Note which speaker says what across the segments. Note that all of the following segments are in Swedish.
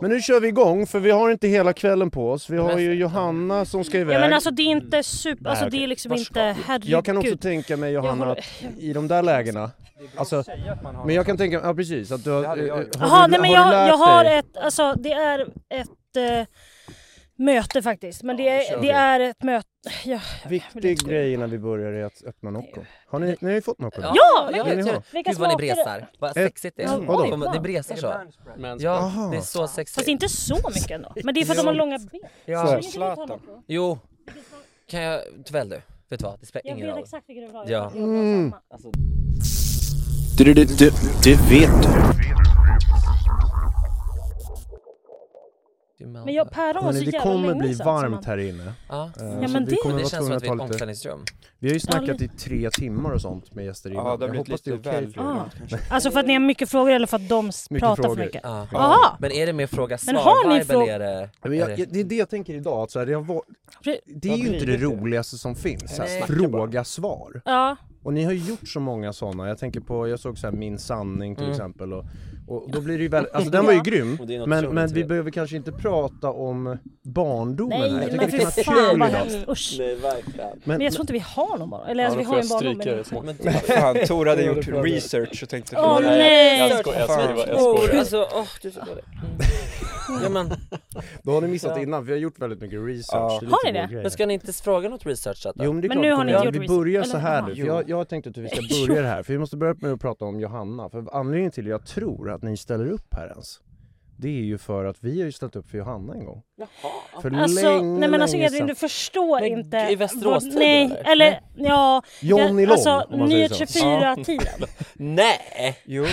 Speaker 1: Men nu kör vi igång för vi har inte hela kvällen på oss. Vi har ju Johanna som ska iväg.
Speaker 2: Ja men alltså det är inte super, alltså
Speaker 1: Nej,
Speaker 2: det
Speaker 1: okej.
Speaker 2: är liksom
Speaker 1: Varsågod.
Speaker 2: inte, herregud.
Speaker 1: Jag kan också tänka mig Johanna att i de där lägena, alltså, men jag kan tänka mig, ja precis, att du har, eh, har,
Speaker 2: Jaha,
Speaker 1: du,
Speaker 2: nej
Speaker 1: har
Speaker 2: men
Speaker 1: du
Speaker 2: jag,
Speaker 1: lärt
Speaker 2: jag har
Speaker 1: dig?
Speaker 2: ett, alltså det är ett eh, möte faktiskt. Men det,
Speaker 1: kör
Speaker 2: är,
Speaker 1: vi.
Speaker 2: det är ett möte, ja, vill
Speaker 1: Viktig
Speaker 2: inte
Speaker 1: grej innan vi börjar är att öppna Nocco. Har ni, ni har ju fått Nocco? nu.
Speaker 2: Ja,
Speaker 1: men-
Speaker 3: Vill ni ha?
Speaker 2: Vilka
Speaker 3: Gud vad ni
Speaker 2: smaker det-
Speaker 3: bresar. Vad
Speaker 1: Eh,
Speaker 3: sexigt det
Speaker 1: mm,
Speaker 3: är.
Speaker 1: vadå?
Speaker 3: Som- Ni bresar så. Ja,
Speaker 1: Aha.
Speaker 3: det är så sexigt.
Speaker 2: fast inte så mycket ändå. Men det är för att de har långa ben.
Speaker 1: Så
Speaker 3: Ja.
Speaker 1: här.
Speaker 2: Kan inte du ta dem då?
Speaker 3: Jo. Kan jag, väl du. Vet du vad? Det spelar
Speaker 2: Jag
Speaker 3: ingen roll.
Speaker 2: vet exakt vilken du vill ha.
Speaker 3: Ja.
Speaker 2: Jag vill ha
Speaker 1: Mm.
Speaker 2: samma.
Speaker 4: Du, du, du, du vet du.
Speaker 3: Du menar-
Speaker 2: Men jag, päron var så
Speaker 1: Hörrni, det
Speaker 2: jävla
Speaker 1: kommer
Speaker 2: länge
Speaker 1: bli
Speaker 2: sedan,
Speaker 1: varmt
Speaker 2: så man-
Speaker 1: här inne.
Speaker 3: Ja.
Speaker 1: Eh,
Speaker 2: Ja,
Speaker 1: så vi
Speaker 2: men det-
Speaker 1: kommer
Speaker 3: Det
Speaker 1: vara
Speaker 3: känns som
Speaker 1: tvungna
Speaker 3: att
Speaker 1: att
Speaker 3: vi är i ett
Speaker 1: ta lite...
Speaker 3: omklädningsrum.
Speaker 1: Vi har ju
Speaker 2: Ja,
Speaker 1: snackat
Speaker 2: lite.
Speaker 1: i tre timmar och sånt med gäster
Speaker 5: Ja,
Speaker 1: innan.
Speaker 5: det har
Speaker 1: jag
Speaker 5: blivit
Speaker 1: hoppas det är
Speaker 5: lite
Speaker 1: okej
Speaker 5: väl-
Speaker 1: för er.
Speaker 2: Ah. Alltså för att ni har mycket frågor eller för att de s-
Speaker 1: Mycket
Speaker 2: pratar
Speaker 1: frågor.
Speaker 2: för mycket?
Speaker 3: Ja.
Speaker 2: Jaha!
Speaker 3: Men är det mer fråga svar?
Speaker 2: Men har ni
Speaker 3: Vibe
Speaker 2: frå-
Speaker 3: eller är det...
Speaker 1: Men
Speaker 3: Eh, är
Speaker 1: jag,
Speaker 3: det-
Speaker 1: jag, det är det jag tänker idag, att så här, det, har varit,
Speaker 2: Pre-
Speaker 1: det är ju inte det roligaste som finns, så här, fråga svar.
Speaker 2: Ja,
Speaker 1: Och ni har ju gjort så många sådana, jag tänker på, jag såg så här Min sanning till exempel och, och då blir det ju väldigt, alltså den var ju grym,
Speaker 3: Mm. Och det är något
Speaker 1: men,
Speaker 3: otroligt
Speaker 1: men vi
Speaker 3: trevligt.
Speaker 1: behöver kanske inte prata om barndomen
Speaker 2: nej
Speaker 1: här. Jag tycker
Speaker 2: men
Speaker 1: det kan
Speaker 2: fy
Speaker 1: vara kul
Speaker 2: fan vad
Speaker 1: idag.
Speaker 2: hemskt, usch.
Speaker 1: Men,
Speaker 2: Men
Speaker 1: men,
Speaker 2: jag tror inte vi har någon barn, eller alltså, vi har ju en barnum men...
Speaker 3: Men-
Speaker 5: Fan, Tor hade gjort research och tänkte
Speaker 2: Åh
Speaker 5: fråga.
Speaker 2: nej!
Speaker 3: Oh, alltså, åh, du är så dålig. Ja, men,
Speaker 1: då har ni missat innan, vi har gjort väldigt mycket research.
Speaker 5: Ja.
Speaker 1: Det är
Speaker 2: Har
Speaker 1: lite
Speaker 2: ni
Speaker 1: vår
Speaker 2: det?
Speaker 1: grej.
Speaker 3: men ska ni inte fråga något researchat då?
Speaker 1: Jo men det är
Speaker 2: Men
Speaker 1: klart
Speaker 2: nu
Speaker 1: att
Speaker 2: har
Speaker 1: de
Speaker 2: ni
Speaker 1: gör.
Speaker 2: gjort
Speaker 1: Vi
Speaker 2: research.
Speaker 1: börjar så
Speaker 2: Eller-
Speaker 1: här
Speaker 2: aha.
Speaker 1: nu, för jag, jag tänkte att vi ska börja det här, för vi måste börja med att prata om Johanna, för anledningen till jag tror att ni ställer upp här ens det är ju för att vi har ju ställt upp för Johanna en gång. Jaha. För
Speaker 2: Alltså,
Speaker 1: länge,
Speaker 2: nej men alltså
Speaker 1: länge
Speaker 2: Edvin
Speaker 1: sedan.
Speaker 2: du förstår
Speaker 3: Men
Speaker 2: inte.
Speaker 3: i Västerås
Speaker 2: vad-
Speaker 3: tiden,
Speaker 2: Nej,
Speaker 3: eller?
Speaker 2: eller ja.
Speaker 1: Johnny Long,
Speaker 2: Alltså
Speaker 1: om man säger så.
Speaker 2: 924-tiden.
Speaker 3: Nej! Jo.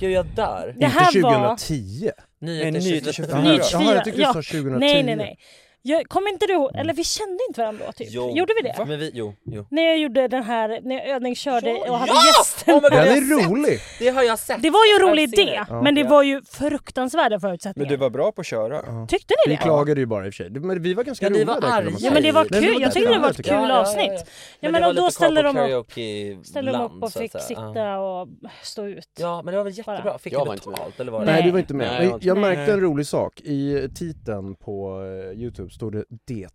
Speaker 3: Gud, jag dör.
Speaker 2: Det här
Speaker 1: Inte
Speaker 2: var...
Speaker 1: 2010.
Speaker 3: Nyheter
Speaker 5: Nej,
Speaker 3: 24.
Speaker 5: nyheter 24.
Speaker 2: Ny
Speaker 1: Jaha, jag tyckte du sa
Speaker 2: 24,
Speaker 1: 2010.
Speaker 2: Nej nej nej. Jag, kom inte du ihåg, eller vi kände inte varandra då typ? Gjorde vi det?
Speaker 3: Men vi, jo, jo.
Speaker 2: När jag gjorde den här, när jag övningskörde och hade
Speaker 3: Ja!
Speaker 2: gästen.
Speaker 3: Oh my God,
Speaker 1: Den
Speaker 3: jag
Speaker 1: är
Speaker 3: har sett.
Speaker 1: rolig!
Speaker 3: Det har jag sett.
Speaker 2: Det var ju en rolig
Speaker 3: Jag ser
Speaker 2: idé,
Speaker 3: det.
Speaker 2: men det var ju fruktansvärda förutsättningar.
Speaker 5: Men du var bra på att köra.
Speaker 2: Tyckte ni
Speaker 1: Vi
Speaker 2: det?
Speaker 1: klagade ju bara i och för sig, men vi var ganska
Speaker 3: Ja, ni
Speaker 1: roliga
Speaker 3: var
Speaker 1: där
Speaker 3: arga.
Speaker 2: Ja men det var
Speaker 1: Nej, vi
Speaker 2: kul, jag tyckte
Speaker 1: ganska
Speaker 2: det var
Speaker 1: arga,
Speaker 2: ett
Speaker 1: jag.
Speaker 2: kul avsnitt. Ja men
Speaker 3: det var
Speaker 2: och då
Speaker 3: lite
Speaker 2: ställde
Speaker 3: kvar på
Speaker 2: de upp,
Speaker 3: karaoke
Speaker 2: ställde de
Speaker 3: land,
Speaker 2: upp och
Speaker 3: så att
Speaker 2: fick
Speaker 3: säga. Ja.
Speaker 2: sitta och stå ut.
Speaker 3: Ja men det var väl jättebra,
Speaker 2: Bara.
Speaker 3: fick
Speaker 6: Jag
Speaker 3: ni
Speaker 6: var inte med.
Speaker 3: betalt eller vad
Speaker 1: Nej,
Speaker 3: det?
Speaker 2: Nej.
Speaker 1: du var inte med.
Speaker 6: Nej,
Speaker 1: Men
Speaker 6: jag var
Speaker 1: jag,
Speaker 6: inte
Speaker 1: märkte
Speaker 5: Nej.
Speaker 1: en rolig sak. I titeln på eh, Youtube stod det det.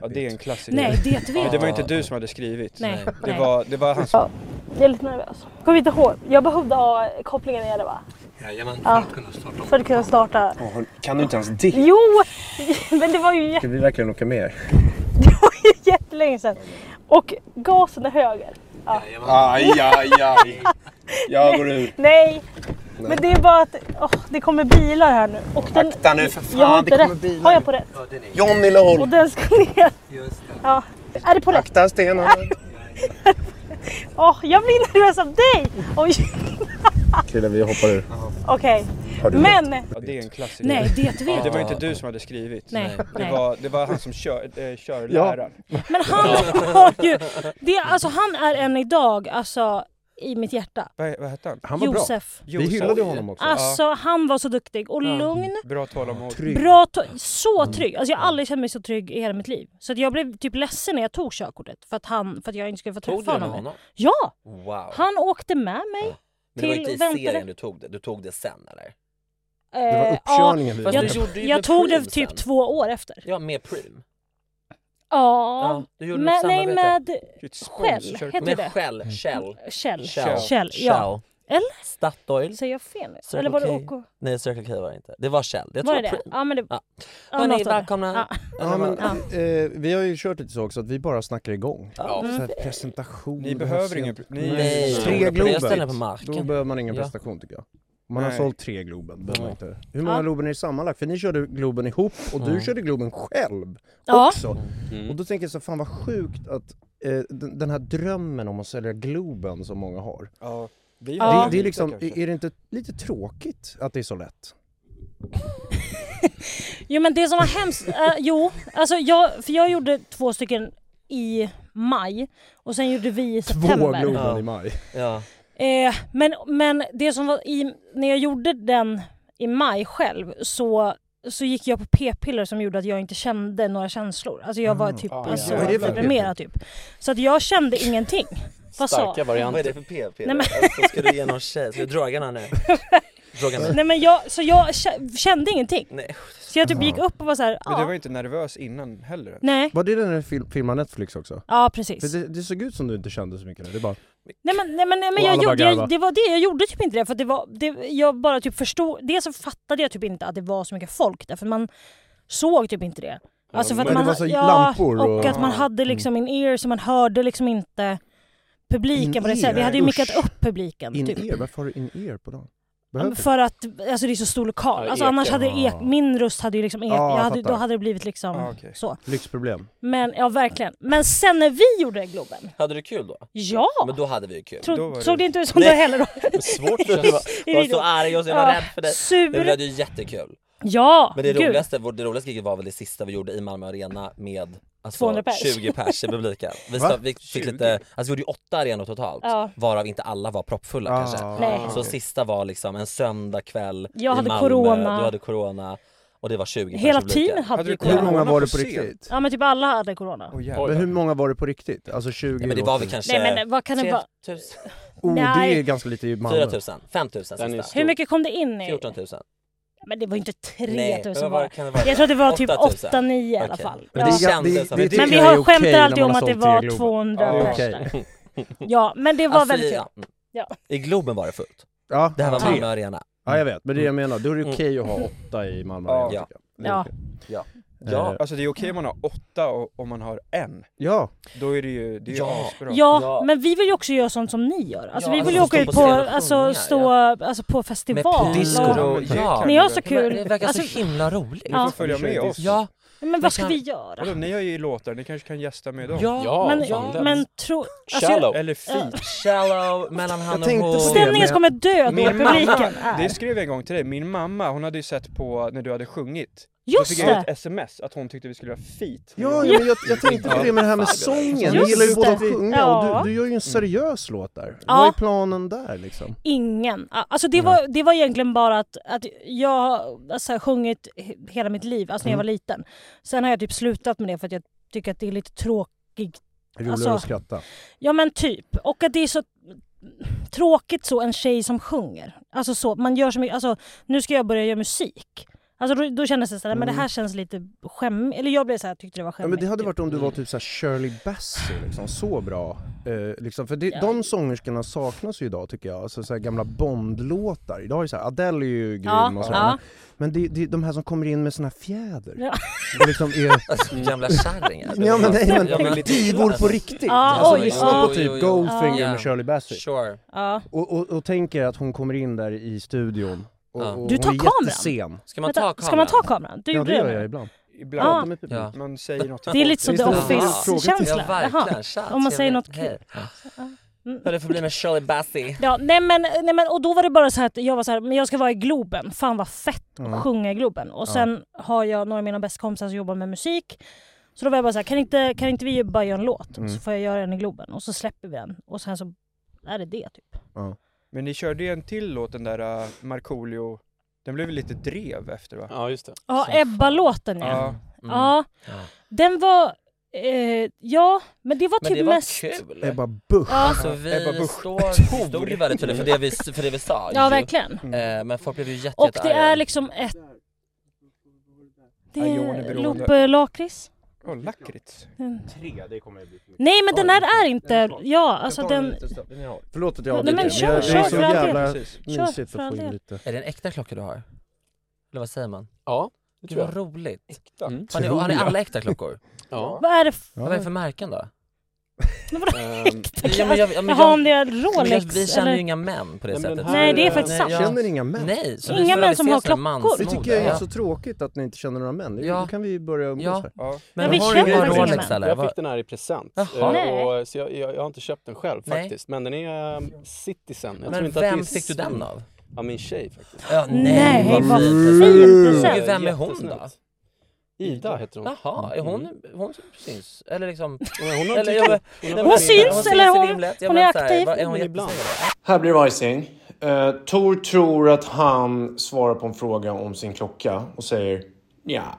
Speaker 5: Ja, det är en klassiker.
Speaker 2: Nej det vet
Speaker 5: Men
Speaker 2: vi.
Speaker 5: det var ju inte du som hade skrivit.
Speaker 2: Nej.
Speaker 5: Det
Speaker 2: nej.
Speaker 5: var, det var han som...
Speaker 2: Jag är lite nervös. Kommer inte ihåg, jag behövde ha kopplingen igen va?
Speaker 6: Jajamän,
Speaker 2: Ja.
Speaker 6: kunna starta
Speaker 2: För att kunna starta.
Speaker 1: Kan du inte ens det?
Speaker 2: Jo! Men det var ju jätte-
Speaker 1: Ska vi verkligen åka med er?
Speaker 2: det var ju jättelänge sedan. Och gasen är höger.
Speaker 5: Aj, aj, aj. Jag går ur.
Speaker 2: Nej! Men det är bara att åh, det kommer bilar här nu. Och den,
Speaker 6: Akta nu för fan,
Speaker 2: jag har
Speaker 6: det
Speaker 2: inte
Speaker 6: kommer
Speaker 2: rätt.
Speaker 6: bilar.
Speaker 2: Har jag på rätt?
Speaker 6: Johnny Lohl!
Speaker 2: Och den ska ner. Ja. Är det på rätt?
Speaker 6: Akta stenarna!
Speaker 2: Åh, jag blir nervös av dig! Oj.
Speaker 1: Killar vi hoppar ur.
Speaker 2: Okej.
Speaker 1: Har du
Speaker 2: Men!
Speaker 5: Ja, det är en klassiker.
Speaker 2: Nej, det vet
Speaker 5: Det
Speaker 2: jag.
Speaker 5: var ju inte du som hade skrivit.
Speaker 2: Nej,
Speaker 5: Det
Speaker 2: nej.
Speaker 5: var, det var han som kör, eh, körläraren.
Speaker 2: Men han har ju... Det, alltså han är än idag, alltså i mitt hjärta.
Speaker 5: Vad, vad hette han?
Speaker 1: Han var bra.
Speaker 2: Josef.
Speaker 1: Vi hyllade honom också.
Speaker 2: Alltså han var så duktig och lugn.
Speaker 5: Bra tålamod.
Speaker 1: Trygg.
Speaker 2: Bra, to- så
Speaker 5: Mm.
Speaker 2: trygg. Alltså jag har aldrig känt mig så trygg i hela mitt liv. Så att jag blev typ ledsen när jag tog körkortet för att, han, för att jag inte skulle få
Speaker 3: Tog
Speaker 2: träffa
Speaker 3: du med
Speaker 2: honom.
Speaker 3: honom?
Speaker 2: Ja!
Speaker 3: Wow.
Speaker 2: Han åkte med mig.
Speaker 3: Men det var
Speaker 2: till
Speaker 3: inte i
Speaker 2: väntade-
Speaker 3: serien du tog det, du tog det sen eller?
Speaker 1: Det var
Speaker 2: Eh,
Speaker 1: uppkörningen vi
Speaker 3: Fast
Speaker 2: jag-
Speaker 3: du gjorde ju
Speaker 2: jag
Speaker 3: med
Speaker 2: tog det
Speaker 3: Preem
Speaker 2: typ
Speaker 3: sen.
Speaker 2: två år efter.
Speaker 3: Ja med Preem.
Speaker 2: Ja,
Speaker 3: du gjorde
Speaker 2: med,
Speaker 3: något
Speaker 2: nej
Speaker 3: samarbete.
Speaker 2: med
Speaker 5: Ett
Speaker 2: Shell.
Speaker 5: sponsorkort.
Speaker 2: Heter det
Speaker 3: Med Shell, Shell.
Speaker 2: Shell?
Speaker 3: Shell.
Speaker 2: Shell. Ja.
Speaker 3: Shell.
Speaker 2: Eller?
Speaker 3: Statoil.
Speaker 2: Säger jag fel nu?
Speaker 3: Circle
Speaker 2: Eller var det
Speaker 3: K.
Speaker 2: OK?
Speaker 3: Nej Circle K var det inte. Det var Shell. Jag
Speaker 2: Var
Speaker 3: tror
Speaker 2: det det?
Speaker 3: Preem.
Speaker 2: Ja men det...
Speaker 3: Ja.
Speaker 2: Ja, något
Speaker 3: Hörni,
Speaker 2: av det.
Speaker 3: välkomna.
Speaker 2: Ja.
Speaker 1: Ja, men,
Speaker 2: Ja.
Speaker 1: eh, vi har ju kört lite så också att vi bara snackar igång. Så här, presentation
Speaker 5: Ni
Speaker 1: behövs
Speaker 5: behöver ingen...
Speaker 1: inte.
Speaker 5: Ni
Speaker 3: Nej.
Speaker 5: stora
Speaker 1: Tre
Speaker 3: Jag
Speaker 1: Globen.
Speaker 3: ställer på marken.
Speaker 1: Då behöver man ingen
Speaker 3: Ja.
Speaker 1: presentation tycker jag. Om man har
Speaker 5: Nej.
Speaker 1: sålt tre Globen behöver man inte. Hur många
Speaker 2: Ja.
Speaker 1: Globen är det sammanlagt? För ni körde Globen ihop och du körde Globen själv
Speaker 2: Ja.
Speaker 1: också. Och då tänker jag så fan vad sjukt att eh, den, den här drömmen om att sälja Globen som många har.
Speaker 5: Ja. Det är,
Speaker 2: Ja.
Speaker 1: Det, det är liksom, är det inte lite tråkigt att det är så lätt?
Speaker 2: Jo men det som var hemskt, eh, jo, alltså jag, för jag gjorde två stycken i maj och sen gjorde vi i
Speaker 1: Två
Speaker 2: september.
Speaker 1: Globen
Speaker 5: Ja.
Speaker 1: i maj.
Speaker 5: Ja.
Speaker 2: Eh, men, men det som var i, när jag gjorde den i maj själv så, så gick jag på p-piller som gjorde att jag inte kände några känslor. Alltså jag var typ
Speaker 5: Ah,
Speaker 2: alltså,
Speaker 5: ja.
Speaker 1: Mm. Vad är det för
Speaker 2: deprimerad typ. Så att jag kände ingenting. Vad sa?
Speaker 5: Starka varianter. Vad är det för PP? Nej, men... alltså, ska du ge någon tjej? Ska du droga någon nu? Droga mig?
Speaker 2: Nej men jag, så jag kä- kände ingenting.
Speaker 5: Nej.
Speaker 2: Så jag typ gick upp och var såhär,
Speaker 5: Men du var
Speaker 2: ja,
Speaker 5: ju inte nervös innan heller.
Speaker 2: nej,
Speaker 1: Var det den när du filmade Netflix också?
Speaker 2: ja
Speaker 1: För
Speaker 2: precis.
Speaker 1: det, det såg ut som du inte kände så mycket där. Det bara,
Speaker 2: Nej men, nej, men, nej, men
Speaker 1: Och
Speaker 2: jag
Speaker 1: alla bara
Speaker 2: gjorde, jag,
Speaker 1: garvade.
Speaker 2: det var det, jag gjorde typ inte det för att det var, det, jag bara typ förstod, dels så fattade jag typ inte att det var så mycket folk där för man såg typ inte det. Alltså för att
Speaker 1: men
Speaker 2: man,
Speaker 1: det var så lampor
Speaker 2: och,
Speaker 1: och- Mm.
Speaker 2: att man hade
Speaker 3: Mm.
Speaker 2: liksom in ear så man hörde liksom inte publiken på det sättet. Vi
Speaker 1: In-ear,
Speaker 2: hade ju mickat
Speaker 1: usch.
Speaker 2: upp publiken
Speaker 1: in
Speaker 2: typ.
Speaker 1: ear, varför har du in ear på dem?
Speaker 2: Ja, men
Speaker 1: Behöver
Speaker 2: För att alltså det är så stor lokal.
Speaker 3: Ja,
Speaker 2: Alltså
Speaker 3: ekar.
Speaker 2: annars hade det ek,
Speaker 1: Ah.
Speaker 2: min röst hade ju liksom ek,
Speaker 1: Ja, jag
Speaker 2: jag hade,
Speaker 1: fattar.
Speaker 2: då hade det blivit liksom
Speaker 5: Ah, okej.
Speaker 2: så.
Speaker 1: du? Lyxproblem.
Speaker 2: Men ja verkligen. Men sen när vi gjorde Globen,
Speaker 3: Hade du kul då?
Speaker 2: ja!
Speaker 3: Men då hade vi ju kul.
Speaker 2: Tro,
Speaker 5: då var det-
Speaker 2: Såg det inte ut som det
Speaker 3: Nej.
Speaker 2: heller då?
Speaker 3: Svårt att köpa. Jag var så arg och så jag var
Speaker 2: Ja,
Speaker 3: rädd för dig.
Speaker 2: Sur.
Speaker 3: Men vi hade ju jättekul.
Speaker 2: Ja,
Speaker 3: Men det
Speaker 2: gud.
Speaker 3: roligaste, vår- det roligaste giget var väl det sista vi gjorde i Malmö Arena med alltså,
Speaker 2: 200 pers.
Speaker 3: 20 pers i publiken. Vi,
Speaker 1: Va?
Speaker 3: stod, vi fick
Speaker 5: 20?
Speaker 3: lite, alltså vi gjorde ju åtta arenor totalt
Speaker 2: Ja.
Speaker 3: varav inte alla var proppfulla
Speaker 1: Ah.
Speaker 3: kanske.
Speaker 2: Nej.
Speaker 3: Så sista var liksom en söndagkväll
Speaker 2: Jag
Speaker 3: i
Speaker 2: hade
Speaker 3: Malmö,
Speaker 2: corona.
Speaker 3: du hade corona och det var 20
Speaker 2: Hela
Speaker 3: pers i publiken.
Speaker 2: teamet hade
Speaker 5: Hade
Speaker 2: ju
Speaker 5: du
Speaker 1: Hur
Speaker 5: corona?
Speaker 2: corona.
Speaker 1: många var det på
Speaker 5: på scen.
Speaker 1: riktigt?
Speaker 2: Ja men typ alla hade corona.
Speaker 5: Åh
Speaker 1: Men hur
Speaker 5: jävlar.
Speaker 1: många var det på riktigt? Alltså 20?
Speaker 3: Ja, men det var väl kanske
Speaker 2: Nej men vad kan det vara?
Speaker 3: 3 000,
Speaker 1: Oh, det
Speaker 2: Nej.
Speaker 1: är ganska lite i Malmö.
Speaker 3: 4 000, 5 000
Speaker 7: Den är
Speaker 3: sista.
Speaker 2: Hur mycket kom det in i?
Speaker 3: 14 000.
Speaker 2: Men det var ju inte
Speaker 3: Nej,
Speaker 2: 3000
Speaker 3: vad
Speaker 2: var
Speaker 3: var
Speaker 2: det.
Speaker 3: det? Kan det vara?
Speaker 2: Jag tror det var typ
Speaker 3: 8 000.
Speaker 2: 8-9 i alla
Speaker 3: Okej.
Speaker 2: fall.
Speaker 3: Men det
Speaker 2: Ja.
Speaker 3: känns- Men
Speaker 2: Men vi
Speaker 1: tycker jag är
Speaker 2: har skämtar
Speaker 1: okej när
Speaker 2: alltid
Speaker 1: man
Speaker 2: om
Speaker 1: har
Speaker 2: att det
Speaker 1: sålt tre
Speaker 2: var
Speaker 1: Globen.
Speaker 2: 200
Speaker 1: Ja, det är
Speaker 2: pers
Speaker 1: okej.
Speaker 2: där. Ja men det var
Speaker 3: Alltså,
Speaker 2: väldigt kul.
Speaker 3: ja.
Speaker 2: Ja.
Speaker 3: I Globen var det fullt.
Speaker 1: Ja,
Speaker 3: Det här var
Speaker 1: tre.
Speaker 3: Malmö Arena. Mm.
Speaker 1: Ja jag vet, men det är det jag menar, då är det okej att ha åtta i Malmö
Speaker 5: Ja.
Speaker 1: Arena,
Speaker 3: Ja.
Speaker 1: tycker jag. Det är
Speaker 2: Ja.
Speaker 1: okej.
Speaker 3: Ja.
Speaker 1: Eh,
Speaker 3: Ja.
Speaker 5: Alltså det är okej om man har åtta och om man har en.
Speaker 1: ja.
Speaker 5: Då är det ju, det är ju
Speaker 3: Ja.
Speaker 5: asbra.
Speaker 2: Ja
Speaker 3: Ja.
Speaker 2: men vi vill ju också göra sånt som ni gör. Alltså
Speaker 3: Ja,
Speaker 2: vi vill
Speaker 3: alltså,
Speaker 2: ju åka
Speaker 3: stå
Speaker 2: ut
Speaker 3: på
Speaker 2: på,
Speaker 3: scen och sjunga,
Speaker 2: alltså, stå alltså, på festival.
Speaker 3: Med
Speaker 2: och...
Speaker 3: piskor
Speaker 5: Ja,
Speaker 3: och
Speaker 5: men det är
Speaker 3: ja.
Speaker 5: klart.
Speaker 2: Ni har så
Speaker 3: Men Det
Speaker 2: kul.
Speaker 3: verkar
Speaker 2: Alltså,
Speaker 3: så himla roligt.
Speaker 5: Ni får
Speaker 2: Ja.
Speaker 5: följa med oss.
Speaker 3: Ja,
Speaker 2: men vad ska
Speaker 3: kan-
Speaker 2: vi göra?
Speaker 5: Vadå, ni har ju låtar, ni kanske kan gästa med dem?
Speaker 3: ja.
Speaker 2: Men,
Speaker 3: ja.
Speaker 2: men tro... Alltså, jag-
Speaker 7: Shallow.
Speaker 5: Eller feat.
Speaker 3: Shallow, mellan han och
Speaker 1: tänkte på
Speaker 3: hon.
Speaker 1: det.
Speaker 2: Stämningen kommer dö då i
Speaker 5: Min mamma-
Speaker 2: publiken. Äh.
Speaker 5: Det
Speaker 2: är.
Speaker 5: skrev jag en gång till dig, min mamma hon hade ju sett på när du hade sjungit. Då
Speaker 2: Just
Speaker 5: fick jag
Speaker 2: det!
Speaker 5: ett sms att hon tyckte vi skulle göra feat.
Speaker 1: Ja, ja, men jag, jag tänkte på det med det här med sången, ni
Speaker 2: Just
Speaker 1: gillar ju båda att
Speaker 2: det.
Speaker 1: sjunga
Speaker 2: Ja.
Speaker 1: och du, du gör ju en seriös låt där. Vad
Speaker 2: Ja.
Speaker 1: är planen där liksom?
Speaker 2: Ingen. Ah, Alltså det, var, det var egentligen bara att, att jag har alltså, sjungit he- hela mitt liv, alltså
Speaker 1: Mm.
Speaker 2: när jag var liten. Sen har jag typ slutat med det för att jag tycker att det är lite tråkigt.
Speaker 1: Roligare
Speaker 2: Alltså-
Speaker 1: att skratta.
Speaker 2: Ja men typ. Och att det är så tråkigt så en tjej som sjunger. Alltså så, man gör så mycket, alltså nu ska jag börja göra musik. Alltså då, då kändes det såhär, men det här känns lite skämmigt. Eller jag blev såhär, tyckte det var
Speaker 1: Mm. Ja,
Speaker 2: skämmigt.
Speaker 1: men det hade
Speaker 2: typ.
Speaker 1: varit om du var typ såhär Shirley Bassey liksom, så bra. Eh, liksom. För det, de sångerskorna saknas ju idag tycker jag, alltså såhär gamla Bond-låtar. Idag är det såhär, Adele är ju grym
Speaker 2: Ja,
Speaker 1: och så.
Speaker 2: ja.
Speaker 1: Men det, det är de här som kommer in med såna här fjäder.
Speaker 2: Ja.
Speaker 1: Och liksom är...
Speaker 3: Alltså gamla kärringar.
Speaker 1: Ja men nej men,
Speaker 3: Ja, men-
Speaker 1: divor på riktigt!
Speaker 2: Ja,
Speaker 1: alltså
Speaker 2: oj,
Speaker 1: lyssna
Speaker 2: ja.
Speaker 1: på typ
Speaker 3: Oj, oj, oj.
Speaker 1: Goldfinger
Speaker 3: Ja.
Speaker 1: med Shirley Bassey
Speaker 3: Sure.
Speaker 2: Ja.
Speaker 1: och, och, och tänker att hon kommer in där i studion och,
Speaker 3: Ja.
Speaker 1: och
Speaker 2: Du
Speaker 1: hon
Speaker 2: tar
Speaker 1: är
Speaker 2: kameran?
Speaker 1: jättesen
Speaker 3: Ska man
Speaker 2: Vänta,
Speaker 3: ta kameran?
Speaker 2: Ska man ta kameran? Du
Speaker 1: Ja
Speaker 2: gjorde
Speaker 1: det gör
Speaker 2: nu.
Speaker 1: jag ibland
Speaker 5: Ibland,
Speaker 2: Ah.
Speaker 1: De är publik.
Speaker 3: Ja.
Speaker 5: man säger något
Speaker 2: Det är lite som
Speaker 1: Det
Speaker 2: The
Speaker 1: är en
Speaker 3: Ja,
Speaker 2: Office-känsla. Jaha.
Speaker 3: verkligen. Tja,
Speaker 2: Om man
Speaker 3: trevligt.
Speaker 2: säger något
Speaker 3: Hej.
Speaker 2: kul. Mm.
Speaker 3: Ja, det får bli med Shirley Bassey.
Speaker 2: Ja, nej men, nej men, och då var det bara så här att jag var så här, men jag ska vara i Globen, fan vad fett att sjunga i Globen. Och sen har jag några av mina bästa kompisar som jobbar med musik. Så då var jag bara så här, kan inte, kan inte vi bara göra en låt? Så får jag göra den i Globen och så släpper vi den. Och sen så är det det typ.
Speaker 5: Men ni körde ju en till låt, den där uh, Markoolio, den blev lite drev efter va?
Speaker 7: Ja, just det.
Speaker 2: Ja, Ebba-låten ja.
Speaker 5: Ja.
Speaker 2: Ja, den var, eh, ja men det var
Speaker 3: Men
Speaker 2: typ
Speaker 3: det var
Speaker 2: mest...
Speaker 3: kul.
Speaker 1: Ebba Busch
Speaker 2: Ja,
Speaker 3: Alltså vi
Speaker 5: Ebba Busch
Speaker 3: står, vi stod ju väldigt tydligt för det vi, för det vi sa
Speaker 2: ja
Speaker 3: ju.
Speaker 2: verkligen.
Speaker 5: Mm.
Speaker 3: Eh, Men folk blev ju jätte,
Speaker 2: Och det
Speaker 3: jättearga.
Speaker 2: är liksom ett... Det
Speaker 5: Ja, Johan är
Speaker 2: är
Speaker 5: beroende.
Speaker 2: Lope Lakrits.
Speaker 5: Åh, lakrits.
Speaker 2: Nej men den här är inte... Ja, alltså den...
Speaker 1: Förlåt att jag
Speaker 2: Nej,
Speaker 1: avbryter,
Speaker 2: men kör,
Speaker 1: jag- det är
Speaker 2: kör
Speaker 1: så
Speaker 2: för all del.
Speaker 1: jävla
Speaker 5: Precis.
Speaker 2: Kör
Speaker 1: mysigt
Speaker 2: för
Speaker 1: att
Speaker 2: all
Speaker 1: få in
Speaker 2: del.
Speaker 1: lite
Speaker 3: Är det en äkta klocka du har? Eller vad säger man?
Speaker 7: Ja, det
Speaker 3: Gud
Speaker 7: tror jag.
Speaker 3: vad roligt.
Speaker 7: Mm.
Speaker 3: Har ni, har ni alla äkta klockor?
Speaker 7: Ja.
Speaker 2: Vad är det f-
Speaker 3: Vad är det för märken då?
Speaker 2: Men vadå
Speaker 5: Ehm,
Speaker 2: äkta?
Speaker 8: Ja, men jag, ja, men
Speaker 2: Jaha,
Speaker 8: jag,
Speaker 2: om det är
Speaker 8: men jag,
Speaker 2: Rolex
Speaker 8: vi känner
Speaker 2: eller?
Speaker 8: ju inga män på det
Speaker 5: Nej, men
Speaker 8: sättet.
Speaker 5: här-
Speaker 2: Nej, det är faktiskt sant.
Speaker 8: jag-
Speaker 1: Känner inga män.
Speaker 8: Nej, så
Speaker 2: Inga
Speaker 8: vi får
Speaker 2: män som har
Speaker 8: ses som en
Speaker 2: klockor.
Speaker 1: Det
Speaker 8: mansmode.
Speaker 1: tycker jag är
Speaker 8: Ja.
Speaker 1: så tråkigt att ni inte känner några män. Det-
Speaker 8: Ja.
Speaker 1: Då kan vi ju börja umgås
Speaker 8: Ja.
Speaker 1: här.
Speaker 5: ja.
Speaker 8: Men,
Speaker 2: vi
Speaker 8: har
Speaker 2: känner
Speaker 8: du ingen
Speaker 2: faktiskt
Speaker 8: Rolex
Speaker 2: ingen.
Speaker 8: eller?
Speaker 7: Jag
Speaker 8: Vad-
Speaker 7: fick den här i present.
Speaker 8: Jaha.
Speaker 7: Eh,
Speaker 2: Nej.
Speaker 7: Och, så jag, jag, jag har inte köpt den själv
Speaker 8: Nej.
Speaker 7: faktiskt. Men den är eh, Citizen. Jag tror
Speaker 8: Men
Speaker 7: inte att
Speaker 8: vem
Speaker 7: det är
Speaker 8: fick du den av?
Speaker 7: Ja, min tjej faktiskt.
Speaker 8: Ja,
Speaker 2: Nej,
Speaker 8: vad
Speaker 2: vad
Speaker 8: fint.
Speaker 2: fin Mm.
Speaker 8: Gud,
Speaker 2: present!
Speaker 8: vem är hon då?
Speaker 7: Jättesnällt. Ida heter hon. Mm.
Speaker 8: Jaha, är hon, hon syns? Eller liksom...
Speaker 7: Men hon har
Speaker 8: Eller,
Speaker 7: inte
Speaker 8: jag,
Speaker 7: gjort-
Speaker 8: Nej,
Speaker 7: har
Speaker 8: men-
Speaker 2: Hon
Speaker 7: varit inne.
Speaker 2: syns, eller
Speaker 8: i
Speaker 2: hon-
Speaker 8: vimlet. Jag
Speaker 2: hon är
Speaker 8: menar så här,
Speaker 2: aktiv. Mm.
Speaker 8: vad- Är hon
Speaker 7: Men ibland.
Speaker 8: jättesnygg?
Speaker 9: Här blir det icing. Eh, Tor tror att han svarar på en fråga om sin klocka och säger ja.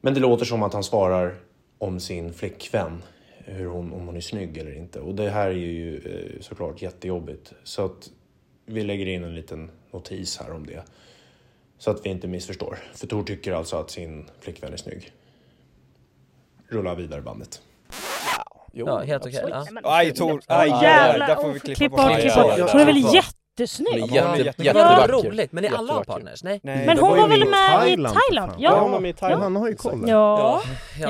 Speaker 9: Men det låter som att han svarar om sin flickvän. Hur hon, om hon är snygg eller inte. Och det här är ju eh, såklart jättejobbigt. Så att vi lägger in en liten notis här om det. Så att vi inte missförstår. För Tor tycker alltså att sin flickvän är snygg. Rulla vidare bandet.
Speaker 7: Jo,
Speaker 8: Ja, helt okej. Ja.
Speaker 5: Aj Tor, aj där,
Speaker 2: Åh,
Speaker 5: där
Speaker 2: jävlar,
Speaker 5: får vi
Speaker 2: oh,
Speaker 5: klippa
Speaker 2: klippa
Speaker 5: bort.
Speaker 2: bort,
Speaker 7: Ja,
Speaker 2: klippa
Speaker 7: ja,
Speaker 2: bort.
Speaker 7: ja.
Speaker 2: Hon är väl
Speaker 7: Ja.
Speaker 2: jättesnygg?
Speaker 7: Hon är
Speaker 8: Ja,
Speaker 7: jätte-
Speaker 5: jättevacker.
Speaker 8: Ja,
Speaker 7: jättevacker.
Speaker 8: roligt. Men är alla har
Speaker 7: Jättevacker.
Speaker 8: partners? Nej.
Speaker 5: Nej,
Speaker 2: Men
Speaker 5: det
Speaker 2: hon
Speaker 5: var
Speaker 2: var
Speaker 5: ju-
Speaker 2: väl med i
Speaker 1: Thailand, för
Speaker 2: Thailand?
Speaker 1: fan.
Speaker 7: Ja,
Speaker 2: Ja.
Speaker 7: hon var med i
Speaker 1: Men
Speaker 7: Thailand.
Speaker 1: han har ju koll.
Speaker 2: Ja.
Speaker 8: Ja,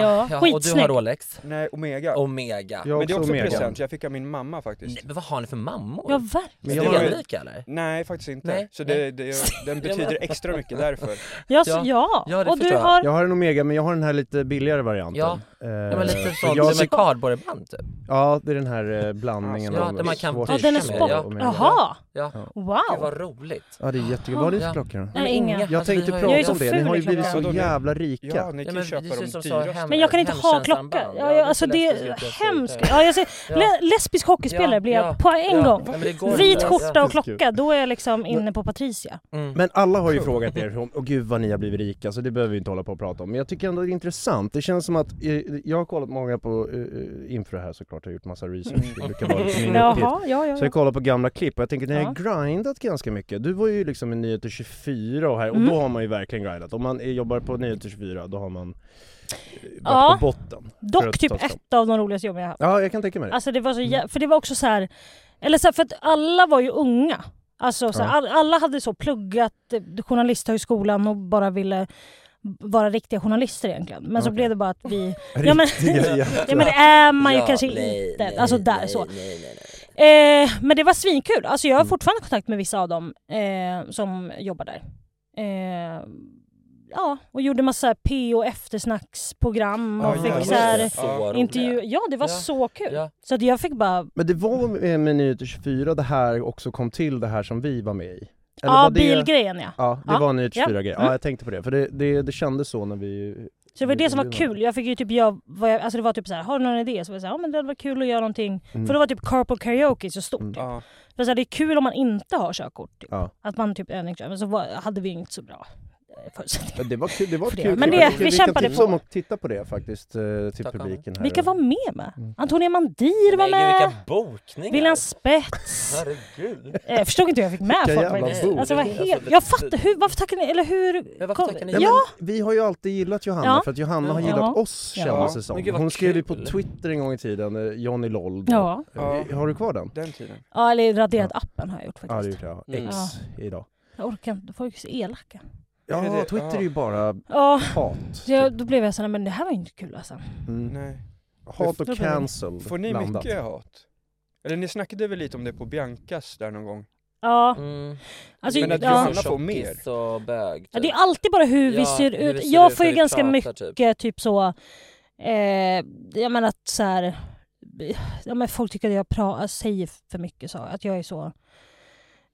Speaker 2: Ja,
Speaker 8: ja, och du
Speaker 2: skitsnygg.
Speaker 8: har Rolex?
Speaker 5: Nej, Omega.
Speaker 8: Omega?
Speaker 1: Jag
Speaker 5: Men det är också
Speaker 1: Omega.
Speaker 5: present, jag fick av min mamma faktiskt.
Speaker 8: Nej, men vad har ni för mammor?
Speaker 2: Ja, verkligen.
Speaker 1: Men
Speaker 8: är
Speaker 1: jag
Speaker 8: ni
Speaker 5: har-
Speaker 8: olika eller?
Speaker 5: Nej, faktiskt inte.
Speaker 8: Nej,
Speaker 5: så
Speaker 8: nej.
Speaker 5: det, det, den betyder extra mycket därför.
Speaker 2: Ja,
Speaker 8: Ja.
Speaker 2: så- ja.
Speaker 8: Ja, det
Speaker 2: och du
Speaker 8: förstår jag.
Speaker 2: har...
Speaker 1: Jag har en Omega men jag har den här lite billigare varianten.
Speaker 8: Ja.
Speaker 1: Eh,
Speaker 8: Ja men lite
Speaker 1: för
Speaker 8: sånt
Speaker 1: jag
Speaker 8: som är
Speaker 1: tyck-
Speaker 8: cardboardband typ.
Speaker 1: Ja, det är den här eh, blandningen
Speaker 8: Ja,
Speaker 1: av
Speaker 8: där man kan
Speaker 1: svart
Speaker 8: Ja,
Speaker 2: Ja, den är
Speaker 8: Ursäkta
Speaker 1: och
Speaker 8: mig,
Speaker 2: sport.
Speaker 8: ja.
Speaker 1: Omega.
Speaker 2: Jaha!
Speaker 8: Ja. Gud
Speaker 2: Wow!
Speaker 8: vad roligt.
Speaker 1: Ja, det är jättegott. Vad har du för klocka då?
Speaker 2: Nej, inga.
Speaker 1: Jag
Speaker 8: Alltså, vi
Speaker 1: tänkte
Speaker 8: har ju-
Speaker 2: Jag är
Speaker 1: prata
Speaker 2: så
Speaker 1: om det, ni har ju
Speaker 2: ful i
Speaker 1: blivit så
Speaker 5: kroppen.
Speaker 1: jävla
Speaker 5: Ja,
Speaker 1: rika.
Speaker 5: ni
Speaker 8: Ja,
Speaker 5: kan
Speaker 8: men
Speaker 5: ju
Speaker 8: det
Speaker 5: köpa
Speaker 8: ser
Speaker 5: de
Speaker 8: ut som så här
Speaker 5: dyraste.
Speaker 8: hem-
Speaker 2: Men jag kan inte ha
Speaker 8: Hemtjänstansband.
Speaker 2: klocka.
Speaker 8: Ja,
Speaker 2: Ja,
Speaker 8: det
Speaker 2: jag,
Speaker 8: är
Speaker 2: alltså
Speaker 8: så
Speaker 2: det
Speaker 8: lesbisk
Speaker 2: är
Speaker 8: jag ser ut.
Speaker 2: hemskt. Ja, jag ser,
Speaker 8: Ja.
Speaker 2: le, lesbisk hockeyspelare
Speaker 8: Ja,
Speaker 2: blev jag
Speaker 8: ja,
Speaker 2: på en
Speaker 8: ja.
Speaker 2: gång.
Speaker 8: Ja, men det går
Speaker 2: Vit
Speaker 8: inte.
Speaker 2: skjorta och
Speaker 1: Ja.
Speaker 2: klocka, då är jag liksom inne på Patricia.
Speaker 1: Men alla har ju frågat er om, åh gud vad ni har blivit rika, så det behöver vi inte hålla på och prata om. Men jag tycker ändå det är intressant. Det känns som att, eh, jag har kollat många på eh, inför det här såklart, jag har gjort massa research, det brukar vara lite min uppgift.
Speaker 2: Mm. Jaha, ja, ja.
Speaker 1: Så
Speaker 2: ja.
Speaker 1: jag kollar på gamla klipp och jag tänker, ni har
Speaker 2: Ja.
Speaker 1: grindat ganska mycket. Du var ju liksom i Nyheter 24 och här, och
Speaker 2: Mm.
Speaker 1: då har man ju verkligen grindat. Om man eh, jobbar på Nyheter 24, då har man eh, varit
Speaker 2: Ja.
Speaker 1: på botten. för
Speaker 2: Dock
Speaker 1: att
Speaker 2: typ
Speaker 1: ta sig fram.
Speaker 2: ett av de roligaste jobben jag haft.
Speaker 1: Ja, jag kan tänka mig Mm. det.
Speaker 2: Alltså det var så jä- för det var också så här, eller så här, för att alla var ju unga. Alltså så här,
Speaker 1: Ja.
Speaker 2: all, alla hade så pluggat eh, journalisthögskolan och bara ville vara riktiga journalister egentligen. Men så
Speaker 1: Okej.
Speaker 2: blev det bara att vi...
Speaker 1: Riktiga
Speaker 2: men-
Speaker 1: jävlar.
Speaker 2: Ja men det är man ju
Speaker 8: Ja,
Speaker 2: kanske
Speaker 8: nej,
Speaker 2: inte.
Speaker 8: nej,
Speaker 2: alltså där
Speaker 8: nej,
Speaker 2: så.
Speaker 8: nej, nej, nej.
Speaker 2: Eh, men det var svinkul. Alltså jag har
Speaker 1: Mm.
Speaker 2: fortfarande kontakt med vissa av dem eh, som jobbar där. Eh, ja, och gjorde massa P och eftersnacksprogram och
Speaker 5: Ja,
Speaker 2: fick
Speaker 5: ja,
Speaker 2: så här
Speaker 5: just det.
Speaker 8: Så roligt.
Speaker 2: intervju. Ja, det var
Speaker 8: Ja,
Speaker 2: så kul.
Speaker 8: ja.
Speaker 2: Så att jag fick bara
Speaker 1: Men det var eh, med Nyheter 24 det här också kom till, det här som vi var med i? Eller
Speaker 2: Ja,
Speaker 1: var det-
Speaker 2: bilgrejen ja.
Speaker 1: Ja, det
Speaker 2: Ja.
Speaker 1: var Nyheter
Speaker 2: Ja.
Speaker 1: 24 grej. Ja,
Speaker 2: Mm.
Speaker 1: jag tänkte på det. För det, det, det kändes så när vi...
Speaker 2: Så det var det som var
Speaker 1: det-
Speaker 2: kul. Jag fick ju typ, jag, vad jag, alltså det var typ så här, har du någon idé? Så var jag såhär, ja men det hade varit kul att göra någonting.
Speaker 1: Mm.
Speaker 2: För då var typ carpool karaoke så stort. Typ.
Speaker 5: Ja.
Speaker 2: För så här, det är kul om man inte har körkort. Typ.
Speaker 1: Ja.
Speaker 2: Att man typ övningskör. Men så var, hade vi inte så bra eh, förutsättningar.
Speaker 1: Men det var kul. Det typ var
Speaker 2: För det.
Speaker 1: kul.
Speaker 2: Men
Speaker 1: Jag
Speaker 2: det-
Speaker 1: tycker
Speaker 2: vi
Speaker 1: kan
Speaker 2: kämpade
Speaker 1: tipsa
Speaker 2: på.
Speaker 1: om att titta på det faktiskt eh, till
Speaker 8: Tack,
Speaker 1: publiken här. Mm.
Speaker 2: Vilka var med med? Antonia Mandir var
Speaker 8: Men gud
Speaker 2: med.
Speaker 8: vilka bokningar!
Speaker 2: William Spets.
Speaker 8: Herregud!
Speaker 2: Eh, Jag förstod inte hur jag fick med
Speaker 1: Vilka
Speaker 2: folk
Speaker 1: jävla
Speaker 2: faktiskt.
Speaker 1: bord.
Speaker 2: Alltså, det var
Speaker 8: Alltså,
Speaker 2: helt,
Speaker 8: det-
Speaker 2: jag fattar, hur, varför tackar ni, eller hur?
Speaker 8: Ja, varför
Speaker 2: kom-
Speaker 8: tackar ni
Speaker 1: Nej,
Speaker 8: nej?
Speaker 2: Ja,
Speaker 1: men, vi har ju alltid gillat Johanna
Speaker 2: Ja.
Speaker 1: för att Johanna har
Speaker 8: Ja.
Speaker 1: gillat oss
Speaker 2: Ja.
Speaker 1: kändes det som.
Speaker 8: Men gud, vad
Speaker 1: Hon skrev ju på
Speaker 8: kul.
Speaker 1: Twitter en gång i tiden, eh, Johnny Loll. då.
Speaker 2: ja.
Speaker 5: Ja.
Speaker 1: Eh, Har du kvar den?
Speaker 5: Den tiden.
Speaker 2: ja eller raderat appen har jag gjort
Speaker 1: Ja, det
Speaker 2: faktiskt.
Speaker 1: gjorde jag.
Speaker 7: Mm.
Speaker 1: X idag.
Speaker 2: Jag orkar inte, folk är så elaka.
Speaker 5: Är
Speaker 1: Ja,
Speaker 5: det-
Speaker 1: Twitter
Speaker 5: ja.
Speaker 1: är ju bara
Speaker 2: Ja,
Speaker 1: hat. typ.
Speaker 2: så jag, då blev jag såhär, men det här var ju inte kul alltså.
Speaker 1: Mm.
Speaker 5: Nej.
Speaker 1: Hat och
Speaker 2: Då blir det-
Speaker 1: cancel
Speaker 5: Får ni
Speaker 1: blandat.
Speaker 5: mycket hat? Eller ni snackade väl lite om det på Biancas där någon gång?
Speaker 2: Ja,
Speaker 8: Mm.
Speaker 2: alltså,
Speaker 5: Men att
Speaker 2: ja.
Speaker 5: Johanna får mer.
Speaker 8: Tjockis och bög typ.
Speaker 2: Ja, det är alltid bara hur vi
Speaker 8: Ja,
Speaker 2: ser
Speaker 8: hur
Speaker 2: ut.
Speaker 8: vi ser
Speaker 2: jag
Speaker 8: ut,
Speaker 2: får
Speaker 8: hur
Speaker 2: ju
Speaker 8: vi
Speaker 2: ganska
Speaker 8: pratar, typ.
Speaker 2: mycket typ så, eh, jag menar att så här, ja, men folk tycker att jag pra- säger för mycket så, att jag är så,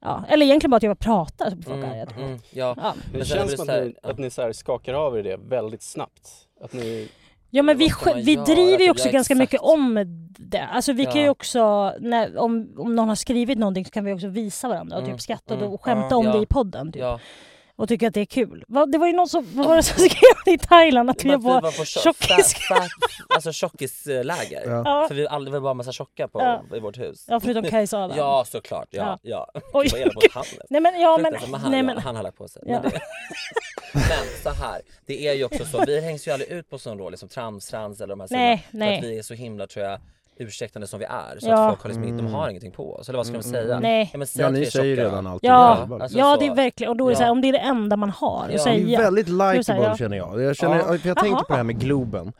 Speaker 2: ja, eller egentligen bara att jag bara pratar så blir folk arga.
Speaker 8: Mm,
Speaker 2: typ.
Speaker 8: mm, ja.
Speaker 2: Ja.
Speaker 7: Det
Speaker 8: Men sen
Speaker 7: känns
Speaker 8: blir det
Speaker 7: som att ni,
Speaker 8: så här-
Speaker 7: att ni så här skakar av er det väldigt snabbt. Att ni,
Speaker 2: ja men
Speaker 8: Vad
Speaker 2: vi,
Speaker 8: ska man
Speaker 2: sj- vi
Speaker 8: göra? Alltså,
Speaker 2: driver ju
Speaker 8: Ja,
Speaker 2: också ganska
Speaker 8: exakt.
Speaker 2: mycket om det. Alltså vi kan ju
Speaker 8: Ja.
Speaker 2: också, när, om, om någon har skrivit någonting så kan vi också visa varandra och
Speaker 8: Mm,
Speaker 2: typ skratta
Speaker 8: mm.
Speaker 2: och skämta
Speaker 8: Ja,
Speaker 2: om det
Speaker 8: ja.
Speaker 2: i podden. Typ.
Speaker 8: Ja.
Speaker 2: och tycker att det är kul. Va? Det var ju någon som, vad var det som skrev i Thailand att vi
Speaker 8: Men att vi
Speaker 2: var...
Speaker 8: var på tjo-
Speaker 2: tjockis-
Speaker 8: fa- fa- alltså tjockisläger.
Speaker 1: Ja.
Speaker 8: För vi all- det var bara massa tjocka på,
Speaker 2: Ja.
Speaker 8: i vårt hus.
Speaker 2: Ja, förutom Kajsa Adam.
Speaker 8: Ja såklart, ja. ja.
Speaker 2: Oj,
Speaker 8: Vad är det på
Speaker 2: gud.
Speaker 8: handen?
Speaker 2: Nej men, ja men...
Speaker 8: Fruktansvärt, men han,
Speaker 2: nej,
Speaker 8: ja,
Speaker 2: men
Speaker 8: han har lagt på sig.
Speaker 2: Ja.
Speaker 8: Men, det, men så här,
Speaker 3: liksom
Speaker 8: det är ju också så, vi hängs ju aldrig ut på sån roll som tramsrans eller de här sidorna,
Speaker 2: Nej,
Speaker 8: för
Speaker 2: nej.
Speaker 8: att vi är så himla tror jag
Speaker 3: ursäktande som vi är. Så
Speaker 2: Ja.
Speaker 3: att folk har liksom, de har ingenting på oss. Eller vad ska de
Speaker 2: Mm,
Speaker 3: säga?
Speaker 2: mm, nej.
Speaker 3: Ja, men
Speaker 1: Mm.
Speaker 3: säg
Speaker 1: Ja,
Speaker 3: att
Speaker 1: ni
Speaker 3: vi är
Speaker 1: säger
Speaker 3: tjocka.
Speaker 1: redan allt ni
Speaker 2: Ja,
Speaker 1: jobbar.
Speaker 3: Alltså,
Speaker 2: ja
Speaker 3: så.
Speaker 2: det är verkligen, och då är det
Speaker 3: Ja.
Speaker 2: så här, om det är det enda man har att
Speaker 3: Ja.
Speaker 2: säga.
Speaker 1: Ni är väldigt
Speaker 2: då är det så här,
Speaker 1: likeable
Speaker 2: ja.
Speaker 1: känner jag. Jag, känner, för jag tänker på det här med Globen.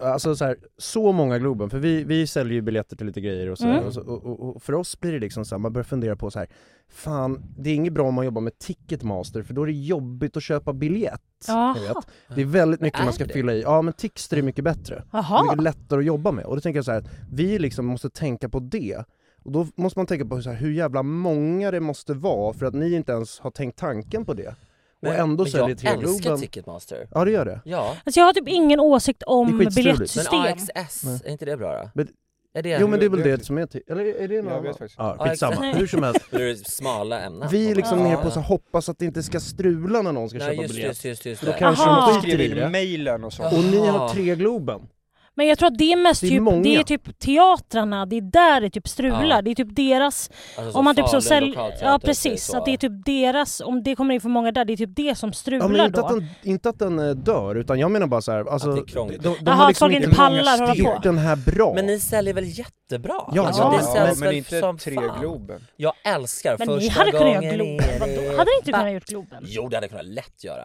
Speaker 1: Alltså så, här, så många Globen, för vi, vi säljer ju biljetter till lite grejer och så,
Speaker 2: Mm.
Speaker 1: där. och, så och, och, och för oss blir det liksom så här, man börjar fundera på så här. Fan, det är inget bra om man jobbar med Ticketmaster för då är det jobbigt att köpa biljett.
Speaker 2: Jaha.
Speaker 1: ni Vet. Det är väldigt mycket
Speaker 2: Men är
Speaker 1: man ska
Speaker 2: det?
Speaker 1: fylla i. Ja men Tixter är mycket bättre.
Speaker 2: Jaha.
Speaker 1: Mycket lättare att jobba med. Och då tänker jag så här, att vi liksom måste tänka på det. Och då måste man tänka på så här, hur jävla många det måste vara för att ni inte ens har tänkt tanken på det.
Speaker 3: Men-
Speaker 1: och ändå
Speaker 3: men
Speaker 1: säljer
Speaker 3: jag
Speaker 1: tre
Speaker 3: älskar
Speaker 1: Globen.
Speaker 3: Ticketmaster.
Speaker 1: Ja det gör det.
Speaker 3: Ja.
Speaker 2: Alltså jag har typ ingen åsikt om
Speaker 1: Det är skitstruligt.
Speaker 2: biljettsystem.
Speaker 3: Men AXS, är inte det bra då?
Speaker 1: Men-
Speaker 3: Är det
Speaker 1: Jo men det är väl det som är till, eller är det någon
Speaker 3: Jag
Speaker 1: annan?
Speaker 3: vet faktiskt
Speaker 1: Ja,
Speaker 3: inte.
Speaker 1: skitsamma,
Speaker 3: Ja, exakt.
Speaker 1: hur som helst.
Speaker 3: Nu är det smala ämnen.
Speaker 1: Vi är liksom
Speaker 3: Ja.
Speaker 1: mer på så här, hoppas att det inte ska strula när någon ska
Speaker 3: Nej,
Speaker 1: köpa
Speaker 3: just det,
Speaker 1: biljett.
Speaker 3: just det, just det, just
Speaker 1: För då
Speaker 3: det.
Speaker 1: kanske
Speaker 3: Aha.
Speaker 1: de skiter i
Speaker 5: Skriver
Speaker 1: det.
Speaker 5: in mailen och sånt.
Speaker 1: Och ni
Speaker 3: Aha.
Speaker 1: har tre Globen.
Speaker 2: Men jag tror att det är mest
Speaker 1: Det är
Speaker 2: typ,
Speaker 1: många.
Speaker 2: det är typ teatrarna, det är där det typ strular.
Speaker 3: Ja.
Speaker 2: Det är typ deras...
Speaker 3: Alltså, så
Speaker 2: om man typ så
Speaker 3: Falun
Speaker 2: sälj...
Speaker 3: lokalteater,
Speaker 2: Ja
Speaker 3: typ,
Speaker 2: precis,
Speaker 3: så.
Speaker 2: att det är typ deras, om det kommer in för många där, det är typ det som strular
Speaker 1: Ja, men inte,
Speaker 2: då.
Speaker 1: att den,
Speaker 3: Alltså,
Speaker 1: inte att den eh, dör, utan jag menar bara så här, alltså,
Speaker 3: det är krångligt.
Speaker 1: de, de
Speaker 2: Aha,
Speaker 1: har
Speaker 2: att
Speaker 1: liksom
Speaker 2: folk
Speaker 1: inte
Speaker 2: inte pallar hålla
Speaker 1: gjort
Speaker 2: på.
Speaker 1: den här bra.
Speaker 3: Men ni säljer väl jättebra? Alltså,
Speaker 1: Ja, ja,
Speaker 3: det
Speaker 1: ja,
Speaker 3: säljs
Speaker 1: men
Speaker 3: väl
Speaker 1: inte
Speaker 3: som
Speaker 1: tre
Speaker 3: fan.
Speaker 1: Globen.
Speaker 3: Jag älskar
Speaker 2: Men ni
Speaker 3: första
Speaker 2: hade kunnat göra
Speaker 3: gången
Speaker 2: Globen,
Speaker 3: är det-
Speaker 2: vadå? Hade ni inte kunnat gjort Globen?
Speaker 3: Jo, det hade jag kunnat lätt göra.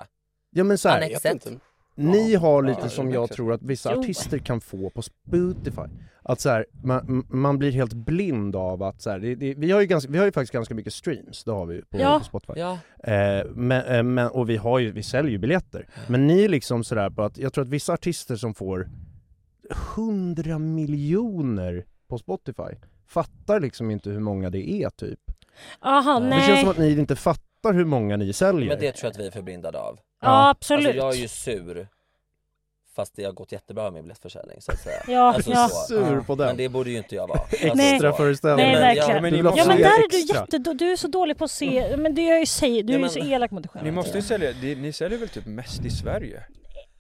Speaker 1: Ja men så här,
Speaker 3: Annex ett.
Speaker 1: Ni har lite
Speaker 3: Ja,
Speaker 1: som
Speaker 3: det
Speaker 1: jag
Speaker 3: märks.
Speaker 1: tror att vissa
Speaker 3: Jo.
Speaker 1: artister kan få på Spotify. Att så här, man, man blir helt blind av att så här, det, det, vi, har ju ganska, vi har ju faktiskt ganska mycket streams, det har vi ju på,
Speaker 3: Ja.
Speaker 1: på Spotify.
Speaker 3: Ja.
Speaker 1: Eh, men, eh, men, och vi, har ju, vi säljer ju biljetter. Men ni är liksom sådär på att, jag tror att vissa artister som får 100 miljoner på Spotify fattar liksom inte hur många det är typ.
Speaker 2: Aha, nej.
Speaker 1: Det känns som att ni inte fattar hur många ni säljer.
Speaker 3: Men det tror jag att vi är förblindade av.
Speaker 2: Ja, absolut.
Speaker 3: Alltså, jag är ju sur. Fast det har gått jättebra med min biljettförsäljning så att säga.
Speaker 2: Ja,
Speaker 3: alltså,
Speaker 2: ja.
Speaker 3: så.
Speaker 1: Sur på den.
Speaker 3: Men det borde ju inte jag vara. Alltså,
Speaker 2: Nej.
Speaker 3: så.
Speaker 1: Extraföreställning.
Speaker 2: Nej
Speaker 3: men-
Speaker 2: verkligen. Ja
Speaker 3: ja, men
Speaker 2: men,
Speaker 3: ni måste ju
Speaker 2: där är du
Speaker 5: extra.
Speaker 2: jätte... Du är så dålig på att se... Men det är ju, säg, du är ju så elak mot dig själv.
Speaker 5: Ni måste ju sälja, det- ni säljer väl typ mest i Sverige?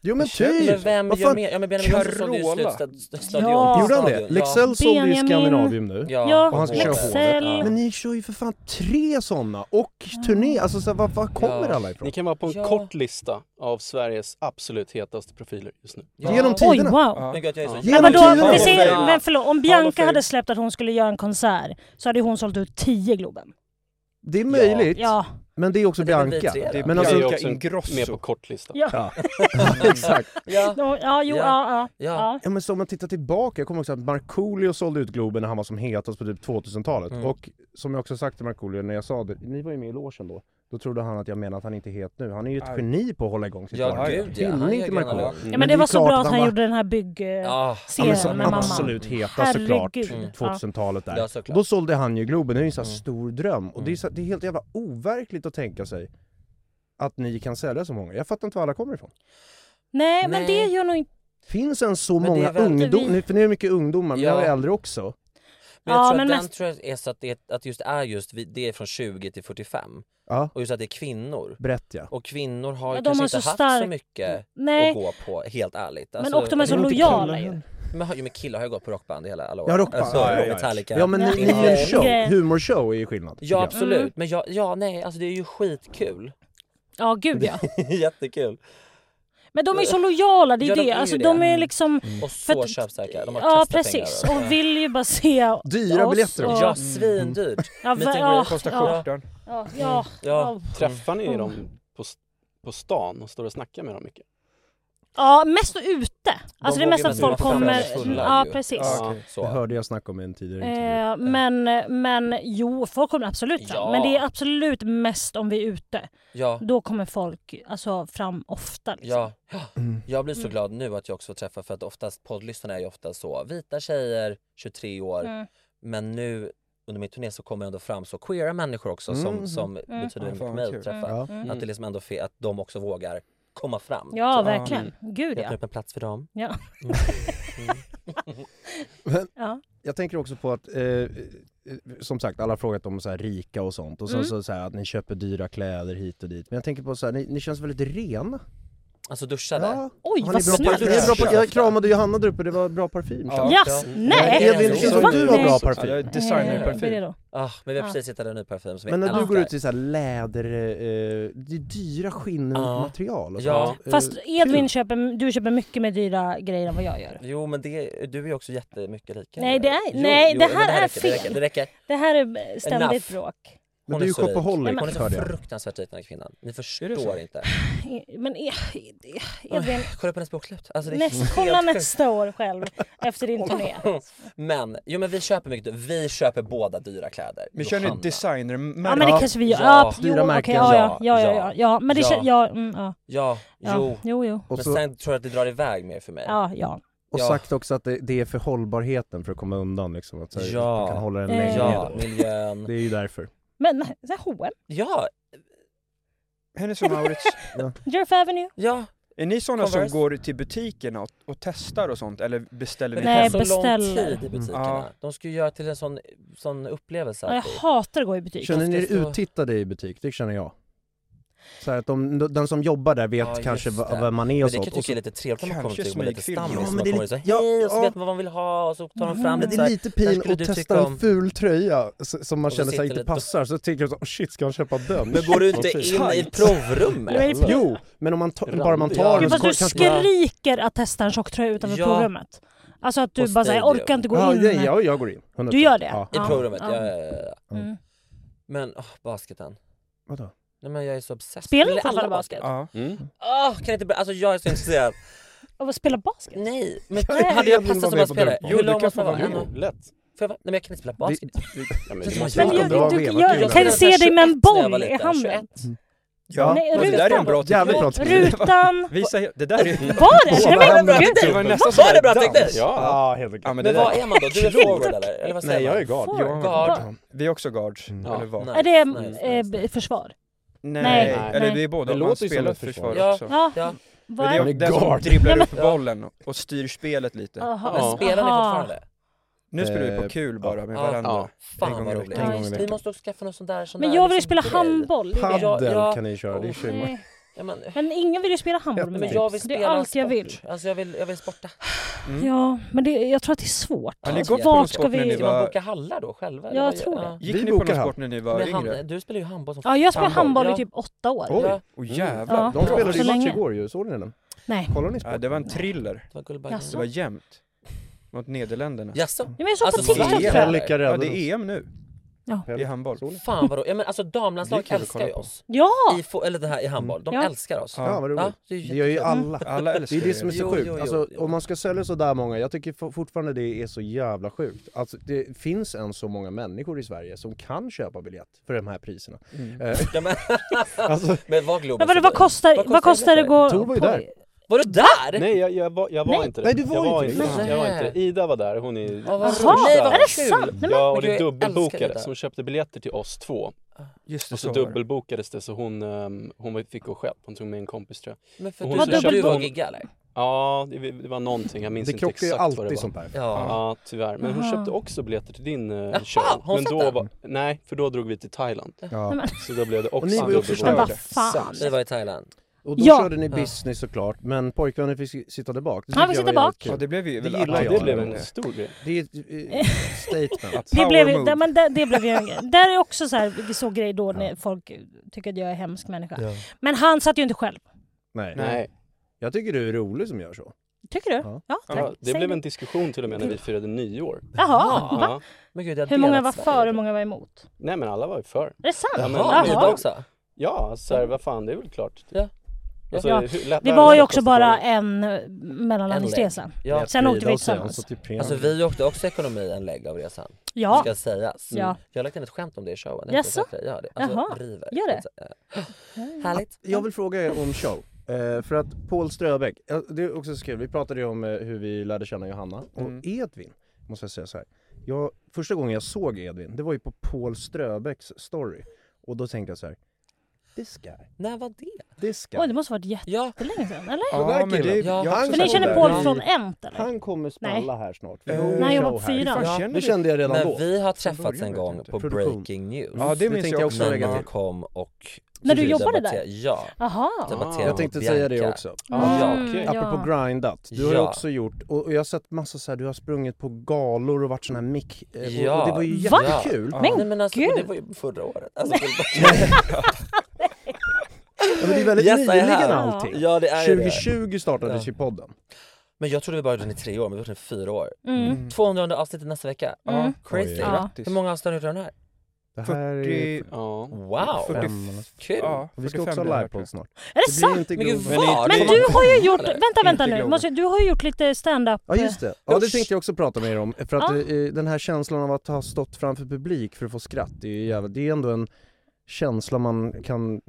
Speaker 1: Jo men typ!
Speaker 3: Men vem
Speaker 1: Vad
Speaker 3: gör
Speaker 1: fan?
Speaker 3: mer? Ja men Benjamin Carola. sålde ju
Speaker 5: Carola.
Speaker 3: slutstadion.
Speaker 1: Ja. Gjorde han det? Leksell sålde ju
Speaker 2: Benjamin.
Speaker 1: Skandinavium nu
Speaker 3: Ja,
Speaker 1: och han ska köra
Speaker 3: Leksell.
Speaker 1: hovet. Men ni kör ju för fan tre sådana och turné, alltså så här, var, var kommer alla ifrån?
Speaker 7: Ni kan vara på en kort lista av Sveriges absolut hetaste profiler just nu.
Speaker 1: Genom tiderna!
Speaker 2: wow.
Speaker 3: Men gud, jag är så
Speaker 2: Men
Speaker 7: Genom
Speaker 2: vadå,
Speaker 7: tiderna.
Speaker 2: vi ser,
Speaker 7: Ja.
Speaker 2: men förlåt, om
Speaker 7: Hall of
Speaker 2: Bianca
Speaker 7: Fame.
Speaker 2: hade släppt att hon skulle göra en konsert så hade hon sålt ut 10 Globen.
Speaker 1: Det är möjligt,
Speaker 2: Ja.
Speaker 1: men det är också
Speaker 2: Men det är väl
Speaker 1: Bianca.
Speaker 2: vi tre då?
Speaker 1: men
Speaker 7: Bianca
Speaker 1: alltså,
Speaker 7: Ingrosso. med på kortlistan.
Speaker 2: Ja.
Speaker 1: Ja. Exakt.
Speaker 3: Ja.
Speaker 2: ja, jo, ja, ja.
Speaker 3: ja.
Speaker 1: Ja men så om man tittar tillbaka, jag kommer också att Markoolio sålde ut Globen när han var som hetast på typ 2000-talet.
Speaker 3: Mm.
Speaker 1: Och som jag också sagt till Markoolio när jag sa det, ni var ju med i logen då. Då trodde han att jag menade att han inte är het nu. Han är ju ett
Speaker 3: Aj.
Speaker 1: geni på att hålla igång sitt
Speaker 3: Ja,
Speaker 1: varumärke.
Speaker 3: gud, ja. Han
Speaker 1: Hyllning
Speaker 3: gör
Speaker 1: till
Speaker 3: grejerna
Speaker 1: Markoolio.
Speaker 3: bra.
Speaker 2: Ja, men det
Speaker 1: är
Speaker 2: var så
Speaker 1: klart
Speaker 2: bra
Speaker 1: att
Speaker 2: att han
Speaker 1: var-
Speaker 2: gjorde den här
Speaker 3: Ja.
Speaker 1: Ja, men som
Speaker 2: byggserien med mamma.
Speaker 1: absolut hetast såklart,
Speaker 2: Herregud. Mm.
Speaker 1: 2000-talet där.
Speaker 3: Ja, Mm.
Speaker 1: Och då sålde han ju Globen, det är ju en sån här stor dröm. Och det är, så, det är helt jävla overkligt att tänka sig att ni kan sälja så många. Jag fattar inte var alla kommer ifrån.
Speaker 2: Nej, men det gör nog inte...
Speaker 1: Finns ens så
Speaker 3: Men det är
Speaker 1: många
Speaker 3: väl-
Speaker 2: Vi-
Speaker 1: ungdomar, för ni är mycket ungdomar, men
Speaker 3: Ja.
Speaker 1: jag är äldre också.
Speaker 3: Men jag
Speaker 2: Ja,
Speaker 3: tror
Speaker 2: men
Speaker 3: att den
Speaker 2: mest-
Speaker 3: tror jag är så att det, att just är just, vi- det är från 20 till 45.
Speaker 1: Ja.
Speaker 3: Och just att det är kvinnor.
Speaker 1: Brett ja.
Speaker 3: Och kvinnor har
Speaker 2: Ja, de
Speaker 3: kanske
Speaker 2: har
Speaker 3: inte
Speaker 2: så
Speaker 3: haft så
Speaker 2: stark-
Speaker 3: mycket
Speaker 2: Nej.
Speaker 3: att gå på, helt ärligt. Alltså,
Speaker 2: Men och de är så lojala ju.
Speaker 3: Men, har- jo, men killar har ju gått på rockband hela alla år.
Speaker 1: Ja, rockband.
Speaker 3: Alltså,
Speaker 1: ja, ja, ja.
Speaker 3: Metallica.
Speaker 1: ja men ni, ni gör
Speaker 3: Inför-
Speaker 1: en show,
Speaker 2: Grej.
Speaker 1: humorshow är ju skillnad. tycker
Speaker 3: Ja
Speaker 1: jag.
Speaker 3: absolut,
Speaker 2: Mm.
Speaker 3: men ja, ja nej alltså det är ju skitkul.
Speaker 2: Ja, gud ja.
Speaker 3: Jättekul.
Speaker 2: Men de är ju så lojala, det är
Speaker 3: Ja, de
Speaker 2: det.
Speaker 3: är ju
Speaker 2: alltså,
Speaker 3: det. Mm.
Speaker 2: de är liksom...
Speaker 3: Och
Speaker 2: För
Speaker 3: så
Speaker 2: att-
Speaker 3: köpstarka, de har
Speaker 2: Ja,
Speaker 3: kastat
Speaker 2: precis.
Speaker 3: pengar.
Speaker 2: Och vill ju bara se
Speaker 1: Dyra
Speaker 2: oss
Speaker 1: biljetter
Speaker 2: och-
Speaker 1: också. Mm.
Speaker 3: Ja svindyrt.
Speaker 2: Ja,
Speaker 3: Meet
Speaker 2: va-
Speaker 3: and
Speaker 2: ja,
Speaker 3: greet.
Speaker 2: Kostar ja. skjortan. Ja,
Speaker 5: Mm.
Speaker 2: ja, ja.
Speaker 7: Träffar ni
Speaker 2: Mm.
Speaker 7: dem på, s- på stan och står och snackar med dem mycket?
Speaker 2: Ja, mest ute. Alltså det är
Speaker 7: vågar
Speaker 2: mest
Speaker 7: väl
Speaker 2: att
Speaker 7: vara
Speaker 2: folk
Speaker 7: fulla
Speaker 2: kommer...
Speaker 7: ju.
Speaker 2: Ja, precis.
Speaker 1: Det hörde jag snacka om i en tidigare intervju.
Speaker 2: Eh, men, men jo, folk kommer absolut fram.
Speaker 3: Ja.
Speaker 2: Men det är absolut mest om vi är ute.
Speaker 3: Ja.
Speaker 2: Då kommer folk alltså, fram ofta. Liksom. Mm.
Speaker 3: Ja, Mm. jag blir så glad nu att jag också får träffa för att oftast poddlyssnarna är ju ofta så vita tjejer, 23 år.
Speaker 2: Mm.
Speaker 3: Men nu under min turné så kommer jag ändå fram så queera människor också som,
Speaker 2: Mm.
Speaker 3: som
Speaker 2: Mm.
Speaker 3: betyder
Speaker 2: Ja,
Speaker 3: mycket
Speaker 2: fan,
Speaker 3: för mig
Speaker 2: kul.
Speaker 3: att träffa.
Speaker 2: Mm. Ja. Mm.
Speaker 3: Att det liksom ändå fe- att de också vågar komma fram.
Speaker 2: Ja,
Speaker 3: Så-
Speaker 2: verkligen. Gud,
Speaker 3: Jag
Speaker 2: ja.
Speaker 3: tar upp en plats för dem.
Speaker 2: Ja.
Speaker 3: Mm.
Speaker 1: Men
Speaker 2: Ja.
Speaker 1: jag tänker också på att, eh, eh, som sagt alla har frågat om så här rika och sånt och sen
Speaker 2: Mm.
Speaker 1: så, så här, att ni köper dyra kläder hit och dit. Men jag tänker på så här, ni, ni känns väldigt rena.
Speaker 3: Alltså duschade?
Speaker 2: Oj,
Speaker 1: Han är
Speaker 2: vad
Speaker 1: bra
Speaker 2: snällt.
Speaker 1: parfym. Han är bra på- Jag kramade Johanna där uppe, det var bra parfym.
Speaker 3: Ja.
Speaker 2: Yes, nej.
Speaker 1: Edvin, det känns som du har bra
Speaker 2: Nej.
Speaker 1: parfym.
Speaker 3: Ja, jag är
Speaker 2: Det är det då.
Speaker 3: Ah, men vi har
Speaker 2: Ja.
Speaker 3: precis hittat en ny parfym som vi
Speaker 1: Men när du
Speaker 3: älskar.
Speaker 1: går ut i så här läder, eh, det är dyra skinnmaterial och
Speaker 3: Ja.
Speaker 1: sånt. Eh,
Speaker 2: Fast Edvin
Speaker 1: kul.
Speaker 2: köper, du köper mycket mer dyra grejer än vad jag gör.
Speaker 3: Jo men det, du är också jättemycket lika.
Speaker 2: Nej, det är-
Speaker 3: Jo,
Speaker 2: nej,
Speaker 3: jo,
Speaker 2: det
Speaker 3: men
Speaker 2: här är
Speaker 3: räcker, Det räcker.
Speaker 2: fel.
Speaker 3: Det räcker.
Speaker 2: Det här är eh, ständigt
Speaker 3: Enough.
Speaker 2: bråk.
Speaker 1: Men
Speaker 3: Hon
Speaker 1: du är ju
Speaker 3: så rik.
Speaker 1: shopaholic,
Speaker 3: Hon är så
Speaker 1: hörde jag.
Speaker 3: fruktansvärt rik den här kvinnan. Ni
Speaker 5: det så?
Speaker 3: förstår inte.
Speaker 2: Men E- E- Edvin,
Speaker 3: Oj, kolla på hennes bokslut. Alltså, det är
Speaker 2: näst,
Speaker 3: helt
Speaker 2: kolla
Speaker 3: sjukt.
Speaker 2: nästa år själv efter din turné.
Speaker 3: Men, jo men vi köper mycket, vi köper båda dyra kläder.
Speaker 5: Men kör ni
Speaker 3: Johanna.
Speaker 5: designer
Speaker 2: Ja men det kanske vi gör. Ja,
Speaker 3: Ja,
Speaker 2: jo,
Speaker 1: dyra
Speaker 2: okej,
Speaker 1: märken.
Speaker 2: ja, ja, ja, ja,
Speaker 3: Ja,
Speaker 2: ja, ja, men det
Speaker 3: ja.
Speaker 2: ja. Ja, mm, ja,
Speaker 3: Ja,
Speaker 2: ja,
Speaker 3: jo.
Speaker 2: jo, jo,
Speaker 1: Och,
Speaker 3: Men
Speaker 1: så,
Speaker 3: sen tror jag att det drar iväg mer för mig.
Speaker 2: ja, ja.
Speaker 1: och
Speaker 3: Ja.
Speaker 1: sagt också att det, det är för hållbarheten för att komma undan liksom. Att så här,
Speaker 3: Ja.
Speaker 1: man kan hålla den
Speaker 2: Eh.
Speaker 1: länge.
Speaker 3: Ja,
Speaker 1: då.
Speaker 3: miljön.
Speaker 1: Det är ju därför.
Speaker 2: Men nej, så här, H&M,
Speaker 3: Ja,
Speaker 5: Hennes och Maurits,
Speaker 2: Jerf Avenue.
Speaker 3: ja.
Speaker 5: är ni sådana som
Speaker 3: Converse.
Speaker 5: går till butikerna och, och testar och sånt eller beställer ni
Speaker 3: det
Speaker 2: Nej,
Speaker 3: tar
Speaker 5: hem?
Speaker 3: så lång
Speaker 2: beställer.
Speaker 3: tid i butikerna.
Speaker 5: Ja.
Speaker 3: De ska ju göra till en sån, sån upplevelse.
Speaker 2: Ja, jag
Speaker 3: alltid.
Speaker 2: hatar att gå i butik.
Speaker 1: Känner ni
Speaker 3: oftast
Speaker 1: er
Speaker 3: så-
Speaker 1: uttittade i butik? Det känner jag. Så här att de, den som jobbar där vet
Speaker 3: Ja, just
Speaker 1: kanske vad,
Speaker 3: det.
Speaker 1: vad man är
Speaker 3: Men
Speaker 1: och
Speaker 3: det kan jag
Speaker 1: sånt. Och
Speaker 3: tycka
Speaker 1: så,
Speaker 3: är lite trevligt om man kommer
Speaker 5: Kanske
Speaker 3: till med lite
Speaker 5: smygfilm.
Speaker 3: stammis.
Speaker 1: Ja, men
Speaker 3: man
Speaker 1: det är
Speaker 3: kommer och
Speaker 1: lite-
Speaker 3: så här, hej, och så
Speaker 1: ja.
Speaker 3: vet man vad man vill ha och så tar de
Speaker 1: men
Speaker 3: fram
Speaker 1: det
Speaker 3: lite
Speaker 1: är
Speaker 3: såhär.
Speaker 1: lite
Speaker 3: här
Speaker 1: pin
Speaker 3: skulle
Speaker 1: att
Speaker 3: du
Speaker 1: testa
Speaker 3: tycka
Speaker 1: en
Speaker 3: om.
Speaker 1: ful tröja s- som man
Speaker 3: Och så
Speaker 1: känner sig
Speaker 3: sitter
Speaker 1: inte
Speaker 3: lite-
Speaker 1: passar, så tänker jag så, oh, shit ska han köpa den?
Speaker 3: Men går du inte in i provrummet?
Speaker 1: Jo, men om man ta, bara man
Speaker 3: Ja,
Speaker 1: tar
Speaker 2: Gud,
Speaker 1: den så
Speaker 2: fast du
Speaker 1: kanske
Speaker 2: skriker att testa en tjocktröja utanför
Speaker 3: Ja.
Speaker 2: provrummet. Alltså att du
Speaker 3: Och
Speaker 2: bara säger jag
Speaker 3: stadium.
Speaker 2: orkar inte gå
Speaker 1: Ja,
Speaker 2: in.
Speaker 1: det, jag, jag går in. 100%.
Speaker 2: Du gör det?
Speaker 1: Ja.
Speaker 3: I
Speaker 2: Ja,
Speaker 3: provrummet,
Speaker 2: ja.
Speaker 3: ja, ja, ja, ja.
Speaker 2: Mm.
Speaker 3: Men åh, basketen.
Speaker 1: Vadå? Mm.
Speaker 3: Nej men jag är så besatt.
Speaker 2: Spelar ni
Speaker 3: Eller
Speaker 2: fortfarande
Speaker 3: alla-
Speaker 2: basket?
Speaker 5: Ja.
Speaker 3: Åh, kan jag inte ber- Alltså jag är så intresserad.
Speaker 2: Av att spela basket?
Speaker 3: Nej, men
Speaker 2: Nej.
Speaker 3: hade
Speaker 1: Jag
Speaker 3: jag
Speaker 1: vill
Speaker 3: passat
Speaker 1: vara
Speaker 3: som
Speaker 1: med
Speaker 3: jag
Speaker 1: på
Speaker 3: spelare?
Speaker 1: den.
Speaker 3: Hur lång måste man vara?
Speaker 10: Jo,
Speaker 3: En och- Får
Speaker 10: lätt.
Speaker 3: jag vara? Nej men jag kan inte spela basket.
Speaker 10: Ja, men
Speaker 3: Men
Speaker 10: det
Speaker 3: jag-
Speaker 10: måste
Speaker 2: Men
Speaker 10: vara-
Speaker 2: jag,
Speaker 1: det var
Speaker 2: du,
Speaker 1: veva
Speaker 2: jag,
Speaker 1: kul.
Speaker 2: kan se dig med en
Speaker 3: när jag var
Speaker 2: boll i
Speaker 3: liten,
Speaker 2: handen.
Speaker 3: 21.
Speaker 5: Ja,
Speaker 2: Nej,
Speaker 5: men det där är en bra
Speaker 2: rutan.
Speaker 1: Jävligt bra
Speaker 5: teknik.
Speaker 2: Rutan,
Speaker 5: Visa, det där är...
Speaker 2: var det?
Speaker 1: Båda
Speaker 2: Nej, men
Speaker 1: händerna
Speaker 2: gud!
Speaker 5: Det var nästan som
Speaker 3: Var det bra
Speaker 5: dans.
Speaker 3: teknik?
Speaker 10: Ja.
Speaker 1: Ja, helt okej.
Speaker 5: Ja, men det
Speaker 3: Men vad
Speaker 5: där.
Speaker 3: är man då? Du är forward eller? Eller vad säger
Speaker 1: Nej, jag är
Speaker 3: man?
Speaker 1: gad.
Speaker 2: Forward.
Speaker 5: Johan
Speaker 3: Guard.
Speaker 1: Ja.
Speaker 5: Vi är också guards,
Speaker 10: Ja.
Speaker 5: eller vad?
Speaker 3: Nej.
Speaker 2: Är det
Speaker 3: Nice,
Speaker 2: eh,
Speaker 3: nice,
Speaker 2: b- försvar?
Speaker 5: Nej.
Speaker 2: Nej.
Speaker 5: eller vi är båda, man
Speaker 1: Det låter ju som
Speaker 5: spelar
Speaker 1: ett försvar.
Speaker 5: försvar
Speaker 3: Ja.
Speaker 5: också.
Speaker 2: Ja.
Speaker 3: Ja.
Speaker 5: Men
Speaker 2: Vad
Speaker 5: det
Speaker 2: är...
Speaker 1: Han
Speaker 5: är
Speaker 1: är
Speaker 5: den som
Speaker 1: guard.
Speaker 5: dribblar
Speaker 2: Ja,
Speaker 5: upp bollen och styr spelet lite.
Speaker 2: Aha.
Speaker 3: Men spelar ni
Speaker 2: Aha.
Speaker 3: fortfarande?
Speaker 5: Nu spelar vi
Speaker 1: Eh,
Speaker 5: på kul bara med
Speaker 3: ja.
Speaker 5: varandra.
Speaker 10: Ja.
Speaker 5: En
Speaker 3: Fan
Speaker 5: gång
Speaker 3: vad
Speaker 5: i
Speaker 3: roligt.
Speaker 1: veckan. En gång i
Speaker 3: Vi
Speaker 1: veckan.
Speaker 3: måste också skaffa någon sån där sån
Speaker 2: Men
Speaker 3: där
Speaker 2: jag vill ju
Speaker 3: liksom
Speaker 2: spela
Speaker 3: grej.
Speaker 2: handboll. det är det.
Speaker 3: Ja, ja.
Speaker 1: Padel kan ni köra, det är kul.
Speaker 2: Nej.
Speaker 3: Ja, men,
Speaker 2: Men ingen vill ju spela handboll med
Speaker 1: men
Speaker 3: men
Speaker 2: mig.
Speaker 3: jag vill spela
Speaker 2: Det är allt
Speaker 3: sport.
Speaker 2: jag vill.
Speaker 3: Alltså jag vill, jag vill sporta.
Speaker 2: Ja, men det, jag tror att det är svårt.
Speaker 5: Ja, ni
Speaker 3: Alltså,
Speaker 5: går
Speaker 3: jag
Speaker 5: på
Speaker 2: vart
Speaker 5: någon
Speaker 2: ska
Speaker 5: sport när
Speaker 2: vi-
Speaker 5: ni
Speaker 3: Ska man
Speaker 5: var...
Speaker 3: boka hallar då själva? eller
Speaker 2: Jag
Speaker 3: vad-
Speaker 2: tror det.
Speaker 3: Ja.
Speaker 5: Gick
Speaker 1: Vi
Speaker 5: ni på
Speaker 1: bokar
Speaker 5: någon
Speaker 1: hand.
Speaker 5: sport när ni var
Speaker 3: Men
Speaker 5: yngre?
Speaker 3: han, du spelar ju handboll som
Speaker 2: Ja, jag spelade
Speaker 3: Handboll,
Speaker 2: handboll i
Speaker 3: ja.
Speaker 2: typ åtta år.
Speaker 1: Oj.
Speaker 3: Ja,
Speaker 5: Åh
Speaker 2: Ja.
Speaker 5: jävlar!
Speaker 1: De spelade
Speaker 2: Så
Speaker 1: ju match
Speaker 2: länge.
Speaker 1: igår ju, såg ni den?
Speaker 2: Nej.
Speaker 1: Kollar ni
Speaker 5: Ja,
Speaker 1: sport?
Speaker 5: det var en thriller.
Speaker 3: det var Gullbaggen.
Speaker 2: Jaså?
Speaker 5: Det var jämnt. Mot Nederländerna.
Speaker 3: Jaså?
Speaker 2: Ja, men jag såg
Speaker 3: Alltså,
Speaker 2: på TikTok.
Speaker 3: VM.
Speaker 2: tror jag.
Speaker 5: E
Speaker 1: Pelica
Speaker 5: Ja,
Speaker 1: räddade
Speaker 5: det är EM nu.
Speaker 2: Ja.
Speaker 5: I handboll.
Speaker 1: Såg ni?
Speaker 3: Fan vad roligt. Ja men alltså
Speaker 5: Det
Speaker 3: damlandslaget
Speaker 5: kan vi kolla
Speaker 3: älskar ju
Speaker 5: på.
Speaker 3: oss.
Speaker 2: Ja!
Speaker 3: I, fo- eller det här i handboll. De
Speaker 2: Ja.
Speaker 3: älskar oss.
Speaker 1: Mm. Ja, vad roligt.
Speaker 3: det är
Speaker 1: Det gör ju
Speaker 3: jättekul.
Speaker 1: alla.
Speaker 5: Alla
Speaker 1: Det är
Speaker 5: älskar
Speaker 1: det som är så
Speaker 3: Jo,
Speaker 1: sjukt.
Speaker 3: jo, jo.
Speaker 1: Alltså, om man ska sälja så där många, jag tycker for- fortfarande det är så jävla sjukt. Alltså, det finns än så många människor i Sverige som kan köpa biljett för de här priserna. Eh,
Speaker 3: Mm. Ja, men,
Speaker 1: alltså,
Speaker 3: men vad
Speaker 2: Men
Speaker 3: Globen
Speaker 2: vadå, vad
Speaker 3: säger.
Speaker 2: kostar, vad kostar det att gå...
Speaker 1: Tor var ju
Speaker 2: på-
Speaker 1: där.
Speaker 3: Var du där?
Speaker 10: Nej, jag, jag var, jag var
Speaker 2: Nej.
Speaker 10: inte det.
Speaker 1: Nej, du var
Speaker 10: jag
Speaker 1: inte
Speaker 10: var
Speaker 1: det.
Speaker 10: inte, jag var inte det. Ida var där, hon är
Speaker 3: Ja, vad
Speaker 2: Jaha,
Speaker 3: roligt. Nej, vad
Speaker 2: är det
Speaker 3: kul.
Speaker 2: sant? Nej, men-
Speaker 10: Ja, och
Speaker 3: Men
Speaker 10: det
Speaker 3: gud, jag älskar
Speaker 10: dubbelbokade
Speaker 3: det. Ah,
Speaker 10: som köpte biljetter till oss två.
Speaker 5: Just det,
Speaker 10: Och så
Speaker 5: så var det.
Speaker 10: dubbelbokades det så hon, ehm, hon var- fick gå själv. Hon tog med en kompis tror jag.
Speaker 3: Men för
Speaker 10: Hon
Speaker 3: att du,
Speaker 2: köpte
Speaker 3: du var
Speaker 10: hon-
Speaker 3: gigga eller?
Speaker 10: Ja, det, det var någonting. Jag minns
Speaker 1: det
Speaker 10: inte
Speaker 1: krockar
Speaker 10: exakt
Speaker 1: ju
Speaker 10: vad det
Speaker 1: alltid
Speaker 10: var.
Speaker 1: sånt där.
Speaker 3: Ja.
Speaker 10: Ja, tyvärr. Men hon
Speaker 2: Aha.
Speaker 10: köpte också biljetter till din eh,
Speaker 3: Jaha,
Speaker 10: show.
Speaker 3: har hon
Speaker 10: men
Speaker 3: sett
Speaker 10: då
Speaker 3: den?
Speaker 10: var, Nej, för då drog vi till Thailand.
Speaker 1: Ja.
Speaker 10: Så då blev det också
Speaker 1: ni var ju också
Speaker 2: Men
Speaker 10: dubbelbokat.
Speaker 2: vad fan.
Speaker 3: Vi var i Thailand.
Speaker 1: Och då
Speaker 2: Ja.
Speaker 1: körde ni business såklart, men pojkvännen fick sitta där bak. Det tycker
Speaker 2: Han fick
Speaker 1: jag
Speaker 2: sitta
Speaker 1: var
Speaker 2: bak.
Speaker 5: Ja,
Speaker 1: jävligt
Speaker 5: det blev ju
Speaker 1: Det
Speaker 5: väl
Speaker 1: gillar
Speaker 5: alla
Speaker 1: jag.
Speaker 10: Det
Speaker 5: glada
Speaker 10: blev
Speaker 5: över
Speaker 10: en
Speaker 5: det.
Speaker 10: stor grej.
Speaker 1: kul. Det är ett eh, statement.
Speaker 2: Det
Speaker 5: Power
Speaker 2: blev,
Speaker 5: move.
Speaker 2: det, men det, det blev ju en grej. Där är också så här, vi såg grejer då när folk tycker att jag är en hemsk människa. Men han satt ju inte själv.
Speaker 1: Nej.
Speaker 10: Nej,
Speaker 1: Jag tycker du är rolig som gör så.
Speaker 2: Tycker du?
Speaker 1: Ja.
Speaker 2: Ja, tack.
Speaker 10: ja, det
Speaker 2: Säg
Speaker 10: blev
Speaker 2: det.
Speaker 10: en diskussion till och med när vi firade nyår.
Speaker 2: Jaha, va?
Speaker 10: Ja.
Speaker 3: Men gud, jag
Speaker 2: Hur många
Speaker 3: delat
Speaker 2: var
Speaker 3: Sverige. typ.
Speaker 2: för och hur många var emot?
Speaker 10: Nej men alla var ju för.
Speaker 2: Är det sant?
Speaker 10: Ja, men-
Speaker 3: Jaha, Ida
Speaker 2: Jaha.
Speaker 3: också?
Speaker 10: Ja, så här, vad fan, det är väl klart. typ.
Speaker 3: Ja.
Speaker 10: Alltså,
Speaker 2: Ja.
Speaker 10: hur- lät-
Speaker 2: Det var ju
Speaker 10: lät-
Speaker 2: också bara en eh, mellanlandningsresa.
Speaker 3: Ja.
Speaker 2: Sen åkte vi
Speaker 1: och sen
Speaker 2: tillsammans.
Speaker 1: så typ till Prem.
Speaker 3: Alltså vi åkte också ekonomi en lägg av resan.
Speaker 2: Ja,
Speaker 3: Ska sägas.
Speaker 2: Ja.
Speaker 3: Jag har lagt in ett skämt om det i showen. Jag
Speaker 2: Jaså?
Speaker 3: har inte sagt det. Ja, det. Alltså,
Speaker 2: Jaha.
Speaker 3: river.
Speaker 2: Gör det.
Speaker 3: Ja. Härligt.
Speaker 1: Jag vill fråga er om show. Eh, för att Paul Ströbeck, eh, det är också så kul, vi pratade ju om eh, hur vi lärde känna Johanna och
Speaker 5: Mm.
Speaker 1: Edvin, måste jag säga så här. Jag, första gången jag såg Edvin, det var ju på Paul Ströbecks story. Och då tänkte jag så här. This guy,
Speaker 3: När var det?
Speaker 1: this guy.
Speaker 2: Oj, det måste varit
Speaker 3: Ja.
Speaker 2: jättelänge sedan, eller?
Speaker 1: där
Speaker 5: Ja, men det,
Speaker 1: killen.
Speaker 5: jag har
Speaker 3: Ja.
Speaker 5: också
Speaker 2: För ni
Speaker 5: sett
Speaker 2: känner
Speaker 5: det.
Speaker 2: Paul
Speaker 3: där.
Speaker 2: från Ent eller?
Speaker 1: Han kommer smälla här snart. Vi
Speaker 5: Eh,
Speaker 1: har en
Speaker 2: när jag
Speaker 1: show
Speaker 2: var
Speaker 1: här.
Speaker 2: fyra.
Speaker 5: Fan,
Speaker 3: Ja,
Speaker 5: känner
Speaker 1: Det
Speaker 5: vi-
Speaker 1: kände jag redan
Speaker 3: Men
Speaker 1: då.
Speaker 3: vi har
Speaker 5: Sen
Speaker 3: träffats
Speaker 5: början
Speaker 3: en
Speaker 5: vet jag
Speaker 3: gång
Speaker 5: inte.
Speaker 3: på
Speaker 1: Produktion.
Speaker 3: Breaking News.
Speaker 5: Ja, det minns
Speaker 1: tänkte
Speaker 5: jag
Speaker 1: jag
Speaker 5: också
Speaker 1: också
Speaker 3: Men
Speaker 5: lägga
Speaker 3: man
Speaker 5: till.
Speaker 3: kom och
Speaker 2: När du jobbade där?
Speaker 3: Debatter- Ja.
Speaker 2: Aha.
Speaker 3: Debattera
Speaker 1: Jag
Speaker 3: mot
Speaker 1: tänkte säga det
Speaker 3: Bianca.
Speaker 1: också.
Speaker 3: Ja,
Speaker 2: Mm,
Speaker 3: okej.
Speaker 2: ja.
Speaker 1: Apropå grindat, du har ju
Speaker 3: Ja.
Speaker 1: också gjort, och och jag har sett massa så här, du har sprungit på galor och varit sån här mick, eh, och,
Speaker 3: Ja.
Speaker 1: och det var ju
Speaker 3: Va?
Speaker 1: jättekul.
Speaker 3: Ja.
Speaker 2: Men
Speaker 3: Nej, men alltså,
Speaker 2: gud.
Speaker 3: Det var ju förra året. Alltså,
Speaker 1: Ja, men det är väldigt
Speaker 3: Yes, I
Speaker 1: nyligen
Speaker 3: have.
Speaker 1: allting.
Speaker 3: Ja, det är ju det.
Speaker 1: 2020 startades ju podden.
Speaker 3: Men jag trodde vi bara gjorde den i tre år, men vi har gjort den i fyra år.
Speaker 2: Mm.
Speaker 3: 200 avsnitt nästa vecka.
Speaker 2: Mm.
Speaker 3: Crazy.
Speaker 1: Oj.
Speaker 2: Ja.
Speaker 3: Hur många avsnitt har ni gjort av den här?
Speaker 1: Det här är
Speaker 5: 40...
Speaker 7: Ja.
Speaker 3: Wow!
Speaker 5: 40
Speaker 3: Kul!
Speaker 5: Ja,
Speaker 1: Vi ska
Speaker 5: 45
Speaker 1: också
Speaker 5: blir
Speaker 1: ha
Speaker 5: det
Speaker 1: livepodd
Speaker 5: här,
Speaker 1: snart.
Speaker 2: Är det
Speaker 1: blir
Speaker 2: sant?
Speaker 1: inte
Speaker 3: Men gud
Speaker 1: Globen.
Speaker 3: vad!
Speaker 2: Men
Speaker 3: det-
Speaker 2: du har ju gjort,
Speaker 3: Eller?
Speaker 2: vänta vänta
Speaker 5: Inte
Speaker 2: nu,
Speaker 5: Globen.
Speaker 2: måste, du har ju gjort lite stand-up.
Speaker 1: Ja just det, ja det
Speaker 3: Usch.
Speaker 1: tänkte jag också prata med er om. För att eh, den här känslan av att ha stått framför publik för att få skratt, det är ju jävla, det är ändå en känsla man kan eh,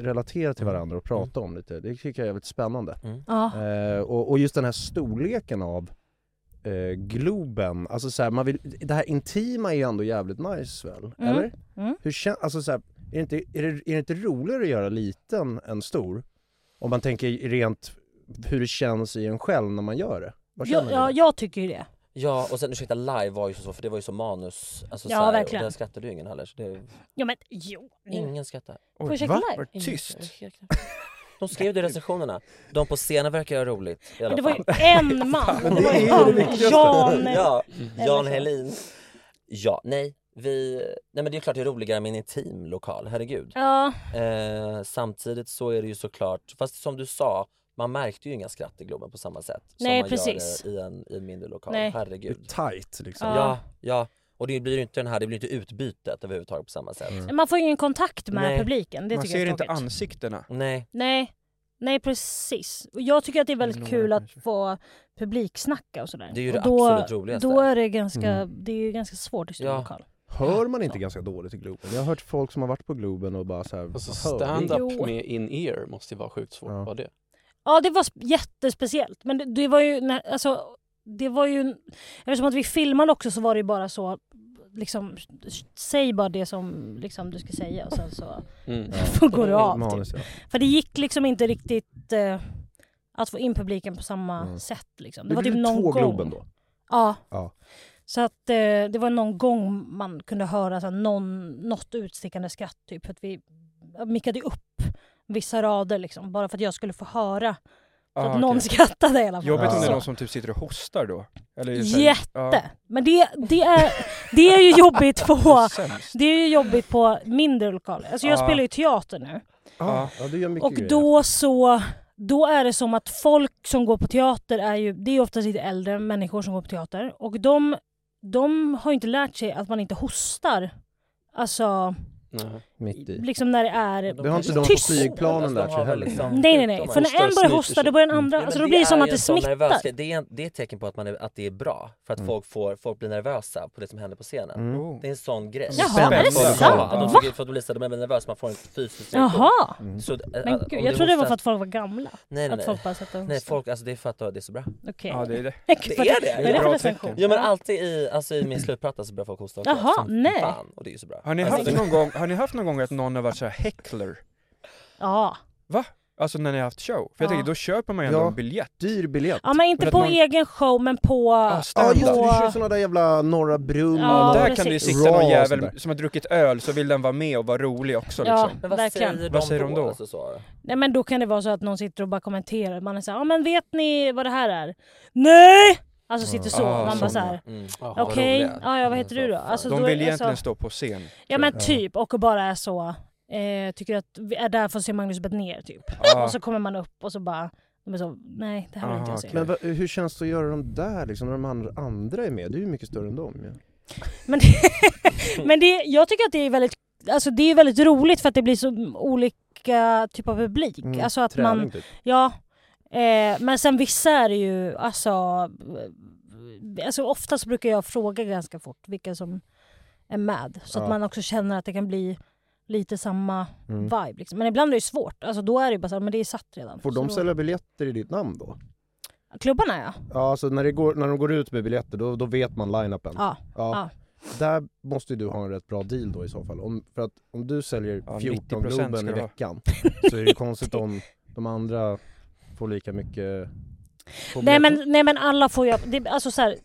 Speaker 1: relatera till varandra och prata om lite. Det tycker jag är jävligt spännande.
Speaker 2: Mm. Ja.
Speaker 1: Eh, och, och just den här storleken av eh, Globen, alltså så här, man vill, det här intima är ju ändå jävligt nice väl?
Speaker 2: Mm.
Speaker 1: Eller?
Speaker 2: Mm.
Speaker 1: Hur kän, alltså så här, är, det inte, är, det, är det inte roligare att göra liten än stor? Om man tänker rent hur det känns i en själv när man gör det. Vad
Speaker 2: Ja,
Speaker 1: känner
Speaker 2: ja,
Speaker 1: ni?
Speaker 2: jag tycker ju det.
Speaker 3: Ja, och sen ursäkta, live var ju så, för det var ju så manus. Alltså,
Speaker 2: Ja,
Speaker 3: så här,
Speaker 2: verkligen.
Speaker 3: Och där skrattade ju ingen heller. Så det,
Speaker 2: Ja men jo.
Speaker 3: ingen skrattade.
Speaker 5: Oj,
Speaker 2: Project
Speaker 5: va?
Speaker 2: Live.
Speaker 5: Var det tyst?
Speaker 3: De skrev det i recensionerna. De på scenen verkar göra roligt i alla
Speaker 2: Men det var ju
Speaker 3: fall.
Speaker 2: en man.
Speaker 1: det
Speaker 2: var ju
Speaker 1: är det
Speaker 2: en-
Speaker 1: viktigaste.
Speaker 2: Jan.
Speaker 3: ja,
Speaker 2: Eller
Speaker 3: Jan
Speaker 2: så.
Speaker 3: Helin. Ja, nej. Vi, nej men det är klart det är roligare med en intim lokal, herregud.
Speaker 2: Ja,
Speaker 3: Eh, samtidigt så är det ju såklart, fast som du sa, man märkte ju inga skratt i Globen på samma sätt
Speaker 2: Nej,
Speaker 3: som man
Speaker 2: precis.
Speaker 3: gör eh, i en, i en mindre lokal.
Speaker 2: Nej.
Speaker 1: Hur
Speaker 3: Herregud.
Speaker 1: tight liksom.
Speaker 2: Ja.
Speaker 3: Ja, ja. Och det blir ju inte den här, det blir inte utbytet överhuvudtaget på samma sätt.
Speaker 2: man får ju ingen kontakt med
Speaker 3: Nej.
Speaker 2: publiken. Det
Speaker 5: Man
Speaker 2: tycker jag
Speaker 5: ser
Speaker 2: är
Speaker 5: inte
Speaker 2: tråkigt.
Speaker 5: ansiktena.
Speaker 3: Nej.
Speaker 2: Nej. Nej precis. Och jag tycker att det är väldigt
Speaker 5: Några
Speaker 2: kul att
Speaker 5: kanske.
Speaker 2: få publiksnacka och sådär.
Speaker 3: Det är ju det
Speaker 2: och då,
Speaker 3: absolut roligaste.
Speaker 2: Då är det ganska, det är ju ganska svårt i stor
Speaker 3: Ja.
Speaker 2: lokal.
Speaker 1: Hör man inte ganska dåligt i Globen? Jag har hört folk som har varit på Globen och bara så här,
Speaker 7: Alltså
Speaker 1: "Hör vi?"
Speaker 7: stand-up
Speaker 2: Jo.
Speaker 7: med in-ear måste ju vara sjukt svårt.
Speaker 1: Ja. Ah,
Speaker 7: Var det?
Speaker 2: Ja, det var sp- jättespeciellt. Men det, det var ju... När, alltså, det var ju... Eftersom att vi filmade också så var det ju bara så... Liksom, säg bara det som liksom, du ska säga och sen så
Speaker 7: Mm.
Speaker 2: går du av. Typ.
Speaker 1: Manus, ja.
Speaker 2: För det gick liksom inte riktigt eh, att få in publiken på samma
Speaker 1: Mm.
Speaker 2: sätt. Liksom.
Speaker 1: Det
Speaker 2: Det var
Speaker 1: blir
Speaker 2: typ någon
Speaker 1: två
Speaker 2: gång.
Speaker 1: Globen då?
Speaker 2: Ja.
Speaker 1: Ja.
Speaker 2: Så att eh, det var någon gång man kunde höra så här, någon, något utstickande skratt. Typ, för att vi mickade upp vissa rader liksom, bara för att jag skulle få höra så att
Speaker 5: Ah,
Speaker 2: någon
Speaker 5: okej.
Speaker 2: skrattade i alla fall.
Speaker 5: Jobbigt om det är
Speaker 2: Så.
Speaker 5: någon som typ sitter och hostar då. Eller är det så här-
Speaker 2: Jätte! Men det, det, är, det är ju jobbigt på
Speaker 5: Ja, sämst. Ah.
Speaker 2: det är ju jobbigt på mindre lokaler. Alltså jag
Speaker 5: Ja.
Speaker 2: spelar ju teater nu.
Speaker 1: Ja, ja, du gör mycket
Speaker 2: Och
Speaker 1: grejer.
Speaker 2: då så då är det som att folk som går på teater är ju, det är ju oftast lite äldre människor som går på teater. Och de, de har ju inte lärt sig att man inte hostar. Alltså,
Speaker 7: Nej.
Speaker 1: Mitt i.
Speaker 2: liksom när det är...
Speaker 1: Det har inte de på
Speaker 2: Tyst.
Speaker 1: flygplanen lärt sig heller.
Speaker 3: liksom-
Speaker 2: Nej nej nej, för när en börjar hosta då börjar den andra,
Speaker 3: Ja, men
Speaker 2: alltså då blir det som
Speaker 3: är
Speaker 2: att
Speaker 3: ju
Speaker 2: det
Speaker 3: en sån
Speaker 2: smittar.
Speaker 3: nervös grej. Det är, en- det är ett tecken på att, man är, att det är bra, för
Speaker 5: Mm.
Speaker 3: att folk, får, folk blir nervösa på det som händer på scenen.
Speaker 5: Oh.
Speaker 3: Det är en sån grej.
Speaker 2: Jaha,
Speaker 5: Spännande.
Speaker 2: är det
Speaker 5: Spännande.
Speaker 3: Ja, att
Speaker 2: sant?
Speaker 3: de
Speaker 2: Va?
Speaker 3: tycker- för att de blir så här, de blir nervösa, man får en fysisk
Speaker 2: Jaha!
Speaker 5: Mm.
Speaker 3: Så, äh,
Speaker 2: Men
Speaker 3: om
Speaker 2: gud, jag
Speaker 3: du
Speaker 2: trodde det var
Speaker 3: hostar-
Speaker 2: för att folk var gamla.
Speaker 3: Nej, nej,
Speaker 2: Att
Speaker 3: nej.
Speaker 2: folk bara satt och
Speaker 3: Nej
Speaker 2: hostade.
Speaker 3: folk, alltså det är för att det är så bra.
Speaker 2: Okej.
Speaker 5: Ja, det är det.
Speaker 3: Det är det.
Speaker 2: Vad är det för
Speaker 5: Bra
Speaker 2: recension?
Speaker 5: tecken.
Speaker 3: Ja men alltid i, alltså, i min slutplatta så börjar folk hosta också.
Speaker 2: Jaha,
Speaker 3: som
Speaker 2: nej.
Speaker 3: Fan, och det är ju så bra.
Speaker 5: Har ni,
Speaker 3: alltså,
Speaker 5: haft någon gång, har ni haft någon gång att någon har varit så här heckler?
Speaker 2: Ja.
Speaker 5: Alltså när ni har haft show? För jag
Speaker 2: Ja.
Speaker 5: tänker, då köper man ju ändå
Speaker 1: Ja.
Speaker 5: en biljett.
Speaker 1: Dyr biljett.
Speaker 2: ja, men inte
Speaker 5: Men att
Speaker 2: på e-
Speaker 5: man-
Speaker 2: egen show men på...
Speaker 5: Ah,
Speaker 1: Ja just det,
Speaker 5: stand-up.
Speaker 1: du kör såna där jävla Norra Brunn
Speaker 2: Ja,
Speaker 1: och
Speaker 5: Mm. där kan
Speaker 2: precis.
Speaker 5: det ju
Speaker 1: Raw
Speaker 5: sitta någon
Speaker 1: och
Speaker 5: jävel
Speaker 1: sådär.
Speaker 5: som har druckit öl, så vill den vara med och vara rolig också
Speaker 2: Ja.
Speaker 5: liksom.
Speaker 3: Men vad
Speaker 2: Verkligen.
Speaker 3: säger,
Speaker 5: Vad
Speaker 3: de,
Speaker 5: säger de då?
Speaker 3: Alltså, så?
Speaker 2: Nej men då kan det vara så att någon sitter och bara kommenterar. Man är såhär, ja men vet ni vad det här är? Nej! Alltså sitter så.
Speaker 5: Ah,
Speaker 2: man
Speaker 5: sådana.
Speaker 2: bara såhär,
Speaker 3: Mm.
Speaker 2: okej, ja, ja, vad heter du då? Alltså,
Speaker 5: Mm, De
Speaker 2: då
Speaker 5: vill
Speaker 2: är-
Speaker 5: egentligen
Speaker 2: alltså,
Speaker 5: stå på scen.
Speaker 2: Ja men typ, och bara är så. Eh, tycker att vi är där för att se Magnus ner typ.
Speaker 5: Ah.
Speaker 2: Och så kommer man upp och så bara, de är så, nej det här vill inte
Speaker 5: Aha,
Speaker 2: jag se.
Speaker 1: Men va, hur känns det att göra de där liksom, när de andra, andra är med? Du är ju mycket större än dem ju.
Speaker 2: Men, det, men det, jag tycker att det är väldigt Alltså det är väldigt roligt för att det blir så olika typer av publik.
Speaker 1: Mm,
Speaker 2: alltså att
Speaker 1: Träning
Speaker 2: man,
Speaker 1: typ.
Speaker 2: ja. Eh, men sen vissa är det ju, alltså, eh, alltså oftast brukar jag fråga ganska fort vilka som är med. Så
Speaker 1: Ja.
Speaker 2: att man också känner att det kan bli lite samma
Speaker 1: Mm.
Speaker 2: vibe. Liksom. Men ibland är det svårt, alltså då är det ju bara så här, men det är satt redan.
Speaker 1: Får
Speaker 2: Så
Speaker 1: de
Speaker 2: då-
Speaker 1: sälja biljetter i ditt namn då?
Speaker 2: Klubbarna ja.
Speaker 1: Ja alltså när, det går, när de går ut med biljetter då, då vet man line-upen.
Speaker 2: ja. ja.
Speaker 1: Där måste ju du ha en rätt bra deal då i så fall. Om, för att om du säljer
Speaker 5: Ja,
Speaker 1: 14
Speaker 5: 90% ska
Speaker 1: Globen i
Speaker 5: du ha.
Speaker 1: veckan så är det ju konstigt om de andra får lika mycket på
Speaker 2: Nej
Speaker 1: biljetten.
Speaker 2: men, nej men alla får ju, det, alltså så här,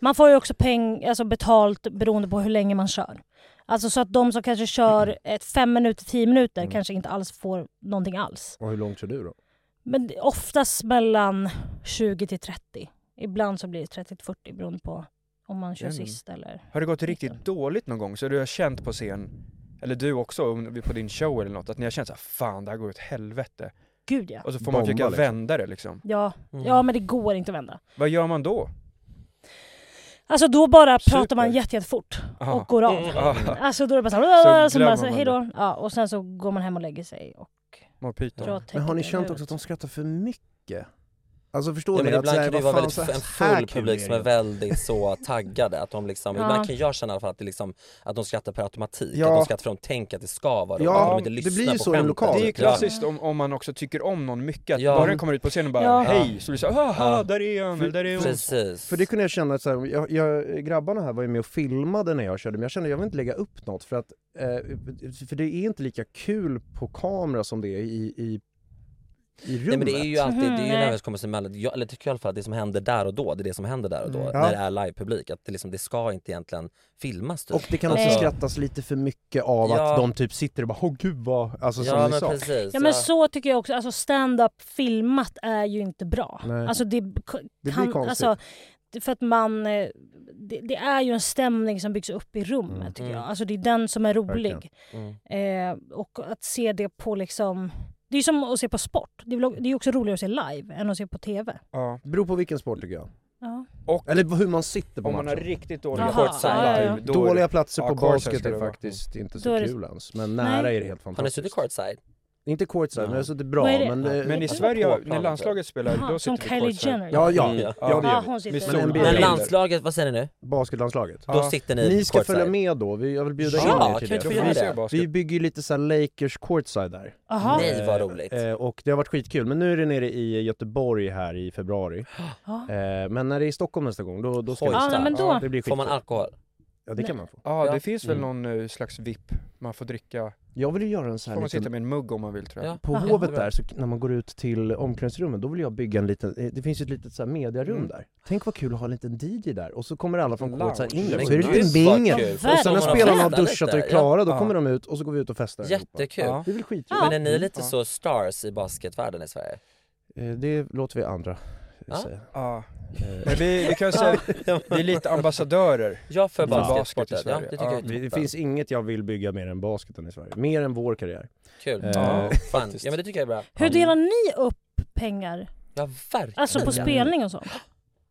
Speaker 2: man får ju också peng, alltså betalt beroende på hur länge man kör. Alltså så att de som kanske kör ett fem minuter, tio minuter
Speaker 5: Mm.
Speaker 2: kanske inte alls får någonting alls.
Speaker 1: Och hur långt kör du då?
Speaker 2: Men det- oftast mellan 20 till 30. Ibland så blir det 30 till 40 beroende på om man kör
Speaker 5: Jajamän.
Speaker 2: sist eller...
Speaker 5: Mm. Har det gått riktigt dåligt någon gång så du har känt på scen, eller du också om vi- på din show eller något, att ni har känt såhär fan det här går åt helvete.
Speaker 2: Gud, ja.
Speaker 5: Och så får man
Speaker 2: Bomba,
Speaker 5: försöka
Speaker 2: liksom.
Speaker 5: vända det liksom.
Speaker 2: Ja,
Speaker 5: Mm.
Speaker 2: ja men det går inte att vända.
Speaker 5: Vad gör man då?
Speaker 2: Alltså då bara pratar
Speaker 5: Super.
Speaker 2: man jätte, jättefort
Speaker 5: Aha.
Speaker 2: och går av.
Speaker 5: Mm.
Speaker 2: Alltså då är det bara såhär,
Speaker 5: Så
Speaker 2: så, så bara
Speaker 5: glömmer
Speaker 2: så,
Speaker 5: man
Speaker 2: hej
Speaker 5: det.
Speaker 2: då. Ja, och sen så går man hem och lägger sig. Och
Speaker 5: Mår
Speaker 2: Bra
Speaker 5: pyton.
Speaker 2: tecken
Speaker 1: Men har ni
Speaker 2: i
Speaker 1: känt
Speaker 2: huvudet.
Speaker 1: också att de skrattar för mycket? Alltså förstår
Speaker 3: Ja,
Speaker 1: ni?
Speaker 3: men
Speaker 1: Att
Speaker 3: ibland
Speaker 1: så här,
Speaker 3: kan det ju
Speaker 1: vad
Speaker 3: vara
Speaker 1: fan,
Speaker 3: väldigt
Speaker 1: så här-
Speaker 3: en
Speaker 1: här
Speaker 3: full
Speaker 1: kul är
Speaker 3: publik som
Speaker 1: det
Speaker 3: är väldigt så taggade. Att de liksom,
Speaker 1: Ja.
Speaker 3: Ibland kan jag känna i alla fall att, det liksom, att de skrattar per automatik.
Speaker 5: Ja.
Speaker 3: Att de skrattar för att de tänker att det ska vara roligt.
Speaker 5: Ja,
Speaker 3: att de inte lyssnar på skämtet.
Speaker 5: Det är ju klassiskt om, om man också tycker om någon mycket, att
Speaker 3: Ja.
Speaker 5: bara den kommer ut på scenen och bara
Speaker 3: Ja.
Speaker 5: hej, så blir det såhär haha,
Speaker 3: Ja.
Speaker 5: där är han, eller där är hon.
Speaker 1: För det kunde jag känna att så här, jag, jag, grabbarna här var ju med och filmade när jag körde men jag kände att jag vill inte lägga upp något för att eh, för det är inte lika kul på kamera som det är i, i, i rummet. Mm.
Speaker 3: Nej men det är ju alltid, det är
Speaker 5: Mm,
Speaker 3: ju en
Speaker 1: Nej.
Speaker 3: överenskommelse mellan, jag, eller tycker jag i alla fall, att det som händer där och då, det är det som händer där och då.
Speaker 1: Mm. Ja.
Speaker 3: När det är livepublik, att det, liksom, det ska inte egentligen filmas typ.
Speaker 1: Och det kan också
Speaker 3: Alltså-
Speaker 1: skrattas lite för mycket av
Speaker 3: Ja.
Speaker 1: att de typ sitter och bara åh gud vad, alltså
Speaker 3: Ja,
Speaker 1: som ni
Speaker 3: men
Speaker 1: sa.
Speaker 3: precis.
Speaker 2: Ja men så tycker jag också, alltså stand-up filmat är ju inte bra.
Speaker 1: Nej.
Speaker 2: Alltså det, k- kan,
Speaker 1: blir konstigt.
Speaker 2: Alltså, det- för att man, eh, det, det är ju en stämning som byggs upp i rummet tycker jag. Alltså det är den som är rolig.
Speaker 3: Mm.
Speaker 2: Eh, och att se det på liksom, det är ju som att se på sport. Det är, väl- det är ju också roligare att se live än att se på TV.
Speaker 5: Ja.
Speaker 1: Beror på vilken sport tycker jag.
Speaker 2: Ja.
Speaker 5: Och
Speaker 1: Eller hur man sitter på
Speaker 5: om man har
Speaker 1: matchen.
Speaker 5: riktigt dåliga
Speaker 2: Jaha, courtside ja, ja, ja.
Speaker 5: live, då är det-
Speaker 1: Dåliga platser
Speaker 5: Ja,
Speaker 1: på
Speaker 5: courtside
Speaker 1: basket
Speaker 5: ska det
Speaker 1: Mm. är
Speaker 5: vara.
Speaker 1: faktiskt inte
Speaker 2: Då
Speaker 1: så
Speaker 2: är det-
Speaker 1: kul ens, men nära
Speaker 2: Nej.
Speaker 1: är det helt
Speaker 3: Har ni
Speaker 1: fantastiskt.
Speaker 3: suttit courtside?
Speaker 1: Inte courtside, men jag har suttit bra.
Speaker 2: Vad är det?
Speaker 1: Men,
Speaker 2: Ja.
Speaker 1: eh,
Speaker 2: Men i Sverige,
Speaker 3: på
Speaker 2: när
Speaker 3: planen, tror jag.
Speaker 5: landslaget spelar,
Speaker 2: Jaha, då som sitter vi Kylie courtside. Jenner.
Speaker 1: Ja, ja.
Speaker 3: Mm.
Speaker 1: ja, det
Speaker 2: Ja, Ah,
Speaker 1: gör
Speaker 2: hon sitter.
Speaker 1: vi.
Speaker 2: Men
Speaker 1: Men NBA
Speaker 3: När
Speaker 1: gäller.
Speaker 3: landslaget, vad säger ni nu?
Speaker 1: Basketlandslaget.
Speaker 3: Då sitter ni
Speaker 1: Ni ska
Speaker 3: courtside.
Speaker 1: följa med då, vi, jag vill bjuda
Speaker 3: Ja,
Speaker 1: in er
Speaker 3: kan
Speaker 1: till
Speaker 3: vi
Speaker 1: det.
Speaker 3: inte få göra
Speaker 1: vi,
Speaker 3: det?
Speaker 1: vi bygger ju lite så här Lakers courtside där.
Speaker 2: Aha.
Speaker 3: Nej, vad roligt.
Speaker 1: Eh, och det har varit skitkul, men nu är det nere i Göteborg här i februari.
Speaker 2: Ja.
Speaker 1: Eh, men när det är i Stockholm nästa gång, då, då ska
Speaker 3: Oj,
Speaker 1: vi
Speaker 2: Ja, men då-
Speaker 1: det blir
Speaker 3: Får man
Speaker 1: skitkul.
Speaker 3: alkohol?
Speaker 1: Ja, det kan man få.
Speaker 5: Ja,
Speaker 3: Ja.
Speaker 5: det finns väl
Speaker 3: Mm.
Speaker 5: någon eh, slags VIP man får dricka.
Speaker 1: Jag vill ju göra en så
Speaker 5: Får
Speaker 1: här
Speaker 5: man sitta
Speaker 1: liten...
Speaker 5: med en mugg om man vill tror jag.
Speaker 3: Ja.
Speaker 1: På
Speaker 3: Aha.
Speaker 1: Hovet där, så, när man går ut till omklädningsrummet, då vill jag bygga en liten, eh, det finns ju ett litet så här mediarum
Speaker 5: Mm.
Speaker 1: där. Tänk vad kul att ha en liten DJ där, och så kommer alla från
Speaker 5: Lounge.
Speaker 1: courtside in där,
Speaker 3: Men
Speaker 1: så är det en liten
Speaker 3: gud, vad
Speaker 1: bingel.
Speaker 3: kul.
Speaker 1: Och sen när
Speaker 3: Får man
Speaker 1: spelarna har
Speaker 3: festa lite?
Speaker 1: duschat och är
Speaker 3: Ja.
Speaker 1: klara, då
Speaker 5: Ja.
Speaker 1: kommer de ut och så går vi ut och festar allihopa.
Speaker 3: Jättekul.
Speaker 5: Ja.
Speaker 1: Det är väl skitkul?
Speaker 3: Men är ni lite
Speaker 5: Ja.
Speaker 3: så stars i basketvärlden i Sverige?
Speaker 1: Eh, Det låter vi andra eh,
Speaker 3: Ja.
Speaker 1: säga.
Speaker 5: Ja.
Speaker 1: Eh,
Speaker 5: Men vi, vi kan säga, vi är lite ambassadörer.
Speaker 3: Ja, för
Speaker 5: För basket i
Speaker 3: basketsporten. Ja,
Speaker 5: Sverige.
Speaker 3: det tycker jag är
Speaker 1: Det
Speaker 3: toppen.
Speaker 1: finns inget jag vill bygga mer än basketen i Sverige. Mer än vår karriär.
Speaker 3: Kul.
Speaker 1: Eh,
Speaker 3: Ja, fan.
Speaker 5: faktiskt.
Speaker 3: ja, men det tycker jag är bra.
Speaker 2: Hur delar ni upp pengar?
Speaker 3: Ja, verkligen.
Speaker 2: Alltså på spelning och sånt?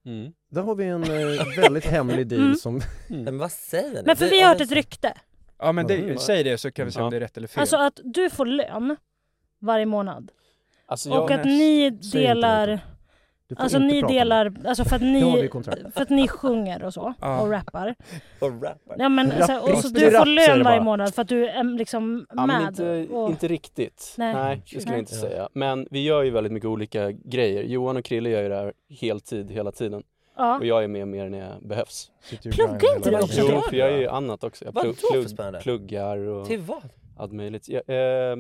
Speaker 3: Mm.
Speaker 1: Där har vi en eh, väldigt hemlig deal
Speaker 2: Mm.
Speaker 1: som...
Speaker 3: Nej, Men vad säger ni?
Speaker 2: Men för vi har hört ett rykte.
Speaker 5: Ja men
Speaker 1: Mm.
Speaker 5: det, säg det så kan vi se
Speaker 3: Ja.
Speaker 5: om det är rätt eller fel.
Speaker 2: Alltså att du får lön varje månad.
Speaker 7: Alltså
Speaker 2: Och att ni delar,
Speaker 1: Du får
Speaker 2: alltså
Speaker 1: inte
Speaker 2: ni
Speaker 1: prata om
Speaker 2: delar, alltså för att
Speaker 1: Det har vi i
Speaker 2: ni,
Speaker 1: kontrakt.
Speaker 2: för att ni sjunger och så,
Speaker 5: Ja.
Speaker 2: och rappar.
Speaker 3: Och rappar.
Speaker 2: Ja, men, så,
Speaker 1: Rapp-
Speaker 2: och så
Speaker 1: rapp-
Speaker 2: du
Speaker 1: rapp, säger
Speaker 2: får
Speaker 1: det
Speaker 2: lön varje
Speaker 1: bara.
Speaker 2: månad för att du är liksom
Speaker 7: Ja, men
Speaker 2: med.
Speaker 7: inte,
Speaker 2: och,
Speaker 7: inte riktigt.
Speaker 2: Nej.
Speaker 7: Nej,
Speaker 3: Mm.
Speaker 7: det skulle
Speaker 2: Nej.
Speaker 7: jag inte säga. Men vi gör ju väldigt mycket olika grejer. Johan och Krille gör ju det här heltid hela tiden.
Speaker 2: ja.
Speaker 7: Och jag är med mer när jag behövs.
Speaker 1: Sitter ju
Speaker 2: Pluggar
Speaker 1: Brian
Speaker 2: inte
Speaker 1: hela
Speaker 2: du
Speaker 1: dagen.
Speaker 2: också?
Speaker 7: Jo, för jag gör ju annat också. Jag
Speaker 3: Vad då
Speaker 7: plugg,
Speaker 3: för
Speaker 7: plugg,
Speaker 3: spännande?
Speaker 7: pluggar och
Speaker 3: Till vad?
Speaker 7: allt möjligt. Jag, eh,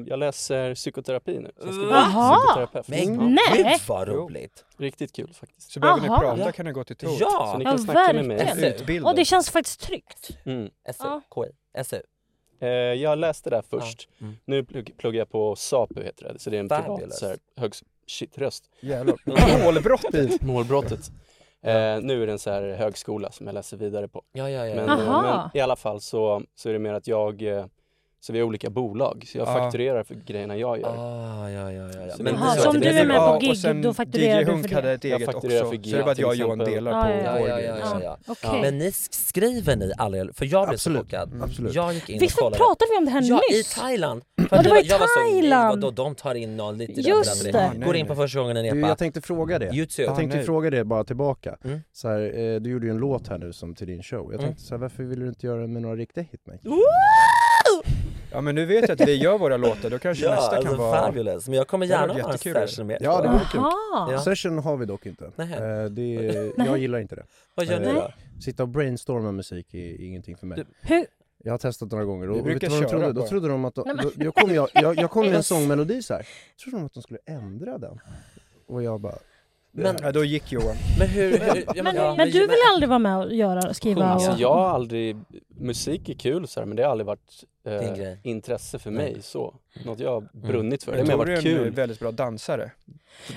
Speaker 7: jag läser psykoterapi nu. Så jag ska bli
Speaker 2: Jaha!
Speaker 7: psykoterapeut.
Speaker 3: Men
Speaker 7: Ja,
Speaker 3: gud
Speaker 2: Nej!
Speaker 3: vad roligt!
Speaker 7: riktigt kul faktiskt.
Speaker 5: så behöver ni
Speaker 2: aha.
Speaker 5: prata
Speaker 3: Ja.
Speaker 5: kan ni gå till Tor.
Speaker 7: Så
Speaker 3: Ja!
Speaker 7: ni
Speaker 2: Ja,
Speaker 7: kan snacka med
Speaker 2: verkligen.
Speaker 7: mig. Alltså,
Speaker 5: Utbilda.
Speaker 2: Och det känns faktiskt tryggt.
Speaker 7: Mm.
Speaker 3: SU, KI, SU.
Speaker 7: Eh, jag läste det här först.
Speaker 3: Ja. Mm.
Speaker 7: Nu plugg, pluggar jag på SAPU heter det. Så det är en privat
Speaker 3: Fabulous.
Speaker 7: så här, högs... Shit, röst.
Speaker 5: Jävlar.
Speaker 7: Mm.
Speaker 5: Målbrottet!
Speaker 7: Målbrottet. Eh, nu är det en så här högskola som jag läser vidare på.
Speaker 3: Ja, ja, ja.
Speaker 7: Men,
Speaker 3: ja.
Speaker 7: eh,
Speaker 2: Aha.
Speaker 7: men i alla fall så, så är det mer att jag, eh, så vi är olika bolag, så jag
Speaker 5: Ja.
Speaker 7: fakturerar för grejerna jag gör.
Speaker 3: Ah, ja, ja, ja, ja.
Speaker 7: Så
Speaker 3: Men
Speaker 7: det-
Speaker 2: Jaha,
Speaker 7: så
Speaker 2: så om
Speaker 7: att
Speaker 2: du
Speaker 7: det-
Speaker 2: är med
Speaker 7: Ja,
Speaker 2: på
Speaker 7: och
Speaker 2: gig,
Speaker 5: sen
Speaker 2: då fakturerar
Speaker 5: DJ
Speaker 2: du
Speaker 5: Hunk
Speaker 2: för
Speaker 5: hade
Speaker 2: det?
Speaker 5: ett eget också. Så
Speaker 7: fakturerar för
Speaker 5: det
Speaker 7: gig,
Speaker 5: är bara att jag och
Speaker 7: till
Speaker 5: Johan
Speaker 7: exempel.
Speaker 5: delar
Speaker 2: Ja,
Speaker 5: på
Speaker 2: ja,
Speaker 3: Ja,
Speaker 5: vår
Speaker 3: ja,
Speaker 5: grej.
Speaker 3: ja, ja, ja.
Speaker 2: Okej.
Speaker 3: Men ni skriver ni alla er- För jag blev så
Speaker 1: Absolut.
Speaker 3: chockad.
Speaker 1: Absolut.
Speaker 3: Jag gick in och
Speaker 2: Visst
Speaker 3: kollade.
Speaker 2: pratade vi om det här
Speaker 3: Ja, i
Speaker 2: nyss?
Speaker 3: Thailand!
Speaker 2: det var i
Speaker 3: Thailand!
Speaker 2: Thailand.
Speaker 3: Då de tar in någon lite
Speaker 2: Just
Speaker 3: där.
Speaker 2: det.
Speaker 5: Nej,
Speaker 3: Går in på
Speaker 5: nej.
Speaker 3: första gången en
Speaker 1: Du,
Speaker 3: epa.
Speaker 1: jag tänkte fråga det.
Speaker 3: Youtube.
Speaker 1: Jag tänkte
Speaker 5: nej.
Speaker 1: fråga det bara tillbaka.
Speaker 3: Mm.
Speaker 1: Så här, eh, du gjorde ju en låt här nu som till din show. Jag
Speaker 3: Mm.
Speaker 1: tänkte så här, varför vill du inte göra den med några riktiga hitmakers?
Speaker 5: Ja men nu vet jag att vi gör våra låtar, då kanske
Speaker 3: Ja,
Speaker 5: nästa
Speaker 3: alltså
Speaker 5: kan vara...
Speaker 3: fabulous. Men jag kommer
Speaker 5: Det hade
Speaker 3: gärna
Speaker 5: varit
Speaker 3: ha en
Speaker 5: jättekul.
Speaker 3: session med
Speaker 1: Ja, det vore kul.
Speaker 2: Jaha.
Speaker 3: Ja.
Speaker 1: Session har vi dock inte.
Speaker 3: Nej.
Speaker 1: Eh, det, jag gillar inte det. Eh,
Speaker 3: Vad gör ni då?
Speaker 1: Sitta och brainstorma musik är, är ingenting för mig.
Speaker 3: Du-
Speaker 2: Hur-
Speaker 1: Jag har testat några gånger och
Speaker 5: Du
Speaker 1: och vet du
Speaker 5: brukar
Speaker 1: vad de
Speaker 5: köra
Speaker 1: trodde? Då
Speaker 5: bara.
Speaker 1: trodde de att de, då, jag, kom, jag, jag, jag kom med en sångmelodi så här. trodde de att de skulle ändra den. Och jag bara,
Speaker 3: Men-
Speaker 5: ja, då gick Johan.
Speaker 3: Men hur- hur- ja,
Speaker 2: Men, men du vill aldrig vara med och göra, skriva
Speaker 7: Alltså
Speaker 2: och...
Speaker 7: jag har aldrig, musik är kul så här, men det har aldrig varit
Speaker 3: Din
Speaker 7: eh,
Speaker 3: grej.
Speaker 7: intresse för
Speaker 3: Nej.
Speaker 7: mig så. Något jag har
Speaker 3: Mm.
Speaker 7: brunnit för. Det
Speaker 5: Men
Speaker 7: har mer
Speaker 5: Tor är
Speaker 7: varit
Speaker 5: en
Speaker 7: kul.
Speaker 5: väldigt bra dansare.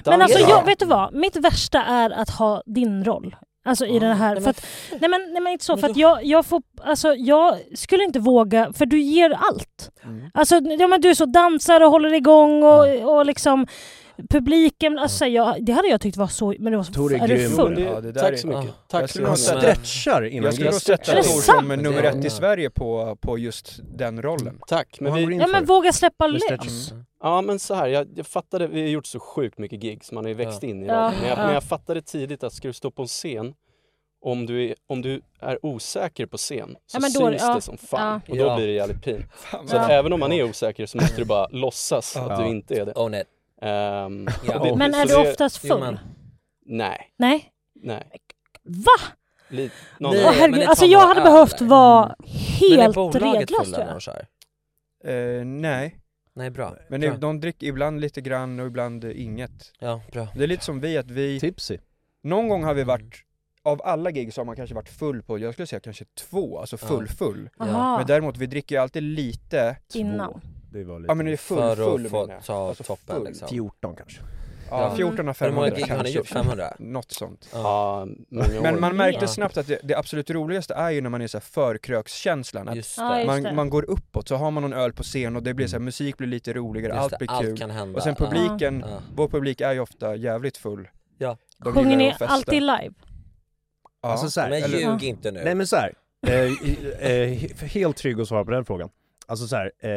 Speaker 2: Men alltså,
Speaker 7: Dansa.
Speaker 2: jag, vet du vad? Mitt värsta är att ha din roll. Alltså i den här...
Speaker 3: nej,
Speaker 2: För
Speaker 3: men
Speaker 2: att, nej, men, nej men inte så, för att jag, jag får... Alltså jag skulle inte våga, för du ger allt.
Speaker 5: Mm.
Speaker 2: Alltså ja, men du är så dansar och håller igång och, och liksom publiken, alltså, jag, det hade jag tyckt var så... Men det var så...
Speaker 1: Tor
Speaker 2: är du
Speaker 1: grym.
Speaker 2: full?
Speaker 7: Det-
Speaker 5: Ja, det där
Speaker 7: Tack
Speaker 5: är-
Speaker 7: så mycket.
Speaker 3: Ah.
Speaker 7: Tack
Speaker 5: Jag
Speaker 7: så
Speaker 5: skulle
Speaker 7: mycket.
Speaker 5: nog
Speaker 1: Han
Speaker 5: sätta-
Speaker 1: stretchar innan
Speaker 5: Jag skulle
Speaker 7: Jag
Speaker 5: nog sätta
Speaker 7: stretchar.
Speaker 5: Tor
Speaker 2: Är det sant?
Speaker 5: som nummer ett
Speaker 3: Ja.
Speaker 5: i Sverige på, på just den rollen.
Speaker 7: Tack. Men
Speaker 1: han går
Speaker 7: vi,
Speaker 1: in
Speaker 2: Ja
Speaker 1: för
Speaker 2: men våga släppa
Speaker 1: det.
Speaker 2: lös.
Speaker 1: Stretches.
Speaker 7: ja men så här, jag, jag fattade, vi har gjort så sjukt mycket gigs, man har ju växt
Speaker 3: Ja.
Speaker 7: in i
Speaker 2: Ja,
Speaker 7: rollen. Men jag,
Speaker 2: ja.
Speaker 7: men jag fattade tidigt att ska du stå på en scen, om du är, om du är osäker på scen så
Speaker 2: Ja, men då-
Speaker 7: syns
Speaker 2: ja.
Speaker 7: det som fan.
Speaker 2: Ja.
Speaker 7: Och då
Speaker 3: Ja.
Speaker 7: blir det jävligt pin.
Speaker 5: Fan,
Speaker 7: Så att
Speaker 5: vad-
Speaker 7: även om man är osäker så måste du bara låtsas att
Speaker 1: Ja.
Speaker 7: du inte är det.
Speaker 3: Own it.
Speaker 7: Ehm,
Speaker 3: Ja.
Speaker 7: och det-
Speaker 2: Men
Speaker 7: så
Speaker 2: är
Speaker 7: det-
Speaker 2: du oftast
Speaker 3: Jo,
Speaker 2: full?
Speaker 3: men-
Speaker 7: Nej,
Speaker 2: Nej.
Speaker 7: nej.
Speaker 2: Va?
Speaker 7: Li, någon,
Speaker 3: Nej,
Speaker 2: Åh
Speaker 3: men det
Speaker 2: herregud,
Speaker 3: tar
Speaker 2: alltså jag
Speaker 3: några
Speaker 2: hade
Speaker 3: öl,
Speaker 2: behövt
Speaker 3: eller?
Speaker 2: vara
Speaker 3: Men är
Speaker 2: helt
Speaker 3: bolaget
Speaker 2: redlös tror
Speaker 3: fulla när
Speaker 2: jag.
Speaker 3: de kör?
Speaker 5: Eh, nej,
Speaker 3: Nej bra.
Speaker 5: men
Speaker 3: bra.
Speaker 5: det, de dricker ibland lite grann och ibland eh, inget.
Speaker 3: Ja, bra.
Speaker 5: Det är lite som vi, att vi,
Speaker 1: Tipsy.
Speaker 5: någon gång har vi varit, av alla gig så har man kanske varit full på, jag skulle säga kanske två, alltså full full.
Speaker 3: Ja.
Speaker 2: Aha,
Speaker 5: Men däremot, vi dricker ju alltid lite,
Speaker 2: innan.
Speaker 1: Det var lite...
Speaker 5: ja men det är full
Speaker 3: För
Speaker 5: full
Speaker 3: att få
Speaker 5: menar jag.
Speaker 3: ta
Speaker 5: Alltså
Speaker 3: toppen
Speaker 5: full.
Speaker 3: liksom.
Speaker 1: 14 kanske.
Speaker 5: Ja,
Speaker 3: Ja.
Speaker 5: 14 av
Speaker 3: Hur många
Speaker 5: 500
Speaker 3: gig har ni
Speaker 5: kanske.
Speaker 3: gjort? 500?
Speaker 5: Något sånt.
Speaker 7: ja, många år.
Speaker 5: Men man märkte
Speaker 3: Ja.
Speaker 5: snabbt att det, det absolut roligaste är ju när man är så här förkrökskänslan, att
Speaker 3: Just det.
Speaker 2: Ja, just det.
Speaker 5: man, man går uppåt, så har man någon öl på scen och det blir så här, musik blir lite roligare,
Speaker 3: Just
Speaker 5: allt
Speaker 3: det,
Speaker 5: blir
Speaker 3: allt
Speaker 5: kul.
Speaker 3: kan hända.
Speaker 5: Och sen
Speaker 3: Ja.
Speaker 5: publiken,
Speaker 3: Ja.
Speaker 5: vår publik är ju ofta jävligt full.
Speaker 3: Ja.
Speaker 5: De
Speaker 2: Sjunger
Speaker 5: gillar
Speaker 2: ni
Speaker 5: att festa.
Speaker 2: alltid live?
Speaker 5: Ja.
Speaker 1: Alltså så här,
Speaker 3: Men
Speaker 5: eller-
Speaker 3: ljug inte nu.
Speaker 1: Nej men såhär, eh, eh, he- helt trygg att svara på den frågan. Alltså såhär, eh,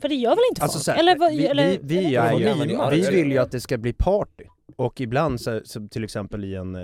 Speaker 2: För det gör väl inte
Speaker 1: alltså
Speaker 2: folk?
Speaker 1: så här,
Speaker 2: eller, vad-
Speaker 1: vi,
Speaker 2: eller,
Speaker 1: vi, vi,
Speaker 3: eller?
Speaker 1: är ju,
Speaker 3: Vad mimar
Speaker 1: vi
Speaker 3: du?
Speaker 1: vill ju att det ska bli party. Och ibland så, så till exempel i en, eh,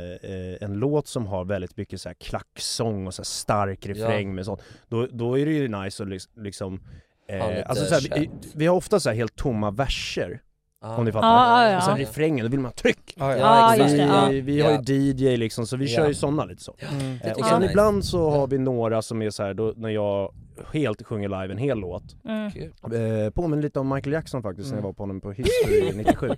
Speaker 1: en låt som har väldigt mycket så här klacksång och så här stark refräng med sånt, då, då är det ju nice att liksom- liksom
Speaker 3: Ha lite
Speaker 1: Eh, alltså såhär, vi,
Speaker 3: kött.
Speaker 1: vi har ofta så här helt tomma verser,
Speaker 3: Ja.
Speaker 1: om ni fattar.
Speaker 2: Ah, Ja, ja,
Speaker 1: Och sen
Speaker 2: ja.
Speaker 1: refrängen, då vill man ha tryck!
Speaker 5: Ja, ja.
Speaker 2: Ja,
Speaker 3: exakt.
Speaker 2: just det, ja.
Speaker 1: vi, vi har ju DJ liksom, så vi
Speaker 3: Ja.
Speaker 1: kör ju sådana lite så.
Speaker 5: Mm.
Speaker 3: Det
Speaker 1: Eh,
Speaker 3: tycker
Speaker 1: och
Speaker 3: jag
Speaker 1: sen
Speaker 3: är nice.
Speaker 1: ibland så har vi några som är så här, då, när jag helt sjunger live en hel låt.
Speaker 2: Mm.
Speaker 1: Eh, påminner lite om Michael Jackson faktiskt när jag
Speaker 5: Mm.
Speaker 1: var på honom på History 97.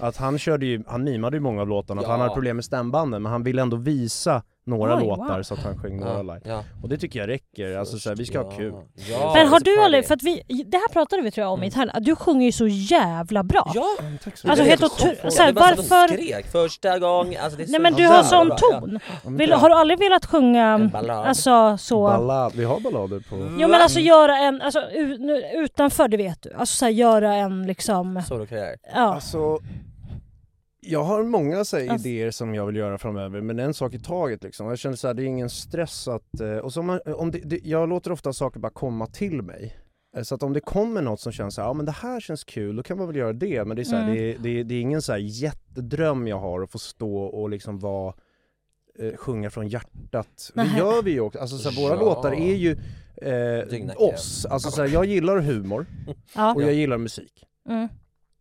Speaker 1: Att han körde ju, han mimade ju många av låtarna, för
Speaker 3: Ja.
Speaker 1: han hade problem med stämbanden men han ville ändå visa några
Speaker 2: Oj,
Speaker 1: låtar
Speaker 2: wow.
Speaker 1: så att han sjöng några
Speaker 3: Ja,
Speaker 1: live.
Speaker 3: ja.
Speaker 1: Och det tycker jag räcker, alltså så här, vi ska ha
Speaker 3: Ja.
Speaker 1: kul.
Speaker 3: Ja,
Speaker 2: Men
Speaker 3: det
Speaker 2: har
Speaker 3: är
Speaker 2: du
Speaker 3: party.
Speaker 2: aldrig, för att vi, det här pratade vi tror jag om i Thailand, att du sjunger ju så jävla bra.
Speaker 3: Ja!
Speaker 2: Alltså
Speaker 3: Det är
Speaker 2: helt
Speaker 3: en sån
Speaker 2: otroligt,
Speaker 3: fråga.
Speaker 2: såhär
Speaker 3: Det var så att de
Speaker 2: varför...
Speaker 3: skrek första gång, alltså det är
Speaker 2: Nej
Speaker 3: så
Speaker 2: men du
Speaker 3: jävla
Speaker 2: har sån
Speaker 3: bra.
Speaker 2: ton.
Speaker 1: Ja, men
Speaker 2: Vill,
Speaker 1: bra.
Speaker 2: har du aldrig velat
Speaker 3: En
Speaker 2: sjunga,
Speaker 3: ballad.
Speaker 2: alltså så...
Speaker 1: Ballad, vi har ballader på...
Speaker 2: Jo men alltså göra en, alltså u- nu, utanför det vet du, alltså såhär göra en liksom,
Speaker 3: Solokarriär.
Speaker 2: ja.
Speaker 1: Alltså, jag har många så här,
Speaker 2: Alltså-
Speaker 1: idéer som jag vill göra framöver, men en sak i taget liksom. Jag känner så här, det är ingen stress att... eh, Och så om man, om det, det, jag låter ofta saker bara komma till mig. Eh, Så att om det kommer något som känns så här, ja men det här känns kul, då kan man väl göra det. Men det är, så här,
Speaker 2: Mm.
Speaker 1: det, är- det, är- det är ingen så här jättedröm jag har att få stå och liksom vara eh, sjunga från hjärtat.
Speaker 2: Nej.
Speaker 1: Det gör vi ju också. Alltså, så här, våra
Speaker 3: Ja.
Speaker 1: låtar är ju
Speaker 3: Dyggnackiga.
Speaker 1: eh, oss. Alltså, så här, jag gillar humor
Speaker 2: ja.
Speaker 1: och jag gillar musik.
Speaker 2: Mm.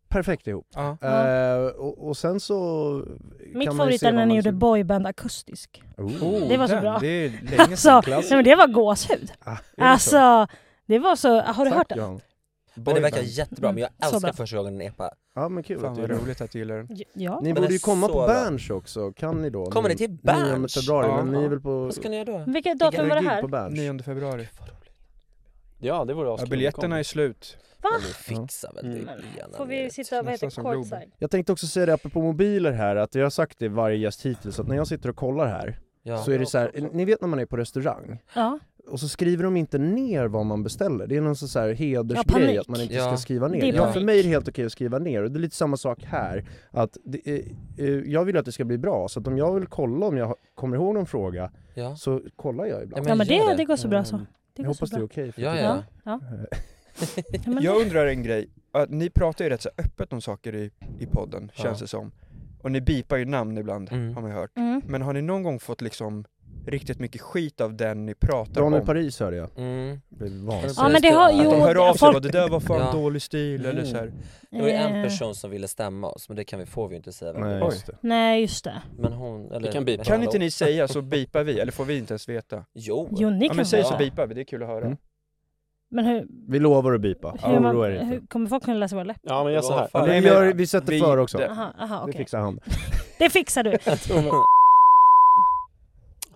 Speaker 1: Perfekt ihop.
Speaker 5: Ja.
Speaker 1: Eh, och, och sen så...
Speaker 2: Mitt
Speaker 1: kan man ju
Speaker 2: favorit
Speaker 1: se
Speaker 2: är när
Speaker 1: vad
Speaker 2: ni
Speaker 1: man-
Speaker 2: gjorde boyband akustisk.
Speaker 1: Oh.
Speaker 2: Det var så
Speaker 5: den,
Speaker 2: bra.
Speaker 5: Det är länge sedan.
Speaker 2: Alltså, nej
Speaker 5: Klass.
Speaker 2: men det var gåshud.
Speaker 1: Ah,
Speaker 5: det så?
Speaker 2: Alltså, det var så, har du
Speaker 1: Tack,
Speaker 2: hört det?
Speaker 1: Johan.
Speaker 3: Men det
Speaker 5: Boyband.
Speaker 3: verkar jättebra, men jag
Speaker 2: Mm, så
Speaker 3: älskar
Speaker 2: bra.
Speaker 3: första gången en epa.
Speaker 1: Ja men kul att
Speaker 5: Fan
Speaker 1: du
Speaker 5: vad
Speaker 1: gör det.
Speaker 5: roligt att du gillar den.
Speaker 2: Ja.
Speaker 1: Ni
Speaker 3: Men
Speaker 1: borde
Speaker 3: det
Speaker 1: ju
Speaker 3: är
Speaker 1: komma
Speaker 3: så
Speaker 1: på
Speaker 3: bra.
Speaker 1: Berns också, kan ni då?
Speaker 3: Kommer ni till
Speaker 1: 9
Speaker 3: Berns?
Speaker 1: februari,
Speaker 5: Ja.
Speaker 1: men ni är väl på...
Speaker 3: Vad ska ni göra då?
Speaker 2: Vilket
Speaker 3: Vilken
Speaker 2: datum
Speaker 1: Är det
Speaker 2: var det
Speaker 1: gig
Speaker 2: här?
Speaker 1: på Berns?
Speaker 5: 9 februari.
Speaker 7: Ja, det vore
Speaker 5: Ja,
Speaker 7: askul.
Speaker 5: biljetterna är slut.
Speaker 2: Va?
Speaker 3: Men ni fixar väl det
Speaker 2: Mm.
Speaker 3: igen?
Speaker 2: Får vi sitta, vad heter
Speaker 5: Nästan
Speaker 2: det,
Speaker 5: som
Speaker 2: courtside?
Speaker 1: Jag tänkte också säga det apropå mobiler här, att jag har sagt det varje gäst hittills, så att när jag sitter och kollar här
Speaker 3: Ja.
Speaker 1: så är det så här, ni vet när man är på restaurang
Speaker 2: Ja.
Speaker 1: och så skriver de inte ner vad man beställer, det är någon sån här hedersgrej
Speaker 2: panik.
Speaker 1: att man inte
Speaker 3: Ja.
Speaker 1: ska skriva ner.
Speaker 2: Det är
Speaker 1: Ja,
Speaker 2: panik.
Speaker 1: för mig är det helt okej att skriva ner och det är lite samma sak här, att det, är- eh, jag vill att det ska bli bra, så att om jag vill kolla om jag har- kommer ihåg någon fråga
Speaker 3: Ja.
Speaker 1: så kollar jag ibland.
Speaker 2: Ja men
Speaker 3: gör
Speaker 2: det, det går så bra så.
Speaker 3: Mm.
Speaker 2: Det
Speaker 1: Jag
Speaker 2: går så
Speaker 1: hoppas det är
Speaker 2: bra.
Speaker 1: okej. för
Speaker 3: Ja,
Speaker 1: att-
Speaker 3: ja.
Speaker 2: Ja. Ja, men
Speaker 5: Jag undrar en grej. Att ni pratar ju rätt så öppet om saker i, i podden,
Speaker 3: Ja.
Speaker 5: känns det som. Och ni bipar ju namn ibland,
Speaker 3: Mm.
Speaker 5: har man ju hört.
Speaker 2: Mm.
Speaker 5: Men har ni någon gång fått liksom riktigt mycket skit av den ni pratar
Speaker 1: Daniel
Speaker 5: om?
Speaker 1: Paris hörde jag,
Speaker 3: Mm.
Speaker 1: blev
Speaker 2: Ja
Speaker 1: vansinnig.
Speaker 2: men det har,
Speaker 3: Att
Speaker 5: Att
Speaker 2: jo,
Speaker 5: de hör av sig och bara,
Speaker 2: folk,
Speaker 5: det där var fan
Speaker 3: Ja.
Speaker 5: dålig stil eller
Speaker 3: Mm.
Speaker 5: så här.
Speaker 3: Det var ju en
Speaker 2: Eh,
Speaker 3: person som ville stämma oss, men det kan vi, får vi ju inte säga vem det
Speaker 1: Nej,
Speaker 3: var.
Speaker 1: just det.
Speaker 2: Nej just det.
Speaker 3: Men hon, eller...
Speaker 7: Vi kan bipa.
Speaker 3: men
Speaker 5: Kan
Speaker 3: hallå.
Speaker 5: inte ni säga så bipar vi, eller får vi inte ens veta?
Speaker 3: Jo!
Speaker 2: Jo ni
Speaker 5: Ja
Speaker 2: kan
Speaker 5: men säg
Speaker 2: väl-
Speaker 5: så bipar vi, det är kul att höra.
Speaker 1: Mm.
Speaker 2: Men hur,
Speaker 1: Vi lovar att bipa,
Speaker 2: hur, man,
Speaker 1: oroa er inte.
Speaker 2: hur kommer folk kunna läsa våra läppar?
Speaker 7: Ja, men jag så här.
Speaker 1: Ja,
Speaker 5: Nej,
Speaker 1: vi,
Speaker 5: men-
Speaker 1: gör, vi sätter
Speaker 5: vi-
Speaker 1: för också,
Speaker 5: det-
Speaker 2: Aha, aha,
Speaker 1: det
Speaker 2: okej.
Speaker 1: fixar han.
Speaker 2: Det fixar du.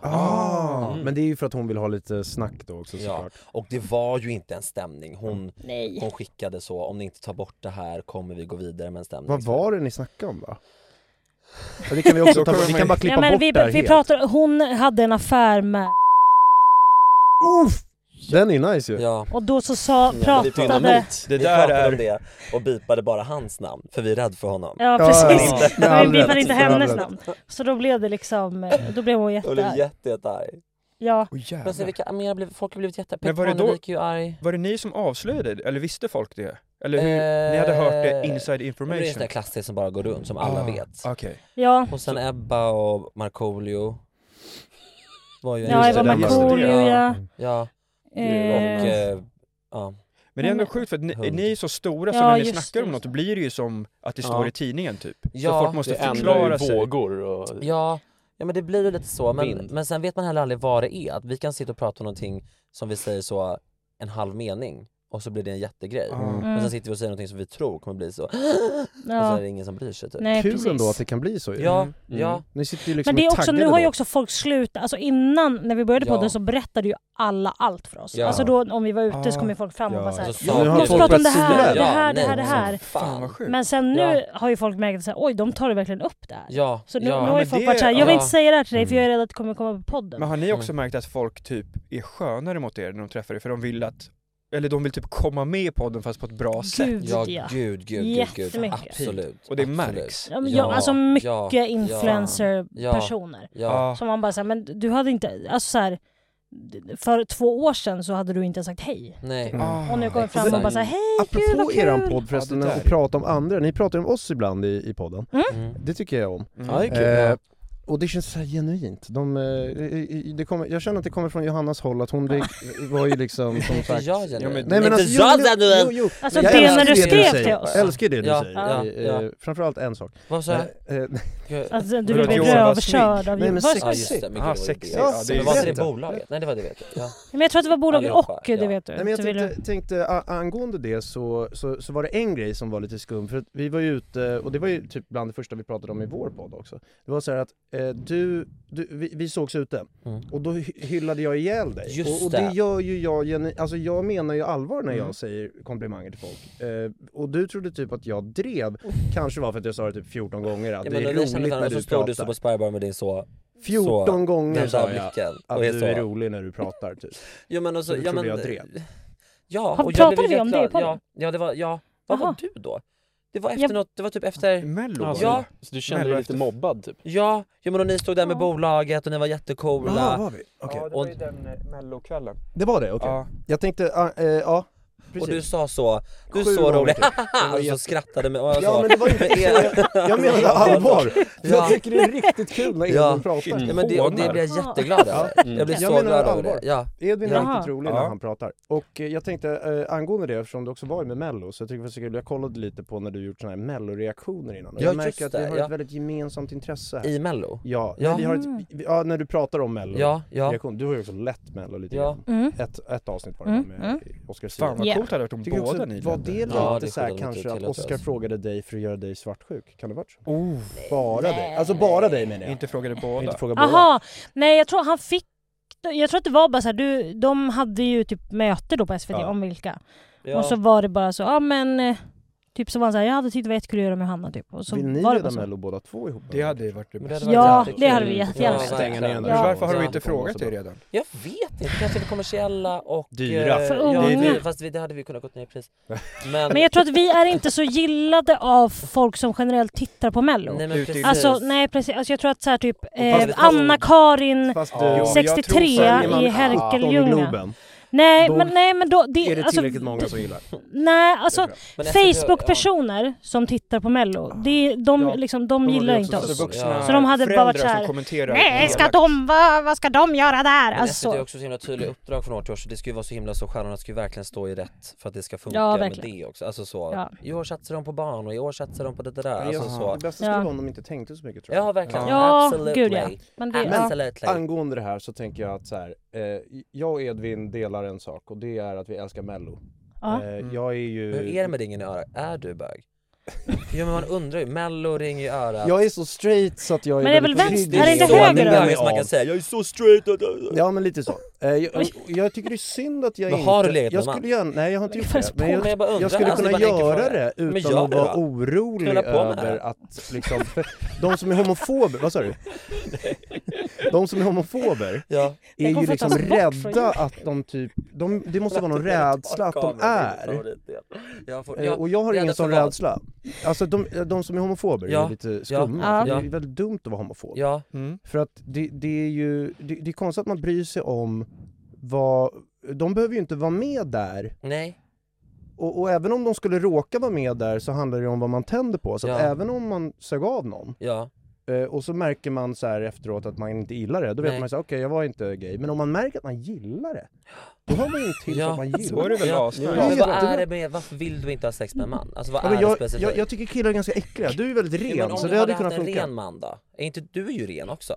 Speaker 1: Ah, Men det är ju för att hon vill ha lite snack då också
Speaker 3: Ja,
Speaker 1: såklart.
Speaker 3: och det var ju inte en stämning. Hon,
Speaker 2: Nej.
Speaker 3: hon skickade så, om ni inte tar bort det här kommer vi gå vidare med en stämning.
Speaker 1: Vad var det ni snackade om då? Ja, det kan vi också ta bort, vi kan bara klippa
Speaker 2: ja, men
Speaker 1: bort
Speaker 2: vi,
Speaker 1: det här
Speaker 2: vi
Speaker 1: helt.
Speaker 2: pratar, Hon hade en affär med...
Speaker 1: Uff, Den är nice ju.
Speaker 3: Ja.
Speaker 2: Och då så sa, pratade...
Speaker 1: där
Speaker 3: Det pratade
Speaker 1: är-
Speaker 3: om det och bipade bara hans namn, för vi är rädd för honom.
Speaker 2: Ja precis,
Speaker 3: Inte-
Speaker 2: men vi bifade inte hennes namn. Så då blev det liksom, då blev hon
Speaker 3: Jag blev
Speaker 2: jättearg.
Speaker 3: jätte, jättearg.
Speaker 2: Ja.
Speaker 3: Men sen vilka, men jag blev, folk har blivit jätte...
Speaker 5: Men var
Speaker 3: Petter
Speaker 5: det då-
Speaker 3: Parnevik är ju arg.
Speaker 5: Var det ni som avslöjade, eller visste folk det? Eller hur, ni hade hört det inside
Speaker 3: Eh, Det är en sån
Speaker 5: information?
Speaker 3: där klassiker som bara går runt, som alla
Speaker 5: Ah,
Speaker 3: vet.
Speaker 5: okej.
Speaker 2: Ja.
Speaker 3: Och sen Ebba och Markoolio. Var ju en
Speaker 2: Ja,
Speaker 3: sån
Speaker 2: Ebba
Speaker 3: där-
Speaker 2: Markoolio, ja.
Speaker 3: Ja.
Speaker 2: Eh.
Speaker 3: Och, eh, ja. Mm.
Speaker 5: Men det är ändå sjukt för att ni, ni är så stora så
Speaker 2: Ja,
Speaker 5: när ni
Speaker 2: just det,
Speaker 5: snackar om något då blir det ju som att det står
Speaker 3: Ja.
Speaker 5: i tidningen typ.
Speaker 3: Ja,
Speaker 5: så folk måste
Speaker 3: det ändrar ju
Speaker 5: förklara sig.
Speaker 7: vågor och...
Speaker 3: Ja, ja men det blir ju lite så. Men,
Speaker 7: Vind.
Speaker 3: men sen vet man heller aldrig vad det är. Att vi kan sitta och prata om någonting som vi säger så en halv mening och så blir det en jättegrej.
Speaker 1: Mm.
Speaker 3: Men sen sitter vi och säger någonting som vi tror kommer bli så. Och så
Speaker 2: Ja.
Speaker 3: är det ingen som bryr sig typ.
Speaker 2: Nej,
Speaker 1: Kul
Speaker 2: precis.
Speaker 1: ändå att det kan bli så ju. Mm.
Speaker 3: Ja, ja.
Speaker 1: Ni sitter ju liksom
Speaker 2: Men det är
Speaker 1: och
Speaker 2: också, nu
Speaker 1: taggar
Speaker 2: har
Speaker 1: då.
Speaker 2: ju också folk slutat, alltså innan när vi började
Speaker 3: Ja.
Speaker 2: podden så berättade ju alla allt för oss.
Speaker 3: Ja.
Speaker 2: Alltså då om vi var ute så kom ju
Speaker 5: Ah.
Speaker 2: folk fram och
Speaker 5: Ja.
Speaker 2: bara såhär,
Speaker 3: Ja, Alltså,
Speaker 2: vi
Speaker 3: nu har
Speaker 2: måste
Speaker 3: folk
Speaker 2: prata om det
Speaker 3: börjat
Speaker 2: här, det
Speaker 3: sila.
Speaker 2: här, det
Speaker 3: Ja,
Speaker 2: här, det
Speaker 3: nej,
Speaker 2: här.
Speaker 5: Fan vad sjukt.
Speaker 2: Men sen nu har ju folk märkt att oj, de tar det verkligen upp det här.
Speaker 3: Ja,
Speaker 2: Så nu,
Speaker 3: ja.
Speaker 2: nu har ju
Speaker 5: men
Speaker 2: folk
Speaker 5: det-
Speaker 2: varit såhär, jag vill
Speaker 3: ja.
Speaker 2: inte säga det här till dig för
Speaker 3: Mm.
Speaker 2: jag är rädd att det kommer komma på podden. Mm.
Speaker 5: Men har ni också märkt att folk typ är skönare mot er när de träffar er för de vill att, eller de vill typ komma med i podden fast på ett bra sätt?
Speaker 2: Gud
Speaker 3: Ja,
Speaker 2: ja.
Speaker 3: gud, gud, gud, gud,
Speaker 2: Jättemycket.
Speaker 3: Absolut.
Speaker 5: Och det
Speaker 3: absolut.
Speaker 5: märks.
Speaker 2: Ja, men
Speaker 3: Ja,
Speaker 2: jag, alltså
Speaker 3: ja,
Speaker 2: mycket
Speaker 3: ja,
Speaker 2: influencer-personer.
Speaker 3: Ja,
Speaker 2: Som man bara säger, men du hade inte, alltså så här, för två år sedan så hade du inte sagt hej.
Speaker 3: nej. Ah,
Speaker 2: Och nu kommer fram och bara säger hej, gud vad
Speaker 1: Apropå
Speaker 2: kul!
Speaker 1: eran podd förresten,
Speaker 5: Ja, det där
Speaker 1: och prata om andra. Ni pratar ju om oss ibland i, i podden.
Speaker 3: Mm.
Speaker 1: Det tycker jag om.
Speaker 7: Ja, det är kul.
Speaker 1: Eh, och det känns så här genuint. De, eh, det- det kommer, jag känner att det kommer från Johannas håll, att hon det, var ju liksom som sagt...
Speaker 3: jag genuin?
Speaker 1: men- alltså,
Speaker 3: Inte
Speaker 1: jo,
Speaker 3: jag
Speaker 1: jo,
Speaker 3: genuin!
Speaker 1: jo, jo.
Speaker 2: Alltså,
Speaker 1: Jag
Speaker 2: det
Speaker 1: älskar
Speaker 2: när du
Speaker 1: det
Speaker 2: skrev
Speaker 1: säger.
Speaker 2: till oss.
Speaker 1: Jag älskar det du
Speaker 3: Ja,
Speaker 1: säger.
Speaker 3: ja,
Speaker 1: Eh,
Speaker 3: ja.
Speaker 1: eh, Framförallt en sak.
Speaker 3: Vad sa jag?
Speaker 1: Eh, eh,
Speaker 3: Gud.
Speaker 2: Alltså du
Speaker 5: Vadå,
Speaker 2: blev
Speaker 5: att Johan var
Speaker 2: överkörd av
Speaker 1: Nej, men
Speaker 2: Johan.
Speaker 1: sex-
Speaker 3: Ja just det, men gud,
Speaker 5: Ah,
Speaker 3: det var ju
Speaker 5: sexigt.
Speaker 3: det.
Speaker 5: Ja, det är
Speaker 3: Men var inte det
Speaker 1: jättebra.
Speaker 3: bolaget? Nej det var det vet jag. Ja.
Speaker 2: Men jag tror att det var bolaget
Speaker 3: Allihopa,
Speaker 2: och, det
Speaker 3: ja.
Speaker 2: vet du.
Speaker 1: Nej, men jag
Speaker 2: Så vill
Speaker 1: tänkte,
Speaker 2: du-
Speaker 1: tänkte a- angående det så, så, så var det en grej som var lite skum för att vi var ju ute och det var ju typ bland det första vi pratade om i vår podd också. Det var så här att eh, du, du vi, vi sågs ute
Speaker 3: Mm.
Speaker 1: och då hy- hyllade jag ihjäl dig.
Speaker 3: Just
Speaker 1: och, och det
Speaker 3: det.
Speaker 1: gör ju jag, genu- alltså jag menar ju allvar när jag
Speaker 5: Mm.
Speaker 1: säger komplimanger till folk. Eh, och du trodde typ att jag drev, kanske var för att jag sa det typ 14 gånger att
Speaker 3: Ja,
Speaker 1: det
Speaker 3: men
Speaker 1: är
Speaker 3: när vi kände
Speaker 1: roligt när
Speaker 3: varandra så
Speaker 1: du
Speaker 3: stod du så
Speaker 1: pratar.
Speaker 3: på Spybar med din så,
Speaker 1: 14
Speaker 3: så-
Speaker 1: gånger
Speaker 3: den
Speaker 1: sa
Speaker 3: där
Speaker 1: jag
Speaker 3: blicken.
Speaker 1: att
Speaker 3: Och är
Speaker 1: du är
Speaker 3: så.
Speaker 1: rolig när du pratar typ.
Speaker 3: Jo men alltså,
Speaker 1: Så du
Speaker 3: ja
Speaker 1: trodde
Speaker 3: men.
Speaker 1: jag drev.
Speaker 3: Ja,
Speaker 2: Har-
Speaker 3: och jag
Speaker 2: pratade
Speaker 3: blev
Speaker 2: vi om det i
Speaker 3: jätteglad.
Speaker 2: podden?
Speaker 3: Ja, ja det var, ja. Vad
Speaker 2: Jaha.
Speaker 3: var du då? Det var efter
Speaker 2: Jag-
Speaker 3: något, det var typ efter
Speaker 5: Mello var
Speaker 3: Alltså,
Speaker 5: det.
Speaker 3: Ja.
Speaker 7: Så du kände
Speaker 5: Mello
Speaker 7: dig lite
Speaker 5: efter-
Speaker 7: mobbad typ?
Speaker 3: Ja, ja men och ni stod där med
Speaker 2: Ja.
Speaker 3: bolaget och ni var jättecoola.
Speaker 1: Jaha, Ah, var vi? Okej.
Speaker 5: Ja, det var ju den eh, mellokvällen.
Speaker 1: Det var det? Okej.
Speaker 5: Ja.
Speaker 1: Jag tänkte, ah, eh, ja. Precis.
Speaker 3: och du sa så, du är
Speaker 1: Sju
Speaker 3: så
Speaker 1: gånger
Speaker 3: rolig,
Speaker 1: typ. var
Speaker 3: och så
Speaker 1: jätte-
Speaker 3: skrattade med, och jag
Speaker 1: Ja
Speaker 3: sa,
Speaker 1: men det var ju inte så jag, jag menade allvar. Jag
Speaker 3: Ja.
Speaker 1: tycker det är riktigt kul när Edvin
Speaker 3: Ja.
Speaker 1: pratar.
Speaker 3: Ja, men det, och det
Speaker 5: Hånar.
Speaker 3: blev jag jätteglad över. Jag
Speaker 1: Jag
Speaker 3: blev så
Speaker 1: menar
Speaker 3: glad över
Speaker 1: allvar.
Speaker 3: det. Ja.
Speaker 1: Edvin är
Speaker 2: Jaha.
Speaker 1: riktigt rolig när
Speaker 5: Ja.
Speaker 1: han pratar. Och eh, jag tänkte eh, angående det, eftersom du också var med Mello, så jag tycker det var så kul, jag kollade lite på när du gjort såna här Mello-reaktioner innan. Och
Speaker 3: Ja,
Speaker 1: jag
Speaker 3: just
Speaker 1: märker att vi
Speaker 3: det,
Speaker 1: har
Speaker 3: ja.
Speaker 1: ett väldigt gemensamt intresse här.
Speaker 3: I mello.
Speaker 1: Ja,
Speaker 3: Ja.
Speaker 1: ja. Vi har ett, vi- ja, när du pratar om Mello.
Speaker 3: Ja, ja.
Speaker 1: Reaktion. Du har ju också lett Mello lite
Speaker 3: Ja.
Speaker 1: grann.
Speaker 2: Mm.
Speaker 1: Ett, ett avsnitt var det
Speaker 2: Mm,
Speaker 1: med
Speaker 2: mm.
Speaker 1: Oskar Zia.
Speaker 5: Fan vad
Speaker 2: Ja.
Speaker 5: coolt det hade varit om
Speaker 1: Tycker också,
Speaker 5: båda ni
Speaker 1: var
Speaker 5: nämnde.
Speaker 1: det lite
Speaker 3: Ja, det
Speaker 1: så här
Speaker 3: kunde de inte
Speaker 1: kanske att
Speaker 3: tillåta
Speaker 1: Oscar
Speaker 3: oss.
Speaker 1: frågade dig för att göra dig svartsjuk? Kan det varit så?
Speaker 5: Oh,
Speaker 1: Bara dig? Alltså bara dig menar jag.
Speaker 5: inte frågade båda.
Speaker 1: Inte fråga båda.
Speaker 2: Aha, nej jag tror han fick jag tror att det var bara såhär, du, de hade ju typ möte då på SVT
Speaker 1: Ja.
Speaker 2: om vilka.
Speaker 3: Ja.
Speaker 2: Och så var det bara så, ja men eh, Typ så var han såhär, jag hade tyckt det var jättekul att göra med Hanna typ. Och så
Speaker 1: Vill ni
Speaker 2: var det
Speaker 1: leda
Speaker 2: bara så.
Speaker 1: Mello båda två ihop?
Speaker 5: Det hade ju varit det
Speaker 3: Men
Speaker 5: bästa.
Speaker 3: varit
Speaker 2: Ja,
Speaker 3: jättekul.
Speaker 2: det hade vi jättegärna
Speaker 3: Ja,
Speaker 2: velat.
Speaker 1: Stänga ner den där.
Speaker 2: Ja.
Speaker 5: Varför har
Speaker 3: Ja.
Speaker 5: du inte frågat er redan?
Speaker 3: Jag vet inte, kanske det kommersiella och...
Speaker 1: Dyra.
Speaker 3: eh,
Speaker 2: För
Speaker 3: ja,
Speaker 2: unga.
Speaker 3: dyra, Fast vi, det hade vi kunnat gått ner i pris. Men,
Speaker 2: Men jag tror att vi är inte så gillade av folk som generellt tittar på mello.
Speaker 3: nej,
Speaker 5: Ute i-
Speaker 3: men precis.
Speaker 2: Alltså nej precis, alltså, jag tror att så här, typ
Speaker 3: fast
Speaker 2: eh,
Speaker 3: det tar-
Speaker 2: Anna-Karin
Speaker 1: Fast
Speaker 5: Ja,
Speaker 1: du...
Speaker 5: jag tror
Speaker 2: 63
Speaker 5: följer
Speaker 2: i Herkeljunga.
Speaker 1: Globen,
Speaker 2: Nej
Speaker 1: då
Speaker 2: men nej men då, det,
Speaker 1: är det
Speaker 2: alltså,
Speaker 1: tillräckligt många som gillar?
Speaker 2: Nej alltså
Speaker 3: Men SVT
Speaker 2: Facebook-personer som tittar på
Speaker 3: Ah.
Speaker 2: mello, det, de,
Speaker 5: Ja.
Speaker 2: liksom, de,
Speaker 5: De
Speaker 2: gillar
Speaker 5: hade
Speaker 2: inte
Speaker 5: också
Speaker 2: oss.
Speaker 5: vuxna
Speaker 2: Så de hade bara
Speaker 5: föräldrar
Speaker 2: varit så här,
Speaker 5: som kommenterar
Speaker 2: Nej ska
Speaker 5: elakt.
Speaker 2: de, vad, vad ska de göra där?
Speaker 3: Men
Speaker 2: Alltså,
Speaker 3: SVT är
Speaker 2: så.
Speaker 3: också så himla tydliga uppdrag från år till år så det ska ju vara så himla så stjärnorna ska ju verkligen stå i rätt för att det ska funka
Speaker 2: Ja,
Speaker 3: med
Speaker 2: verkligen.
Speaker 3: det också. Alltså så,
Speaker 2: Ja.
Speaker 3: i år satsar de på barn och i år satsar de på det där. Alltså
Speaker 1: Det
Speaker 3: så.
Speaker 1: bästa
Speaker 2: Ja.
Speaker 1: skulle vara om de inte tänkte så mycket tror jag.
Speaker 3: Ja verkligen,
Speaker 2: Ja,
Speaker 3: absolutely.
Speaker 2: gud, ja. Men det, ja.
Speaker 3: Absolutely.
Speaker 1: Angående det här så tänker jag att så här, eh, jag och Edvin delar en sak och det är att vi älskar Mello.
Speaker 2: Ja.
Speaker 3: Mm.
Speaker 1: Eh, jag är ju...
Speaker 3: Hur är det med ringen i örat? Är du bög? Ja men man undrar ju, mello ringer i örat
Speaker 1: Jag är så straight så att jag är
Speaker 3: Men det är
Speaker 1: väldigt
Speaker 3: väl vänster-
Speaker 1: prydlig.
Speaker 3: är det inte höger då? Man kan säga, "Jag är så straight att-
Speaker 1: Ja men lite så. Eh, Jag, och jag tycker det är synd att jag
Speaker 3: Men
Speaker 1: inte...
Speaker 3: har du legat
Speaker 1: jag
Speaker 3: med man?
Speaker 1: skulle göra, Nej jag har inte gjort det. Men
Speaker 3: på, men jag bara
Speaker 1: jag,
Speaker 3: undrar.
Speaker 1: jag skulle
Speaker 3: Alltså,
Speaker 1: kunna
Speaker 3: det är bara en enkel
Speaker 1: göra
Speaker 3: fråga.
Speaker 1: det
Speaker 3: Men
Speaker 1: utan
Speaker 3: gör
Speaker 1: att
Speaker 3: det
Speaker 1: vara
Speaker 3: då.
Speaker 1: orolig
Speaker 3: Knulla på med det
Speaker 1: över
Speaker 3: här.
Speaker 1: att liksom... För de som är homofober, vad sa du? De som är homofober
Speaker 3: Ja.
Speaker 1: är
Speaker 3: Den
Speaker 1: ju
Speaker 3: kommer få
Speaker 1: liksom
Speaker 3: tas bort från
Speaker 1: rädda
Speaker 3: jorden.
Speaker 1: att de typ... De, det måste vara någon rädsla att de är.
Speaker 3: Jag får,
Speaker 1: Eh, Och jag har
Speaker 3: är
Speaker 1: ingen
Speaker 3: rädd
Speaker 1: sån
Speaker 3: för vad?
Speaker 1: rädsla. Alltså de, de som är homofober är
Speaker 3: Ja.
Speaker 1: lite
Speaker 3: Ja.
Speaker 1: skumma,
Speaker 3: Ja.
Speaker 1: för det
Speaker 3: Ja.
Speaker 1: är väldigt dumt att vara homofob.
Speaker 3: Ja.
Speaker 1: För att det, det är ju, det, det är konstigt att man bryr sig om vad, de behöver ju inte vara med där.
Speaker 3: Nej.
Speaker 1: Och, och även om de skulle råka vara med där så handlar det ju om vad man tänder på. Så att
Speaker 3: Ja.
Speaker 1: även om man sög av någon
Speaker 3: Ja.
Speaker 1: eh, och så märker man så här efteråt att man inte gillar det, då
Speaker 3: Nej.
Speaker 1: vet man så här, okej jag var inte gay. Men om man märker att man gillar det, då har man ju till
Speaker 3: Ja.
Speaker 1: att man gillar
Speaker 3: Då är det väl
Speaker 1: Ja.
Speaker 3: asnice.
Speaker 1: Ja,
Speaker 3: Men vad är
Speaker 1: jättebra.
Speaker 3: det med, varför vill du inte ha sex med en man? Alltså vad
Speaker 1: Ja,
Speaker 3: är
Speaker 1: men
Speaker 3: det
Speaker 1: jag,
Speaker 3: specifikt?
Speaker 1: jag, jag tycker killar är ganska äckliga, du är väldigt
Speaker 3: Jo,
Speaker 1: ren
Speaker 3: men om
Speaker 1: så
Speaker 3: du
Speaker 1: det hade
Speaker 3: hade
Speaker 1: ju kunnat
Speaker 3: haft en
Speaker 1: funka.
Speaker 3: ren man då? Är inte, du är ju ren också.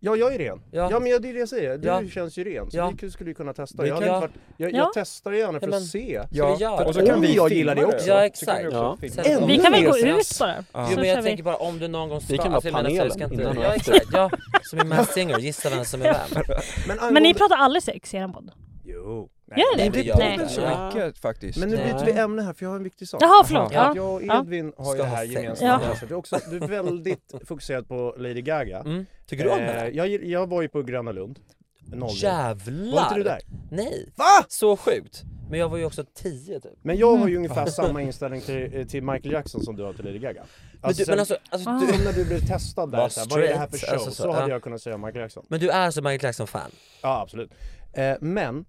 Speaker 1: Ja, jag är ren. Ja, men jag, det är det jag säger. Du
Speaker 3: Ja.
Speaker 1: känns ju ren, så
Speaker 3: Ja.
Speaker 1: vi skulle ju kunna testa.
Speaker 3: Vi
Speaker 1: Jag, har
Speaker 3: kan-
Speaker 1: inte varit, jag,
Speaker 3: Ja.
Speaker 1: jag testar gärna för
Speaker 3: Ja, men-
Speaker 1: att se.
Speaker 3: Ska vi göra
Speaker 1: För
Speaker 3: det?
Speaker 1: att om jag gillar det också.
Speaker 3: Ja exakt.
Speaker 1: Ännu
Speaker 3: Vi
Speaker 2: kan väl
Speaker 1: mer
Speaker 2: gå
Speaker 1: straff.
Speaker 2: ut bara?
Speaker 3: Jo
Speaker 2: Så
Speaker 3: men
Speaker 2: kör
Speaker 3: jag
Speaker 2: vi.
Speaker 3: tänker bara om du någon gång ska...
Speaker 7: Vi kan vara
Speaker 3: alltså, jag menar, så
Speaker 7: panelen
Speaker 3: ska inte-
Speaker 7: innan och
Speaker 3: Ja
Speaker 7: efter.
Speaker 3: exakt, ja. Som i Masked Singer, gissa vem som är vem.
Speaker 2: Men ni pratar aldrig sex i er podd?
Speaker 1: Jo.
Speaker 2: Gör ni Typ
Speaker 5: Nej,
Speaker 2: det?
Speaker 5: det gör vi inte så mycket faktiskt.
Speaker 1: Men nu byter vi ämne här för jag har en viktig sak.
Speaker 2: Jaha, förlåt.
Speaker 1: Att
Speaker 2: Ja.
Speaker 1: Jag och
Speaker 2: Ja.
Speaker 1: Edvin har ju
Speaker 3: Ska
Speaker 1: det här
Speaker 3: ha sex.
Speaker 1: gemensamt.
Speaker 3: Ja.
Speaker 1: Ja. Du, är också, du är väldigt fokuserad på Lady Gaga.
Speaker 3: Mm. Tycker du om henne?
Speaker 1: Eh, Jag, jag var ju på Gröna Lund. Noll.
Speaker 3: Jävlar!
Speaker 1: Var inte du där?
Speaker 3: Nej. Så sjukt. Men jag var ju också tio typ.
Speaker 1: Men jag
Speaker 2: Mm.
Speaker 1: har ju ungefär samma inställning till, till Michael Jackson som du har till Lady Gaga.
Speaker 3: du- men alltså- alltså
Speaker 1: som
Speaker 3: du-
Speaker 1: när du blev testad där,
Speaker 3: Var
Speaker 1: så här, vad är det här för
Speaker 3: straight,
Speaker 1: show?
Speaker 3: alltså
Speaker 1: så,
Speaker 3: så,
Speaker 1: hade
Speaker 3: ja.
Speaker 1: jag kunnat säga om Michael Jackson.
Speaker 3: Men du är så Michael Jackson-fan?
Speaker 1: Ja, absolut. Eh, men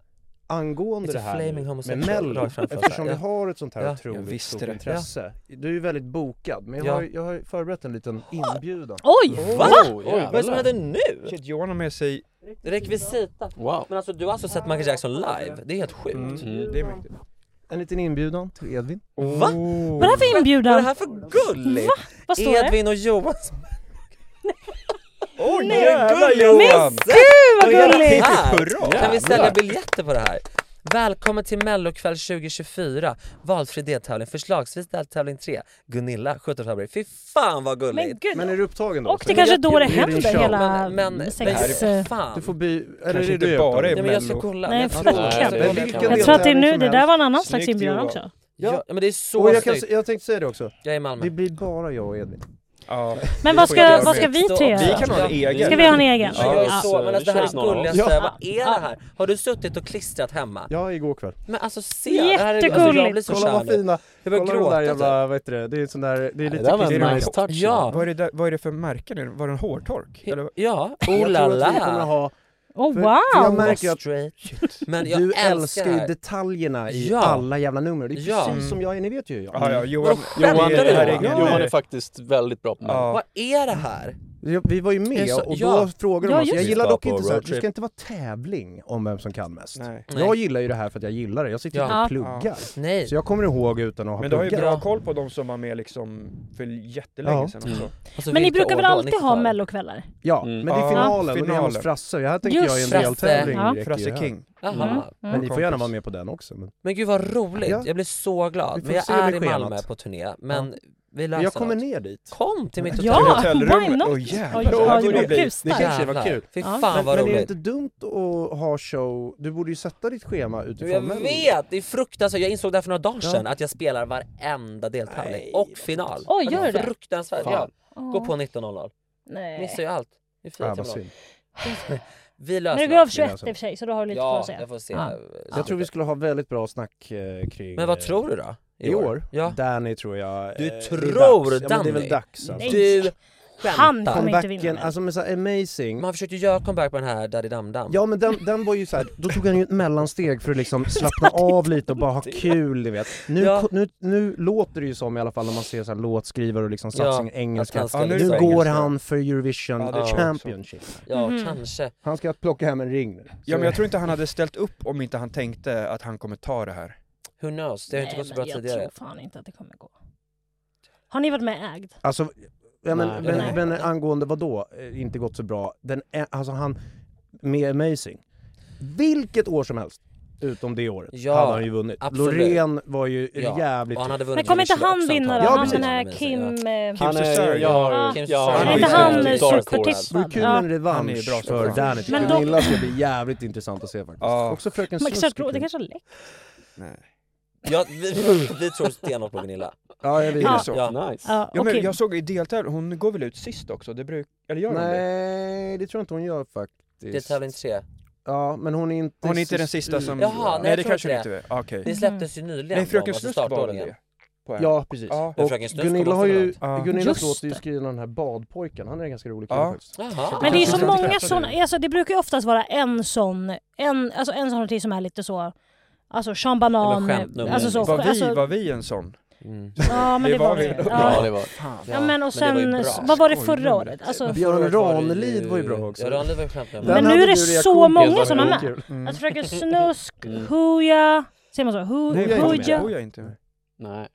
Speaker 1: angående
Speaker 3: It's a
Speaker 1: det här
Speaker 3: flaming
Speaker 1: nu med
Speaker 3: homosexual
Speaker 1: Mello,
Speaker 3: rakt framför oss
Speaker 1: eftersom vi
Speaker 3: här, ja.
Speaker 1: har ett sånt här
Speaker 3: Ja, jag
Speaker 1: otroligt
Speaker 3: visste
Speaker 1: stort
Speaker 3: det.
Speaker 1: intresse. Du är ju väldigt bokad, men jag,
Speaker 3: Ja.
Speaker 1: har, jag har förberett en liten inbjudan.
Speaker 2: Oj!
Speaker 3: Va? Oj, vad är det som
Speaker 1: jävlar.
Speaker 3: händer nu?
Speaker 5: Oh, Shit, Johan har med sig...
Speaker 3: Rekvisita.
Speaker 7: Wow.
Speaker 3: Men alltså du har alltså sett Michael Jackson live? Det är helt sjukt.
Speaker 5: Mm,
Speaker 3: Mm.
Speaker 5: Det är mäktigt.
Speaker 1: En liten inbjudan till Edvin. Oh.
Speaker 3: Va?
Speaker 2: Vad är det här för
Speaker 3: Vad är det
Speaker 2: inbjudan?
Speaker 3: här för gulligt?
Speaker 2: Va? Vad står det?
Speaker 3: Edvin och Johan.
Speaker 5: Oj,
Speaker 2: Nej.
Speaker 5: jävlar
Speaker 2: Men
Speaker 5: Johan!
Speaker 2: gud vad gulligt!
Speaker 3: Här.
Speaker 5: Hurra!
Speaker 3: Kan vi sälja biljetter på det här? Välkommen till mellokväll 2024, valfri deltävling, förslagsvis deltävling 3, Gunilla 17 februari. Fy fan vad
Speaker 2: Men
Speaker 3: gulligt!
Speaker 1: Men är
Speaker 2: gud.
Speaker 1: du upptagen då?
Speaker 2: Och
Speaker 1: Så
Speaker 2: det
Speaker 1: jag-
Speaker 2: kanske är
Speaker 1: jag-
Speaker 2: då det
Speaker 1: jag- jag-
Speaker 2: händer
Speaker 1: jag-
Speaker 2: hela
Speaker 3: Men- men-
Speaker 2: sex...
Speaker 3: men-
Speaker 2: eh,
Speaker 3: Fan!
Speaker 1: Du får by... Eller
Speaker 5: Kanske
Speaker 1: är
Speaker 5: inte
Speaker 1: du
Speaker 5: bara
Speaker 1: upptagen?
Speaker 5: är
Speaker 3: Nej, men jag ska
Speaker 5: Mello.
Speaker 3: kolla.
Speaker 2: Nej,
Speaker 3: jag
Speaker 2: förlåt.
Speaker 3: tror-
Speaker 7: Nej,
Speaker 1: men vilken
Speaker 2: Jag tror att det är nu,
Speaker 1: Deltävling
Speaker 2: det
Speaker 1: som
Speaker 2: där var en annan slags
Speaker 5: Snyggt,
Speaker 2: inbjudan
Speaker 5: Johan.
Speaker 2: också.
Speaker 3: Ja, men det är
Speaker 1: Och
Speaker 3: så
Speaker 1: jag, kan,
Speaker 3: snyggt.
Speaker 1: jag tänkte säga det också.
Speaker 3: Jag är i
Speaker 1: Det
Speaker 3: Malmö.
Speaker 1: blir bara jag och Edvin.
Speaker 5: Ja.
Speaker 2: Men vad
Speaker 5: får jag
Speaker 2: ska,
Speaker 5: göra
Speaker 2: vad ska
Speaker 5: med.
Speaker 2: vi tre
Speaker 5: Vi
Speaker 2: göra?
Speaker 5: kan ha en egen.
Speaker 2: Ska vi ha en egen?
Speaker 3: Ja, jag är
Speaker 2: Ja.
Speaker 3: så, men alltså, det här är gulligaste,
Speaker 1: Ja.
Speaker 3: vad är det här? Har du suttit och klistrat hemma?
Speaker 1: Ja, igår kväll.
Speaker 3: Men alltså se, det här är, alltså, jag
Speaker 2: Jättegulligt.
Speaker 3: blir så
Speaker 1: Kolla
Speaker 3: kär
Speaker 1: vad
Speaker 3: nu.
Speaker 1: fina,
Speaker 3: Jag börjar
Speaker 1: kolla de där
Speaker 3: gråta typ.
Speaker 1: jävla, vad heter det, det är sån där, det är
Speaker 7: Det
Speaker 1: lite
Speaker 7: där var
Speaker 1: klirr i
Speaker 7: en nice
Speaker 1: den.
Speaker 7: touch.
Speaker 3: Ja,
Speaker 5: Vad är, det där, vad är det för märke nu? Var det en hårtork? Eller? vad-
Speaker 3: ja,
Speaker 1: Jag
Speaker 3: oh la
Speaker 1: tror att vi kommer
Speaker 3: la.
Speaker 1: ha,
Speaker 2: Oh
Speaker 1: För- för jag
Speaker 2: wow!
Speaker 1: märker ju att
Speaker 3: Straight. Men jag
Speaker 1: du
Speaker 3: älskar det
Speaker 1: älskar ju
Speaker 3: här.
Speaker 1: detaljerna i
Speaker 3: Ja.
Speaker 1: alla jävla nummer. Det är
Speaker 3: Ja. Mm.
Speaker 1: precis
Speaker 2: Mm.
Speaker 1: som jag är, ni vet ju hur jag.
Speaker 5: Ja, ja, Johan,
Speaker 3: Vad
Speaker 7: Johan,
Speaker 3: Det är-
Speaker 5: det här är
Speaker 7: är,
Speaker 5: ingen-
Speaker 7: Johan är faktiskt väldigt bra på mig.
Speaker 5: Ja.
Speaker 3: Vad är det här?
Speaker 1: Jag- Vi var ju med
Speaker 3: Jag sa-
Speaker 1: och då
Speaker 3: ja.
Speaker 1: frågade
Speaker 2: Ja,
Speaker 1: de oss,
Speaker 2: just
Speaker 1: jag
Speaker 2: det.
Speaker 1: gillar dock
Speaker 7: Vi var på
Speaker 1: inte så här, det
Speaker 7: roadtrip.
Speaker 1: ska inte vara tävling om vem som kan mest.
Speaker 5: Nej.
Speaker 1: Jag gillar ju det här för att jag gillar det, jag sitter
Speaker 3: Ja.
Speaker 1: inte och pluggar.
Speaker 3: Nej.
Speaker 1: Så jag kommer ihåg utan att ha
Speaker 5: Men du har ju
Speaker 1: pluggat.
Speaker 5: bra koll på de som var med liksom för jättelänge
Speaker 1: Ja.
Speaker 5: sedan också.
Speaker 3: Alltså,
Speaker 2: Men ni
Speaker 3: vilka
Speaker 2: brukar
Speaker 3: år
Speaker 2: väl
Speaker 3: då?
Speaker 2: alltid ha
Speaker 3: 90-talet?
Speaker 2: mellokvällar?
Speaker 1: Ja,
Speaker 7: Mm.
Speaker 1: men det
Speaker 5: Ja.
Speaker 1: är finalen, och det är hemma
Speaker 5: Finalen.
Speaker 1: hos Frasse. och Här tänker
Speaker 2: Just
Speaker 1: jag är en
Speaker 3: Frasse.
Speaker 1: deltävling.
Speaker 3: Ja.
Speaker 1: räcker ju
Speaker 5: Frasse
Speaker 1: här.
Speaker 5: King.
Speaker 2: Mm.
Speaker 1: Mm.
Speaker 3: Jaha.
Speaker 1: Men ni får gärna
Speaker 5: Kompis.
Speaker 1: vara med på den också. Men...
Speaker 3: Men gud vad roligt,
Speaker 1: Ja.
Speaker 3: jag blir så glad.
Speaker 1: Vi får
Speaker 3: Men jag
Speaker 1: se om
Speaker 3: är
Speaker 1: det
Speaker 3: i
Speaker 1: sker
Speaker 3: Malmö
Speaker 1: något.
Speaker 3: på turné, men vi löser
Speaker 1: Jag kommer
Speaker 3: något.
Speaker 1: ner dit.
Speaker 3: Kom till mitt hotell.
Speaker 2: Ja! Why
Speaker 5: Hotellrummet.
Speaker 2: not?
Speaker 5: Åh,
Speaker 2: Oj,
Speaker 5: jävlar.
Speaker 2: oj,
Speaker 5: Det
Speaker 2: oj,
Speaker 5: blir-
Speaker 2: gud
Speaker 1: det
Speaker 2: starkt.
Speaker 1: kanske var
Speaker 3: Jävlar.
Speaker 1: kul.
Speaker 3: Fy
Speaker 2: Ja.
Speaker 3: fan
Speaker 1: Men,
Speaker 3: vad
Speaker 1: men är det
Speaker 3: roligt.
Speaker 1: inte dumt att ha show, du borde ju sätta ditt schema utifrån
Speaker 3: Jag
Speaker 1: Mello.
Speaker 3: vet, det är fruktansvärt. Jag insåg det här för några dagar
Speaker 1: Ja.
Speaker 3: sedan, att jag spelar varenda deltävling
Speaker 1: Nej,
Speaker 3: och
Speaker 1: vad
Speaker 3: final.
Speaker 2: Oj, gör du det?
Speaker 3: Fruktansvärt, ja.
Speaker 1: Fan.
Speaker 3: Gå på 19.00.
Speaker 2: Nej.
Speaker 3: Missar ju allt. Det är
Speaker 1: Ja,
Speaker 3: fint
Speaker 1: vad
Speaker 3: jävla.
Speaker 1: synd.
Speaker 3: Vi
Speaker 2: Men
Speaker 3: löser
Speaker 2: det går av
Speaker 3: något.
Speaker 2: 21 i och för sig, så då har du lite kvar
Speaker 3: Ja,
Speaker 2: att säga.
Speaker 3: jag får se.
Speaker 2: Ja.
Speaker 1: Jag tror vi skulle ha väldigt bra snack eh, kring...
Speaker 3: Men vad
Speaker 1: eh,
Speaker 3: tror du då?
Speaker 1: I år?
Speaker 3: Ja.
Speaker 1: Danny tror jag...
Speaker 3: Du
Speaker 1: eh, det är
Speaker 3: tror
Speaker 1: dags. Ja, men det är
Speaker 3: Danny?
Speaker 1: väl dags alltså.
Speaker 2: Nej.
Speaker 3: Du
Speaker 2: Han
Speaker 3: skämtar.
Speaker 2: kommer inte vinna
Speaker 1: Comebacken,
Speaker 2: den.
Speaker 1: alltså men så här, amazing.
Speaker 3: Man försökte göra comeback på den här Daddy Dam Dam.
Speaker 1: Ja men den, den var ju såhär, då tog han ju ett mellansteg för att liksom slappna av lite och bara ha kul du vet. Nu,
Speaker 3: Ja.
Speaker 1: nu, nu låter det ju som i alla fall när man ser så här låtskrivare och liksom
Speaker 3: Ja,
Speaker 1: satsning engelska.
Speaker 3: att han ska
Speaker 1: Ja, nu
Speaker 3: liksom-
Speaker 1: går
Speaker 5: engelska.
Speaker 1: han för Eurovision
Speaker 5: Ja, det tror jag också.
Speaker 1: Championship.
Speaker 3: Ja,
Speaker 2: Mhm.
Speaker 3: kanske.
Speaker 1: Han ska plocka hem en ring nu.
Speaker 5: Ja men jag tror inte han hade ställt upp om inte han tänkte att han kommer ta det här.
Speaker 3: Who knows? Det har inte
Speaker 2: Nej,
Speaker 3: gått så
Speaker 2: men
Speaker 3: bra
Speaker 2: jag
Speaker 3: tidigare.
Speaker 2: tror fan inte att det kommer gå. Har ni varit med ägd?
Speaker 1: Alltså, ja, men,
Speaker 7: Nej.
Speaker 1: men,
Speaker 3: Nej.
Speaker 1: men angående vad då? Eh, Inte gått så bra. Den, är- alltså han, med Amazing. Vilket år som helst. utom det året,
Speaker 3: Ja,
Speaker 1: hade han ju vunnit.
Speaker 3: absolut.
Speaker 1: Loreen var ju
Speaker 3: Ja,
Speaker 1: jävligt...
Speaker 3: och han hade
Speaker 2: Men kommer inte han vinna då?
Speaker 1: Ja,
Speaker 2: han
Speaker 1: precis.
Speaker 2: den här Kim... eh,
Speaker 1: Han är- Cesar, jag
Speaker 3: Ah.
Speaker 1: har-
Speaker 2: Ja.
Speaker 1: Kim
Speaker 7: Cesar.
Speaker 2: Är inte han supertippad?
Speaker 1: Vore kul
Speaker 2: Ja.
Speaker 1: med en
Speaker 5: Han är ju
Speaker 1: revansch
Speaker 5: bra
Speaker 1: för
Speaker 5: spelare.
Speaker 1: Danity.
Speaker 2: Men
Speaker 1: Men
Speaker 2: då-
Speaker 1: Gunilla ska bli jävligt intressant att se faktiskt. Också Fröken
Speaker 2: Man
Speaker 1: Snusk.
Speaker 2: kanske
Speaker 1: är
Speaker 2: tror, det
Speaker 1: kul.
Speaker 2: kanske har läckt.
Speaker 3: Ja, vi, vi tror stenhårt på Gunilla.
Speaker 1: Ja,
Speaker 5: Är
Speaker 1: jag
Speaker 5: det
Speaker 1: vet.
Speaker 5: så?
Speaker 3: Ja.
Speaker 2: Nice. Ja,
Speaker 5: ja, men
Speaker 2: okej.
Speaker 5: jag såg i deltävling, hon går väl ut sist också? Det bruk, eller gör hon det?
Speaker 1: Nej, det tror jag inte hon gör faktiskt.
Speaker 3: Det är tävling tre.
Speaker 1: Ja, men hon är inte
Speaker 5: Hon är inte den
Speaker 1: sist
Speaker 5: sista
Speaker 1: ut.
Speaker 5: som...
Speaker 3: Jaha, nej, jag
Speaker 5: det
Speaker 3: tror
Speaker 5: kanske
Speaker 3: inte
Speaker 5: hon
Speaker 3: det.
Speaker 5: inte
Speaker 1: Ah,
Speaker 5: är. Ah, Okej.
Speaker 3: Det släpptes
Speaker 2: Mm.
Speaker 3: ju nyligen.
Speaker 5: Nej,
Speaker 3: då,
Speaker 5: Fröken
Speaker 3: alltså
Speaker 5: Snusk var väl
Speaker 3: startordningen.
Speaker 5: det? på en.
Speaker 1: Ja, precis.
Speaker 5: Ja.
Speaker 3: Men
Speaker 1: Och
Speaker 3: Fröken Snusk
Speaker 1: Gunilla, har
Speaker 3: måste
Speaker 1: ju,
Speaker 3: ha varit.
Speaker 1: Gunilla
Speaker 2: Just
Speaker 1: låter ju
Speaker 2: det.
Speaker 1: skriva den här badpojken, han är en ganska rolig kille
Speaker 5: Ja.
Speaker 1: faktiskt.
Speaker 3: Jaha.
Speaker 2: Men det är
Speaker 1: Jag tror
Speaker 2: så
Speaker 1: inte
Speaker 2: många
Speaker 1: jag träffade
Speaker 2: sådana, alltså det brukar ju oftast vara en sån, en, alltså en sån artist som är lite så, alltså Sean Banan,
Speaker 3: Eller skämtnummer.
Speaker 2: alltså så,
Speaker 5: Var, vi,
Speaker 2: alltså,
Speaker 5: var vi en sån?
Speaker 3: Mm.
Speaker 2: ja men det var vi.
Speaker 7: Ja,
Speaker 2: Ja.
Speaker 7: det var.
Speaker 2: ja men och
Speaker 3: Men det
Speaker 2: sen,
Speaker 3: var ju bra.
Speaker 2: vad var det
Speaker 5: Skojnumret.
Speaker 2: förra året? Alltså,
Speaker 1: Björn
Speaker 3: Förra året var det
Speaker 1: Ranelid
Speaker 3: ju-
Speaker 1: var ju bra också.
Speaker 3: Ja, Ranelid var ju skämtnummer.
Speaker 2: Men
Speaker 1: Den
Speaker 2: nu
Speaker 1: hade
Speaker 2: är det
Speaker 1: du reaktion
Speaker 2: så
Speaker 1: på.
Speaker 2: många
Speaker 7: Helt
Speaker 2: sådana
Speaker 7: enkelt.
Speaker 2: med.
Speaker 5: Mm.
Speaker 2: Att Fröken Snusk, Hooja, säger man så? Hoo-
Speaker 5: Nej, jag är inte med.
Speaker 2: Hooja?
Speaker 5: Hon är inte med.
Speaker 7: Nej.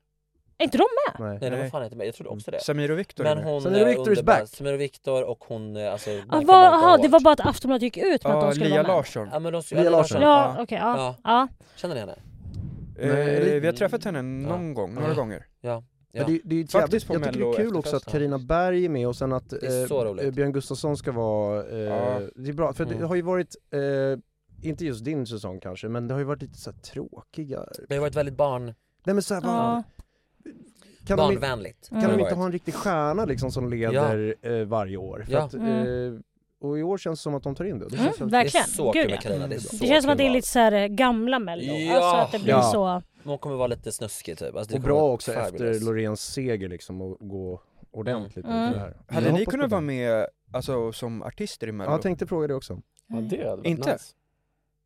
Speaker 2: Är inte de med?
Speaker 1: Nej.
Speaker 3: Nej, de var
Speaker 5: Nej.
Speaker 3: fan inte med. Jag trodde också det.
Speaker 5: Samir och Viktor är
Speaker 3: Men
Speaker 5: med.
Speaker 3: hon
Speaker 1: Samir och
Speaker 3: eh,
Speaker 1: Viktor is
Speaker 3: underbar-
Speaker 1: back.
Speaker 3: Samir och Viktor och hon, eh, alltså...
Speaker 2: Ah,
Speaker 3: Bianca
Speaker 2: vad-
Speaker 3: Bianca
Speaker 2: Jaha, det
Speaker 3: Hart.
Speaker 2: var bara att Aftonbladet gick ut med att
Speaker 5: Ja,
Speaker 2: de skulle
Speaker 5: Lia
Speaker 2: vara med.
Speaker 5: Larsson.
Speaker 3: Ja, men de skulle...
Speaker 1: Mia
Speaker 3: Lia
Speaker 1: Larsson.
Speaker 3: Larsson.
Speaker 2: Ja, okej, ja.
Speaker 3: Ja.
Speaker 2: ja.
Speaker 3: Känner ni henne?
Speaker 1: Nej.
Speaker 5: Eh, vi har träffat henne någon
Speaker 3: Ja.
Speaker 5: gång, några
Speaker 3: Ja.
Speaker 5: gånger.
Speaker 1: Men det, det är ju
Speaker 5: Faktiskt
Speaker 1: jävligt,
Speaker 5: på
Speaker 1: jag tycker det är
Speaker 5: Mello
Speaker 1: kul också att
Speaker 5: efterfesten.
Speaker 1: Karina Berg är med och sen att
Speaker 3: Det är så roligt.
Speaker 1: eh, Björn Gustafsson ska vara, eh,
Speaker 5: Ja.
Speaker 1: det är bra, för det
Speaker 3: Mm.
Speaker 1: har ju varit, eh, inte just din säsong kanske, men det har ju varit lite så här tråkiga,
Speaker 3: Det har varit väldigt barn,
Speaker 1: nej men såhär,
Speaker 2: ja.
Speaker 1: kan, de, inte-
Speaker 3: barnvänligt.
Speaker 2: Mm.
Speaker 1: kan
Speaker 3: har
Speaker 1: de
Speaker 3: det
Speaker 1: inte
Speaker 3: varit.
Speaker 1: ha en riktig stjärna liksom som leder eh, varje år? För
Speaker 3: Ja.
Speaker 1: att,
Speaker 2: Mm.
Speaker 1: eh, och i år känns det som att de tar in det, det
Speaker 2: Mm,
Speaker 1: känns jävligt-
Speaker 2: verkligen.
Speaker 3: Det är så
Speaker 2: Gud,
Speaker 3: kul med
Speaker 2: ja. Mm.
Speaker 3: Carina. Det, är så
Speaker 2: Det känns som att det är
Speaker 3: kul.
Speaker 2: lite så här eh, gamla mello.
Speaker 3: Ja.
Speaker 2: Alltså att det blir
Speaker 1: Ja.
Speaker 2: så.
Speaker 3: Hon kommer vara lite snuskig typ. Alltså, det
Speaker 1: och
Speaker 3: kommer
Speaker 1: bra
Speaker 3: vara
Speaker 1: också
Speaker 3: fabulous.
Speaker 1: efter Loreens seger liksom och gå ordentligt
Speaker 2: Mm.
Speaker 1: mm. det här.
Speaker 5: Hade
Speaker 1: Jag
Speaker 5: ni
Speaker 1: hoppas på
Speaker 5: kunnat vara
Speaker 1: det.
Speaker 5: med alltså, som artister i
Speaker 1: Ja,
Speaker 5: Mello?
Speaker 1: jag tänkte fråga det också.
Speaker 7: Ja, det hade varit
Speaker 5: Inte.
Speaker 7: Nice.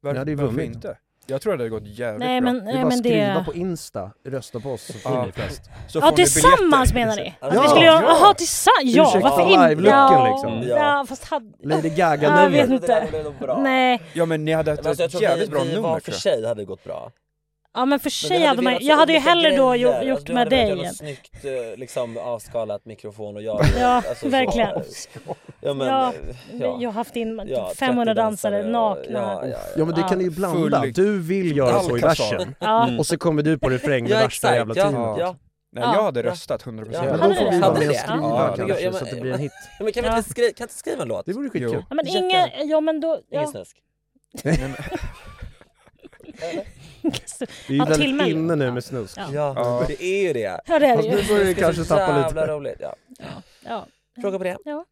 Speaker 5: Varför,
Speaker 1: Ni hade ju
Speaker 5: varför
Speaker 1: vunnit.
Speaker 5: inte? Jag tror det hade gått jävligt
Speaker 2: Nej men,
Speaker 5: bra.
Speaker 1: Det är
Speaker 2: nej,
Speaker 1: bara att
Speaker 2: men
Speaker 1: skriva
Speaker 2: det...
Speaker 1: på Insta, rösta på oss så får
Speaker 5: Ja.
Speaker 1: ni flest.
Speaker 5: Så
Speaker 2: Ja
Speaker 5: får ni
Speaker 2: tillsammans
Speaker 5: biljetter.
Speaker 2: menar ni? Att
Speaker 3: Ja,
Speaker 2: vi skulle göra,
Speaker 5: ja.
Speaker 2: jaha tillsammans, ja
Speaker 1: Ursäkta
Speaker 2: varför inte?
Speaker 1: live-looken,
Speaker 2: ja,
Speaker 1: liksom.
Speaker 3: Ja.
Speaker 2: ja fast hade,
Speaker 1: Lady
Speaker 2: eh, Ja, jag
Speaker 1: Gaga-nummer.
Speaker 2: vet
Speaker 3: Det där
Speaker 2: inte.
Speaker 3: blev nog bra.
Speaker 2: nej.
Speaker 5: Ja men ni hade haft
Speaker 3: Men alltså, jag
Speaker 5: ett
Speaker 3: tror att vi,
Speaker 5: jävligt bra
Speaker 3: vi
Speaker 5: nummer
Speaker 3: var för
Speaker 5: tror jag.
Speaker 3: sig hade det gått bra.
Speaker 2: Ja men för sig
Speaker 3: Men vi
Speaker 2: hade man
Speaker 3: velat
Speaker 2: jag
Speaker 3: se
Speaker 2: hade ju
Speaker 3: olika
Speaker 2: hellre då
Speaker 3: grejer.
Speaker 2: gjort,
Speaker 3: Alltså,
Speaker 2: gjort
Speaker 3: du
Speaker 2: med
Speaker 3: hade velat
Speaker 2: dig.
Speaker 3: göra något Snyggt eh, liksom avskalat mikrofon och jag alltså,
Speaker 2: Ja,
Speaker 3: så-
Speaker 2: verkligen.
Speaker 3: Ja, men,
Speaker 2: Ja,
Speaker 3: eh,
Speaker 2: Jag har haft in
Speaker 3: Ja,
Speaker 2: 500
Speaker 3: 30
Speaker 2: dansare
Speaker 3: och-
Speaker 2: nakna.
Speaker 3: Ja, ja, ja.
Speaker 1: Ja men det kan ni ju blanda,
Speaker 5: Full-
Speaker 1: du vill göra så i
Speaker 5: Alcazar.
Speaker 1: versen
Speaker 2: Ja.
Speaker 1: och så kommer du på refräng med
Speaker 3: Ja,
Speaker 1: värsta
Speaker 3: exakt,
Speaker 1: jävla
Speaker 3: ja,
Speaker 1: teamet.
Speaker 3: ja.
Speaker 5: Nej
Speaker 2: Ja.
Speaker 5: jag hade röstat 100%
Speaker 3: Ja,
Speaker 1: Men
Speaker 2: Hade
Speaker 1: då får
Speaker 2: du
Speaker 1: vi
Speaker 2: det?
Speaker 1: vara
Speaker 2: Hade
Speaker 1: med och
Speaker 3: det?
Speaker 1: skriva
Speaker 5: Ja,
Speaker 3: ja,
Speaker 1: kanske
Speaker 3: ja, men-
Speaker 1: så att det blir en hit.
Speaker 3: Ja, Men kan, vi inte skriva, kan inte skriva en låt?
Speaker 1: Det vore skitkul.
Speaker 5: Jo.
Speaker 2: Ja, men
Speaker 3: Jätte-
Speaker 2: inga, ja men då,
Speaker 3: Ingen
Speaker 2: ja.
Speaker 3: snusk.
Speaker 1: Det är ju
Speaker 2: Ja, till
Speaker 1: väldigt
Speaker 2: Mello.
Speaker 1: inne nu med snusk.
Speaker 2: Ja.
Speaker 3: Ja,
Speaker 5: Ja.
Speaker 3: det är ju det.
Speaker 2: Ja det är det
Speaker 1: Fast
Speaker 2: ju.
Speaker 1: nu börjar det
Speaker 3: Det är
Speaker 1: kanske
Speaker 3: så
Speaker 1: tappa
Speaker 3: jävla
Speaker 1: lite.
Speaker 3: roligt. Ja.
Speaker 2: Ja.
Speaker 3: Fråga på det.
Speaker 1: Ja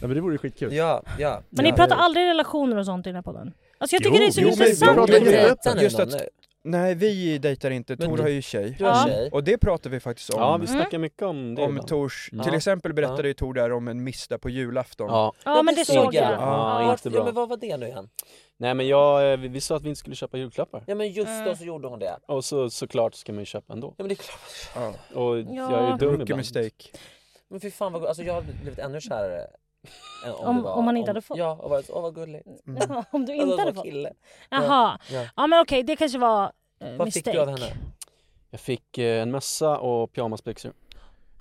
Speaker 1: men det vore skitkul.
Speaker 3: Ja, ja.
Speaker 2: Men ni pratar aldrig relationer och sånt i den här podden? Alltså jag tycker
Speaker 11: Jo,
Speaker 2: det är så
Speaker 11: jo, men-
Speaker 2: intressant.
Speaker 1: pratar
Speaker 3: Men
Speaker 1: ju
Speaker 3: dejtar
Speaker 1: öppet.
Speaker 3: ni
Speaker 5: Just
Speaker 3: någon
Speaker 5: att-
Speaker 3: nu?
Speaker 5: Nej vi dejtar inte,
Speaker 3: Men
Speaker 5: Tor
Speaker 3: du-
Speaker 5: har ju tjej.
Speaker 3: Du har
Speaker 2: Ja.
Speaker 3: tjej.
Speaker 5: Och det pratar vi faktiskt om.
Speaker 7: Ja, vi snackar mycket om det.
Speaker 5: om
Speaker 7: ibland.
Speaker 5: Tors,
Speaker 7: Mm.
Speaker 5: till
Speaker 3: Ja.
Speaker 5: exempel berättade ju Tor där om en miss där på julafton.
Speaker 7: Ja.
Speaker 2: Ja men det såg jag.
Speaker 3: Ja,
Speaker 7: Ja,
Speaker 2: Ja.
Speaker 7: inte bra.
Speaker 3: Ja, men vad var det nu igen?
Speaker 7: Nej men jag, eh, vi, vi sa att vi inte skulle köpa julklappar.
Speaker 3: Ja men just
Speaker 2: Mm.
Speaker 3: då så gjorde hon det.
Speaker 7: Och så såklart ska man ju köpa ändå.
Speaker 3: Ja men det är klart.
Speaker 5: Ja.
Speaker 7: Och
Speaker 2: Ja.
Speaker 7: jag är ju dum
Speaker 5: Rookie
Speaker 7: ibland.
Speaker 5: mistake.
Speaker 3: Men fy fan vad gulligt. Alltså jag har blivit ännu kärare. än
Speaker 2: Om-
Speaker 3: det var-
Speaker 2: om man inte hade fått.
Speaker 3: Ja, och varit så, åh vad gulligt.
Speaker 1: Mm.
Speaker 2: Ja, Om du
Speaker 3: Alltså,
Speaker 2: inte hade
Speaker 3: vad
Speaker 2: fått.
Speaker 3: kille.
Speaker 2: Jaha.
Speaker 3: Ja.
Speaker 2: Ja men okej det kanske var eh,
Speaker 3: Vad fick du av
Speaker 2: mistake.
Speaker 3: henne?
Speaker 7: Jag fick eh, en mössa och pyjamasbyxor.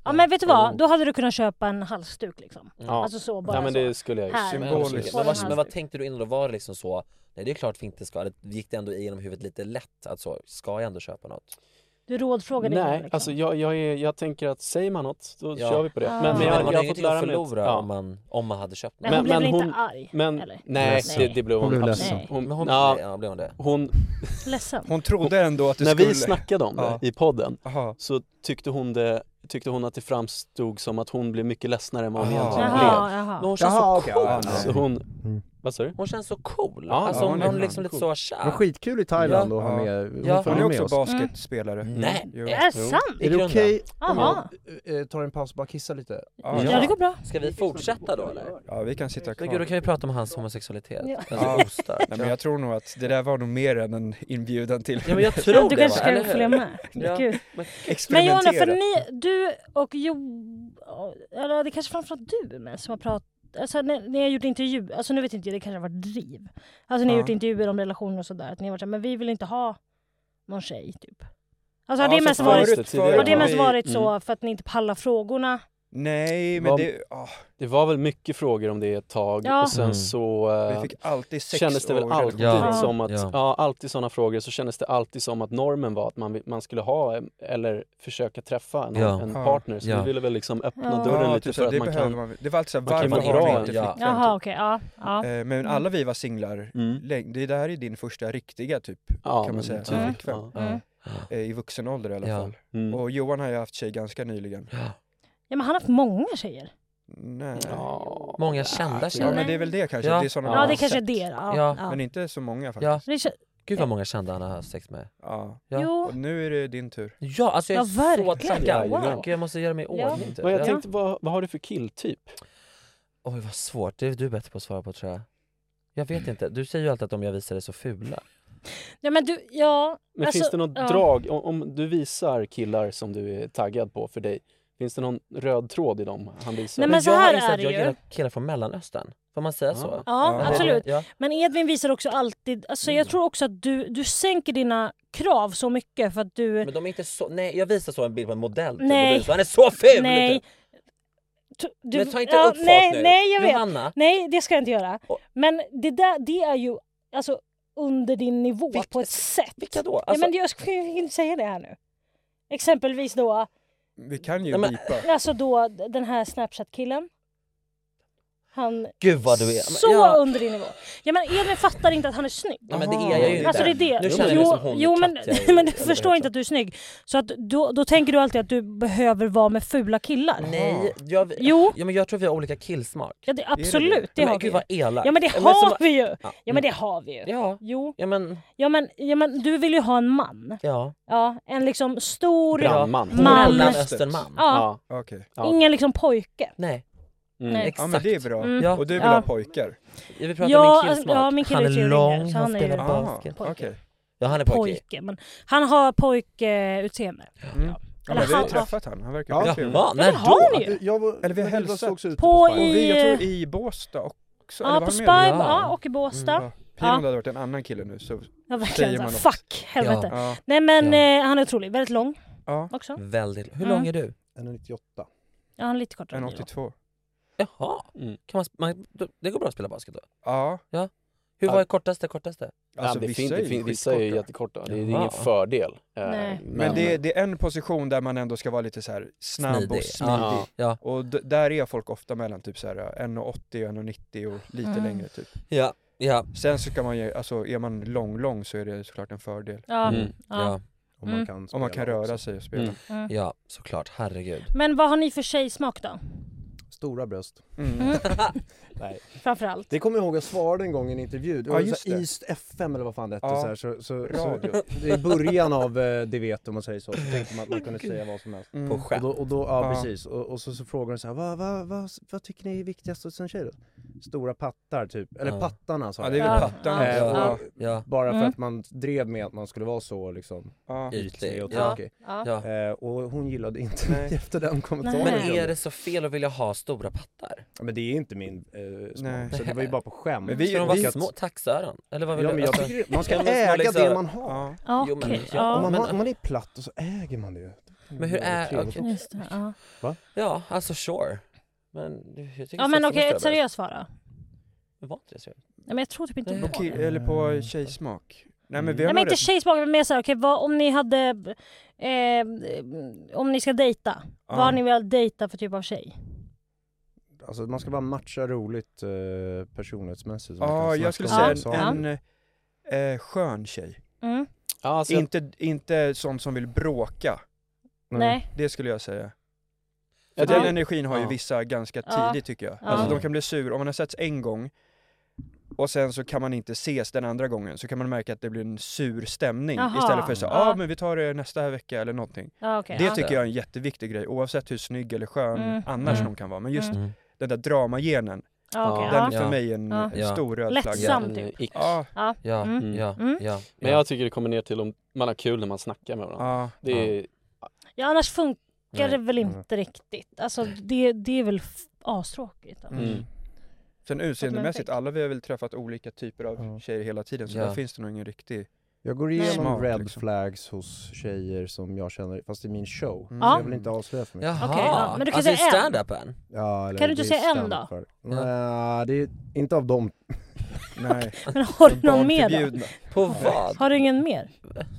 Speaker 2: Ja men vet du vad, då hade du kunnat köpa en halsduk liksom.
Speaker 7: Ja.
Speaker 2: Alltså så bara
Speaker 7: ja men
Speaker 2: så.
Speaker 7: det skulle jag ju.
Speaker 2: Här.
Speaker 5: Symboliskt.
Speaker 3: Men, vad, men vad
Speaker 2: Halsduk.
Speaker 3: tänkte du innan då? Var det liksom så, nej det är klart vi inte ska, eller gick det ändå igenom huvudet lite lätt att så, ska jag ändå köpa något?
Speaker 2: Du rådfrågade henne,
Speaker 7: Nej,
Speaker 2: liksom.
Speaker 7: alltså jag, jag, är, jag tänker att säger man något, då
Speaker 3: Ja.
Speaker 7: kör vi på det.
Speaker 2: Ah.
Speaker 7: Men, men
Speaker 3: Men
Speaker 7: jag, jag
Speaker 3: man har
Speaker 7: har
Speaker 3: ju
Speaker 7: fått
Speaker 3: ingenting
Speaker 7: lära
Speaker 3: att
Speaker 7: mig att...
Speaker 3: förlora om,
Speaker 7: Ja.
Speaker 3: man, om man hade köpt något.
Speaker 2: Nej, hon
Speaker 7: men-
Speaker 2: blev väl
Speaker 7: men
Speaker 2: inte arg?
Speaker 7: Men
Speaker 2: Eller?
Speaker 7: nej,
Speaker 2: Ledsen.
Speaker 7: det, det blev
Speaker 1: Hon
Speaker 7: hon,
Speaker 1: blev
Speaker 7: absolut.
Speaker 2: ledsen.
Speaker 7: Hon,
Speaker 3: Men hon,
Speaker 7: ja,
Speaker 3: ja, blev hon det?
Speaker 7: hon,
Speaker 2: Ledsen.
Speaker 5: Hon trodde ändå att det
Speaker 7: när
Speaker 5: skulle...
Speaker 7: vi snackade om det
Speaker 5: Ja.
Speaker 7: i podden
Speaker 5: Jaha.
Speaker 7: så tyckte hon, det, tyckte hon att det framstod som att hon blev mycket ledsnare än vad hon
Speaker 5: Ah.
Speaker 7: egentligen blev.
Speaker 2: Jaha,
Speaker 3: Men
Speaker 2: jaha.
Speaker 3: hon känns så
Speaker 1: okej.
Speaker 3: cool!
Speaker 5: Ja, nej.
Speaker 7: Så hon...
Speaker 1: Mm.
Speaker 7: Vad sa du?
Speaker 3: Hon känns så cool!
Speaker 7: Ja,
Speaker 3: alltså
Speaker 5: ja,
Speaker 3: hon,
Speaker 5: hon är
Speaker 3: hon är
Speaker 5: fan
Speaker 3: liksom lite så
Speaker 1: Men
Speaker 3: tja.
Speaker 1: skitkul i Thailand
Speaker 3: Ja.
Speaker 1: att ha
Speaker 5: Ja.
Speaker 1: med, hon
Speaker 3: Ja.
Speaker 1: får
Speaker 5: Hon
Speaker 1: vara
Speaker 5: är
Speaker 1: med
Speaker 5: också
Speaker 1: oss. Mm.
Speaker 5: basketspelare.
Speaker 3: Nej!
Speaker 5: Jo.
Speaker 2: Är det sant?
Speaker 1: Är det
Speaker 3: Grunda.
Speaker 1: okej om
Speaker 2: Jaha.
Speaker 1: jag eh, tar en paus och bara kissar lite?
Speaker 5: Ja.
Speaker 2: Ja det går bra.
Speaker 3: Ska vi fortsätta då eller?
Speaker 5: Ja, vi kan sitta
Speaker 3: Men gud, då
Speaker 5: kvar.
Speaker 3: kan vi prata om hans homosexualitet.
Speaker 2: Ja.
Speaker 3: Alltså ostar.
Speaker 5: Nej, men jag tror nog att det där var nog mer än en inbjudan till
Speaker 3: Ja men jag
Speaker 2: Ja,
Speaker 3: tror
Speaker 2: du
Speaker 3: det va,
Speaker 2: kanske
Speaker 3: eller
Speaker 2: ska
Speaker 3: hur?
Speaker 2: följa med.
Speaker 3: Ja.
Speaker 2: Kul.
Speaker 3: Men-
Speaker 2: Men Johanna, för
Speaker 5: Experimentera.
Speaker 2: ni, du och Jo... Eller det kanske framförallt du med som har pratat... Alltså när ni har gjort intervjuer, alltså nu vet inte jag, det kanske har varit driv. Alltså ni har
Speaker 5: Ja.
Speaker 2: gjort intervjuer om relationer och sådär, att ni har varit såhär, men vi vill inte ha någon tjej typ. Alltså har
Speaker 5: Ja,
Speaker 2: det
Speaker 5: så
Speaker 2: mest
Speaker 5: förut-
Speaker 2: varit,
Speaker 7: Just det, tidigare mm.
Speaker 2: har det
Speaker 5: har
Speaker 2: mest
Speaker 5: vi-
Speaker 2: varit så för att ni inte pallar frågorna?
Speaker 5: Nej, men
Speaker 7: Vad-
Speaker 5: det... ah.
Speaker 7: Det var väl mycket frågor om det ett tag
Speaker 5: Ja.
Speaker 7: och sen
Speaker 5: Mm.
Speaker 7: så eh,
Speaker 5: Vi fick alltid sex
Speaker 7: kändes det väl
Speaker 5: år
Speaker 7: alltid
Speaker 5: Ja.
Speaker 7: som att,
Speaker 5: Ja.
Speaker 7: ja. alltid sådana frågor, så kändes det alltid som att normen var att man, vill- man skulle ha eh, eller försöka träffa en,
Speaker 3: Ja.
Speaker 7: en
Speaker 3: Ja.
Speaker 7: partner. Så
Speaker 3: Ja.
Speaker 7: vi ville väl liksom öppna
Speaker 5: Ja.
Speaker 7: dörren
Speaker 5: Ja,
Speaker 7: lite
Speaker 5: typ så,
Speaker 7: för att
Speaker 5: det
Speaker 7: man
Speaker 5: behöver
Speaker 7: kan...
Speaker 5: man- det var alltid så här,
Speaker 7: man kan
Speaker 5: varför
Speaker 7: dra
Speaker 5: har ni
Speaker 7: en-
Speaker 5: inte flickvän?
Speaker 7: Typ.
Speaker 2: Jaha okej, ja. ja. Mm.
Speaker 5: Eh, Men alla vi var singlar, länge, det där är din första riktiga typ,
Speaker 7: Mm. Ja,
Speaker 5: kan man
Speaker 7: men
Speaker 5: säga,
Speaker 7: typ. Mm.
Speaker 5: flickvän.
Speaker 7: Ja. Mm.
Speaker 5: Eh, I vuxen ålder i alla
Speaker 3: Ja.
Speaker 5: fall. Och Johan har ju haft tjej ganska nyligen.
Speaker 2: Ja men han har haft många tjejer.
Speaker 5: Nej.
Speaker 3: Många kända
Speaker 5: Ja
Speaker 3: tjejer.
Speaker 5: men det är väl det kanske,
Speaker 3: Ja.
Speaker 5: det är sådana
Speaker 3: Ja,
Speaker 5: man har
Speaker 2: det kanske är
Speaker 5: sett.
Speaker 2: det, ja. Ja.
Speaker 5: Men inte så många
Speaker 3: Ja.
Speaker 5: faktiskt.
Speaker 3: Gud vad många kända han har haft sex med.
Speaker 5: Ja.
Speaker 3: Ja. Jo.
Speaker 5: Och nu är det din tur.
Speaker 3: Ja, alltså jag
Speaker 7: Ja,
Speaker 3: är så
Speaker 7: verkligen.
Speaker 3: taggad.
Speaker 7: Wow.
Speaker 3: Gud, jag måste göra mig i
Speaker 7: Ja.
Speaker 3: ordning. typ.
Speaker 7: Men jag
Speaker 3: Ja.
Speaker 7: tänkte, vad, vad har du för
Speaker 3: typ.
Speaker 7: killtyp?
Speaker 3: Oj vad svårt, det är du bättre på att svara på tror jag. Jag vet inte, du säger ju alltid att de jag visar är så fula.
Speaker 2: Ja men du, ja.
Speaker 7: Men
Speaker 2: alltså,
Speaker 7: finns det något
Speaker 2: ja.
Speaker 7: drag, om, om du visar killar som du är taggad på för dig, finns det någon röd tråd i dem han visar?
Speaker 2: Nej, men så
Speaker 3: jag
Speaker 2: här
Speaker 3: har insett
Speaker 2: är
Speaker 3: att
Speaker 2: det
Speaker 3: jag
Speaker 2: ju.
Speaker 3: gillar killar från mellanöstern. Får man säga så?
Speaker 2: Ja,
Speaker 3: Eller-
Speaker 2: absolut.
Speaker 3: Ja. Mm.
Speaker 2: Men Edvin visar också alltid, alltså jag tror också att du, du sänker dina krav så mycket för att du...
Speaker 3: Men de är inte så, nej jag visar så en bild på en modell typ,
Speaker 2: Nej.
Speaker 3: och du, så, han är så ful!
Speaker 2: Nej.
Speaker 3: Typ.
Speaker 2: T- Du,
Speaker 3: Men ta inte upp folk
Speaker 2: nej,
Speaker 3: nu.
Speaker 2: Nej, jag vet.
Speaker 3: Johanna.
Speaker 2: Nej, det ska jag inte göra. Men det där, det är ju alltså under din nivå på ett sätt. Vilka
Speaker 3: då? Alltså-
Speaker 2: Ja, men jag ska ju inte säga det här nu. Exempelvis då,
Speaker 5: Vi kan ju
Speaker 3: Nej, men-
Speaker 5: bipa.
Speaker 2: alltså då den här Snapchat-killen. Han...
Speaker 3: Gud vad du är. Men-
Speaker 2: Så
Speaker 3: ja.
Speaker 2: under din nivå. Ja, men Edvin fattar inte att han är snygg.
Speaker 3: Ja, men det är jag ju inte.
Speaker 2: Alltså det är det.
Speaker 3: Nu känner jag mig som hon
Speaker 2: jo men,
Speaker 3: katt jag är.
Speaker 2: men du
Speaker 3: Eller
Speaker 2: förstår inte att du är snygg. Så att då, då tänker du alltid att du behöver vara med fula killar.
Speaker 3: Nej, jag,
Speaker 2: jo.
Speaker 3: Ja, men jag tror vi har olika killsmak.
Speaker 2: Ja, det, absolut, det,
Speaker 3: men,
Speaker 2: har vi
Speaker 3: Gud
Speaker 2: ju.
Speaker 3: vad elakt.
Speaker 2: Ja men det
Speaker 3: Men
Speaker 2: har
Speaker 3: som-
Speaker 2: vi ju!
Speaker 3: Ja. mm.
Speaker 2: Ja men det har vi ju.
Speaker 3: Ja.
Speaker 2: Jo.
Speaker 3: Ja men...
Speaker 2: Ja men, ja, men du vill ju ha en man.
Speaker 3: Ja.
Speaker 2: Ja, en liksom stor
Speaker 3: Brandman.
Speaker 2: man.
Speaker 3: Mellanösternman.
Speaker 2: Ja.
Speaker 5: Ja. Okej.
Speaker 2: Ingen liksom pojke.
Speaker 3: Nej.
Speaker 2: Mm. Nej.
Speaker 5: Ja men det är bra.
Speaker 2: Mm. Ja.
Speaker 5: Och du vill
Speaker 2: Ja.
Speaker 5: ha pojkar?
Speaker 3: Jag vill prata
Speaker 2: Ja, alltså,
Speaker 3: om
Speaker 2: ja, min
Speaker 3: min killsmak.
Speaker 2: kille
Speaker 3: han
Speaker 2: är
Speaker 3: är
Speaker 2: tjugo
Speaker 3: lång,
Speaker 2: år, så
Speaker 3: han,
Speaker 2: han är
Speaker 3: spelar
Speaker 2: ju-
Speaker 3: basket.
Speaker 2: Ah,
Speaker 5: okej.
Speaker 3: Ja han är pojkig.
Speaker 2: Pojke. Men han har pojkutseende.
Speaker 5: Mm. Ja, men vi har ju träffat han, han verkar
Speaker 2: Ja.
Speaker 5: trevlig.
Speaker 3: Va? Ja, När men
Speaker 2: har då? ni ju.
Speaker 1: Jag var,
Speaker 5: Eller vi har
Speaker 1: men vi var
Speaker 5: hälsat.
Speaker 1: sågs ute
Speaker 2: På på Spy.
Speaker 5: Och vi, jag
Speaker 2: i-
Speaker 5: tror i Båstad också.
Speaker 2: Ja,
Speaker 5: eller var
Speaker 2: på
Speaker 5: han med?
Speaker 2: Spy, ja, och i Båstad.
Speaker 5: Mm, Pino
Speaker 2: Ja.
Speaker 5: hade varit en annan kille nu så
Speaker 2: Ja, verkligen.
Speaker 5: säger
Speaker 2: Så
Speaker 5: man
Speaker 2: här,
Speaker 5: något.
Speaker 2: fuck, helvete.
Speaker 5: Ja.
Speaker 2: Nej men
Speaker 5: Ja.
Speaker 2: eh, han är otrolig, väldigt lång
Speaker 5: Ja.
Speaker 2: också.
Speaker 3: Väldigt. Hur
Speaker 2: Mm.
Speaker 3: lång är du?
Speaker 1: 1,98.
Speaker 2: Ja, han är lite kortare.
Speaker 5: En
Speaker 2: än jag.
Speaker 5: 82.
Speaker 3: Jaha. Kan man, sp- man, det går bra att spela basket då?
Speaker 5: Mm. Ja.
Speaker 3: ja. Hur
Speaker 7: Ja.
Speaker 3: var det kortaste kortaste?
Speaker 7: Alltså, det vissa, fin, det fin, vissa är ju jättekorta, det är, det är ingen fördel. eh,
Speaker 3: Nej.
Speaker 5: Men, det, är, det är en position där man ändå ska vara lite så här snabb
Speaker 3: Smidig.
Speaker 5: och smidig.
Speaker 3: Ja. Ja.
Speaker 5: Och d- där är folk ofta mellan typ så här eh, 1,80 och 1,90 och lite
Speaker 3: Mm.
Speaker 5: längre typ.
Speaker 3: Ja, ja.
Speaker 5: Sen så ska man ju, alltså är man lång, lång så är det såklart en fördel.
Speaker 2: Ja,
Speaker 3: Mm. ja. Ja.
Speaker 1: Om man kan
Speaker 5: Om man kan
Speaker 1: spela
Speaker 5: röra
Speaker 1: också.
Speaker 5: sig och spela.
Speaker 3: Mm.
Speaker 2: Mm.
Speaker 3: Ja, såklart. Herregud.
Speaker 2: Men vad har ni för tjejsmak då?
Speaker 1: Stora bröst. Nej.
Speaker 2: Framförallt.
Speaker 1: Det kommer jag ihåg, jag svarade en gång i en intervju, det
Speaker 5: Ja,
Speaker 1: var
Speaker 5: just
Speaker 1: så här
Speaker 5: det.
Speaker 1: East FM eller vad fan det hette,
Speaker 5: Ja.
Speaker 1: så här, så, så,
Speaker 5: Radio.
Speaker 1: så, det är början av eh, Det vet om man säger så, så tänkte man att man kunde säga vad som helst.
Speaker 5: Mm.
Speaker 3: På skämt.
Speaker 1: Och då, och då, ja,
Speaker 3: Ja.
Speaker 1: precis, och, och så, så frågar de så här, vad, vad, vad, vad tycker ni är viktigast hos en tjej då? Stora pattar typ, eller
Speaker 3: Ja.
Speaker 1: pattarna sa
Speaker 5: Ja,
Speaker 1: jag.
Speaker 5: det är väl Ja. pattarna,
Speaker 1: Eh,
Speaker 5: ja.
Speaker 1: och-
Speaker 3: Ja.
Speaker 1: Bara för
Speaker 2: Mm.
Speaker 1: att man drev med att man skulle vara så liksom
Speaker 5: Ja.
Speaker 1: ytlig och
Speaker 3: Ytlig, ja.
Speaker 1: tråkig.
Speaker 2: Ja.
Speaker 3: Ja.
Speaker 1: Eh, och hon gillade inte
Speaker 5: Nej.
Speaker 1: mig efter den kommentaren.
Speaker 3: Men är det så fel att vilja ha stora pattar?
Speaker 1: Ja, Men det är inte min eh,
Speaker 5: Nej.
Speaker 1: smak, så det var ju bara på skämt.
Speaker 5: Men vi-
Speaker 3: Ska de
Speaker 5: vi-
Speaker 3: vara små taxöron? Eller vad vill
Speaker 1: Ja,
Speaker 3: du?
Speaker 1: men jag
Speaker 3: Alltså,
Speaker 1: tycker man ska
Speaker 3: de vara små
Speaker 1: äga det
Speaker 3: laxöron?
Speaker 1: man har.
Speaker 2: Ja,
Speaker 3: Jo, men-
Speaker 2: okej,
Speaker 3: ja,
Speaker 1: om, man,
Speaker 3: men-
Speaker 1: har- om man är platt och så äger man det.
Speaker 3: Men hur är...
Speaker 1: Trevligt.
Speaker 3: okej.
Speaker 2: Just det, ja.
Speaker 3: Ja, alltså sure. Men jag tycker
Speaker 2: ja men
Speaker 3: sex är
Speaker 2: okej,
Speaker 3: större.
Speaker 2: ett seriöst svar då.
Speaker 3: Det var inte det seriöst.
Speaker 2: Nej, men jag tror typ inte
Speaker 3: Nej.
Speaker 2: på
Speaker 5: Okej,
Speaker 2: det.
Speaker 5: eller
Speaker 7: Eh.
Speaker 5: på tjejsmak. Nej men vi har
Speaker 2: Nej men
Speaker 5: nog
Speaker 2: inte
Speaker 5: rätt.
Speaker 2: tjejsmak, men mer såhär, okej vad om ni hade... Eh, om ni ska dejta,
Speaker 1: Ja.
Speaker 2: vad har ni velat dejta för typ av tjej?
Speaker 1: Alltså man ska bara matcha roligt eh, personlighetsmässigt. så man kan
Speaker 5: Ja,
Speaker 1: snacka
Speaker 5: jag skulle
Speaker 1: om
Speaker 5: säga
Speaker 1: saker.
Speaker 5: en, en eh, skön tjej.
Speaker 2: Mm.
Speaker 7: alltså, jag-
Speaker 5: Inte, inte sån som vill bråka.
Speaker 2: Nej.
Speaker 5: Det skulle jag säga. För
Speaker 7: jag
Speaker 5: den
Speaker 7: tror-
Speaker 5: energin har ju
Speaker 7: Ja.
Speaker 5: vissa ganska
Speaker 2: Ja.
Speaker 5: tidigt tycker jag.
Speaker 2: Ja.
Speaker 5: Alltså de kan bli sur, om man har setts en gång och sen så kan man inte ses den andra gången så kan man märka att det blir en sur stämning
Speaker 2: Jaha.
Speaker 5: istället för så ja
Speaker 2: Ja.
Speaker 5: ah, men vi tar det nästa vecka eller någonting.
Speaker 2: Ja, okej,
Speaker 5: det
Speaker 2: ja.
Speaker 5: tycker jag är en jättektig grej oavsett hur snygg eller skön
Speaker 2: Mm.
Speaker 5: annars
Speaker 2: Mm.
Speaker 5: någon kan vara. Men just
Speaker 3: Mm.
Speaker 5: den där dramagenen,
Speaker 2: Ja, okej,
Speaker 5: den
Speaker 3: ja.
Speaker 5: för mig är en,
Speaker 2: Ja.
Speaker 5: en stor röd flagga.
Speaker 2: Lättsam
Speaker 7: En, eh,
Speaker 2: typ.
Speaker 7: ick.
Speaker 5: Ja.
Speaker 2: Ja.
Speaker 3: Ja,
Speaker 2: Mm.
Speaker 3: ja,
Speaker 2: Mm.
Speaker 3: ja.
Speaker 7: Men jag tycker det kommer ner till om man har kul när man snackar med varandra.
Speaker 5: Ja.
Speaker 7: Det är,
Speaker 2: ja annars funkar
Speaker 7: Nej.
Speaker 2: det väl inte riktigt. Alltså det, det är väl f- astråkigt. annars.
Speaker 7: Mm.
Speaker 5: Sen utseendemässigt, alla vi har väl träffat olika typer av tjejer hela tiden så
Speaker 3: Ja.
Speaker 5: där finns det nog ingen riktig
Speaker 1: Jag går igenom
Speaker 5: Smart,
Speaker 1: red
Speaker 5: liksom.
Speaker 1: flags hos tjejer som jag känner, fast i min show.
Speaker 5: Mm.
Speaker 1: Så
Speaker 2: Ja.
Speaker 1: Jag vill inte avslöja för mycket.
Speaker 3: Jaha,
Speaker 2: Okej, ja, men du kan
Speaker 3: alltså
Speaker 2: säga
Speaker 3: i
Speaker 2: en.
Speaker 3: stand-upen?
Speaker 1: Ja, eller
Speaker 2: Kan du inte
Speaker 1: det är
Speaker 2: säga en
Speaker 1: stand-up
Speaker 2: då?
Speaker 1: för- Nej, det är inte av dem.
Speaker 5: Nej.
Speaker 2: Men har du någon mer då?
Speaker 3: På vad?
Speaker 2: Har du ingen mer?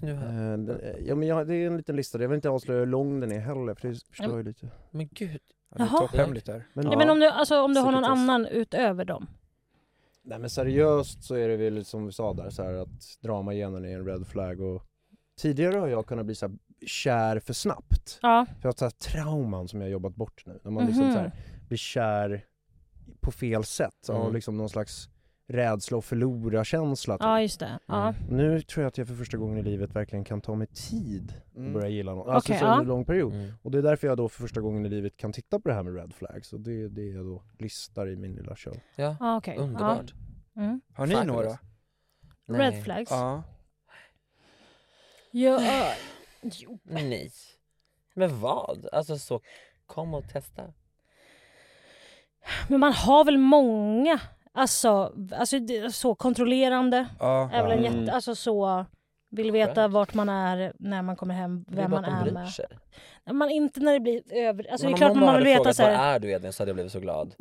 Speaker 1: Eh, det- Ja men jag, det är en liten lista, jag vill inte avslöja hur lång den är heller för det förstör ju lite.
Speaker 3: Men gud.
Speaker 5: Det är
Speaker 2: Jaha.
Speaker 5: topphemligt där.
Speaker 1: Men-
Speaker 2: Nej, men om du, alltså, om du har någon
Speaker 1: Sekretess.
Speaker 2: annan utöver dem?
Speaker 1: Nej men seriöst så är det väl som vi sa där så här att dramagenen är en red flag och tidigare har jag kunnat bli så här kär för snabbt.
Speaker 2: Ja.
Speaker 1: För jag har så här trauman som jag har jobbat bort nu. När man liksom
Speaker 2: Mhm.
Speaker 1: så här blir kär på fel sätt av
Speaker 3: Mm.
Speaker 1: liksom någon slags rädsla och förlora-känsla. typ.
Speaker 2: Ja, just det. Ja.
Speaker 1: Nu tror jag att jag för första gången i livet verkligen kan ta mig tid
Speaker 5: Mm.
Speaker 1: och börja gilla någon. Alltså
Speaker 2: Okej,
Speaker 1: så
Speaker 2: ja.
Speaker 1: under en lång period.
Speaker 3: Mm.
Speaker 1: Och det är därför jag då för första gången i livet kan titta på det här med red flags. Och det är det jag då listar i min lilla show.
Speaker 3: Ja,
Speaker 2: Ja, okej. Ja.
Speaker 3: underbart.
Speaker 2: Mm.
Speaker 5: Har ni
Speaker 3: Fabulous.
Speaker 5: några?
Speaker 3: Nej.
Speaker 2: Red flags?
Speaker 5: Ja.
Speaker 2: Ja, äh, jo.
Speaker 3: Nej. Men vad? Alltså så, kom och testa.
Speaker 2: Men man har väl många, alltså, alltså det- så kontrollerande,
Speaker 5: Ja.
Speaker 2: är väl en
Speaker 9: Mm.
Speaker 2: jätte, alltså så vill veta vart man är när man kommer hem,
Speaker 3: det är
Speaker 2: vem
Speaker 3: bara
Speaker 2: man
Speaker 3: att de
Speaker 2: är
Speaker 3: bryr
Speaker 2: med.
Speaker 3: sig.
Speaker 2: Nej, Man inte när det blir över... Alltså
Speaker 3: Men
Speaker 2: det är klart man vill veta
Speaker 3: frågat
Speaker 2: så här,
Speaker 3: var är du Edvin så hade jag blivit så glad.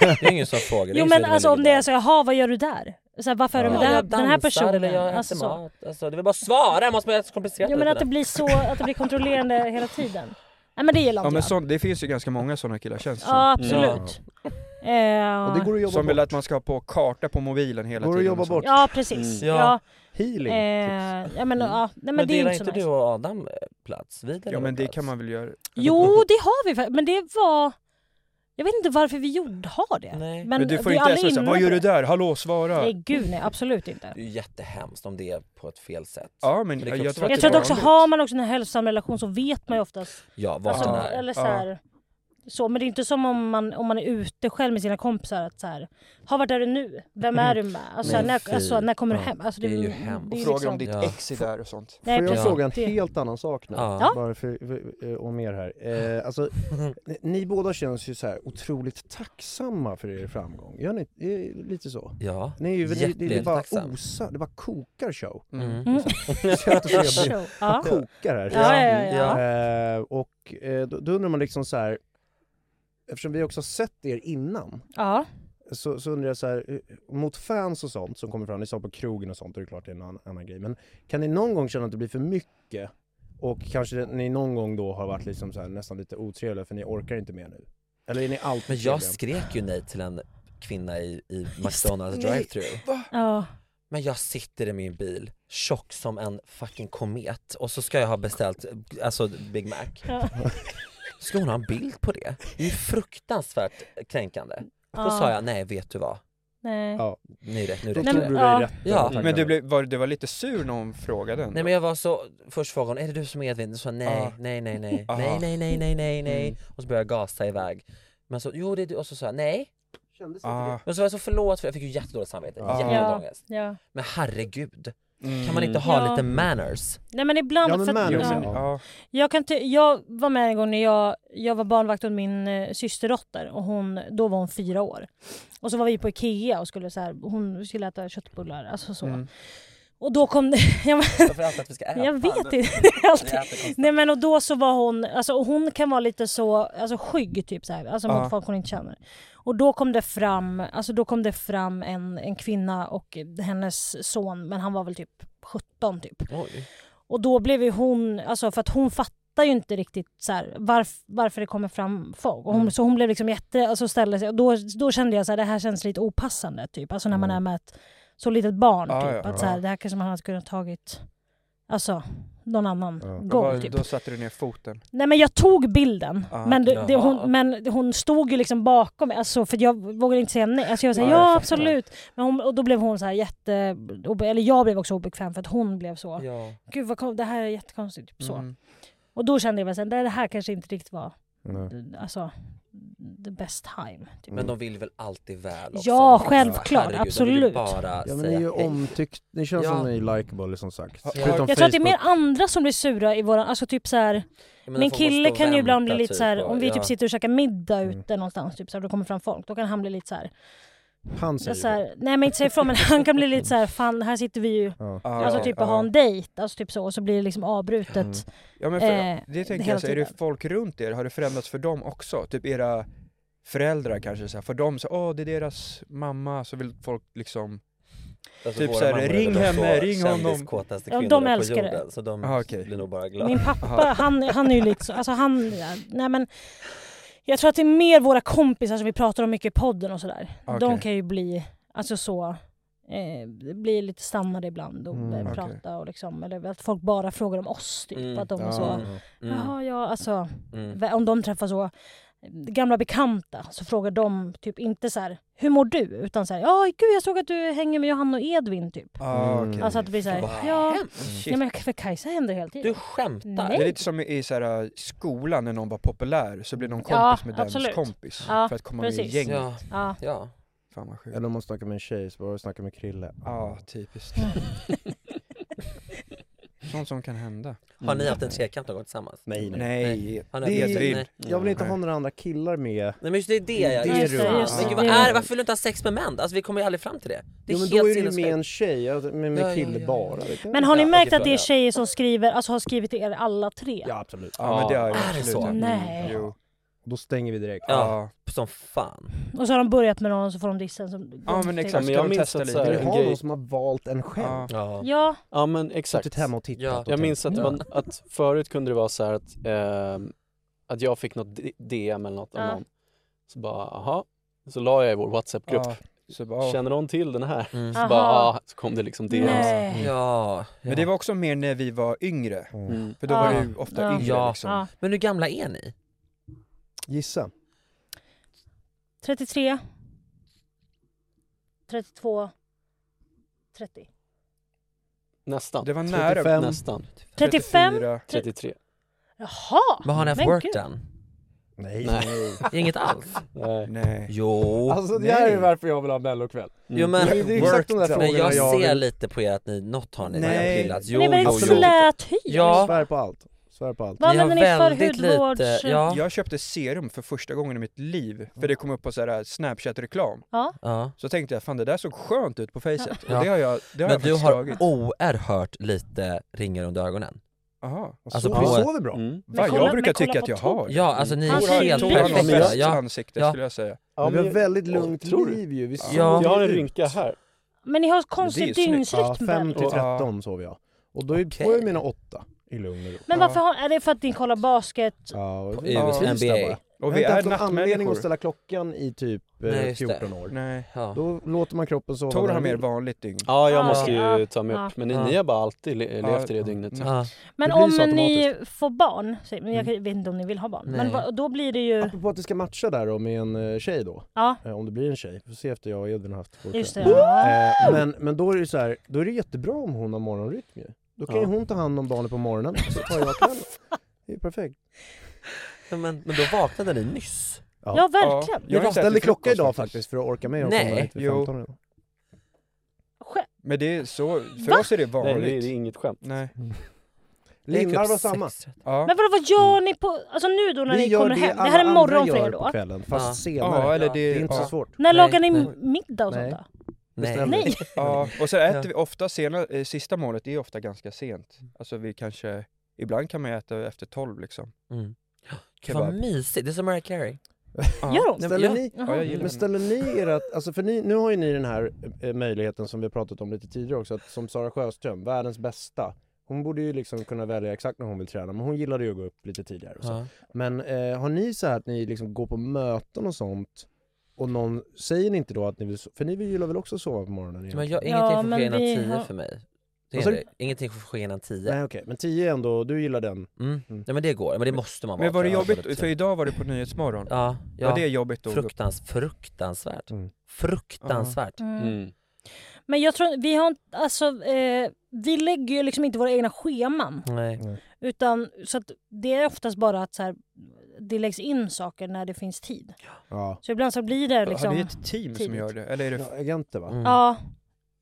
Speaker 3: Det är ingen som frågar.
Speaker 2: Jo men alltså om det är så, jaha vad gör du där? Så här, varför är du med
Speaker 3: Ja,
Speaker 2: den,
Speaker 3: jag
Speaker 2: den här
Speaker 3: dansar
Speaker 2: personen?
Speaker 3: eller jag äter
Speaker 2: alltså, så.
Speaker 3: mat. Alltså, det vill bara svara, jag måste vara komplicerat.
Speaker 2: Jo men att det blir så, att det blir kontrollerande hela tiden. Nej men det gillar
Speaker 5: Ja
Speaker 2: inte
Speaker 5: men
Speaker 2: jag.
Speaker 5: så, det finns ju ganska många sådana killar känns det som.
Speaker 2: Ja absolut.
Speaker 1: Och det
Speaker 2: Eh,
Speaker 1: går att jobba
Speaker 5: Som
Speaker 1: bort.
Speaker 5: vill att man ska ha på karta på mobilen hela
Speaker 1: Går att
Speaker 5: tiden.
Speaker 1: jobba
Speaker 5: och sånt.
Speaker 1: bort.
Speaker 2: Ja precis.
Speaker 3: Mm.
Speaker 2: Ja.
Speaker 1: Healing. tips.
Speaker 2: Eh, ja men, ja, nej, men,
Speaker 3: men
Speaker 2: det är ju
Speaker 3: delar
Speaker 2: inte så
Speaker 3: inte
Speaker 2: nice.
Speaker 3: du och Adam eh, plats? Vi delar
Speaker 5: Ja men
Speaker 3: väl
Speaker 5: det
Speaker 3: plats.
Speaker 5: kan man väl göra.
Speaker 2: Jo det har vi faktiskt, men det var... Jag vet inte varför vi gjorde, har det.
Speaker 3: Nej.
Speaker 5: Men, du får
Speaker 2: vi
Speaker 5: ju
Speaker 2: är
Speaker 5: inte
Speaker 2: alla
Speaker 5: smsa,
Speaker 2: inne
Speaker 5: vad
Speaker 2: på
Speaker 5: gör du
Speaker 2: det."
Speaker 5: där? Hallå svara!
Speaker 2: Nej gud nej absolut inte.
Speaker 3: Det är ju jättehemskt om det är på ett fel sätt.
Speaker 5: Ja men
Speaker 3: Det
Speaker 5: jag
Speaker 3: kan
Speaker 5: tror
Speaker 3: också
Speaker 5: att
Speaker 3: vara-
Speaker 5: det
Speaker 2: Jag tror att också,
Speaker 5: är vanligt.
Speaker 2: har man också en hälsosam relation så vet man ju oftast
Speaker 3: Ja, vart
Speaker 2: Alltså,
Speaker 3: den
Speaker 5: Ja.
Speaker 3: är.
Speaker 2: Eller så här, så, men det är inte som om man, om man är ute själv med sina kompisar. Att så här, ha vart är du nu? Vem är du med? Alltså,
Speaker 3: Nej,
Speaker 2: när,
Speaker 3: fy.
Speaker 2: alltså, när kommer du
Speaker 3: Ja,
Speaker 2: hem? Alltså,
Speaker 3: det är ju hemskt.
Speaker 2: det är
Speaker 5: Och
Speaker 2: ju
Speaker 5: frågar om ditt
Speaker 2: liksom-
Speaker 3: Ja.
Speaker 5: ex är där och sånt.
Speaker 2: Nej,
Speaker 1: Får jag
Speaker 2: precis.
Speaker 1: fråga en
Speaker 2: Det-
Speaker 1: helt annan sak nu?
Speaker 3: Ja.
Speaker 2: Ja.
Speaker 1: Bara för, för, eh, och mer här. Eh, alltså, ni, ni båda känns ju så här otroligt tacksamma för er framgång. Gör ni eh, lite så?
Speaker 3: Ja.
Speaker 1: Ni är ju, det, det, det bara
Speaker 3: Jättetacksam.
Speaker 1: osar, det bara kokar show.
Speaker 3: Mm.
Speaker 2: Mm.
Speaker 1: Jättetrevligt.
Speaker 2: Show. Ja.
Speaker 1: kokar här.
Speaker 2: Ja, ja, ja, ja.
Speaker 1: Eh, och eh, då, då undrar man liksom så här, eftersom vi också har sett er innan,
Speaker 2: Ja.
Speaker 1: så, så undrar jag så här, eh, mot fans och sånt som kommer fram, ni sa på krogen och sånt, och det är klart det är en annan, annan grej, men kan ni någon gång känna att det blir för mycket? Och kanske ni någon gång då har varit liksom så här, nästan lite otrevliga för ni orkar inte mer nu? Eller är ni alltid
Speaker 3: Men jag
Speaker 1: trevliga?
Speaker 3: skrek ju nej till en kvinna i, i McDonalds Alltså, drive-thru.
Speaker 2: Ja.
Speaker 3: Men jag sitter i min bil, tjock som en fucking komet och så ska jag ha beställt, alltså Big Mac.
Speaker 2: Ja.
Speaker 3: Ska hon ha en bild på det? Det är ju fruktansvärt kränkande. Då
Speaker 2: Ja.
Speaker 3: sa jag, nej vet du vad,
Speaker 2: Nej.
Speaker 1: Ja.
Speaker 3: nu, rä- nu
Speaker 1: Då
Speaker 3: räcker
Speaker 1: tog
Speaker 2: Nej,
Speaker 3: det.
Speaker 1: du dig
Speaker 2: ja.
Speaker 1: rätt.
Speaker 3: Ja.
Speaker 1: tackar
Speaker 5: Men du,
Speaker 1: mig.
Speaker 5: blev, var, du var lite sur när hon frågade ändå.
Speaker 3: Nej men jag var så, först frågade hon, är det du som är Edvin? Så sa jag, nej,
Speaker 5: Ah.
Speaker 3: nej, nej, nej,
Speaker 5: Aha.
Speaker 3: nej, nej, nej, nej, nej, nej.
Speaker 5: Mm.
Speaker 3: Och så började jag gasa iväg. Men så, jo det är du, och så sa jag nej.
Speaker 5: ah,
Speaker 3: Och så var jag så förlåt för jag fick ju jättedåligt samvete,
Speaker 1: Ah.
Speaker 3: jättedåligt
Speaker 2: Ja.
Speaker 3: ångest.
Speaker 2: Ja.
Speaker 3: Men herregud,
Speaker 5: mm.
Speaker 3: kan man inte ha
Speaker 2: Ja.
Speaker 3: lite manners?
Speaker 2: Nej men ibland...
Speaker 1: Ja, men
Speaker 2: för att-
Speaker 1: man-
Speaker 5: Jo,
Speaker 1: Ja.
Speaker 5: men, ja.
Speaker 2: Jag, kan ty- jag var med en gång när jag, jag var barnvakt åt min eh, systerdotter och hon, då var hon fyra år. Och så var vi på Ikea och skulle så här, hon skulle äta köttbullar, alltså så.
Speaker 5: Mm.
Speaker 2: Och då kom det, jag, men-
Speaker 3: Varför alltid att vi ska äta?
Speaker 2: jag vet inte, det är
Speaker 3: Det är
Speaker 2: alltid.
Speaker 3: alltid
Speaker 2: Nej men och då så var hon, alltså och hon kan vara lite så, alltså skygg typ så här, alltså
Speaker 5: Ja.
Speaker 2: mot folk hon inte känner. Och då kom det fram, alltså då kom det fram en, en kvinna och hennes son, men han var väl typ 17 typ.
Speaker 3: Oj.
Speaker 2: Och då blev ju hon, alltså för att hon fattar ju inte riktigt så här, varf, varför det kommer fram folk. Och hon,
Speaker 5: Mm.
Speaker 2: Så hon blev liksom jätte, alltså ställde sig, och då, då kände jag så här, det här känns lite opassande typ. Alltså när man är med ett så litet barn
Speaker 5: Mm. Ja,
Speaker 2: typ.
Speaker 5: ja,
Speaker 2: att så här,
Speaker 5: ja.
Speaker 2: det här kanske man hade kunnat tagit, alltså någon annan
Speaker 1: Ja.
Speaker 5: Då,
Speaker 2: gång
Speaker 5: var,
Speaker 2: typ.
Speaker 5: då satte du ner foten.
Speaker 2: Nej men jag tog bilden,
Speaker 3: Ah,
Speaker 5: Ja.
Speaker 2: men, det, det,
Speaker 3: Jaha.
Speaker 2: hon, men hon stod ju liksom bakom mig, alltså, för jag vågade inte säga nej. Alltså jag sa
Speaker 5: Ja,
Speaker 2: ja,
Speaker 5: jag fattar.
Speaker 2: absolut. Men hon, och då blev hon så här jätte, eller jag blev också obekväm för att hon blev så,
Speaker 3: Ja.
Speaker 2: gud vad kom, det här är jättekonstigt. Typ, så.
Speaker 5: Mm.
Speaker 2: Och då kände jag väl sen, det här kanske inte riktigt var
Speaker 1: Nej.
Speaker 2: alltså, the best time.
Speaker 5: Mm.
Speaker 2: Typ.
Speaker 3: Men de vill väl alltid väl också?
Speaker 2: Ja,
Speaker 3: De-
Speaker 2: självklart,
Speaker 3: De vill ju
Speaker 2: absolut.
Speaker 3: bara
Speaker 1: Ja men ni
Speaker 3: säga
Speaker 1: är ju
Speaker 3: hej.
Speaker 1: omtyckt, ni känns
Speaker 3: Ja.
Speaker 1: som ni är likeable som sagt.
Speaker 5: Ja.
Speaker 1: Förutom
Speaker 2: Jag tror att det är mer
Speaker 1: Facebook.
Speaker 2: andra som blir sura i våran, alltså typ så här,
Speaker 3: Jag menar,
Speaker 2: min
Speaker 3: folk måste
Speaker 2: kille
Speaker 3: stå och
Speaker 2: kan ju ibland bli
Speaker 3: vänta
Speaker 2: lite så här,
Speaker 3: och-
Speaker 2: om vi
Speaker 3: ja.
Speaker 2: typ sitter och käkar middag
Speaker 1: Mm.
Speaker 2: ute någonstans typ så här, och det kommer fram folk, då kan han bli lite så här.
Speaker 1: Han säger
Speaker 2: Jag så här, nej men inte säga ifrån men han kan bli lite så här, fan här sitter vi ju
Speaker 1: Ja.
Speaker 2: Alltså
Speaker 5: Ja,
Speaker 2: typ och
Speaker 5: ja. Mm.
Speaker 2: ha en dejt, alltså typ så, och så blir det liksom avbrutet Eh,
Speaker 5: Ja men för, det tänker
Speaker 2: hela
Speaker 5: jag, så, här, är det
Speaker 2: tiden.
Speaker 5: folk runt er, har det förändrats för dem också? Typ era föräldrar kanske, så här, för dem så, åh det är deras mamma, så vill folk liksom
Speaker 3: Alltså,
Speaker 5: Typ
Speaker 3: våra
Speaker 5: såhär,
Speaker 3: mammor är
Speaker 5: ring
Speaker 3: de
Speaker 5: henne,
Speaker 3: två
Speaker 5: ring honom!
Speaker 3: kändiskåtaste
Speaker 2: Ja, de
Speaker 3: kvinnorna på
Speaker 2: älskar det.
Speaker 3: jorden, så de
Speaker 5: Ah, okej.
Speaker 3: blir nog bara glada.
Speaker 2: Min pappa, han, han är ju lite så, alltså han, ja, nej men Jag tror att det är mer våra kompisar som vi pratar om mycket i podden och sådär.
Speaker 3: Okej.
Speaker 2: De kan ju bli, alltså så, eh, bli lite stannade ibland och
Speaker 3: Mm,
Speaker 2: eh,
Speaker 3: okej.
Speaker 2: prata och liksom, eller att folk bara frågar om oss typ.
Speaker 3: Mm,
Speaker 2: Att de
Speaker 3: ja,
Speaker 2: så,
Speaker 3: mm, mm.
Speaker 2: jaha ja, alltså,
Speaker 3: Mm.
Speaker 2: vä- om de träffar så eh, gamla bekanta så frågar de typ inte så här hur mår du? Utan så här, ja gud jag såg att du hänger med Johanna och Edvin typ.
Speaker 5: Ah,
Speaker 3: Mm.
Speaker 5: okej.
Speaker 2: Alltså att det blir så här,
Speaker 5: Vad
Speaker 2: ja,
Speaker 5: hemskt.
Speaker 2: ja men för Kajsa händer hela tiden.
Speaker 3: Du skämtar?
Speaker 2: Nej.
Speaker 5: Det är lite som i så här, skolan när någon var populär så blev någon kompis
Speaker 2: Ja,
Speaker 5: med dens
Speaker 2: absolut.
Speaker 5: kompis
Speaker 2: Ja,
Speaker 5: för att komma med i
Speaker 2: precis.
Speaker 5: gänget.
Speaker 2: Ja. Ja. Ja.
Speaker 5: Fan vad sjukt.
Speaker 1: Eller om man snackar med en tjej så bara snackar med Krille.
Speaker 5: Ja, typiskt. Sånt som kan hända.
Speaker 3: Har ni haft en trekant någon gång tillsammans?
Speaker 1: Nej,
Speaker 5: Nej,
Speaker 3: Har ni
Speaker 1: Det
Speaker 3: haft
Speaker 1: är-
Speaker 3: en trekant? Nej.
Speaker 1: Jag vill inte ha några andra killar med
Speaker 3: Nej men just det är det jag
Speaker 1: i det rummet.
Speaker 3: Men gud, vad är det? Varför vill du inte ha sex med män? Alltså vi kommer ju aldrig fram till det. Det är
Speaker 1: Jo men då
Speaker 3: helt
Speaker 1: är du ju
Speaker 3: sinnessjukt.
Speaker 1: med en tjej, alltså, med, med
Speaker 3: Ja, ja,
Speaker 1: kille
Speaker 3: ja,
Speaker 1: bara. det kan-
Speaker 2: Men har ni
Speaker 1: Ja,
Speaker 2: märkt
Speaker 1: okej,
Speaker 2: att det är
Speaker 1: förlåt.
Speaker 2: tjejer som skriver, alltså har skrivit till er alla tre?
Speaker 1: Ja absolut.
Speaker 5: Ja, men det har jag
Speaker 2: Är det
Speaker 5: absolut
Speaker 2: så?
Speaker 5: haft.
Speaker 2: Nej.
Speaker 5: Jo.
Speaker 1: Då stänger vi direkt.
Speaker 3: Ja, som fan.
Speaker 2: Och så har de börjat med någon så får de dissen som...
Speaker 5: Ja, men exakt.
Speaker 7: Men jag
Speaker 5: Ska de
Speaker 7: minns
Speaker 5: testa
Speaker 7: att
Speaker 5: lite?
Speaker 7: så här,
Speaker 5: Vill du
Speaker 7: en
Speaker 5: ha
Speaker 7: grej-
Speaker 1: någon som har valt en själv.
Speaker 3: Ja.
Speaker 2: Ja.
Speaker 7: Ja men exakt.
Speaker 1: Suttit hemma och tittat
Speaker 7: Ja.
Speaker 1: och
Speaker 7: Jag
Speaker 1: tänkt,
Speaker 7: minns att, det
Speaker 1: "Mm."
Speaker 7: var, att förut kunde det vara så här att, ehm, att jag fick något D- DM eller något av
Speaker 2: Ja.
Speaker 7: någon. Så bara, aha. Så la jag i vår WhatsApp-grupp.
Speaker 5: Ja, så bara, ja.
Speaker 7: Känner någon till den här?
Speaker 3: Mm.
Speaker 7: Så bara,
Speaker 2: Aha.
Speaker 7: ah, så kom det liksom DMs.
Speaker 2: Nej.
Speaker 3: Ja.
Speaker 5: Men det var också mer när vi var yngre.
Speaker 7: Mm.
Speaker 5: För då var det ju ofta
Speaker 2: Ja.
Speaker 5: yngre
Speaker 3: Ja.
Speaker 5: liksom.
Speaker 2: Ja.
Speaker 3: Men hur gamla är ni?
Speaker 1: Gissa.
Speaker 2: 33. 32. 30.
Speaker 7: Nästan.
Speaker 5: Det var nära.
Speaker 7: 35. Nästan.
Speaker 2: 35?
Speaker 5: 34.
Speaker 7: 33.
Speaker 2: Jaha!
Speaker 3: Vad har ni haft
Speaker 2: men
Speaker 3: work
Speaker 2: gud.
Speaker 3: done?
Speaker 1: Nej.
Speaker 7: Nej.
Speaker 3: Inget alls?
Speaker 7: Nej.
Speaker 5: Nej.
Speaker 3: Jo.
Speaker 1: Alltså det här är varför jag vill ha mellokväll.
Speaker 3: Jo men,
Speaker 1: Mm. Det är- det är exakt de där
Speaker 3: men
Speaker 1: frågorna
Speaker 3: jag,
Speaker 1: jag
Speaker 3: ser
Speaker 1: vill-
Speaker 3: lite på er att ni, något har ni
Speaker 5: Nej.
Speaker 3: pillat.
Speaker 2: Men det är väl
Speaker 3: jo,
Speaker 2: ett
Speaker 3: jo.
Speaker 2: slät hy?
Speaker 3: Ja,
Speaker 1: Svär på allt. Svär på allt.
Speaker 2: Vad
Speaker 3: Ni har
Speaker 2: använder ni för
Speaker 3: väldigt lite-
Speaker 2: hudvårds...
Speaker 3: ja.
Speaker 5: Jag köpte serum för första gången i mitt liv, för det kom upp på så här Snapchat-reklam.
Speaker 2: Ja.
Speaker 3: ja.
Speaker 5: Så tänkte jag, fan det där såg skönt ut på facet.
Speaker 3: Ja.
Speaker 5: Och det har jag, det har jag
Speaker 3: Men du
Speaker 5: faktiskt
Speaker 3: har
Speaker 5: dragit.
Speaker 3: oerhört lite ringar under ögonen.
Speaker 5: Aha.
Speaker 3: Alltså
Speaker 1: Så-
Speaker 3: på-
Speaker 1: Vi sover bra.
Speaker 7: Mm.
Speaker 2: Men
Speaker 5: Fan,
Speaker 2: kolla-
Speaker 5: jag brukar
Speaker 2: men kolla
Speaker 5: tycka att
Speaker 2: på
Speaker 5: jag
Speaker 2: Tor.
Speaker 5: har.
Speaker 3: Ja, alltså ni
Speaker 2: Han ser
Speaker 3: är helt
Speaker 2: ju perfekt
Speaker 5: Torbjörn
Speaker 3: perfekta.
Speaker 5: bäst
Speaker 3: Ja.
Speaker 5: ansikte
Speaker 3: Ja.
Speaker 5: skulle jag säga.
Speaker 1: Men vi har väldigt lugnt
Speaker 7: tror du?
Speaker 1: liv ju. Vi sover
Speaker 7: Ja.
Speaker 1: ju
Speaker 7: Jag har en
Speaker 1: ut.
Speaker 7: rynka här.
Speaker 2: Men ni har
Speaker 5: Men
Speaker 2: konstig
Speaker 5: det är ju snyggt.
Speaker 1: Ja,
Speaker 2: dygnsrytm väl?
Speaker 1: 5 till
Speaker 5: Och-
Speaker 1: 13 sover jag. Och då är-
Speaker 3: Okej.
Speaker 1: får jag mina åtta i lugn och ro.
Speaker 2: Men varför har... Är det för att ni kollar basket?
Speaker 1: Ja, och-
Speaker 3: I
Speaker 1: Ja,
Speaker 3: US
Speaker 1: tisdag
Speaker 3: NBA.
Speaker 1: bara.
Speaker 5: Och
Speaker 1: vi
Speaker 5: vi
Speaker 1: jag har
Speaker 5: är
Speaker 1: inte haft någon anledning att
Speaker 5: nattmänniskor.
Speaker 1: ställa klockan i typ eh,
Speaker 3: Nej, just det.
Speaker 1: 14 år.
Speaker 5: Nej.
Speaker 3: Ja.
Speaker 1: Då låter man kroppen sova.
Speaker 5: Tor
Speaker 1: när
Speaker 5: har
Speaker 1: den
Speaker 5: mer
Speaker 1: vill.
Speaker 5: vanligt dygn.
Speaker 7: Ja, jag
Speaker 2: Ja,
Speaker 7: måste
Speaker 2: ja,
Speaker 7: ju ta mig
Speaker 2: ja.
Speaker 7: upp. Men ni,
Speaker 3: Ja.
Speaker 7: ni har bara alltid le-
Speaker 5: Ja,
Speaker 7: levt i det dygnet. Så.
Speaker 3: Ja.
Speaker 2: Men
Speaker 1: Det blir
Speaker 2: om
Speaker 1: så Mm.
Speaker 2: ni får barn, säg- men jag kan- vet inte om ni vill ha barn, men
Speaker 3: Nej.
Speaker 2: va, då blir det ju...
Speaker 1: Apropå att det ska matcha där då med en eh, tjej då.
Speaker 2: Ja,
Speaker 1: Eh, Om det blir en tjej. Får se efter jag och Edvin har haft vår
Speaker 2: just det.
Speaker 1: kväll.
Speaker 2: Ja.
Speaker 1: Eh, Men, men då är det ju så här, då är det jättebra om hon har morgonrytm ju. Då kan ju
Speaker 7: Ja.
Speaker 1: hon ta hand om barnet på morgonen, så tar jag kvällen. Det är ju perfekt.
Speaker 3: Ja, Men, men då vaknade ni nyss.
Speaker 1: Ja.
Speaker 2: ja, verkligen.
Speaker 5: Jag
Speaker 1: Jag
Speaker 5: har inte
Speaker 1: fastställde
Speaker 5: ätit
Speaker 1: klocka
Speaker 5: frukost
Speaker 1: idag
Speaker 5: faktiskt.
Speaker 1: faktiskt för att orka med att
Speaker 3: Nej.
Speaker 1: komma hit vid
Speaker 5: Jo.
Speaker 1: 15 redan.
Speaker 2: Skä-
Speaker 5: Men det är så, för
Speaker 2: Va?
Speaker 5: oss är det
Speaker 7: Nej, det är det är
Speaker 5: vanligt.
Speaker 7: inget skämt.
Speaker 5: Nej.
Speaker 3: typ
Speaker 1: Lindar var samma.
Speaker 5: Ja.
Speaker 2: Men vadå, vad gör ni på... Alltså nu då när
Speaker 1: Mm. Vi
Speaker 2: ni
Speaker 1: gör
Speaker 2: kommer
Speaker 1: det
Speaker 2: hem? Det
Speaker 1: alla
Speaker 2: här är morgon
Speaker 1: andra
Speaker 2: för er
Speaker 1: gör på
Speaker 2: då?
Speaker 1: kvällen, fast senare.
Speaker 5: Ja, eller det,
Speaker 3: Det
Speaker 1: Det är inte
Speaker 5: ja.
Speaker 1: så svårt.
Speaker 2: När
Speaker 3: Nej,
Speaker 2: lagar ni
Speaker 3: nej.
Speaker 2: middag och sånt
Speaker 1: Nej.
Speaker 2: då?
Speaker 3: Nej.
Speaker 1: Bestämmer.
Speaker 2: Nej!
Speaker 5: Ja, och så äter
Speaker 3: Ja.
Speaker 5: vi ofta, sena, eh, sista målet är ofta ganska sent. Alltså vi kanske, ibland kan man äta efter tolv liksom.
Speaker 3: Mm. Gud,
Speaker 5: Kebab.
Speaker 3: Vad mysigt, det är som Mariah Carey.
Speaker 5: Ja.
Speaker 2: Gör hon?
Speaker 3: Nej,
Speaker 1: Ställer
Speaker 3: ja.
Speaker 1: ni,
Speaker 5: Ja, jag gillar
Speaker 1: men ställer ni er att, alltså för ni, nu har ju ni den här eh, möjligheten som vi har pratat om lite tidigare också, att som Sara Sjöström, världens bästa. Hon borde ju liksom kunna välja exakt när hon vill träna, men hon gillade ju att gå upp lite tidigare och så.
Speaker 3: Ja.
Speaker 1: Men eh, har ni så här att ni liksom går på möten och sånt, och någon, säger ni inte då att ni vill, so- för ni vill- gillar väl också att sova på morgonen?
Speaker 3: Men
Speaker 1: egentligen?
Speaker 2: Ja,
Speaker 3: jag, ingenting får
Speaker 2: men
Speaker 3: ske innan
Speaker 2: vi
Speaker 3: tio
Speaker 2: har-
Speaker 3: för mig. Det
Speaker 1: Vad
Speaker 3: är
Speaker 1: sa
Speaker 3: det. Ingenting får ske innan tio.
Speaker 1: Alltså- Nej okej, men 10 är ändå, du gillar den?
Speaker 3: Mm.
Speaker 1: Mm.
Speaker 3: Nej men det går, men det måste man vara.
Speaker 5: Men var det
Speaker 3: tror jag, för
Speaker 5: jobbigt?
Speaker 3: att-
Speaker 5: För idag var det på Nyhetsmorgon.
Speaker 3: Ja, ja.
Speaker 5: Var det jobbigt då?
Speaker 3: Fruktans, fruktansvärt.
Speaker 1: Mm.
Speaker 3: Fruktansvärt.
Speaker 2: Mm.
Speaker 7: Mm.
Speaker 2: Men jag tror, vi har inte, alltså, eh, vi lägger ju liksom inte våra egna scheman.
Speaker 3: Nej.
Speaker 1: Mm.
Speaker 2: Utan, så att det är oftast bara att så här, det läggs in saker när det finns tid.
Speaker 1: Ja.
Speaker 2: Så ibland så blir det liksom...
Speaker 5: Har ni ett team som
Speaker 2: tidigt.
Speaker 5: gör det? Eller är det
Speaker 1: ja agenter va?
Speaker 3: Mm.
Speaker 2: Ja,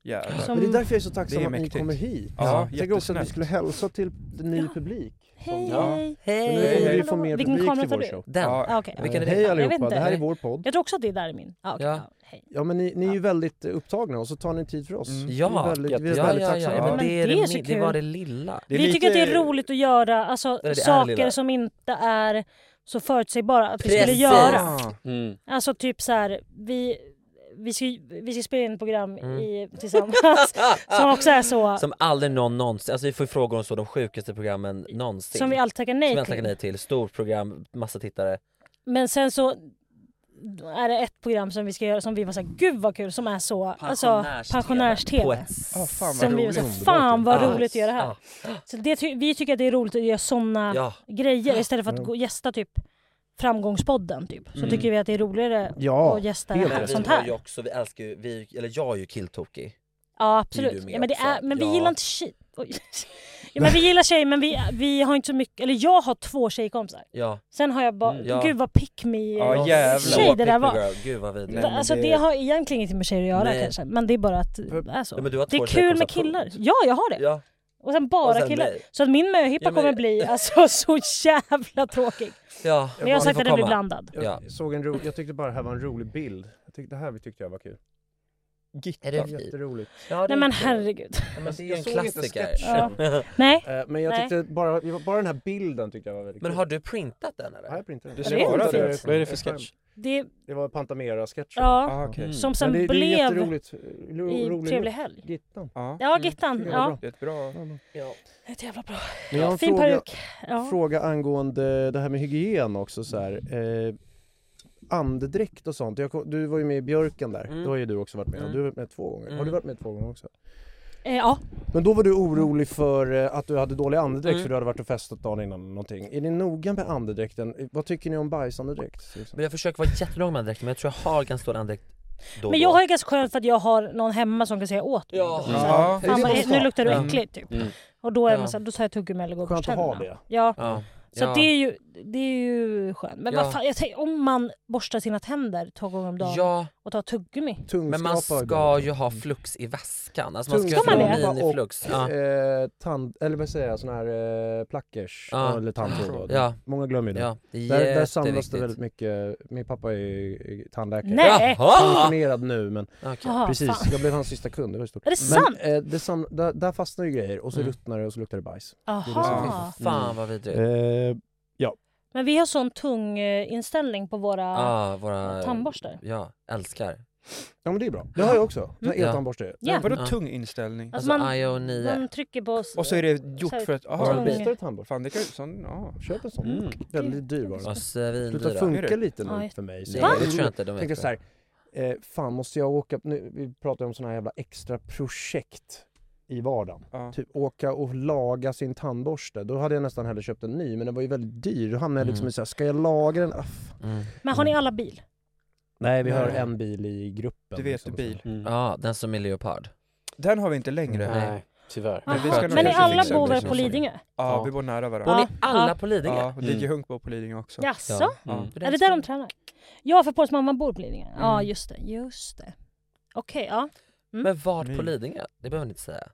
Speaker 5: Jävlar.
Speaker 1: Men det är därför jag är så tacksam
Speaker 5: Det är
Speaker 1: att ni
Speaker 5: mäktigt.
Speaker 1: kommer hit.
Speaker 5: Ja,
Speaker 1: jag tänker också att vi
Speaker 5: jättesnällt.
Speaker 1: skulle hälsa till ny publik.
Speaker 2: Hej,
Speaker 1: Ja.
Speaker 2: hej!
Speaker 1: Hej. Men nu kommer vi få mer
Speaker 2: Vilken
Speaker 1: publik
Speaker 2: kamera
Speaker 1: till
Speaker 2: tar
Speaker 1: vår
Speaker 2: du?
Speaker 1: show.
Speaker 3: Den?
Speaker 1: Ja.
Speaker 2: Ah, okej.
Speaker 1: Vilken är det? Hej
Speaker 2: Jag vet
Speaker 1: allihopa,
Speaker 2: inte.
Speaker 1: det här är vår podd.
Speaker 2: Jag tror också att det där är min. Ah, okej.
Speaker 3: Ja.
Speaker 1: Ja men ni, ni är ju väldigt eh, upptagna och så tar ni tid för
Speaker 5: Mm.
Speaker 1: oss. Vi
Speaker 3: Ja,
Speaker 1: är väldigt, vi är
Speaker 3: ja,
Speaker 1: väldigt
Speaker 3: ja, ja,
Speaker 1: tacksamma.
Speaker 3: ja, men
Speaker 2: Men
Speaker 3: det, är
Speaker 2: det
Speaker 3: det,
Speaker 2: är så
Speaker 3: mi- det
Speaker 2: kul.
Speaker 3: var det lilla.
Speaker 2: Vi tycker att det är roligt att göra alltså,
Speaker 3: Det är det
Speaker 2: saker
Speaker 3: ärliga.
Speaker 2: som inte är så förutsägbara att vi skulle
Speaker 3: Precis.
Speaker 2: göra.
Speaker 7: Mm.
Speaker 2: Alltså typ så här, vi, vi, ska, vi ska spela in ett program
Speaker 3: Mm.
Speaker 2: i, tillsammans som också är så, som,
Speaker 3: Som aldrig någon någonsin, alltså vi får ju frågor om så de sjukaste programmen någonsin.
Speaker 2: vi alltid tackar
Speaker 3: Som
Speaker 2: nej
Speaker 3: vi alltid
Speaker 2: till.
Speaker 3: tackar nej till. Stort program, massa tittare.
Speaker 2: Men sen så är det ett program som vi ska göra som vi var såhär, gud vad kul, som är så alltså,
Speaker 3: Pensionärs-tv. På
Speaker 2: pensionärs-tv.
Speaker 3: ett Ah.
Speaker 5: Ah, fan vad
Speaker 2: Som vi var
Speaker 5: roligt.
Speaker 2: såhär, fan vad
Speaker 3: Ja.
Speaker 2: roligt att göra det här.
Speaker 3: Ja.
Speaker 2: Så det, ty- vi tycker att det är roligt att göra såna
Speaker 3: Ja.
Speaker 2: grejer istället för att gå, gästa typ Framgångspodden typ. Så
Speaker 3: Mm.
Speaker 2: tycker vi att det är roligare
Speaker 1: Ja,
Speaker 2: att gästa
Speaker 1: helt
Speaker 3: Men vi
Speaker 2: sånt
Speaker 3: har ju
Speaker 2: här.
Speaker 3: också, vi älskar ju, vi, eller jag är ju killtokig.
Speaker 2: Ja
Speaker 3: Det är
Speaker 2: absolut.
Speaker 3: du med
Speaker 2: Ja, men, det
Speaker 3: också.
Speaker 2: är, men vi
Speaker 3: Ja.
Speaker 2: gillar inte tjej. Oj. Ja, men vi gillar tjejer men vi, vi har inte så mycket, eller jag har två tjejkompisar.
Speaker 3: Ja.
Speaker 2: Sen har jag bara,
Speaker 3: Mm, ja.
Speaker 2: gud vad pick me
Speaker 5: Ja, jävlar.
Speaker 2: tjej det där var.
Speaker 3: Girl. Gud vad vidrigt.
Speaker 5: Nej, men
Speaker 2: alltså det...
Speaker 5: det-
Speaker 2: har egentligen inte med tjejer att göra
Speaker 3: Nej.
Speaker 2: kanske, men det är bara att det är så.
Speaker 3: Ja, men du har
Speaker 2: det
Speaker 3: två
Speaker 2: är kul med
Speaker 3: tjejkompisar,
Speaker 2: killar.
Speaker 3: punkt.
Speaker 2: Ja, jag har det.
Speaker 3: Ja.
Speaker 2: Och sen bara
Speaker 3: Och sen
Speaker 2: killar.
Speaker 3: mig.
Speaker 2: Så att min möhippa
Speaker 3: Ja, men-
Speaker 2: kommer bli alltså så jävla tråkig.
Speaker 3: Ja.
Speaker 2: Men jag har
Speaker 3: Ni
Speaker 2: sagt
Speaker 3: får
Speaker 2: att den blir
Speaker 3: komma.
Speaker 2: blandad.
Speaker 1: Jag,
Speaker 3: Ja.
Speaker 1: såg en ro, jag tyckte bara det här var en rolig bild. Jag tyckte, det här tyckte jag var kul.
Speaker 3: Är det fint?
Speaker 1: Jätteroligt.
Speaker 3: Ja, det
Speaker 2: Nej
Speaker 3: är
Speaker 2: men
Speaker 3: kul.
Speaker 2: herregud.
Speaker 3: Ja, men det är ju
Speaker 1: Jag
Speaker 3: en
Speaker 1: såg inte
Speaker 3: klassiker.
Speaker 1: sketchen.
Speaker 2: Nej.
Speaker 1: Eh, Men jag
Speaker 2: Nej.
Speaker 1: tyckte bara, bara den här bilden tyckte jag var väldigt
Speaker 3: Men
Speaker 1: kul.
Speaker 3: har du printat den
Speaker 1: Ja,
Speaker 3: eller?
Speaker 1: jag printade
Speaker 5: Du
Speaker 1: den.
Speaker 2: svarade
Speaker 1: Jag
Speaker 2: det.
Speaker 1: printade
Speaker 7: Vad är det för sketch?
Speaker 2: Det,
Speaker 1: Det var Pantamera-sketchen.
Speaker 2: ja,
Speaker 5: Ah, okej.
Speaker 3: Mm.
Speaker 2: som
Speaker 1: Men
Speaker 2: sen
Speaker 1: det, det är
Speaker 2: blev
Speaker 1: jätteroligt. Ro,
Speaker 2: i
Speaker 1: rolig
Speaker 2: Trevlig
Speaker 1: look.
Speaker 2: helg.
Speaker 1: Gittan. Mm.
Speaker 5: Ja.
Speaker 2: Ja, Gittan.
Speaker 1: det var
Speaker 2: Ja.
Speaker 1: bra.
Speaker 5: Det är ett bra...
Speaker 3: Ja.
Speaker 2: Ett jävla bra.
Speaker 1: Men jag har en
Speaker 2: Fin
Speaker 1: fråga,
Speaker 2: peruk. Ja.
Speaker 1: fråga angående det här med hygien också så här. Eh, andedräkt och sånt. Jag, kom- du var ju med i Björken där.
Speaker 3: Mm.
Speaker 1: Det har ju du också varit med.
Speaker 3: Mm.
Speaker 1: Du har varit med två gånger. Har du
Speaker 3: Mm.
Speaker 1: varit med två gånger också?
Speaker 2: Eh, ja.
Speaker 1: Men då var du orolig för eh, att du hade dålig andedräkt
Speaker 3: Mm.
Speaker 1: för du hade varit och festat dagen innan eller någonting. Är ni noga med andedräkten? Vad tycker ni om bajsandedräkt? Liksom?
Speaker 3: Men jag försöker vara jättelång med andedräkten men jag tror jag har ganska stor andedräkt då och
Speaker 2: Men jag
Speaker 3: då.
Speaker 2: har ju ganska skönt för att jag har någon hemma som kan säga åt mig.
Speaker 3: Ja.
Speaker 2: Så här,
Speaker 5: Ja.
Speaker 2: Fan, vad, nu luktar du
Speaker 3: Mm.
Speaker 2: äckligt typ.
Speaker 7: Mm.
Speaker 2: Och då är
Speaker 3: Ja.
Speaker 2: man så här, då tar jag tuggummi eller går och
Speaker 1: Skönt
Speaker 2: borstar
Speaker 1: att ha
Speaker 2: tänderna.
Speaker 1: det.
Speaker 2: Ja.
Speaker 3: Ja.
Speaker 2: Så
Speaker 3: ja.
Speaker 2: det är ju, det är ju skönt. Men
Speaker 3: Ja.
Speaker 2: vad fan, jag tänker, om man borstar sina tänder två gånger om dagen
Speaker 3: Ja,
Speaker 2: och tar tuggummi.
Speaker 3: men man
Speaker 1: Tungskrapa har
Speaker 3: ska ju ha flux i väskan. Alltså man ska,
Speaker 2: Ska man
Speaker 3: ha
Speaker 2: det?
Speaker 3: miniflux. Ja.
Speaker 1: Eh, tand, eller vad säger jag, såna här eh, plackers
Speaker 3: Ja.
Speaker 1: eller tandtråd.
Speaker 3: Ja.
Speaker 1: Många glömmer ju det.
Speaker 3: Ja, det är
Speaker 1: Där, där samlas det
Speaker 3: jätteviktigt.
Speaker 1: väldigt mycket, min pappa är ju tandläkare.
Speaker 2: Nej.
Speaker 3: Jaha!
Speaker 1: Pensionerad nu men
Speaker 3: Okej.
Speaker 2: Jaha,
Speaker 1: precis,
Speaker 2: fan.
Speaker 1: jag blev hans sista kund, det var ju stort.
Speaker 2: Är det
Speaker 1: men,
Speaker 2: sant?
Speaker 1: Eh, det sam, där, där fastnar ju grejer och så
Speaker 3: Mm.
Speaker 1: ruttnar det och så luktar det bajs.
Speaker 2: Aha.
Speaker 3: Fan vad vidrigt.
Speaker 1: Eh,
Speaker 2: Men vi har sån tung eh, inställning på våra
Speaker 3: Ah, våra...
Speaker 2: tandborstar.
Speaker 3: Ja, älskar. Mm.
Speaker 1: ja men det är bra, det har jag också. Så här
Speaker 3: Ja.
Speaker 1: Eltandborste.
Speaker 2: Ja.
Speaker 5: Vadå
Speaker 3: Ja.
Speaker 5: tung inställning?
Speaker 2: Alltså
Speaker 3: Alltså,
Speaker 2: man-
Speaker 3: IO 9.
Speaker 2: De trycker på oss.
Speaker 5: Och så är det
Speaker 2: så här-
Speaker 5: gjort för att...
Speaker 1: Har du
Speaker 5: Aha,
Speaker 1: en
Speaker 2: Tung.
Speaker 1: bitare tandborste?
Speaker 5: fan det kan ju... Sån, ja.
Speaker 1: Köp en sån.
Speaker 7: Mm.
Speaker 1: Väldigt dyr var den.
Speaker 3: Och svindyra.
Speaker 1: Slutar
Speaker 3: Nej,
Speaker 1: funka lite nu
Speaker 2: Oj.
Speaker 1: för mig.
Speaker 3: det
Speaker 1: jag-
Speaker 3: tror jag inte. De är
Speaker 1: tänker
Speaker 3: inte.
Speaker 1: så här, eh, fan måste jag åka, nu, vi pratar ju om såna här jävla extra projekt i vardagen.
Speaker 5: ja.
Speaker 1: Typ åka och laga sin tandborste. Då hade jag nästan hellre köpt en ny men den var ju väldigt dyr. Då hamnade jag liksom
Speaker 3: Mm.
Speaker 1: i såhär, ska jag laga den? Aff.
Speaker 3: Mm.
Speaker 2: Men har ni alla bil?
Speaker 1: Nej vi har
Speaker 5: Nej.
Speaker 1: en bil i gruppen.
Speaker 5: Du vet
Speaker 1: liksom.
Speaker 5: bil.
Speaker 7: Mm.
Speaker 3: Ja, den som är leopard. Mm.
Speaker 5: Den har vi inte längre.
Speaker 3: Nej.
Speaker 7: Nej, tyvärr.
Speaker 5: Men vi ska
Speaker 2: Aha.
Speaker 5: nog
Speaker 2: Men ni
Speaker 5: kanske
Speaker 2: alla
Speaker 5: fixa
Speaker 2: bor
Speaker 5: det
Speaker 2: väl
Speaker 5: som
Speaker 2: på
Speaker 5: så.
Speaker 2: Lidingö?
Speaker 5: Ja,
Speaker 7: Ja.
Speaker 5: vi bor nära varandra.
Speaker 3: Bor ni
Speaker 2: Ja.
Speaker 3: alla på Lidingö?
Speaker 5: Ja, och Ligge
Speaker 7: Mm.
Speaker 5: Hunk bor på Lidingö också.
Speaker 2: Jaså?
Speaker 7: Mm.
Speaker 5: Ja.
Speaker 2: Är det där de tränar? Ja, för Pauls mamma bor på Lidingö.
Speaker 1: Mm.
Speaker 2: Ja, just det. Just det. Okej, ja.
Speaker 3: Men vart på
Speaker 5: Mm.
Speaker 3: Lidingö? Det behöver ni inte säga.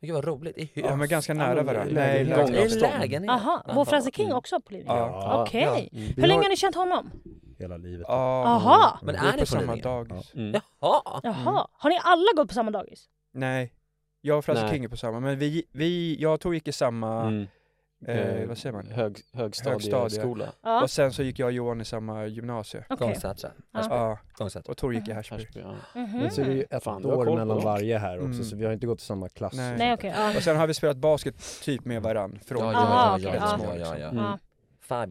Speaker 3: Men Gud vad roligt. I hus.
Speaker 5: Ja, men ganska nära
Speaker 1: men
Speaker 5: varandra.
Speaker 1: lägenhet.
Speaker 5: Nej, långt
Speaker 3: I
Speaker 5: avstånd.
Speaker 3: lägenhet.
Speaker 2: Aha,
Speaker 3: Ja.
Speaker 2: vår Frasse King
Speaker 3: Mm.
Speaker 2: också på Lidingö?
Speaker 5: Ja.
Speaker 1: Ja,
Speaker 2: Okej.
Speaker 1: Vi
Speaker 2: Hur länge
Speaker 1: har
Speaker 2: har ni känt honom?
Speaker 1: hela livet.
Speaker 5: Ja,
Speaker 2: Aha.
Speaker 3: Men
Speaker 5: vi
Speaker 3: är
Speaker 5: på
Speaker 3: ni på
Speaker 5: samma
Speaker 3: Lidingö?
Speaker 5: dagis?
Speaker 7: Mm.
Speaker 3: Jaha!
Speaker 2: Jaha,
Speaker 1: Mm.
Speaker 2: har ni alla gått på samma dagis?
Speaker 5: Nej. Jag och Frasse
Speaker 7: Nej.
Speaker 5: King är på samma, men vi, vi, jag och Tor gick i samma,
Speaker 7: Mm.
Speaker 5: eh, vad säger man?
Speaker 7: Hög, högstadieskola.
Speaker 2: Ja,
Speaker 5: Och sen så gick jag och Johan i samma gymnasium.
Speaker 2: okej.
Speaker 3: Gångsätra.
Speaker 2: Ja.
Speaker 5: Ja,
Speaker 3: Gångsätra.
Speaker 5: och Tor gick i Härsby.
Speaker 7: Härsby, ja.
Speaker 2: Mhm.
Speaker 1: Men så är det ju ett
Speaker 7: Fan, du har
Speaker 1: år
Speaker 7: koll på
Speaker 1: mellan
Speaker 7: dem.
Speaker 1: varje här också
Speaker 5: Mm.
Speaker 1: så vi har inte gått i samma klass.
Speaker 5: Nej.
Speaker 2: Nej okej, ja.
Speaker 5: Och sen har vi spelat basket typ med varann från
Speaker 3: Ja,
Speaker 2: Aha,
Speaker 3: ja, ja, ja,
Speaker 2: okej.
Speaker 5: Ja.
Speaker 3: ja, ja, ja, ja.
Speaker 7: Mm.
Speaker 3: Fab.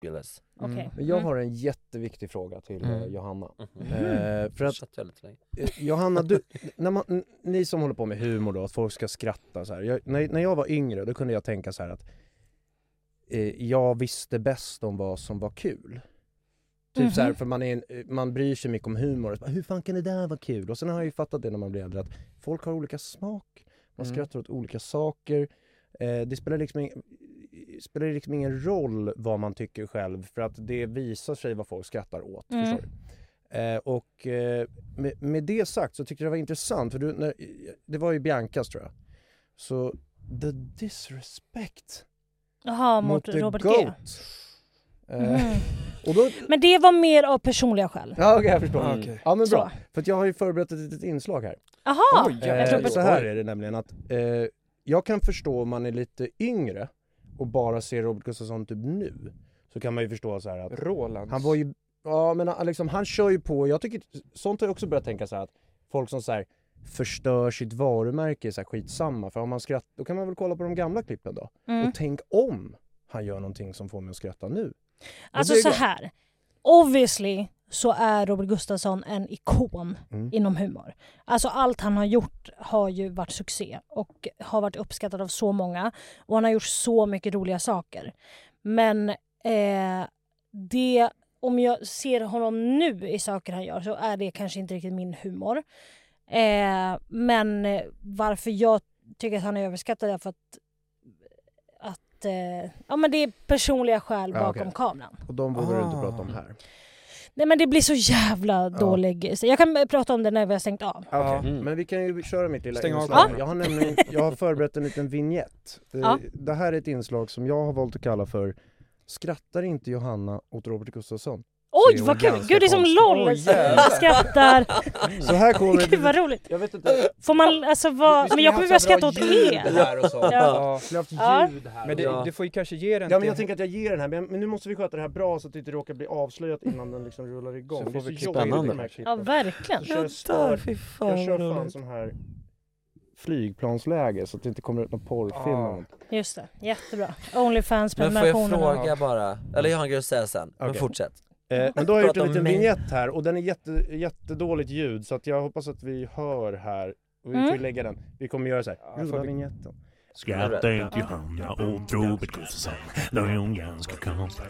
Speaker 3: Ridiculous.
Speaker 2: Okej.
Speaker 3: Mm.
Speaker 1: Jag har en jätteviktig fråga till eh, Johanna.
Speaker 3: Mhm.
Speaker 1: Eh, för att,
Speaker 3: Satt jag lite länge.
Speaker 1: eh, Johanna, du, när man, n- ni som håller på med humor då, att folk ska skratta så här. Jag, när, när jag var yngre, då kunde jag tänka så här att eh, jag visste bäst om vad som var kul. Typ så här,
Speaker 9: Mhm.
Speaker 1: för man, är en, eh, man bryr sig mycket om humor. Och så bara, Hur fan kan det där vara kul? Och sen har jag ju fattat det när man blir äldre, att folk har olika smak. Man
Speaker 9: Mm.
Speaker 1: skrattar åt olika saker. Eh, det spelar liksom, ing- spelar liksom ingen roll vad man tycker själv, för att det visar sig vad folk skrattar åt.
Speaker 9: Mm.
Speaker 1: Förstår du? Eh, och eh, med, med det sagt så tyckte jag det var intressant, för du, när, det var ju Biancas tror jag. Så the disrespect
Speaker 2: Jaha, mot, Robert G.
Speaker 1: Eh,
Speaker 2: Mm.
Speaker 1: och då,
Speaker 2: Men det var mer av personliga skäl.
Speaker 1: Ja, okej, jag förstår.
Speaker 2: Mm.
Speaker 1: Ja, men
Speaker 2: Så.
Speaker 1: bra. För att jag har ju förberett ett litet inslag här.
Speaker 2: Aha!
Speaker 1: Oj,
Speaker 2: Jag tror på-
Speaker 1: så här är det nämligen att eh, jag kan förstå om man är lite yngre och bara ser Robert Gustafsson typ nu. Så kan man ju förstå så här att...
Speaker 5: Roland.
Speaker 1: Han var ju... Ja, men han- liksom, han kör ju på. Jag tycker... Sånt har jag också börjat tänka så här att folk som så här förstör sitt varumärke är så här skitsamma. För om man skrattar, då kan man väl kolla på de gamla klippen då.
Speaker 2: Mm.
Speaker 1: Och tänk om han gör någonting som får mig att skratta nu. Då
Speaker 2: Alltså
Speaker 1: blir
Speaker 2: så
Speaker 1: jag glad.
Speaker 2: här. Obviously så är Robert Gustafsson en ikon
Speaker 1: Mm.
Speaker 2: inom humor. Alltså allt han har gjort har ju varit succé och har varit uppskattad av så många. Och han har gjort så mycket roliga saker. Men eh, det, om jag ser honom nu i saker han gör så är det kanske inte riktigt min humor. Eh, men eh, varför jag tycker att han är överskattad är för att, att eh, ja, men det är personliga skäl
Speaker 1: Ja,
Speaker 2: bakom
Speaker 1: okej.
Speaker 2: kameran.
Speaker 1: Och de vågar du inte
Speaker 5: Ah.
Speaker 1: prata om här.
Speaker 2: Nej men det blir så jävla dålig... Så jag kan eh, prata om det när vi har stängt av.
Speaker 5: Ah.
Speaker 1: Okej,
Speaker 5: Mm.
Speaker 1: Men vi kan ju köra mitt lilla
Speaker 9: Stäng av
Speaker 1: inslag.
Speaker 9: kameran.
Speaker 1: Jag har nämligen jag har förberett en liten vignett. Eh,
Speaker 2: Ja.
Speaker 1: Det här är ett inslag som jag har valt att kalla för Skrattar inte Johanna åt Robert Gustafsson? Så
Speaker 2: Oj
Speaker 1: är hon
Speaker 2: vad kul!
Speaker 1: ganska
Speaker 2: Gud det är som
Speaker 1: konstig.
Speaker 2: LOL!
Speaker 1: jävlar.
Speaker 2: skrattar.
Speaker 1: Så här kommer
Speaker 2: Gud vad roligt!
Speaker 1: Jag vet inte.
Speaker 2: Får man alltså vad... Men jag kommer börja skratta åt er!
Speaker 1: Ja.
Speaker 2: Ja.
Speaker 1: Vi skulle
Speaker 2: Ja.
Speaker 1: haft ljud här.
Speaker 5: Men det- Ja. du får ju kanske ge den
Speaker 1: Ja men
Speaker 5: till-
Speaker 1: jag tänker att jag ger den här, men, men nu måste vi sköta det här bra så att det inte råkar bli avslöjat innan den liksom rullar igång.
Speaker 5: Så får vi
Speaker 1: Det är
Speaker 5: klippa
Speaker 1: jobbigt
Speaker 5: in
Speaker 1: med
Speaker 5: den.
Speaker 1: de här klippen.
Speaker 2: Ja verkligen!
Speaker 1: Jag kör
Speaker 2: dör,
Speaker 1: stör, jag kör fan sån här flygplansläge så att det inte kommer ut någon porrfilm. eller något.
Speaker 2: Just det, jättebra. Onlyfans
Speaker 3: Men får jag
Speaker 2: prenumerationerna.
Speaker 3: fråga bara, eller jag har en grej att säga sen, men
Speaker 1: Okej.
Speaker 3: fortsätt.
Speaker 1: Eh, men då har jag gjort
Speaker 3: Prata
Speaker 1: en
Speaker 3: om
Speaker 1: liten
Speaker 3: mig.
Speaker 1: vignett här och den är jätte, jättedåligt ljud så att jag hoppas att vi hör här. Och vi får ju
Speaker 9: Mm.
Speaker 1: lägga den. Vi kommer göra så här.
Speaker 9: får
Speaker 1: Rulla
Speaker 9: vi-
Speaker 1: vignetten.
Speaker 4: Skratta inte Johanna åt Robert Gustafsson, då är hon ganska konstig.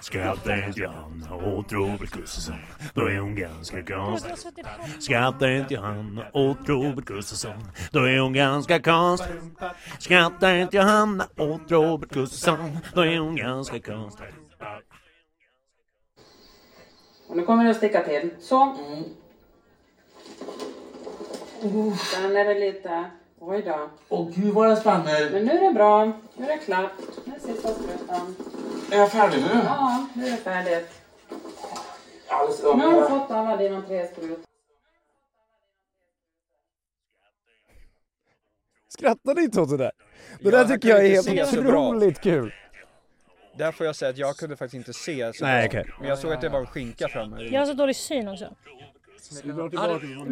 Speaker 4: Skratta inte Johanna åt Robert Gustafsson, då är hon ganska konstig. Skratta inte Johanna åt Robert Gustafsson, då är hon ganska konstig. Skratta inte Johanna åt Robert Gustafsson, då är hon ganska konstig.
Speaker 12: Och nu kommer det att sticka till. Så. Sen är det lite... Oj då.
Speaker 13: Åh gud vad den spänner.
Speaker 12: Men nu är det bra. Nu är det klart. Nu är sista sprutan.
Speaker 13: Är jag färdig nu?
Speaker 12: Ja, nu är det färdigt.
Speaker 13: Alltså,
Speaker 12: Nu har du fått alla dina tre sprutor.
Speaker 1: Skrattade inte åt det där? Det
Speaker 5: Ja,
Speaker 1: där
Speaker 5: han
Speaker 1: tycker
Speaker 5: kan
Speaker 1: jag är
Speaker 5: inte
Speaker 1: helt
Speaker 5: se så bra.
Speaker 1: otroligt kul.
Speaker 5: Där får jag säga att jag kunde faktiskt inte se så
Speaker 1: Nej,
Speaker 5: bra.
Speaker 1: okej.
Speaker 5: Men jag såg att det var en skinka framme.
Speaker 2: Jag har så dålig syn också.
Speaker 5: Var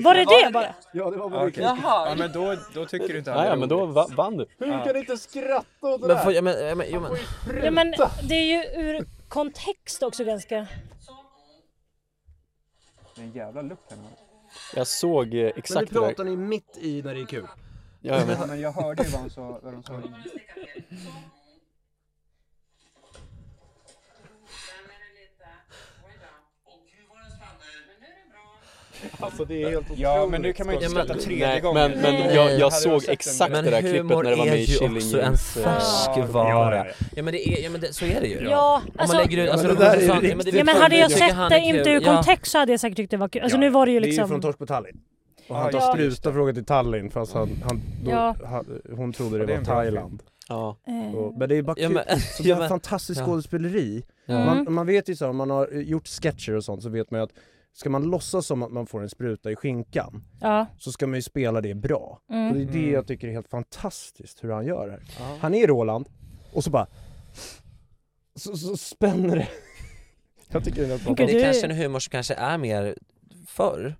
Speaker 2: Var det det bara?
Speaker 1: Ja, det var
Speaker 5: bara okay.
Speaker 3: Jaha.
Speaker 5: Ja men då, då tycker du inte han
Speaker 7: Nej,
Speaker 5: är
Speaker 7: men
Speaker 5: rolig.
Speaker 7: då va- vann du.
Speaker 5: Hur kan
Speaker 7: Ja.
Speaker 5: det
Speaker 1: inte skratta åt
Speaker 3: Men får jag, men, ja, men, jo, men.
Speaker 2: Ja, men det är ju ur kontext också ganska...
Speaker 5: Det är en jävla lukt här nu.
Speaker 7: Jag såg eh, exakt det där.
Speaker 1: ni mitt i när det är kul.
Speaker 7: Ja, jag vet.
Speaker 5: men jag hörde ju vad han sa. Vad de sa. innan.
Speaker 7: Alltså det är helt otroligt.
Speaker 5: Ja, men nu kan man ju inte skratta tredje
Speaker 7: Nej,
Speaker 5: gången.
Speaker 7: Men, men jag,
Speaker 5: Hade
Speaker 7: jag
Speaker 5: du
Speaker 7: såg
Speaker 5: sett den
Speaker 7: exakt
Speaker 5: där?
Speaker 7: det där klippet när det var med i Killing
Speaker 3: humor är ju också en
Speaker 7: Jones, eh,
Speaker 3: färskvara.
Speaker 7: ja,
Speaker 3: Ja, men, det är, ja, men det, så är det ju.
Speaker 2: Ja,
Speaker 3: Om
Speaker 2: alltså-
Speaker 3: man lägger ut, alltså,
Speaker 1: Ja, men det där är ju
Speaker 3: så- men
Speaker 1: riktigt.
Speaker 3: det är
Speaker 2: Ja men
Speaker 3: klart
Speaker 2: hade jag
Speaker 3: jag tycker
Speaker 2: sett
Speaker 3: han
Speaker 2: det
Speaker 3: är
Speaker 2: inte
Speaker 3: kul.
Speaker 2: ur
Speaker 3: Ja.
Speaker 2: kontext så hade jag säkert tyckt det var kul. Alltså nu var det ju
Speaker 1: Det är ju
Speaker 2: liksom...
Speaker 1: från Torsk på Tallinn. Och
Speaker 2: Ja,
Speaker 1: han tar
Speaker 2: just
Speaker 1: slut och frågar till Tallinn fast han, han, då,
Speaker 2: Ja.
Speaker 1: ha- hon trodde
Speaker 5: Ja,
Speaker 1: det,
Speaker 5: det är en
Speaker 1: var
Speaker 5: bra
Speaker 1: Thailand.
Speaker 7: Ja.
Speaker 2: Eh.
Speaker 1: Och, men det är ju bara kul.
Speaker 3: Ja, men-
Speaker 1: så
Speaker 3: ja,
Speaker 1: det är
Speaker 3: men-
Speaker 1: fantastiskt
Speaker 3: ja.
Speaker 1: skådespeleri.
Speaker 3: Ja.
Speaker 2: Mm.
Speaker 1: Man, man vet ju så här, om man har eh, gjort sketcher och sånt så vet man ju att ska man låtsas som att man får en spruta i skinkan
Speaker 2: Ja.
Speaker 1: så ska man ju spela det bra.
Speaker 2: Mm.
Speaker 1: Och det är det
Speaker 5: Mm.
Speaker 1: jag tycker är helt fantastiskt hur han gör här. Han är Roland och så bara så, så spänner det. Jag tycker det är helt
Speaker 3: Men det är
Speaker 1: fantastiskt.
Speaker 3: kanske en humor som kanske är mer förr.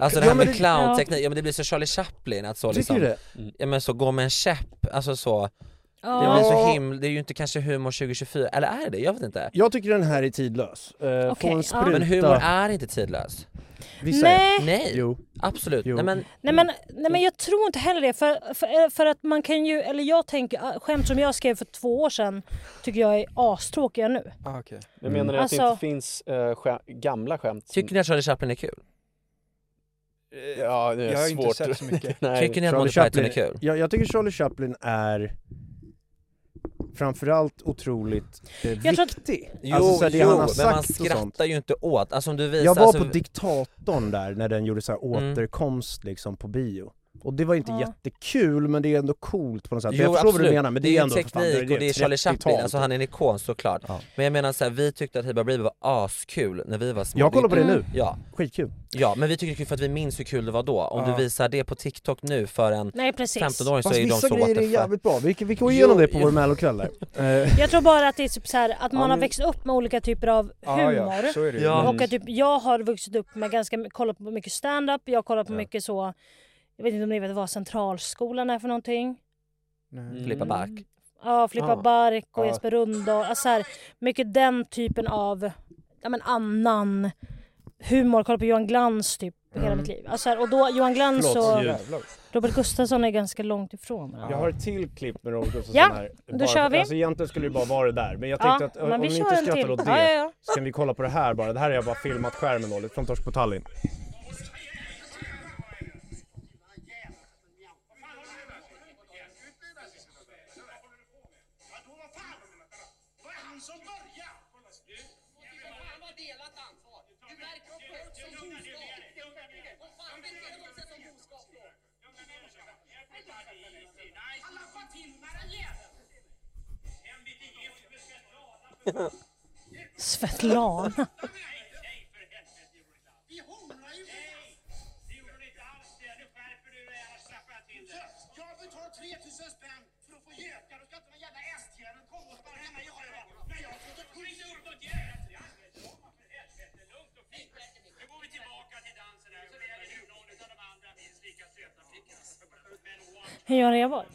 Speaker 3: Alltså det
Speaker 1: Ja,
Speaker 3: här
Speaker 1: men
Speaker 3: med
Speaker 1: det-
Speaker 3: clownteknik, ja men det blir så Charlie Chaplin att så
Speaker 1: Tycker
Speaker 3: liksom,
Speaker 1: du det?
Speaker 3: ja men så gå med en käpp, alltså så. Det
Speaker 2: Ja.
Speaker 3: blir så himla, det är ju inte kanske humor 2024, eller är det? Jag vet inte.
Speaker 1: Jag tycker den här är tidlös. Eh,
Speaker 2: Okej,
Speaker 1: få en
Speaker 2: ja.
Speaker 1: spruta.
Speaker 3: Men humor är inte tidlös.
Speaker 1: Vissa är-
Speaker 2: Nej.
Speaker 3: Nej,
Speaker 1: Jo.
Speaker 3: absolut.
Speaker 1: Jo.
Speaker 3: Nej men,
Speaker 2: Nej men, nej men jag tror inte heller det för, för, för att man kan ju, eller jag tänker, ah, skämt som jag skrev för två år sedan tycker jag är astråkiga nu.
Speaker 5: Ah, okay.
Speaker 7: Jag menar
Speaker 2: Mm.
Speaker 7: att det
Speaker 2: Alltså-
Speaker 7: inte finns eh, skä- gamla skämt. som-
Speaker 3: tycker ni att Charlie Chaplin är kul?
Speaker 7: Ja, det är
Speaker 5: Jag har inte
Speaker 7: svårt.
Speaker 5: sett så mycket.
Speaker 7: Nej.
Speaker 3: Tycker ni att
Speaker 1: Charlie
Speaker 3: Monty Python
Speaker 1: Chaplin
Speaker 3: är kul?
Speaker 1: Jag, jag tycker Charlie Chaplin är framförallt otroligt eh,
Speaker 2: Jag
Speaker 1: viktig.
Speaker 2: tror att-
Speaker 3: Jo,
Speaker 1: Alltså, så här, det
Speaker 3: jo
Speaker 1: han har
Speaker 3: men man
Speaker 1: sagt och sånt.
Speaker 3: skrattar ju inte åt. Alltså om du visar,
Speaker 1: Jag var
Speaker 3: alltså,
Speaker 1: på Diktatorn där när den gjorde så här
Speaker 3: Mm.
Speaker 1: återkomst liksom på bio. Och det var inte
Speaker 2: Ja.
Speaker 1: jättekul men det är ändå coolt på något sätt.
Speaker 3: Jo,
Speaker 1: jag förstår
Speaker 3: absolut.
Speaker 1: vad du menar men det,
Speaker 3: ju
Speaker 1: är ändå för fan,
Speaker 3: teknik och det är Charlie Chaplin,
Speaker 1: 30-tal.
Speaker 3: alltså han är en ikon såklart.
Speaker 1: Ja.
Speaker 3: Men jag menar så här, vi tyckte att Hiba Briba var askul när vi var små.
Speaker 1: Jag kollar på det
Speaker 3: är-
Speaker 1: nu.
Speaker 3: Mm. Ja,
Speaker 1: Skitkul.
Speaker 3: ja, men vi tycker det är kul för att vi minns hur kul det var då. Om
Speaker 5: Ja.
Speaker 3: du visar det på TikTok nu för en
Speaker 2: Nej precis.
Speaker 3: 15-åring så
Speaker 1: Fast
Speaker 3: är ju de
Speaker 1: vissa
Speaker 3: så what
Speaker 1: grejer är
Speaker 3: the fuck.
Speaker 1: jävligt bra. Vi, vi går
Speaker 3: Jo,
Speaker 1: igenom det på
Speaker 3: jo.
Speaker 1: vår mellokväll där. Eh,
Speaker 2: Jag tror bara att det är typ så här, att
Speaker 1: Ja,
Speaker 2: man har
Speaker 1: men-
Speaker 2: växt upp med olika typer av humor.
Speaker 5: Ja, ja, så är det ju.
Speaker 3: Ja.
Speaker 2: Och att typ, jag har vuxit upp med ganska my- kollat på mycket stand-up, jag kollar på mycket så, jag vet inte om ni vet vad Centralskolan är för någonting?
Speaker 5: Nej.
Speaker 3: Filippa Bark.
Speaker 2: Mm. Ja, Filippa
Speaker 3: Ja.
Speaker 2: Bark och
Speaker 5: Ja.
Speaker 2: Jesper Rundahl. Alltså så här, mycket den typen av ja, men annan humor. Kolla på Johan Glans typ hela
Speaker 5: Mm.
Speaker 2: mitt liv. Alltså så här, och då Johan Glans
Speaker 1: Förlåt,
Speaker 2: och
Speaker 1: ljud.
Speaker 5: Jävlar.
Speaker 2: Robert Gustafsson är ganska långt ifrån. varandra.
Speaker 1: Jag har ett till klipp med Robert Gustafsson
Speaker 2: Ja,
Speaker 1: här.
Speaker 2: då
Speaker 1: Bara
Speaker 2: kör
Speaker 1: för-
Speaker 2: vi.
Speaker 1: Alltså egentligen skulle det bara vara det där, men jag
Speaker 2: Ja,
Speaker 1: tänkte att ö,
Speaker 2: men
Speaker 1: om
Speaker 2: vi
Speaker 1: ni
Speaker 2: kör
Speaker 1: inte
Speaker 2: en
Speaker 1: skrattar
Speaker 2: till.
Speaker 1: åt det
Speaker 2: Ja, ja, ja.
Speaker 1: så kan vi kolla på det här bara. Det här har jag bara filmat skärmen dåligt från Torsk på Tallinn.
Speaker 2: Svetlana. Hur gör jag var?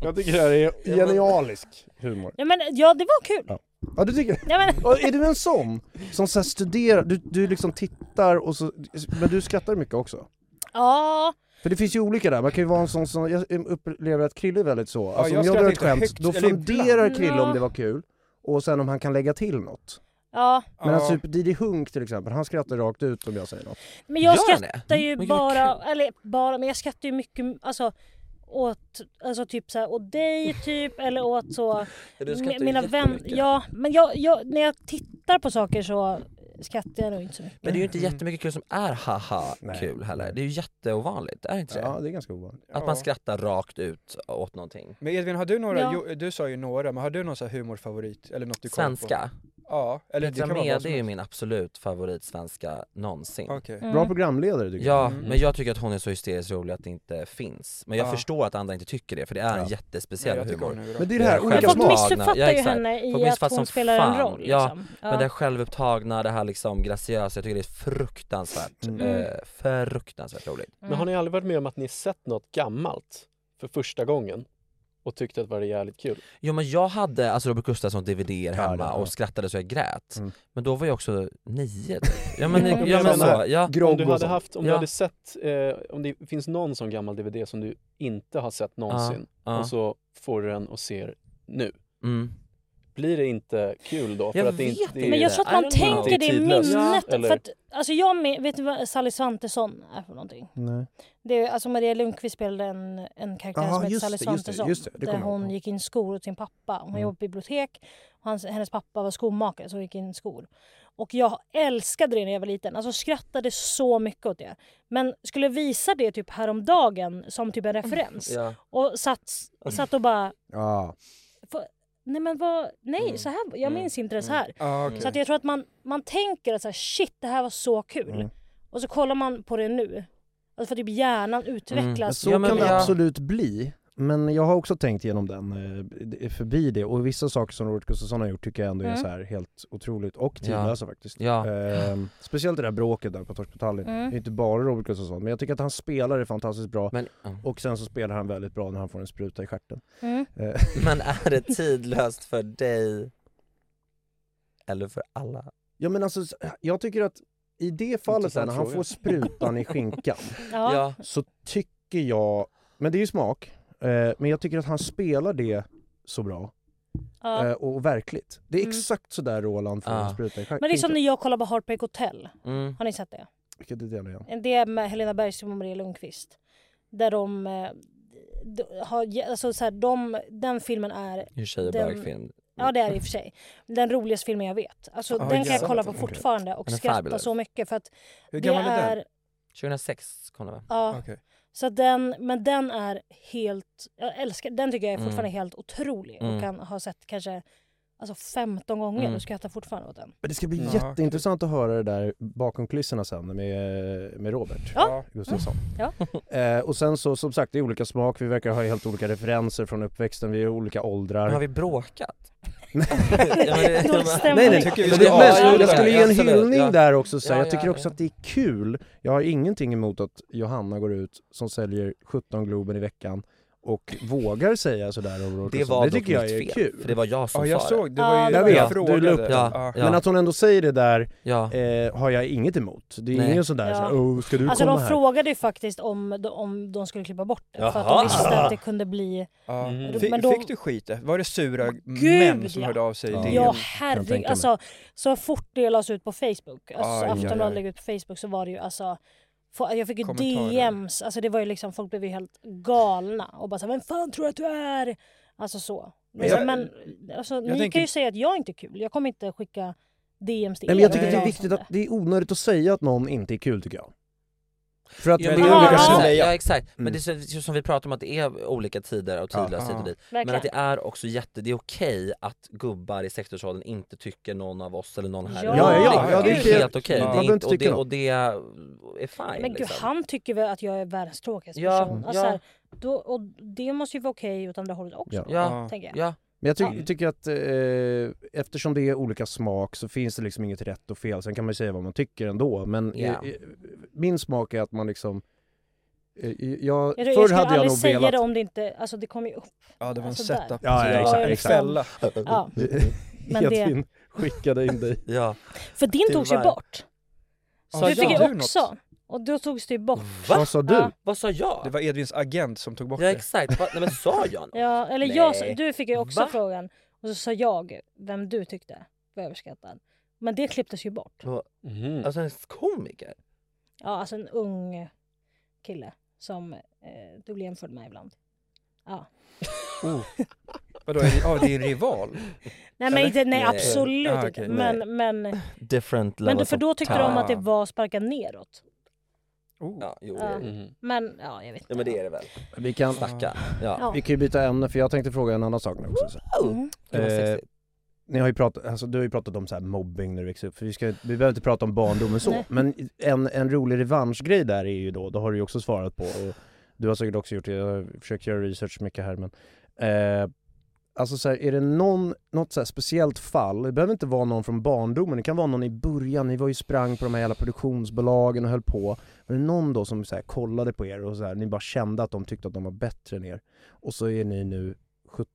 Speaker 1: Jag tycker det här är genialisk humor.
Speaker 2: Ja, men, ja det var kul.
Speaker 1: Ja, ja du tycker
Speaker 2: Ja, men,
Speaker 1: Och Är du en sån som så här studerar, du, du liksom tittar och så, men du skrattar mycket också?
Speaker 2: ja.
Speaker 1: För det finns ju olika där, man kan ju vara en sån som, jag upplever att Krille är väldigt så, alltså
Speaker 5: jag
Speaker 1: om jag
Speaker 5: skrattar
Speaker 1: drar ett
Speaker 5: inte
Speaker 1: skämt,
Speaker 5: högt,
Speaker 1: då
Speaker 5: eller ibland.
Speaker 1: funderar Krille om
Speaker 2: Ja.
Speaker 1: det var kul, och sen om han kan lägga till något.
Speaker 2: ja.
Speaker 1: Men
Speaker 5: Ja.
Speaker 1: typ Didi Hunk till exempel, han skrattar rakt ut om jag säger något.
Speaker 2: Men jag
Speaker 3: Gör han det?
Speaker 2: skrattar ju
Speaker 3: Men gud, vad
Speaker 2: bara, eller bara, men jag skrattar ju mycket alltså, åt, alltså typ så här, åt dig typ eller åt så,
Speaker 3: Ja, du
Speaker 2: mi-
Speaker 3: skrattar ju
Speaker 2: mina vänner.
Speaker 3: jättemycket.
Speaker 2: Ja, men jag, jag, när jag tittar på saker så skrattar jag nog inte så mycket.
Speaker 3: Men det är ju inte jättemycket kul som är haha
Speaker 1: Nej.
Speaker 3: kul heller. Det är ju jätteovanligt, är det inte det?
Speaker 1: Ja, det är ganska ovanligt.
Speaker 3: Att man skrattar rakt ut åt någonting.
Speaker 5: Men Edvin, har du några,
Speaker 2: Ja.
Speaker 5: jo, du sa ju några, men har du någon så här humorfavorit? Eller något du kollar på?
Speaker 3: Svenska.
Speaker 5: Ja, eller det
Speaker 3: Petra
Speaker 5: kan vara
Speaker 3: Mede
Speaker 5: vad som
Speaker 3: är ju
Speaker 5: helst.
Speaker 3: min absolut favorit svenska någonsin.
Speaker 5: Okej.
Speaker 2: Mm.
Speaker 1: Bra programledare tycker jag.
Speaker 3: Ja,
Speaker 5: Mm.
Speaker 3: men jag tycker att hon är så hysteriskt rolig att det inte finns. Men jag
Speaker 5: Ja.
Speaker 3: förstår att andra inte tycker det, för det är en
Speaker 1: Ja.
Speaker 3: jättespeciell
Speaker 5: Nej, jag tycker
Speaker 3: humor.
Speaker 5: hon är bra.
Speaker 1: Men det är det här,
Speaker 3: Men
Speaker 1: olika
Speaker 2: Men
Speaker 3: Ganska
Speaker 2: folk
Speaker 3: smagna.
Speaker 2: missuppfattar
Speaker 3: Ja,
Speaker 2: ju
Speaker 3: exakt.
Speaker 2: henne
Speaker 3: Folk
Speaker 2: i
Speaker 3: missuppfattar
Speaker 2: att hon
Speaker 3: som
Speaker 2: spelar en
Speaker 3: fan.
Speaker 2: roll.
Speaker 3: Ja,
Speaker 2: Liksom. Ja,
Speaker 3: Men det här självupptagna, det här liksom graciösa, jag tycker det är fruktansvärt,
Speaker 1: Mm.
Speaker 3: eh, fruktansvärt roligt.
Speaker 2: Mm.
Speaker 7: Men har ni aldrig varit med om att ni sett något gammalt för första gången och tyckte att det var jävligt kul?
Speaker 3: Jo men jag hade alltså Robert Gustafsson DVD-er hemma
Speaker 1: ja, ja.
Speaker 3: och skrattade så jag grät.
Speaker 1: Mm.
Speaker 3: Men då var jag också nio typ. Ja men,
Speaker 2: Mm.
Speaker 3: ja, men så,
Speaker 1: Sådana-
Speaker 3: ja.
Speaker 7: Om
Speaker 1: Grogg
Speaker 7: du
Speaker 1: och
Speaker 7: hade
Speaker 1: sånt.
Speaker 7: haft, om du
Speaker 3: Ja.
Speaker 7: hade sett, eh, om det finns någon sån gammal DVD som du inte har sett någonsin
Speaker 3: Ja.
Speaker 7: och så får du den och ser nu.
Speaker 3: Mm.
Speaker 7: blir det inte kul då?
Speaker 3: Jag
Speaker 7: att det inte
Speaker 3: vet inte.
Speaker 2: Men jag tror att man
Speaker 7: är-
Speaker 2: tänker det i
Speaker 7: tidlöst,
Speaker 2: minnet.
Speaker 7: eller?
Speaker 2: För att, alltså jag med, vet du vad Sally Svantesson är för någonting?
Speaker 1: Nej.
Speaker 2: Det är, alltså Maria Lundqvist spelade en, en karaktär
Speaker 1: Ja,
Speaker 2: som heter
Speaker 1: just
Speaker 2: Sally
Speaker 1: det, just det,
Speaker 2: Svantesson.
Speaker 1: just det, det
Speaker 2: där
Speaker 1: kommer jag
Speaker 2: hon gick in skor åt sin pappa. Hon
Speaker 1: Mm.
Speaker 2: jobbade på bibliotek. Och hans, hennes pappa var skomakare så hon gick in skor. Och jag älskade det när jag var liten. Alltså skrattade så mycket åt det. Men skulle visa det typ häromdagen som typ en
Speaker 7: Mm.
Speaker 2: referens.
Speaker 1: Ja.
Speaker 2: Och satt, satt och bara...
Speaker 1: Ja.
Speaker 2: "Få- Nej men vad, nej
Speaker 3: Mm.
Speaker 2: så här, jag minns inte det så här.
Speaker 1: Ah, okej.
Speaker 2: Så att jag tror att man, man tänker att så här, shit det här var så kul.
Speaker 1: Mm.
Speaker 2: Och så kollar man på det nu. Alltså för typ hjärnan
Speaker 3: Mm.
Speaker 2: utvecklas.
Speaker 1: Men Så
Speaker 2: Ja, men
Speaker 1: kan det
Speaker 2: jag-
Speaker 1: absolut bli. Men jag har också tänkt igenom den, eh, d- förbi det. Och vissa saker som Robert Gustafsson har gjort tycker jag ändå är
Speaker 2: Mm.
Speaker 1: så här helt otroligt, och
Speaker 3: Ja.
Speaker 1: tidlösa faktiskt.
Speaker 3: Ja.
Speaker 1: Ehm, speciellt det där bråket där på Torskbataljen.
Speaker 3: Mm.
Speaker 1: Det är inte bara Robert Gustafsson, men jag tycker att han spelar det fantastiskt bra.
Speaker 3: Men-
Speaker 1: Och sen så spelar han väldigt bra när han får en spruta i stjärten.
Speaker 2: Mm.
Speaker 1: Eh,
Speaker 3: Men är det tidlöst för dig? Eller för alla?
Speaker 1: Ja men alltså, s- jag tycker att i det fallet där,
Speaker 3: Intressant
Speaker 1: när han
Speaker 3: fråga.
Speaker 1: får sprutan i skinkan,
Speaker 3: Ja. Ja.
Speaker 1: så tycker jag, men det är ju smak, eh, men jag tycker att han spelar det så bra.
Speaker 2: Ja.
Speaker 1: Eh, och verkligt. Det är
Speaker 2: Mm.
Speaker 1: exakt så där Roland får
Speaker 3: Ja.
Speaker 1: en spruta i skinkan.
Speaker 2: Men det är som när jag kollar på Heartbreak Hotel.
Speaker 3: Mm.
Speaker 2: Har ni sett det?
Speaker 1: Vilket är det nu igen?
Speaker 2: Det är med Helena Bergström och Maria Lundqvist. Där de... eh, d- Har, ge- alltså så här, de, den filmen är...
Speaker 3: Ju tjejer
Speaker 2: den-
Speaker 3: bögfilm.
Speaker 2: Ja det är det i och för sig. Den roligaste filmen jag vet. Alltså,
Speaker 3: Ah,
Speaker 2: den kan jag
Speaker 3: jävlar.
Speaker 2: kolla på
Speaker 3: Okej.
Speaker 2: fortfarande och
Speaker 3: Den är
Speaker 2: skratta
Speaker 3: fabulous.
Speaker 2: så mycket för att
Speaker 3: Hur
Speaker 2: det
Speaker 3: gammal är den?
Speaker 2: är
Speaker 3: 2006 kom det va?
Speaker 2: Ja. Så att den, men den är helt, jag älskar, den tycker jag är fortfarande
Speaker 3: Mm.
Speaker 2: helt otrolig
Speaker 3: Mm.
Speaker 2: och kan ha sett kanske alltså 15 gånger
Speaker 1: Mm.
Speaker 2: och skrattar fortfarande åt den.
Speaker 1: Men det ska bli
Speaker 2: Ja,
Speaker 1: jätteintressant att höra det där bakom kulisserna sen med, med Robert
Speaker 2: Ja.
Speaker 1: Gustafsson.
Speaker 2: Ja.
Speaker 1: Eh, och sen så, som sagt, det är olika smak, vi verkar ha helt olika referenser från uppväxten, vi är olika åldrar.
Speaker 3: Men har vi bråkat?
Speaker 1: Nej, nej, nej. Men det- men jag skulle ge en hyllning där också så här. jag tycker också att det är kul. Jag har ingenting emot att Johanna går ut som säljer 17 Globen i veckan och vågar säga sådär om Robert
Speaker 3: Det
Speaker 1: Gustafsson.
Speaker 3: var
Speaker 1: det
Speaker 3: dock
Speaker 1: tycker jag
Speaker 3: mitt
Speaker 1: är
Speaker 3: fel,
Speaker 1: kul.
Speaker 3: för det var jag som Ja, jag sa det. såg, det var ju-
Speaker 1: jag
Speaker 3: jag
Speaker 1: vet,
Speaker 3: frågade.
Speaker 1: du la upp det.
Speaker 3: Ja, ja.
Speaker 1: Men att hon ändå säger det där
Speaker 3: Ja.
Speaker 1: eh, har jag inget emot. Det är
Speaker 3: Nej.
Speaker 1: ingen sådär
Speaker 2: Ja.
Speaker 1: såhär, oh, ska du
Speaker 2: alltså
Speaker 1: komma
Speaker 2: de
Speaker 1: här?
Speaker 2: frågade ju faktiskt om, de- om de skulle klippa bort det för att
Speaker 1: Jaha. Mm.
Speaker 2: de visste att det kunde bli...
Speaker 5: Ja.
Speaker 2: Men
Speaker 5: Fick,
Speaker 2: då-
Speaker 5: fick du skit? där? Var det sura män
Speaker 2: Gud,
Speaker 5: som
Speaker 2: ja.
Speaker 5: hörde av sig? i DM? Kan
Speaker 2: Ja
Speaker 5: jag tänka
Speaker 2: herregud,
Speaker 5: mig.
Speaker 2: alltså så fort det lades ut på Facebook, alltså,
Speaker 5: Aj,
Speaker 2: så Aftonbladet
Speaker 5: aj, aj.
Speaker 2: lägger ut på Facebook så var det ju alltså få- jag fick ju
Speaker 5: Kommentarer.
Speaker 2: DMs, alltså det var ju liksom, folk blev ju helt galna och bara såhär, vem fan tror du att du är? Alltså så. Men,
Speaker 1: Men jag-
Speaker 2: men alltså, ni
Speaker 1: tänker-
Speaker 2: kan ju säga att jag inte är kul, jag kommer inte skicka DMs till
Speaker 1: Nej, men
Speaker 2: er.
Speaker 1: jag tycker att det är viktigt att, det är onödigt att säga att någon inte är kul tycker jag. För att
Speaker 3: Ja,
Speaker 1: vi
Speaker 3: men-
Speaker 1: är olika
Speaker 3: ja,
Speaker 1: smak.
Speaker 3: exakt. Ja exakt, men
Speaker 1: Mm.
Speaker 3: det är så- så, som vi pratar om att det är olika tider och tidlöst hit och dit.
Speaker 1: Verkligen.
Speaker 3: Men att det är också jätte, det är okej att gubbar i 60-årsåldern inte tycker någon av oss eller någon här.
Speaker 2: Ja, ja, ja, ja,
Speaker 3: det
Speaker 2: det
Speaker 3: är
Speaker 2: är-
Speaker 3: helt okej.
Speaker 2: Ja.
Speaker 3: Det
Speaker 2: Man
Speaker 3: är
Speaker 2: behöver
Speaker 3: inte-
Speaker 2: inte
Speaker 3: Och det,
Speaker 2: tycka
Speaker 3: och det är fine.
Speaker 2: Men gud,
Speaker 3: liksom.
Speaker 2: han tycker väl att jag är världens tråkigaste
Speaker 3: Ja,
Speaker 2: person. Alltså,
Speaker 3: ja.
Speaker 2: så här, då, och det måste ju vara okej åt andra hållet också,
Speaker 3: Ja.
Speaker 2: tänker jag.
Speaker 3: Ja.
Speaker 1: Men jag ty
Speaker 2: Ja.
Speaker 1: tycker att eh, eftersom det är olika smak så finns det liksom inget rätt och fel. Sen kan man ju säga vad man tycker ändå. Men eh,
Speaker 3: Ja.
Speaker 1: eh, min smak är att man liksom... Eh, jag,
Speaker 2: Jag, tror- jag
Speaker 1: förr
Speaker 2: skulle
Speaker 1: hade jag
Speaker 2: aldrig
Speaker 1: nog
Speaker 2: säga
Speaker 1: velat...
Speaker 2: det om det inte, alltså det kom ju upp.
Speaker 5: Ja det var en
Speaker 2: Alltså, där.
Speaker 5: setup.
Speaker 1: Ja, ja,
Speaker 5: Så
Speaker 1: exakt,
Speaker 5: jag-
Speaker 1: exakt.
Speaker 5: Fälla.
Speaker 2: Ja. Men det-
Speaker 1: Edvin skickade in dig.
Speaker 3: ja.
Speaker 2: För din togs ju bort.
Speaker 5: Ja,
Speaker 2: Så du
Speaker 5: sa
Speaker 2: fick
Speaker 5: du
Speaker 2: ju också. Och då togs det ju bort. Ja,
Speaker 3: Vad sa jag?
Speaker 5: Det var Edvins agent som tog bort
Speaker 3: Ja
Speaker 5: det.
Speaker 3: exakt, Va- nej men sa jag något?
Speaker 2: ja eller
Speaker 3: Nej.
Speaker 2: jag, sa- du fick ju också
Speaker 3: Va?
Speaker 2: frågan. Och så sa jag vem du tyckte var överskattad. Men det klipptes ju bort.
Speaker 3: Vad- Alltså en komiker?
Speaker 2: Ja, alltså en ung kille som eh, du blir jämförd med ibland. Ja.
Speaker 5: Oh. Vadå, är det, ja, det är en rival?
Speaker 2: Nej, men inte, nej
Speaker 5: Nej.
Speaker 2: absolut
Speaker 5: Ah,
Speaker 2: inte.
Speaker 5: okej.
Speaker 2: Men, men,
Speaker 3: Different
Speaker 2: men då-
Speaker 3: levels
Speaker 2: för
Speaker 3: of
Speaker 2: då tyckte de att det
Speaker 3: time. Oh,
Speaker 2: var sparka neråt.
Speaker 3: Ja, jo, det
Speaker 2: Ja.
Speaker 3: är det.
Speaker 2: Men ja, jag vet
Speaker 3: Ja men det är det väl.
Speaker 1: Vi kan,
Speaker 3: Snacka. Ja.
Speaker 2: Ja.
Speaker 1: vi kan ju byta ämne för jag tänkte fråga en annan sak nu också. Så.
Speaker 3: Mm. Det var sexigt.
Speaker 1: ni har ju pratat, alltså, du har ju pratat om så här mobbing när du växte upp, för vi, ska, vi behöver inte prata om barndomen så.
Speaker 3: Nej.
Speaker 1: Men en, en rolig revanschgrej där är ju då, det har du ju också svarat på, och du har säkert också gjort det, jag har försökt göra research mycket här men. Eh, alltså så här, är det någon, något så här speciellt fall, det behöver inte vara någon från barndomen, det kan vara någon i början, ni var ju sprang på de här jävla produktionsbolagen och höll på. Var det någon då som så här, kollade på er och så här, ni bara kände att de tyckte att de var bättre än er? Och så är ni nu 17,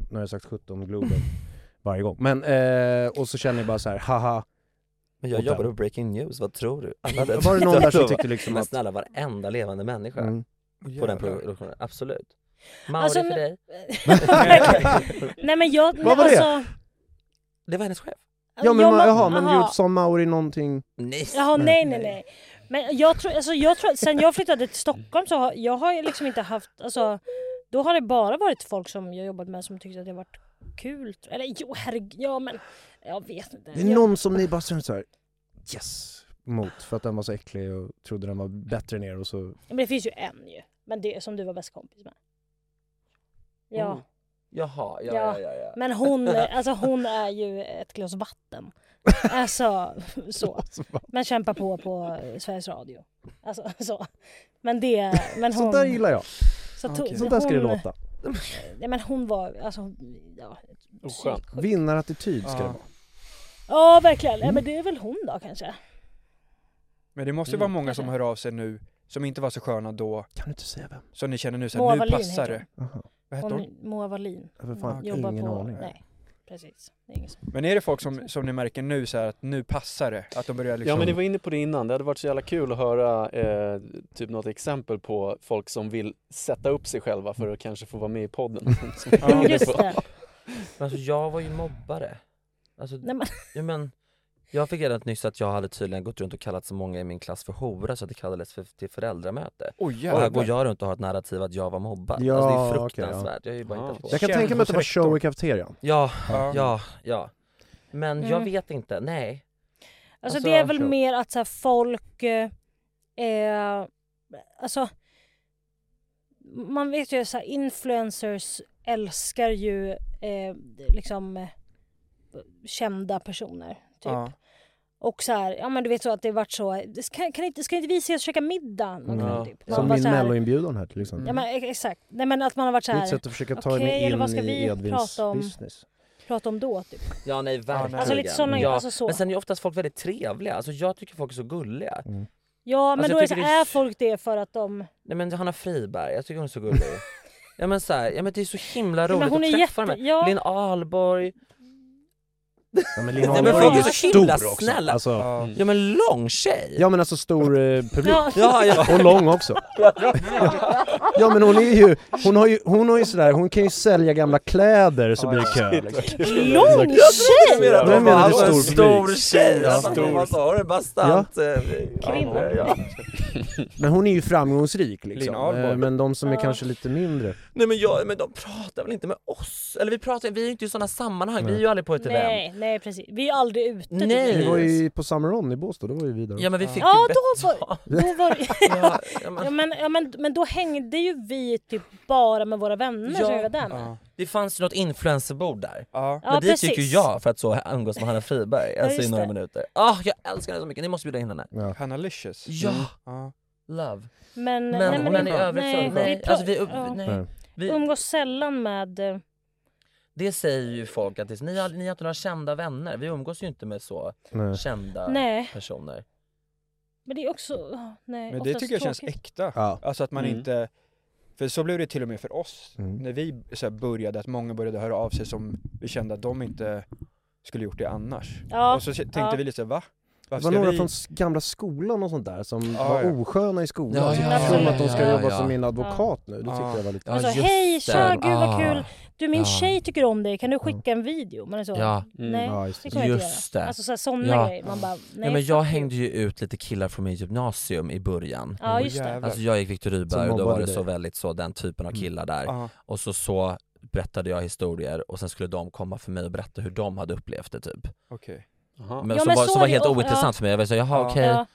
Speaker 1: nu har jag sagt 17 Globen varje gång. Men, eh, och så känner ni bara så här, haha.
Speaker 3: Men jag
Speaker 1: Och
Speaker 3: jobbade
Speaker 1: där.
Speaker 3: på Breaking News, vad tror du? Alla
Speaker 1: Var
Speaker 3: hade-
Speaker 1: det någon där som tyckte liksom
Speaker 3: Men
Speaker 1: att...
Speaker 3: snälla varenda levande människa
Speaker 1: Mm.
Speaker 3: på den
Speaker 1: Jävlar.
Speaker 3: produktionen, absolut. Mauri
Speaker 2: Alltså,
Speaker 3: för
Speaker 2: men-
Speaker 3: dig.
Speaker 2: Nej men jag...
Speaker 3: Vad var det?
Speaker 2: alltså,
Speaker 3: Det var hennes chef.
Speaker 1: Ja men
Speaker 2: Ja,
Speaker 1: ma-
Speaker 2: men-
Speaker 1: jaha, men
Speaker 2: aha.
Speaker 1: Judson Mauri någonting...
Speaker 3: Nej.
Speaker 2: Jaha, nej, nej, nej. Men jag tror, alltså, jag tror, sen jag flyttade till Stockholm så har jag har ju liksom inte haft, alltså, då har det bara varit folk som jag jobbat med som tyckte att det varit kul. Eller jo, herregud, ja men, jag vet inte.
Speaker 1: Det är någon som ni bara känner såhär, yes! Mot, för att den var så äcklig och trodde den var bättre än er och så...
Speaker 2: Men det finns ju en ju, men det som du var bäst kompis med. Ja.
Speaker 3: Mm. Jaha, ja, ja,
Speaker 2: Ja,
Speaker 3: ja, ja.
Speaker 2: Men hon, alltså hon är ju ett glas vatten. Alltså så. Men kämpar på på Sveriges Radio. Alltså så. Men det, men hon...
Speaker 1: Sånt där gillar jag!
Speaker 2: Så to-
Speaker 1: Sånt där ska det
Speaker 2: hon-
Speaker 1: låta!
Speaker 2: Nej men hon var, alltså, ja.
Speaker 1: Skönt. Vinnarattityd ska det vara.
Speaker 2: Ja verkligen. Ja, men det är väl hon då kanske.
Speaker 5: Men det måste ju vara
Speaker 2: Mm.
Speaker 5: många som hör av sig nu, som inte var så sköna då.
Speaker 1: Kan du inte säga vem?
Speaker 5: Som ni känner nu, så
Speaker 2: Moa
Speaker 5: här, nu
Speaker 2: Wallin
Speaker 5: passar
Speaker 2: heter
Speaker 5: det. Vad heter hon?
Speaker 2: Hon, Moa Wallin.
Speaker 1: Ja, för fan,
Speaker 2: Jobbar
Speaker 1: ingen
Speaker 2: på,
Speaker 1: aning.
Speaker 2: Nej, precis. Det är ingen som-
Speaker 5: Men är det folk som, som ni märker nu så här, att nu passar det? Att de börjar liksom...
Speaker 7: Ja men ni var inne på det innan, det hade varit så jävla kul att höra eh, typ något exempel på folk som vill sätta upp sig själva för att kanske få vara med i podden. Som vi var inne på.
Speaker 3: Men alltså jag var ju mobbare. Alltså,
Speaker 2: Nej, men-
Speaker 3: Ja, men, jag fick reda på nyss att jag hade tydligen gått runt och kallat så många i min klass för hora så att det kallades för, till föräldramöte.
Speaker 5: Oj,
Speaker 3: och här
Speaker 5: jävlar.
Speaker 3: går jag runt och har ett narrativ att jag var mobbad.
Speaker 1: Ja,
Speaker 3: alltså det är
Speaker 1: okej, ja.
Speaker 3: fruktansvärt. Jag är ju bara
Speaker 1: Ja.
Speaker 3: inte på.
Speaker 1: Jag kan tänka mig att det var show i kafeterian.
Speaker 3: Ja,
Speaker 1: Ja.
Speaker 3: ja, ja. Men jag
Speaker 2: Mm.
Speaker 3: vet inte, nej.
Speaker 2: Alltså,
Speaker 3: Alltså,
Speaker 2: det är väl
Speaker 3: kör.
Speaker 2: mer att så här, folk... Eh, eh, alltså... Man vet ju så här, influencers älskar ju eh, liksom eh, kända personer. Typ.
Speaker 5: Ja.
Speaker 2: Och så här, ja men du vet så att det vart så, det ska, kan inte, ska inte vi ses och käka middag? någon kväll, typ? Man
Speaker 1: Som
Speaker 2: bara
Speaker 1: min
Speaker 2: så här-
Speaker 1: melloinbjudan här till exempel.
Speaker 2: Ja men ex- exakt, nej men att man har varit så
Speaker 1: Det är
Speaker 2: här.
Speaker 1: ett sätt att försöka ta
Speaker 2: okej,
Speaker 1: mig
Speaker 2: eller vad
Speaker 1: in
Speaker 2: ska vi
Speaker 1: i Edvins
Speaker 2: prata om-
Speaker 1: business.
Speaker 2: Prata om då typ.
Speaker 3: Ja nej verkligen.
Speaker 2: Alltså, lite såna-
Speaker 3: ja.
Speaker 2: alltså, så.
Speaker 3: Men sen är ju oftast folk väldigt trevliga, alltså jag tycker folk är så gulliga.
Speaker 2: Ja men
Speaker 3: Alltså, jag
Speaker 2: då är det så
Speaker 3: tycker
Speaker 2: här,
Speaker 3: det är
Speaker 2: är folk det för att de
Speaker 3: Nej men Hanna Friberg, jag tycker hon är så gullig. ja men så här, ja men det är så himla
Speaker 2: men
Speaker 3: roligt
Speaker 2: hon
Speaker 3: att
Speaker 2: är
Speaker 3: träffa
Speaker 2: jätte-
Speaker 3: dem.
Speaker 2: ja.
Speaker 3: Linn Ahlborg.
Speaker 1: Ja, men
Speaker 3: Nej, men folk är så himla snälla.
Speaker 1: Alltså,
Speaker 3: Ja men lång tjej.
Speaker 1: Ja men alltså stor eh, publik.
Speaker 3: Ja. Ja, ja.
Speaker 1: Och lång också. Ja men hon är ju, hon har ju, hon har ju sådär, hon kan ju sälja gamla kläder så blir det kö. liksom.
Speaker 3: Lång
Speaker 1: tjej!
Speaker 3: Jag
Speaker 1: Nej, men det är
Speaker 3: alltså, en
Speaker 1: stor
Speaker 3: stor
Speaker 1: publik.
Speaker 3: tjej! Alltså,
Speaker 1: Ja.
Speaker 3: Vad sa du? Bastant?
Speaker 1: Ja.
Speaker 3: eh, kvinna. Ja.
Speaker 1: Men hon är ju framgångsrik
Speaker 3: Lina
Speaker 1: liksom.
Speaker 3: Ahlborg.
Speaker 1: Eh, Men de som är kanske lite mindre.
Speaker 3: Nej men, jag, men de pratar väl inte med oss? Eller vi pratar, vi är ju inte i sådana sammanhang, vi är ju aldrig på ett event.
Speaker 2: Nej, nej precis. Vi är aldrig ute. typ.
Speaker 3: Nej.
Speaker 1: Vi var ju på Summer On i Båstad, då var ju vi där
Speaker 3: Ja men vi
Speaker 1: också.
Speaker 3: fick
Speaker 2: Ja,
Speaker 3: ju
Speaker 2: då var, då var ja,
Speaker 3: men-
Speaker 2: ja, men, ja, men, men då hängde ju vi typ bara med våra vänner som vi var där med.
Speaker 3: Det fanns ju något influencerbord där.
Speaker 2: Ja,
Speaker 3: Men dit gick ju
Speaker 2: precis.
Speaker 3: jag för att så umgås med Hanna Friberg
Speaker 2: Ja,
Speaker 3: alltså, i
Speaker 2: just
Speaker 3: några
Speaker 2: det.
Speaker 3: minuter. Ah, jag älskar henne så mycket, ni måste bjuda in henne.
Speaker 1: Ja.
Speaker 5: Hannalicious.
Speaker 3: Ja.
Speaker 5: Mm. Ja.
Speaker 3: Love.
Speaker 2: Men,
Speaker 3: Men-
Speaker 2: nej, men,
Speaker 3: men i övrigt så-
Speaker 2: nej,
Speaker 3: nej,
Speaker 2: Vi, pra-
Speaker 3: alltså, vi upp-
Speaker 2: ja.
Speaker 3: nej. Vi-
Speaker 2: umgås sällan med... eh,
Speaker 3: Det säger ju folk att ni har, ni har inte några kända vänner, vi umgås ju inte med så
Speaker 1: Nej.
Speaker 3: kända
Speaker 2: Nej.
Speaker 3: personer.
Speaker 2: Men det är också... ja, Nej,
Speaker 5: Men det
Speaker 2: oftast
Speaker 5: tycker jag känns
Speaker 2: tråkigt.
Speaker 5: äkta.
Speaker 1: Ja.
Speaker 5: Alltså att man
Speaker 1: Mm.
Speaker 5: inte, för så blev det till och med för oss.
Speaker 1: Mm.
Speaker 5: När vi så här började, att många började höra av sig som vi kände att de inte skulle gjort det annars.
Speaker 2: Ja.
Speaker 5: Och så tänkte
Speaker 2: Ja.
Speaker 5: vi lite såhär, va?
Speaker 1: Det
Speaker 5: Varför
Speaker 1: var
Speaker 5: ska
Speaker 1: några
Speaker 5: vi...
Speaker 1: från s- gamla skolan och sånt där som
Speaker 5: Ja,
Speaker 1: var
Speaker 5: ja.
Speaker 1: osköna i skolan.
Speaker 5: Ja,
Speaker 1: som
Speaker 5: ja,
Speaker 1: tror att de
Speaker 5: ja,
Speaker 1: ska
Speaker 5: ja,
Speaker 1: jobba
Speaker 5: ja.
Speaker 1: som min advokat nu. Det tyckte jag var lite...
Speaker 2: Man sa Alltså, hej, tja, gud vad kul. Du min
Speaker 3: Ah. Ja. Mm.
Speaker 2: tjej tycker om dig, kan du skicka en video? Man är så,
Speaker 3: Ja. Mm.
Speaker 2: nej
Speaker 3: Ja,
Speaker 2: det
Speaker 3: just det.
Speaker 2: kan jag inte
Speaker 3: Just
Speaker 2: göra.
Speaker 3: det.
Speaker 2: Alltså så här, sådana
Speaker 3: Ja.
Speaker 2: grejer. Man bara, nej.
Speaker 3: Nej, men jag hängde ju ut lite killar från min gymnasium i början.
Speaker 2: Ja, just det.
Speaker 3: Alltså jag gick Viktor Rydberg
Speaker 1: Som
Speaker 3: och då var
Speaker 1: mobbade
Speaker 3: det
Speaker 1: dig.
Speaker 3: så väldigt så den typen av killar där.
Speaker 1: Ja.
Speaker 3: Och så, så berättade jag historier och sen skulle de komma för mig och berätta hur de hade upplevt det typ.
Speaker 5: Okej.
Speaker 3: Men,
Speaker 2: Ja,
Speaker 3: som
Speaker 2: men
Speaker 3: var,
Speaker 2: så
Speaker 3: som
Speaker 2: är
Speaker 3: var
Speaker 2: det
Speaker 3: helt
Speaker 2: of-
Speaker 3: ointressant
Speaker 2: ja.
Speaker 3: för mig. Jag var så, jaha
Speaker 2: Ja.
Speaker 3: okej.
Speaker 2: Ja.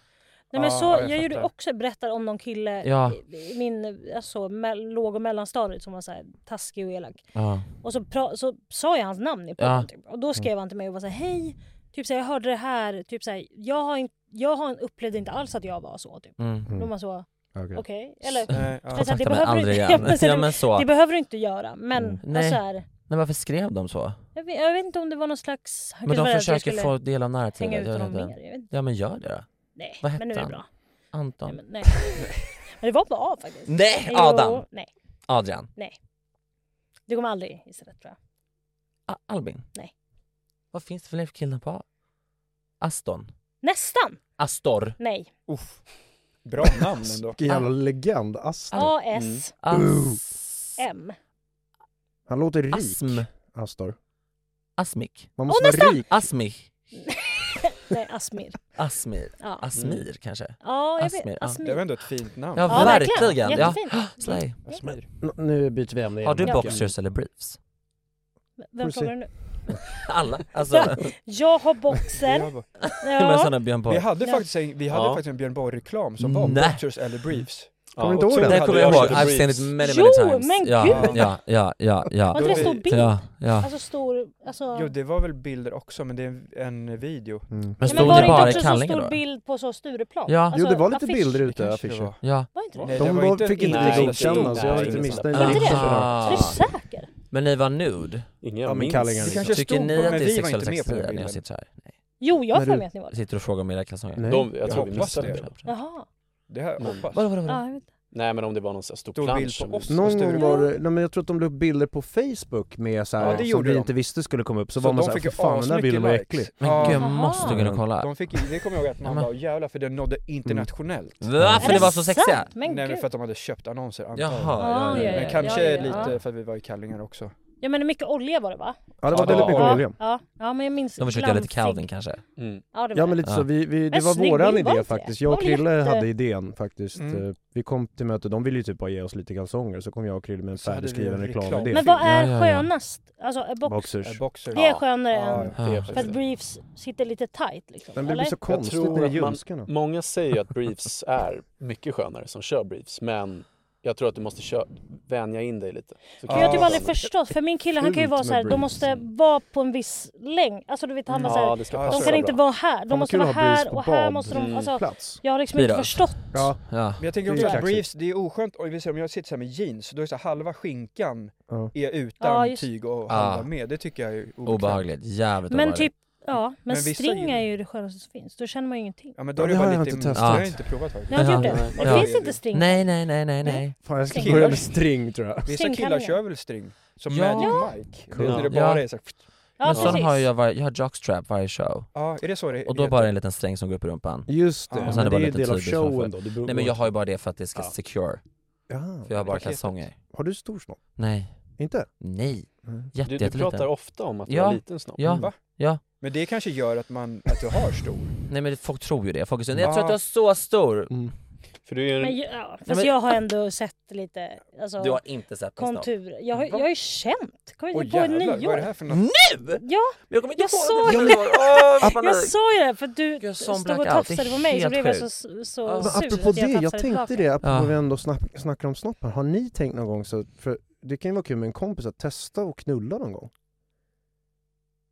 Speaker 2: Nej men
Speaker 3: Ja,
Speaker 2: så,
Speaker 3: ja,
Speaker 2: jag,
Speaker 3: jag
Speaker 2: gjorde
Speaker 3: fattar.
Speaker 2: också, berättar om någon kille
Speaker 3: Ja.
Speaker 2: i, i min alltså, me- låg och mellanstadiet som var så här, taskig och elak.
Speaker 3: Ja.
Speaker 2: Och så, pra- så sa jag hans namn i podden
Speaker 3: Ja. Mm.
Speaker 2: typ. Och då skrev han till mig och var så här, hej, typ så här, jag hörde det här, typ så här, jag, har in- jag har upplevde inte alls att jag var så typ.
Speaker 3: Mm.
Speaker 2: Då var man så,
Speaker 3: Okej.
Speaker 2: okej, eller
Speaker 3: Nej, ja.
Speaker 2: Men så här,
Speaker 3: Kontakta mig
Speaker 2: behöver du-
Speaker 3: aldrig igen.
Speaker 2: Ja, men så här,
Speaker 3: Ja, men så. Mm.
Speaker 2: Det behöver du inte göra, men
Speaker 3: Nej.
Speaker 2: alltså, här,
Speaker 3: Men varför skrev de så?
Speaker 2: jag, vet, jag vet inte om det var någon slags... han
Speaker 3: Men
Speaker 2: kanske var
Speaker 3: de
Speaker 2: rädd att jag
Speaker 3: försöker
Speaker 2: skulle
Speaker 3: få del av
Speaker 2: hänga ut
Speaker 3: narrativet. Jag vet
Speaker 2: honom
Speaker 3: inte.
Speaker 2: mer, jag vet inte.
Speaker 3: Ja men gör det då.
Speaker 2: Nej,
Speaker 3: Vad
Speaker 2: men nu är
Speaker 3: hette
Speaker 2: det
Speaker 3: han?
Speaker 2: bra.
Speaker 3: Anton.
Speaker 2: Nej, men, nej. men det var bra faktiskt.
Speaker 3: Nej,
Speaker 2: Jo,
Speaker 3: Adam.
Speaker 2: Nej,
Speaker 3: Adrian.
Speaker 2: nej. Du kommer aldrig gissa rätt tror jag.
Speaker 3: A- Albin.
Speaker 2: Nej.
Speaker 3: Vad finns det för fler killar på A? Aston.
Speaker 2: Nästan!
Speaker 3: Astor.
Speaker 2: Nej.
Speaker 5: Uff. Bra namn ändå.
Speaker 1: Vilken jävla legend. Astor.
Speaker 2: A-S.
Speaker 1: Mm.
Speaker 2: M.
Speaker 1: Han låter rik.
Speaker 3: Asm.
Speaker 1: Astor.
Speaker 3: Asmik.
Speaker 1: Man
Speaker 2: måste Åh, vara nästan! rik.
Speaker 3: Asmik.
Speaker 2: Nej, Asmir.
Speaker 3: Asmir.
Speaker 2: Ja.
Speaker 3: Asmir kanske?
Speaker 2: Ja, jag vet.
Speaker 3: Asmir,
Speaker 2: Asmir.
Speaker 5: Det var ändå ett fint namn.
Speaker 3: Ja,
Speaker 2: Ja, verkligen.
Speaker 3: verkligen. Ja.
Speaker 2: Jättefint.
Speaker 3: Slay.
Speaker 1: Men, n- nu byter vi ämne
Speaker 3: Har du
Speaker 1: igen.
Speaker 3: boxers eller briefs?
Speaker 2: Vem
Speaker 1: Får
Speaker 2: frågar du nu?
Speaker 3: Alla. Alltså.
Speaker 2: Jag har boxer.
Speaker 5: Jag har
Speaker 3: Men sådana Björn Borg.
Speaker 5: Vi hade
Speaker 2: Ja.
Speaker 5: faktiskt en, vi hade
Speaker 3: Ja.
Speaker 5: faktiskt en Björn Borg-reklam som var
Speaker 3: Nej.
Speaker 5: Boxers eller Briefs.
Speaker 3: Ja.
Speaker 5: Och
Speaker 3: Och
Speaker 5: så
Speaker 3: Tor
Speaker 5: hade
Speaker 3: Det kommer jag ihåg,
Speaker 5: Boxers
Speaker 3: I've seen it
Speaker 5: Briefs.
Speaker 3: many many
Speaker 2: Jo,
Speaker 3: times.
Speaker 2: men
Speaker 3: ja,
Speaker 2: gud!
Speaker 3: ja, ja, ja, ja.
Speaker 2: Var inte det stor bild?
Speaker 3: Ja, ja.
Speaker 2: Alltså stor, alltså...
Speaker 5: Jo det var väl bilder också men det är en, en video.
Speaker 1: Mm.
Speaker 3: Men
Speaker 2: Ja,
Speaker 3: stod
Speaker 2: var
Speaker 3: det
Speaker 2: inte
Speaker 3: bara
Speaker 2: också så
Speaker 3: kallingar
Speaker 2: stor
Speaker 3: då?
Speaker 2: bild på så Stureplan?
Speaker 3: Ja.
Speaker 2: Alltså,
Speaker 1: jo det var lite
Speaker 2: affisch.
Speaker 1: bilder ute,
Speaker 5: Kanske det
Speaker 1: affischer.
Speaker 5: var.
Speaker 3: Ja.
Speaker 2: Var inte det?
Speaker 5: Nej,
Speaker 1: De
Speaker 5: var
Speaker 1: var-
Speaker 5: inte-
Speaker 1: fick inte
Speaker 5: Nej,
Speaker 1: bli godkända så jag var
Speaker 5: nej,
Speaker 1: inte
Speaker 5: det är sant.
Speaker 1: missnöjd.
Speaker 2: Var inte det?
Speaker 3: Ah.
Speaker 2: Är du säker?
Speaker 3: Men ni var nude?
Speaker 7: Ingen
Speaker 1: men
Speaker 7: minns.
Speaker 1: kallingar
Speaker 5: Det kanske
Speaker 3: Tycker
Speaker 5: stod
Speaker 3: ni
Speaker 5: på
Speaker 3: att
Speaker 5: den,
Speaker 3: det
Speaker 5: men
Speaker 3: är
Speaker 5: vi var
Speaker 3: sexuell
Speaker 5: inte med på
Speaker 3: sexpia
Speaker 5: den
Speaker 3: när jag
Speaker 5: bilden.
Speaker 3: sitter så här? Nej.
Speaker 2: Jo, jag har
Speaker 1: Men
Speaker 2: för
Speaker 1: du-
Speaker 2: mig att ni var det.
Speaker 3: Sitter och frågar om era kalsonger?
Speaker 1: Nej.
Speaker 7: De, jag
Speaker 5: Jag
Speaker 7: tror vi
Speaker 5: hoppas
Speaker 7: missade
Speaker 5: det.
Speaker 7: det.
Speaker 2: Jaha.
Speaker 5: Det här,
Speaker 7: Mm.
Speaker 5: hoppas.
Speaker 3: Vadå, vadå, vadå?
Speaker 2: Ja, jag vet.
Speaker 7: Nej men om det var någon sån här stor
Speaker 5: Stor bild på
Speaker 7: plansch. som-
Speaker 2: Mm.
Speaker 5: oss.
Speaker 1: Någon
Speaker 5: Sture.
Speaker 1: gång var det, nej, men jag tror att de la upp bilder på Facebook med så här,
Speaker 5: Ja, det
Speaker 1: som
Speaker 5: gjorde
Speaker 1: vi
Speaker 5: de.
Speaker 1: inte visste skulle komma upp, så,
Speaker 5: Så
Speaker 1: var man
Speaker 5: de
Speaker 1: såhär,
Speaker 5: fick
Speaker 1: för
Speaker 5: ju
Speaker 1: fan den där
Speaker 5: asmycket
Speaker 1: bilden var
Speaker 5: likes."
Speaker 1: äcklig.
Speaker 3: Men
Speaker 5: Ja.
Speaker 3: gud, jag
Speaker 2: Jaha.
Speaker 3: måste gå in och kolla.
Speaker 5: De fick, det kommer jag ihåg att
Speaker 3: Ja,
Speaker 5: man
Speaker 3: men-
Speaker 5: bara jävlar för den nådde internationellt.
Speaker 3: Va? För
Speaker 2: Är
Speaker 3: ni var så
Speaker 2: sant?
Speaker 3: sexiga?
Speaker 2: Men
Speaker 5: Nej men
Speaker 2: gud.
Speaker 5: för att de hade köpt annonser antar jag.
Speaker 3: Jaha, ja,
Speaker 2: Ja,
Speaker 3: ja,
Speaker 2: ja,
Speaker 5: Men
Speaker 2: ja.
Speaker 5: kanske
Speaker 2: ja.
Speaker 5: lite för att vi var i kallingar också.
Speaker 2: Ja men mycket olja var det va?
Speaker 1: Ja det var
Speaker 5: Ja,
Speaker 1: väldigt mycket
Speaker 5: ja.
Speaker 1: olja.
Speaker 2: Ja, ja men jag minns
Speaker 3: De försökte göra lite
Speaker 2: glansig-
Speaker 3: Calvin kanske?
Speaker 7: Mm.
Speaker 2: Ja det var
Speaker 1: Ja men lite
Speaker 3: Ja.
Speaker 1: så, vi, vi, det
Speaker 2: En
Speaker 1: var
Speaker 2: snygg
Speaker 1: våran
Speaker 2: bild, var
Speaker 1: idé
Speaker 2: inte det?
Speaker 1: faktiskt. Jag och
Speaker 2: Det var väl
Speaker 1: Krille
Speaker 2: jätte-
Speaker 1: hade idén faktiskt.
Speaker 5: Mm.
Speaker 1: Eh, Vi kom till mötet, de ville ju typ bara ge oss lite kalsonger, så kom jag och Krille med en
Speaker 5: Så hade vi
Speaker 1: färdigskriven
Speaker 5: en reklam.
Speaker 1: reklamidé.
Speaker 2: Men vad är
Speaker 3: Ja, ja, ja.
Speaker 2: skönast? Alltså är box...
Speaker 1: Boxers.
Speaker 5: Äh, Boxers.
Speaker 2: Det är skönare
Speaker 5: Ja,
Speaker 2: än...
Speaker 7: Det är
Speaker 3: Ja.
Speaker 7: faktiskt
Speaker 2: För att
Speaker 7: det.
Speaker 2: briefs sitter lite tight liksom,
Speaker 1: Men det
Speaker 2: eller?
Speaker 1: blir så
Speaker 7: Jag
Speaker 1: konstigt
Speaker 7: tror
Speaker 1: när det är
Speaker 7: att man-
Speaker 1: ljumskarna.
Speaker 7: Många säger ju att briefs är mycket skönare som kör briefs, men jag tror att du måste kö- vänja in dig lite. Så
Speaker 5: Ja.
Speaker 7: kan
Speaker 2: Jag har typ
Speaker 7: du-
Speaker 2: aldrig förstått, för min kille han kan ju
Speaker 1: Fult
Speaker 2: vara
Speaker 1: med
Speaker 2: så här, de
Speaker 1: briefs.
Speaker 2: måste vara på en viss längd. Alltså du vet han var så
Speaker 7: Ja,
Speaker 2: här,
Speaker 7: det ska
Speaker 5: de
Speaker 7: passa
Speaker 2: de kan
Speaker 7: bra.
Speaker 2: inte vara här, de
Speaker 1: vad
Speaker 2: måste
Speaker 1: kul
Speaker 2: vara
Speaker 1: att ha briefs
Speaker 2: här
Speaker 1: på
Speaker 2: och här
Speaker 1: bad.
Speaker 2: måste de,
Speaker 7: Mm.
Speaker 2: alltså
Speaker 1: Plats.
Speaker 2: jag har liksom
Speaker 3: Blir
Speaker 2: inte
Speaker 3: det?
Speaker 2: förstått.
Speaker 1: Ja.
Speaker 3: Ja.
Speaker 5: Men jag tänker
Speaker 1: Det är
Speaker 5: också att
Speaker 1: kaxigt.
Speaker 5: briefs, det är oskönt, och vi ser, om jag sitter så här med jeans, då är det så här, halva skinkan
Speaker 1: Ja.
Speaker 5: är utan
Speaker 2: Ja, just-
Speaker 5: tyg och
Speaker 3: Ah.
Speaker 5: halva med, det tycker jag är obekvämt.
Speaker 3: Obehagligt, jävligt
Speaker 2: Men
Speaker 3: obehagligt.
Speaker 2: typ, ja, men,
Speaker 5: Men vissa
Speaker 2: string
Speaker 5: gillar-
Speaker 2: är ju det skönaste som finns, då känner man ju ingenting.
Speaker 5: Ja men då
Speaker 1: Ja,
Speaker 5: är det
Speaker 1: det har
Speaker 5: bara
Speaker 1: jag
Speaker 5: lite,
Speaker 1: inte
Speaker 5: det
Speaker 1: testat.
Speaker 5: har jag inte provat faktiskt.
Speaker 2: Jag har
Speaker 3: Ja.
Speaker 2: inte gjort det.
Speaker 5: Ja.
Speaker 2: Det finns inte string.
Speaker 3: Nej, nej, nej, nej, nej.
Speaker 2: Nej.
Speaker 1: Fan jag ska
Speaker 2: Killar.
Speaker 1: börja med string tror jag.
Speaker 5: Vissa killar
Speaker 2: Stringkallingar.
Speaker 5: kör väl string? Som
Speaker 3: Ja.
Speaker 5: Magic Mike?
Speaker 1: Cool.
Speaker 5: När det
Speaker 3: Ja.
Speaker 5: bara är så här,
Speaker 2: Ja
Speaker 3: Men sån
Speaker 2: precis.
Speaker 3: har jag, var, jag har jockstrap varje show.
Speaker 5: ja är det så det
Speaker 3: Och då bara en liten sträng som går upp i rumpan.
Speaker 1: Just det,
Speaker 5: Ja. Och
Speaker 3: sen
Speaker 1: men det
Speaker 3: är det bara
Speaker 1: är ju
Speaker 3: lite
Speaker 1: del av
Speaker 3: tyg som man får.
Speaker 1: showen då. Det beror
Speaker 3: Nej men jag
Speaker 1: på-
Speaker 3: har ju bara det för att det ska
Speaker 1: Ja.
Speaker 3: secure.
Speaker 1: Ja.
Speaker 3: För jag har bara
Speaker 5: Paketet.
Speaker 3: kalsonger.
Speaker 1: Har du stor snopp?
Speaker 3: Nej.
Speaker 1: Inte?
Speaker 3: Nej.
Speaker 1: Mm.
Speaker 3: Jätte,
Speaker 7: Du, du
Speaker 3: jätteliten.
Speaker 7: pratar ofta om att du
Speaker 3: Ja.
Speaker 7: har liten snopp.
Speaker 3: Ja.
Speaker 5: Va?
Speaker 3: Ja.
Speaker 5: Men det kanske gör att man, att du har stor?
Speaker 3: Nej men folk tror ju det. Folk säger jag tror
Speaker 5: Ah.
Speaker 3: att du är så stor.
Speaker 1: Mm.
Speaker 7: För du är ju
Speaker 2: Men,
Speaker 7: en...
Speaker 2: ju- ja, fast
Speaker 3: men-
Speaker 2: jag har ändå sett lite,
Speaker 3: Du har
Speaker 2: alltså
Speaker 3: inte sett Mm. min snopp.
Speaker 2: konturer. Jag har
Speaker 5: Va?
Speaker 2: jag har ju känt, kommer
Speaker 5: Åh
Speaker 2: inte på
Speaker 5: jävlar, vad är det
Speaker 2: nyår.
Speaker 5: här för något?
Speaker 2: Ja,
Speaker 3: Men jag kommer inte
Speaker 2: Jag
Speaker 3: ihåg
Speaker 2: såg
Speaker 3: det. Jag såg
Speaker 2: jag sa ju det för att du
Speaker 3: Jag som
Speaker 2: stod och
Speaker 3: blackout. Det är
Speaker 2: tafsade på mig så
Speaker 3: helt
Speaker 2: blev jag så,
Speaker 3: sjukt.
Speaker 2: så
Speaker 3: Ja.
Speaker 2: sur
Speaker 1: Men apropå
Speaker 2: att jag
Speaker 1: det, jag,
Speaker 2: tafsade
Speaker 1: tänkte
Speaker 2: tillbaka.
Speaker 1: det, apropå
Speaker 3: Ja.
Speaker 1: vi ändå snack, snackar om snoppar. Har ni tänkt någon gång så, för det kan ju vara kul med en kompis att testa och knulla någon gång?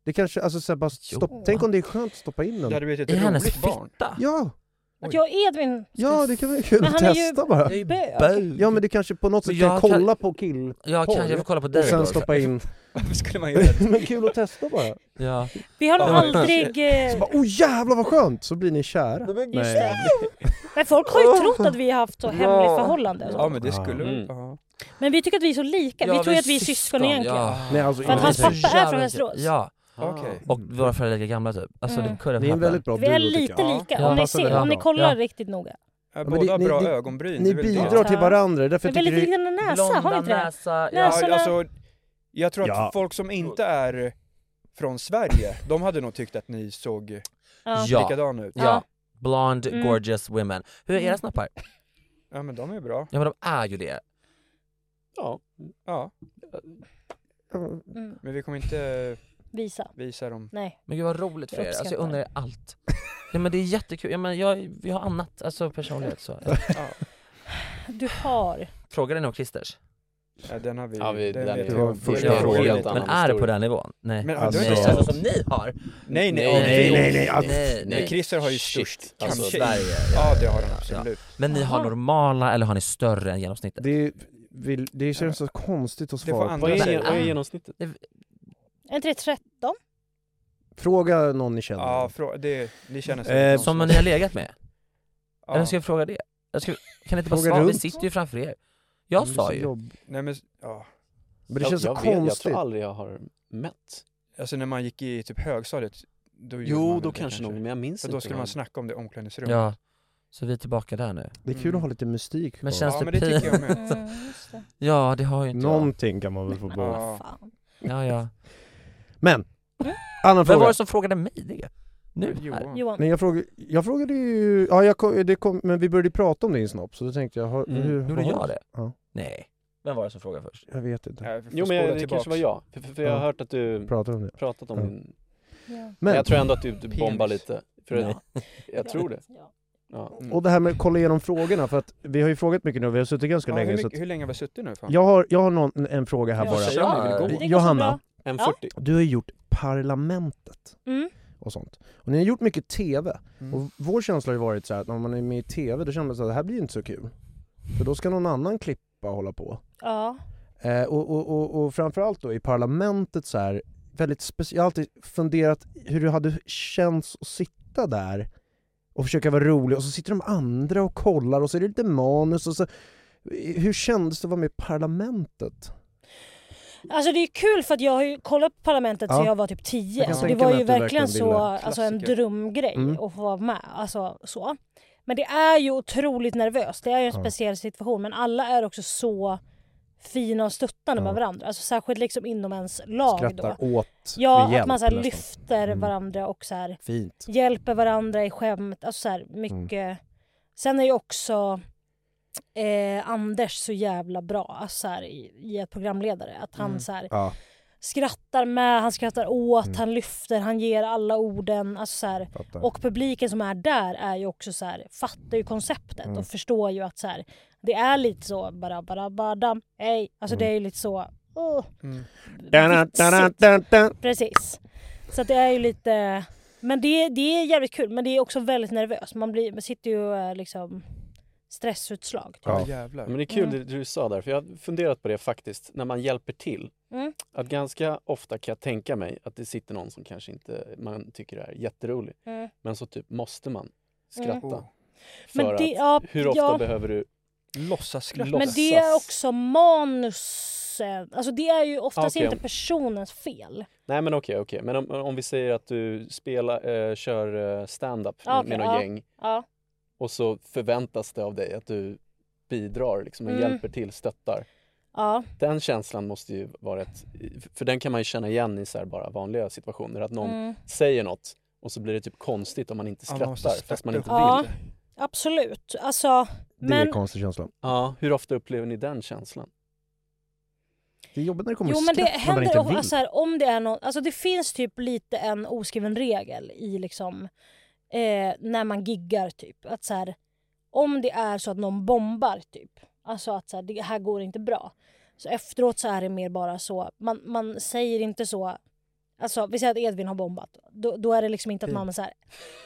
Speaker 1: Det kanske, alltså så här, bara
Speaker 3: Jo.
Speaker 1: stopp, tänk om det är skönt att stoppa in
Speaker 5: Det
Speaker 1: den?
Speaker 5: hade blivit
Speaker 3: I
Speaker 5: ett
Speaker 3: hennes
Speaker 5: roligt barn.
Speaker 3: fitta.
Speaker 1: Ja!
Speaker 2: Att jag och Edvin
Speaker 1: Ja, det kan vara kul
Speaker 2: Men
Speaker 1: att
Speaker 2: han är ju-
Speaker 1: testa bara.
Speaker 3: Jag är ju
Speaker 2: Bög.
Speaker 3: bög.
Speaker 1: Ja men det kanske på något
Speaker 3: Men
Speaker 1: sätt kan
Speaker 3: jag kan-
Speaker 1: kolla på kill
Speaker 3: Jag
Speaker 1: porr.
Speaker 3: kanske jag får kolla på
Speaker 1: och
Speaker 3: dig
Speaker 1: sen
Speaker 3: då.
Speaker 1: stoppa in...
Speaker 5: Varför skulle man göra det?
Speaker 1: men kul att testa bara.
Speaker 3: Ja.
Speaker 2: Vi har nog
Speaker 5: Ja.
Speaker 2: aldrig... eh,
Speaker 1: Så bara, oh jävlar vad skönt! Så blir ni kära.
Speaker 2: Men folk har ju trott att vi har haft så hemligt förhållande. och så.
Speaker 5: Ja men det
Speaker 1: Ah.
Speaker 5: skulle väl,
Speaker 7: Mm.
Speaker 5: ja.
Speaker 2: Men vi tycker att vi är så lika. Vi tror ju att vi är syskon egentligen.
Speaker 3: Ja.
Speaker 1: Nej alltså,
Speaker 2: För att
Speaker 1: inte
Speaker 2: hans
Speaker 1: så-
Speaker 3: Det är så
Speaker 2: pappa är från
Speaker 3: jävla-
Speaker 2: Västerås.
Speaker 3: Ah. Ja,
Speaker 5: Okej.
Speaker 3: och våra föräldrar är lika gamla typ. Alltså
Speaker 2: Mm.
Speaker 3: det kunde
Speaker 1: Ni är en väldigt bra
Speaker 2: Vi är
Speaker 1: duo, tycker
Speaker 2: lite
Speaker 1: jag.
Speaker 2: lika.
Speaker 3: Ja,
Speaker 2: om, ni
Speaker 1: passar
Speaker 2: ser,
Speaker 1: väldigt
Speaker 2: om ni
Speaker 1: bra.
Speaker 2: kollar
Speaker 3: Ja.
Speaker 2: riktigt noga.
Speaker 5: Ja,
Speaker 1: men
Speaker 5: båda
Speaker 1: det-
Speaker 5: har
Speaker 1: ni-
Speaker 5: bra
Speaker 1: ni-
Speaker 5: ögonbryn. det
Speaker 1: Ni
Speaker 5: är väl det.
Speaker 1: bidrar till varandra, det är därför
Speaker 2: Men
Speaker 1: jag
Speaker 2: väldigt
Speaker 1: tycker det
Speaker 2: lika
Speaker 1: är...
Speaker 2: näsa, har ni inte det?
Speaker 3: näsa.
Speaker 2: Nej,
Speaker 3: Ja.
Speaker 2: alltså-
Speaker 5: Ja, alltså, jag tror att
Speaker 11: Ja.
Speaker 5: folk som inte är från Sverige, de hade nog tyckt att ni såg
Speaker 2: Ja.
Speaker 3: Ja.
Speaker 5: likadana ut.
Speaker 3: ja. Blonde,
Speaker 2: Mm.
Speaker 3: gorgeous women. Hur är era
Speaker 2: Mm.
Speaker 3: snoppar?
Speaker 5: Ja men de är bra.
Speaker 3: Ja men de är ju det.
Speaker 7: Ja.
Speaker 5: Ja,
Speaker 2: Mm.
Speaker 5: men vi kommer inte
Speaker 2: Visa.
Speaker 5: visa dem.
Speaker 2: Nej.
Speaker 3: Men gud vad roligt för
Speaker 2: Jag
Speaker 3: er, alltså jag
Speaker 2: uppskattar
Speaker 3: undrar er allt. Ja men det är jättekul, ja, men jag, vi har annat, alltså personlighet så.
Speaker 5: Ja.
Speaker 2: Du har.
Speaker 3: Frågar ni om Christers?
Speaker 5: Ja, den har vi.
Speaker 7: Ja, vi- den-
Speaker 5: vet
Speaker 7: det
Speaker 5: jag.
Speaker 1: var
Speaker 5: Vi-
Speaker 1: första
Speaker 5: vi-
Speaker 3: Ja,
Speaker 7: frågan.
Speaker 5: helt-
Speaker 7: Helt
Speaker 3: Men
Speaker 7: annan
Speaker 3: är det på
Speaker 7: historia.
Speaker 3: den nivån? Nej.
Speaker 5: Men
Speaker 1: Alltså-
Speaker 5: alltså,
Speaker 3: Nej,
Speaker 5: nej,
Speaker 3: känslor som ni har?
Speaker 5: nej, nej,
Speaker 3: Nej,
Speaker 5: nej,
Speaker 1: nej, nej, alltså-
Speaker 3: nej,
Speaker 5: nej. Christer har ju störst,
Speaker 3: Shit, alltså,
Speaker 5: kanske.
Speaker 3: Sverige,
Speaker 5: i-
Speaker 3: ja,
Speaker 5: ja, det har han
Speaker 3: ja,
Speaker 5: absolut.
Speaker 3: Men ni har
Speaker 2: Jaha.
Speaker 3: normala eller har ni större än genomsnittet?
Speaker 1: Det, är- vill, det känns så konstigt att
Speaker 5: Det får
Speaker 1: svara på.
Speaker 5: andra
Speaker 7: Vad är,
Speaker 5: säga.
Speaker 7: gen- vad är genomsnittet?
Speaker 2: En 313.
Speaker 1: Fråga någon ni känner.
Speaker 5: Ja, frå- det, ni känner
Speaker 1: Eh,
Speaker 5: sig någon
Speaker 3: Som ni har legat med?
Speaker 5: ja.
Speaker 3: Eller ska jag fråga det? Jag ska, kan ni inte bara
Speaker 1: Fråga
Speaker 3: svara? Vi
Speaker 1: runt.
Speaker 3: sitter ju framför er. Jag
Speaker 1: Det är
Speaker 3: sa
Speaker 1: så
Speaker 3: ju.
Speaker 1: jobb-
Speaker 5: Nej men, ja.
Speaker 1: Men det
Speaker 7: Jag-
Speaker 1: känns så
Speaker 7: jag vet- Jag
Speaker 1: konstigt.
Speaker 7: tror aldrig jag har mätt.
Speaker 5: Alltså när man gick i typ högstadiet, då gjorde man
Speaker 7: Jo,
Speaker 5: väl
Speaker 7: då
Speaker 5: det
Speaker 7: kanske någon, men jag minns
Speaker 5: För
Speaker 7: inte.
Speaker 5: då skulle man
Speaker 7: någon.
Speaker 5: snacka om det i omklädningsrummet.
Speaker 3: Ja. Så vi är tillbaka där nu.
Speaker 1: Det är kul att ha lite mystik
Speaker 3: Men
Speaker 1: kvar.
Speaker 3: känns
Speaker 5: Mm. Ja,
Speaker 3: det
Speaker 5: men det
Speaker 3: pin...
Speaker 5: tycker jag med.
Speaker 2: Mm, just det.
Speaker 3: Ja, det har ju inte jag.
Speaker 1: Någonting kan man väl få på.
Speaker 5: Ja.
Speaker 2: Fan.
Speaker 3: Ja, ja.
Speaker 1: Men! Annan
Speaker 3: Vem
Speaker 1: fråga.
Speaker 3: var det som frågade mig det? Nu? Johan.
Speaker 2: Johan.
Speaker 1: Nej jag frågade, jag frågade ju, ja jag kom, det kom, men vi började prata om din snopp så då tänkte jag, har,
Speaker 3: Mm.
Speaker 1: hur...
Speaker 3: Gjorde
Speaker 1: vad har
Speaker 3: jag
Speaker 1: du?
Speaker 3: det?
Speaker 1: Ja.
Speaker 3: Nej. Vem var det som frågade först?
Speaker 1: Jag vet inte.
Speaker 3: får
Speaker 7: Jo men
Speaker 3: spola
Speaker 7: det
Speaker 3: tillbaks.
Speaker 7: kanske var jag. För, för, för jag har
Speaker 1: Ja.
Speaker 7: hört att du
Speaker 1: Pratar om det.
Speaker 7: pratat om
Speaker 1: Ja.
Speaker 7: din...
Speaker 2: Men,
Speaker 7: Men jag tror
Speaker 1: ändå...
Speaker 7: ändå att du, du bombar
Speaker 3: Penis.
Speaker 7: lite. För
Speaker 3: Ja.
Speaker 7: Jag tror det. Ja. mm.
Speaker 5: Mm.
Speaker 1: Och det här med att kolla igenom frågorna, för att vi har ju frågat mycket nu och vi har suttit ganska
Speaker 5: Ja,
Speaker 1: länge
Speaker 5: hur,
Speaker 1: så
Speaker 5: mycket,
Speaker 1: att...
Speaker 5: hur länge har vi suttit nu? Fan?
Speaker 1: Jag har, jag har någon, en fråga här
Speaker 5: Ja,
Speaker 1: bara.
Speaker 5: kör, vi vill gå. Det är ganska
Speaker 1: Johanna,
Speaker 5: bra. En 40.
Speaker 1: du har ju gjort Parlamentet
Speaker 2: Mm.
Speaker 1: och sånt. Och ni har gjort mycket TV.
Speaker 5: Mm.
Speaker 1: Och vår känsla har ju varit så här att när man är med i TV då känner man så här, det här blir inte så kul. För då ska någon annan klippa och hålla på.
Speaker 2: Ja.
Speaker 1: Eh, och, och, och, och framförallt då i parlamentet så här, väldigt speci- jag har alltid funderat hur det hade känts att sitta där och försöka vara rolig och så sitter de andra och kollar och så är det lite manus och så eh, hur kändes det att vara med i parlamentet?
Speaker 2: Alltså det är ju kul för att jag har ju kollat på Parlamentet
Speaker 1: Ja.
Speaker 2: sedan jag var typ
Speaker 1: Jag
Speaker 2: 10.
Speaker 1: kan
Speaker 2: Så det
Speaker 1: tänka
Speaker 2: var
Speaker 1: mig
Speaker 2: ju
Speaker 1: att du verkligen
Speaker 2: verkligen så,
Speaker 1: ville.
Speaker 2: alltså en
Speaker 1: Klassiker.
Speaker 2: drömgrej
Speaker 1: Mm.
Speaker 2: att få vara med. Alltså, så. Men det är ju otroligt nervöst. Det är ju en
Speaker 1: Ja.
Speaker 2: speciell situation. Men alla är också så fina och stöttande med varandra. Alltså, särskilt liksom inom ens lag.
Speaker 1: Skrattar
Speaker 2: då.
Speaker 1: åt med
Speaker 2: Ja, att
Speaker 1: hjälp
Speaker 2: man så här
Speaker 1: nästan.
Speaker 2: lyfter
Speaker 1: Mm.
Speaker 2: varandra och så här
Speaker 1: Fint. Mm.
Speaker 2: hjälper varandra i skämt. Alltså så här, mycket. Sen är ju också eh, Anders så jävla bra alltså så här, i, i ett programledare. Att han så här,
Speaker 1: Ja. Mm.
Speaker 2: skrattar med, han skrattar åt, han lyfter, han ger alla orden. Alltså så här,
Speaker 1: Fattar.
Speaker 2: och publiken som är där är ju också så här, fattar ju konceptet
Speaker 1: Mm.
Speaker 2: och förstår ju att så här, det är lite så bara bara badam, hej. Alltså
Speaker 1: Mm.
Speaker 2: det är ju lite så... åh, vitsigt. Precis. Så att det är ju lite... Men det, det är jävligt kul, men det är också väldigt nervöst. Man, blir, man sitter ju eh, liksom stressutslag. typ.
Speaker 7: Ja.
Speaker 5: jävlar.
Speaker 7: Men det är kul
Speaker 2: Mm.
Speaker 7: det du sa där, för jag har funderat på det faktiskt, när man hjälper till.
Speaker 2: Mm.
Speaker 7: Att ganska ofta kan jag tänka mig att det sitter någon som kanske inte man tycker är jätterolig.
Speaker 2: Mm.
Speaker 7: Men så typ måste man skratta.
Speaker 5: Oh.
Speaker 2: Mm.
Speaker 7: För
Speaker 2: Men det-
Speaker 7: att,
Speaker 2: ja,
Speaker 7: hur ofta
Speaker 2: ja.
Speaker 7: behöver du
Speaker 5: låtsas skratta?
Speaker 2: Men det är också manusen. Alltså det är ju oftast
Speaker 7: Ah, Okej,
Speaker 2: inte
Speaker 7: om-
Speaker 2: personens fel.
Speaker 7: Nej men okej, okej. Men om, om vi säger att du spelar, eh, kör eh, stand-up
Speaker 2: Ja, Ah,
Speaker 7: med,
Speaker 2: okej,
Speaker 7: med något
Speaker 2: ja.
Speaker 7: gäng
Speaker 2: Ja.
Speaker 7: och så förväntas det av dig att du bidrar liksom, och
Speaker 2: Mm.
Speaker 7: hjälper till, stöttar.
Speaker 2: Ja.
Speaker 7: Den känslan måste ju vara ett, för den kan man ju känna igen i så här bara vanliga situationer. Att någon
Speaker 2: Mm.
Speaker 7: säger något och så blir det typ konstigt om man inte
Speaker 5: Ja, man
Speaker 7: skrattar
Speaker 5: måste
Speaker 7: fast man
Speaker 5: stötta
Speaker 7: inte vill.
Speaker 2: Ja,
Speaker 7: Ja.
Speaker 2: absolut. Alltså,
Speaker 1: Det är
Speaker 2: men
Speaker 1: en konstig känsla.
Speaker 7: hur ofta upplever ni den känslan?
Speaker 1: Det är jobbigt när det kommer
Speaker 2: Jo men
Speaker 1: skratt
Speaker 2: det
Speaker 1: när man
Speaker 2: händer
Speaker 1: inte
Speaker 2: och,
Speaker 1: vill.
Speaker 2: alltså, här, om det är någon, alltså det finns typ lite en oskriven regel i liksom eh, när man giggar typ att så här, om det är så att någon bombar typ, alltså att så här, det här går inte bra. Så efteråt så är det mer bara så, man, man säger inte så Alltså vi säger att Edvin har bombat, då, då är det liksom inte
Speaker 1: Typ.
Speaker 2: att man
Speaker 5: Fint.
Speaker 2: säger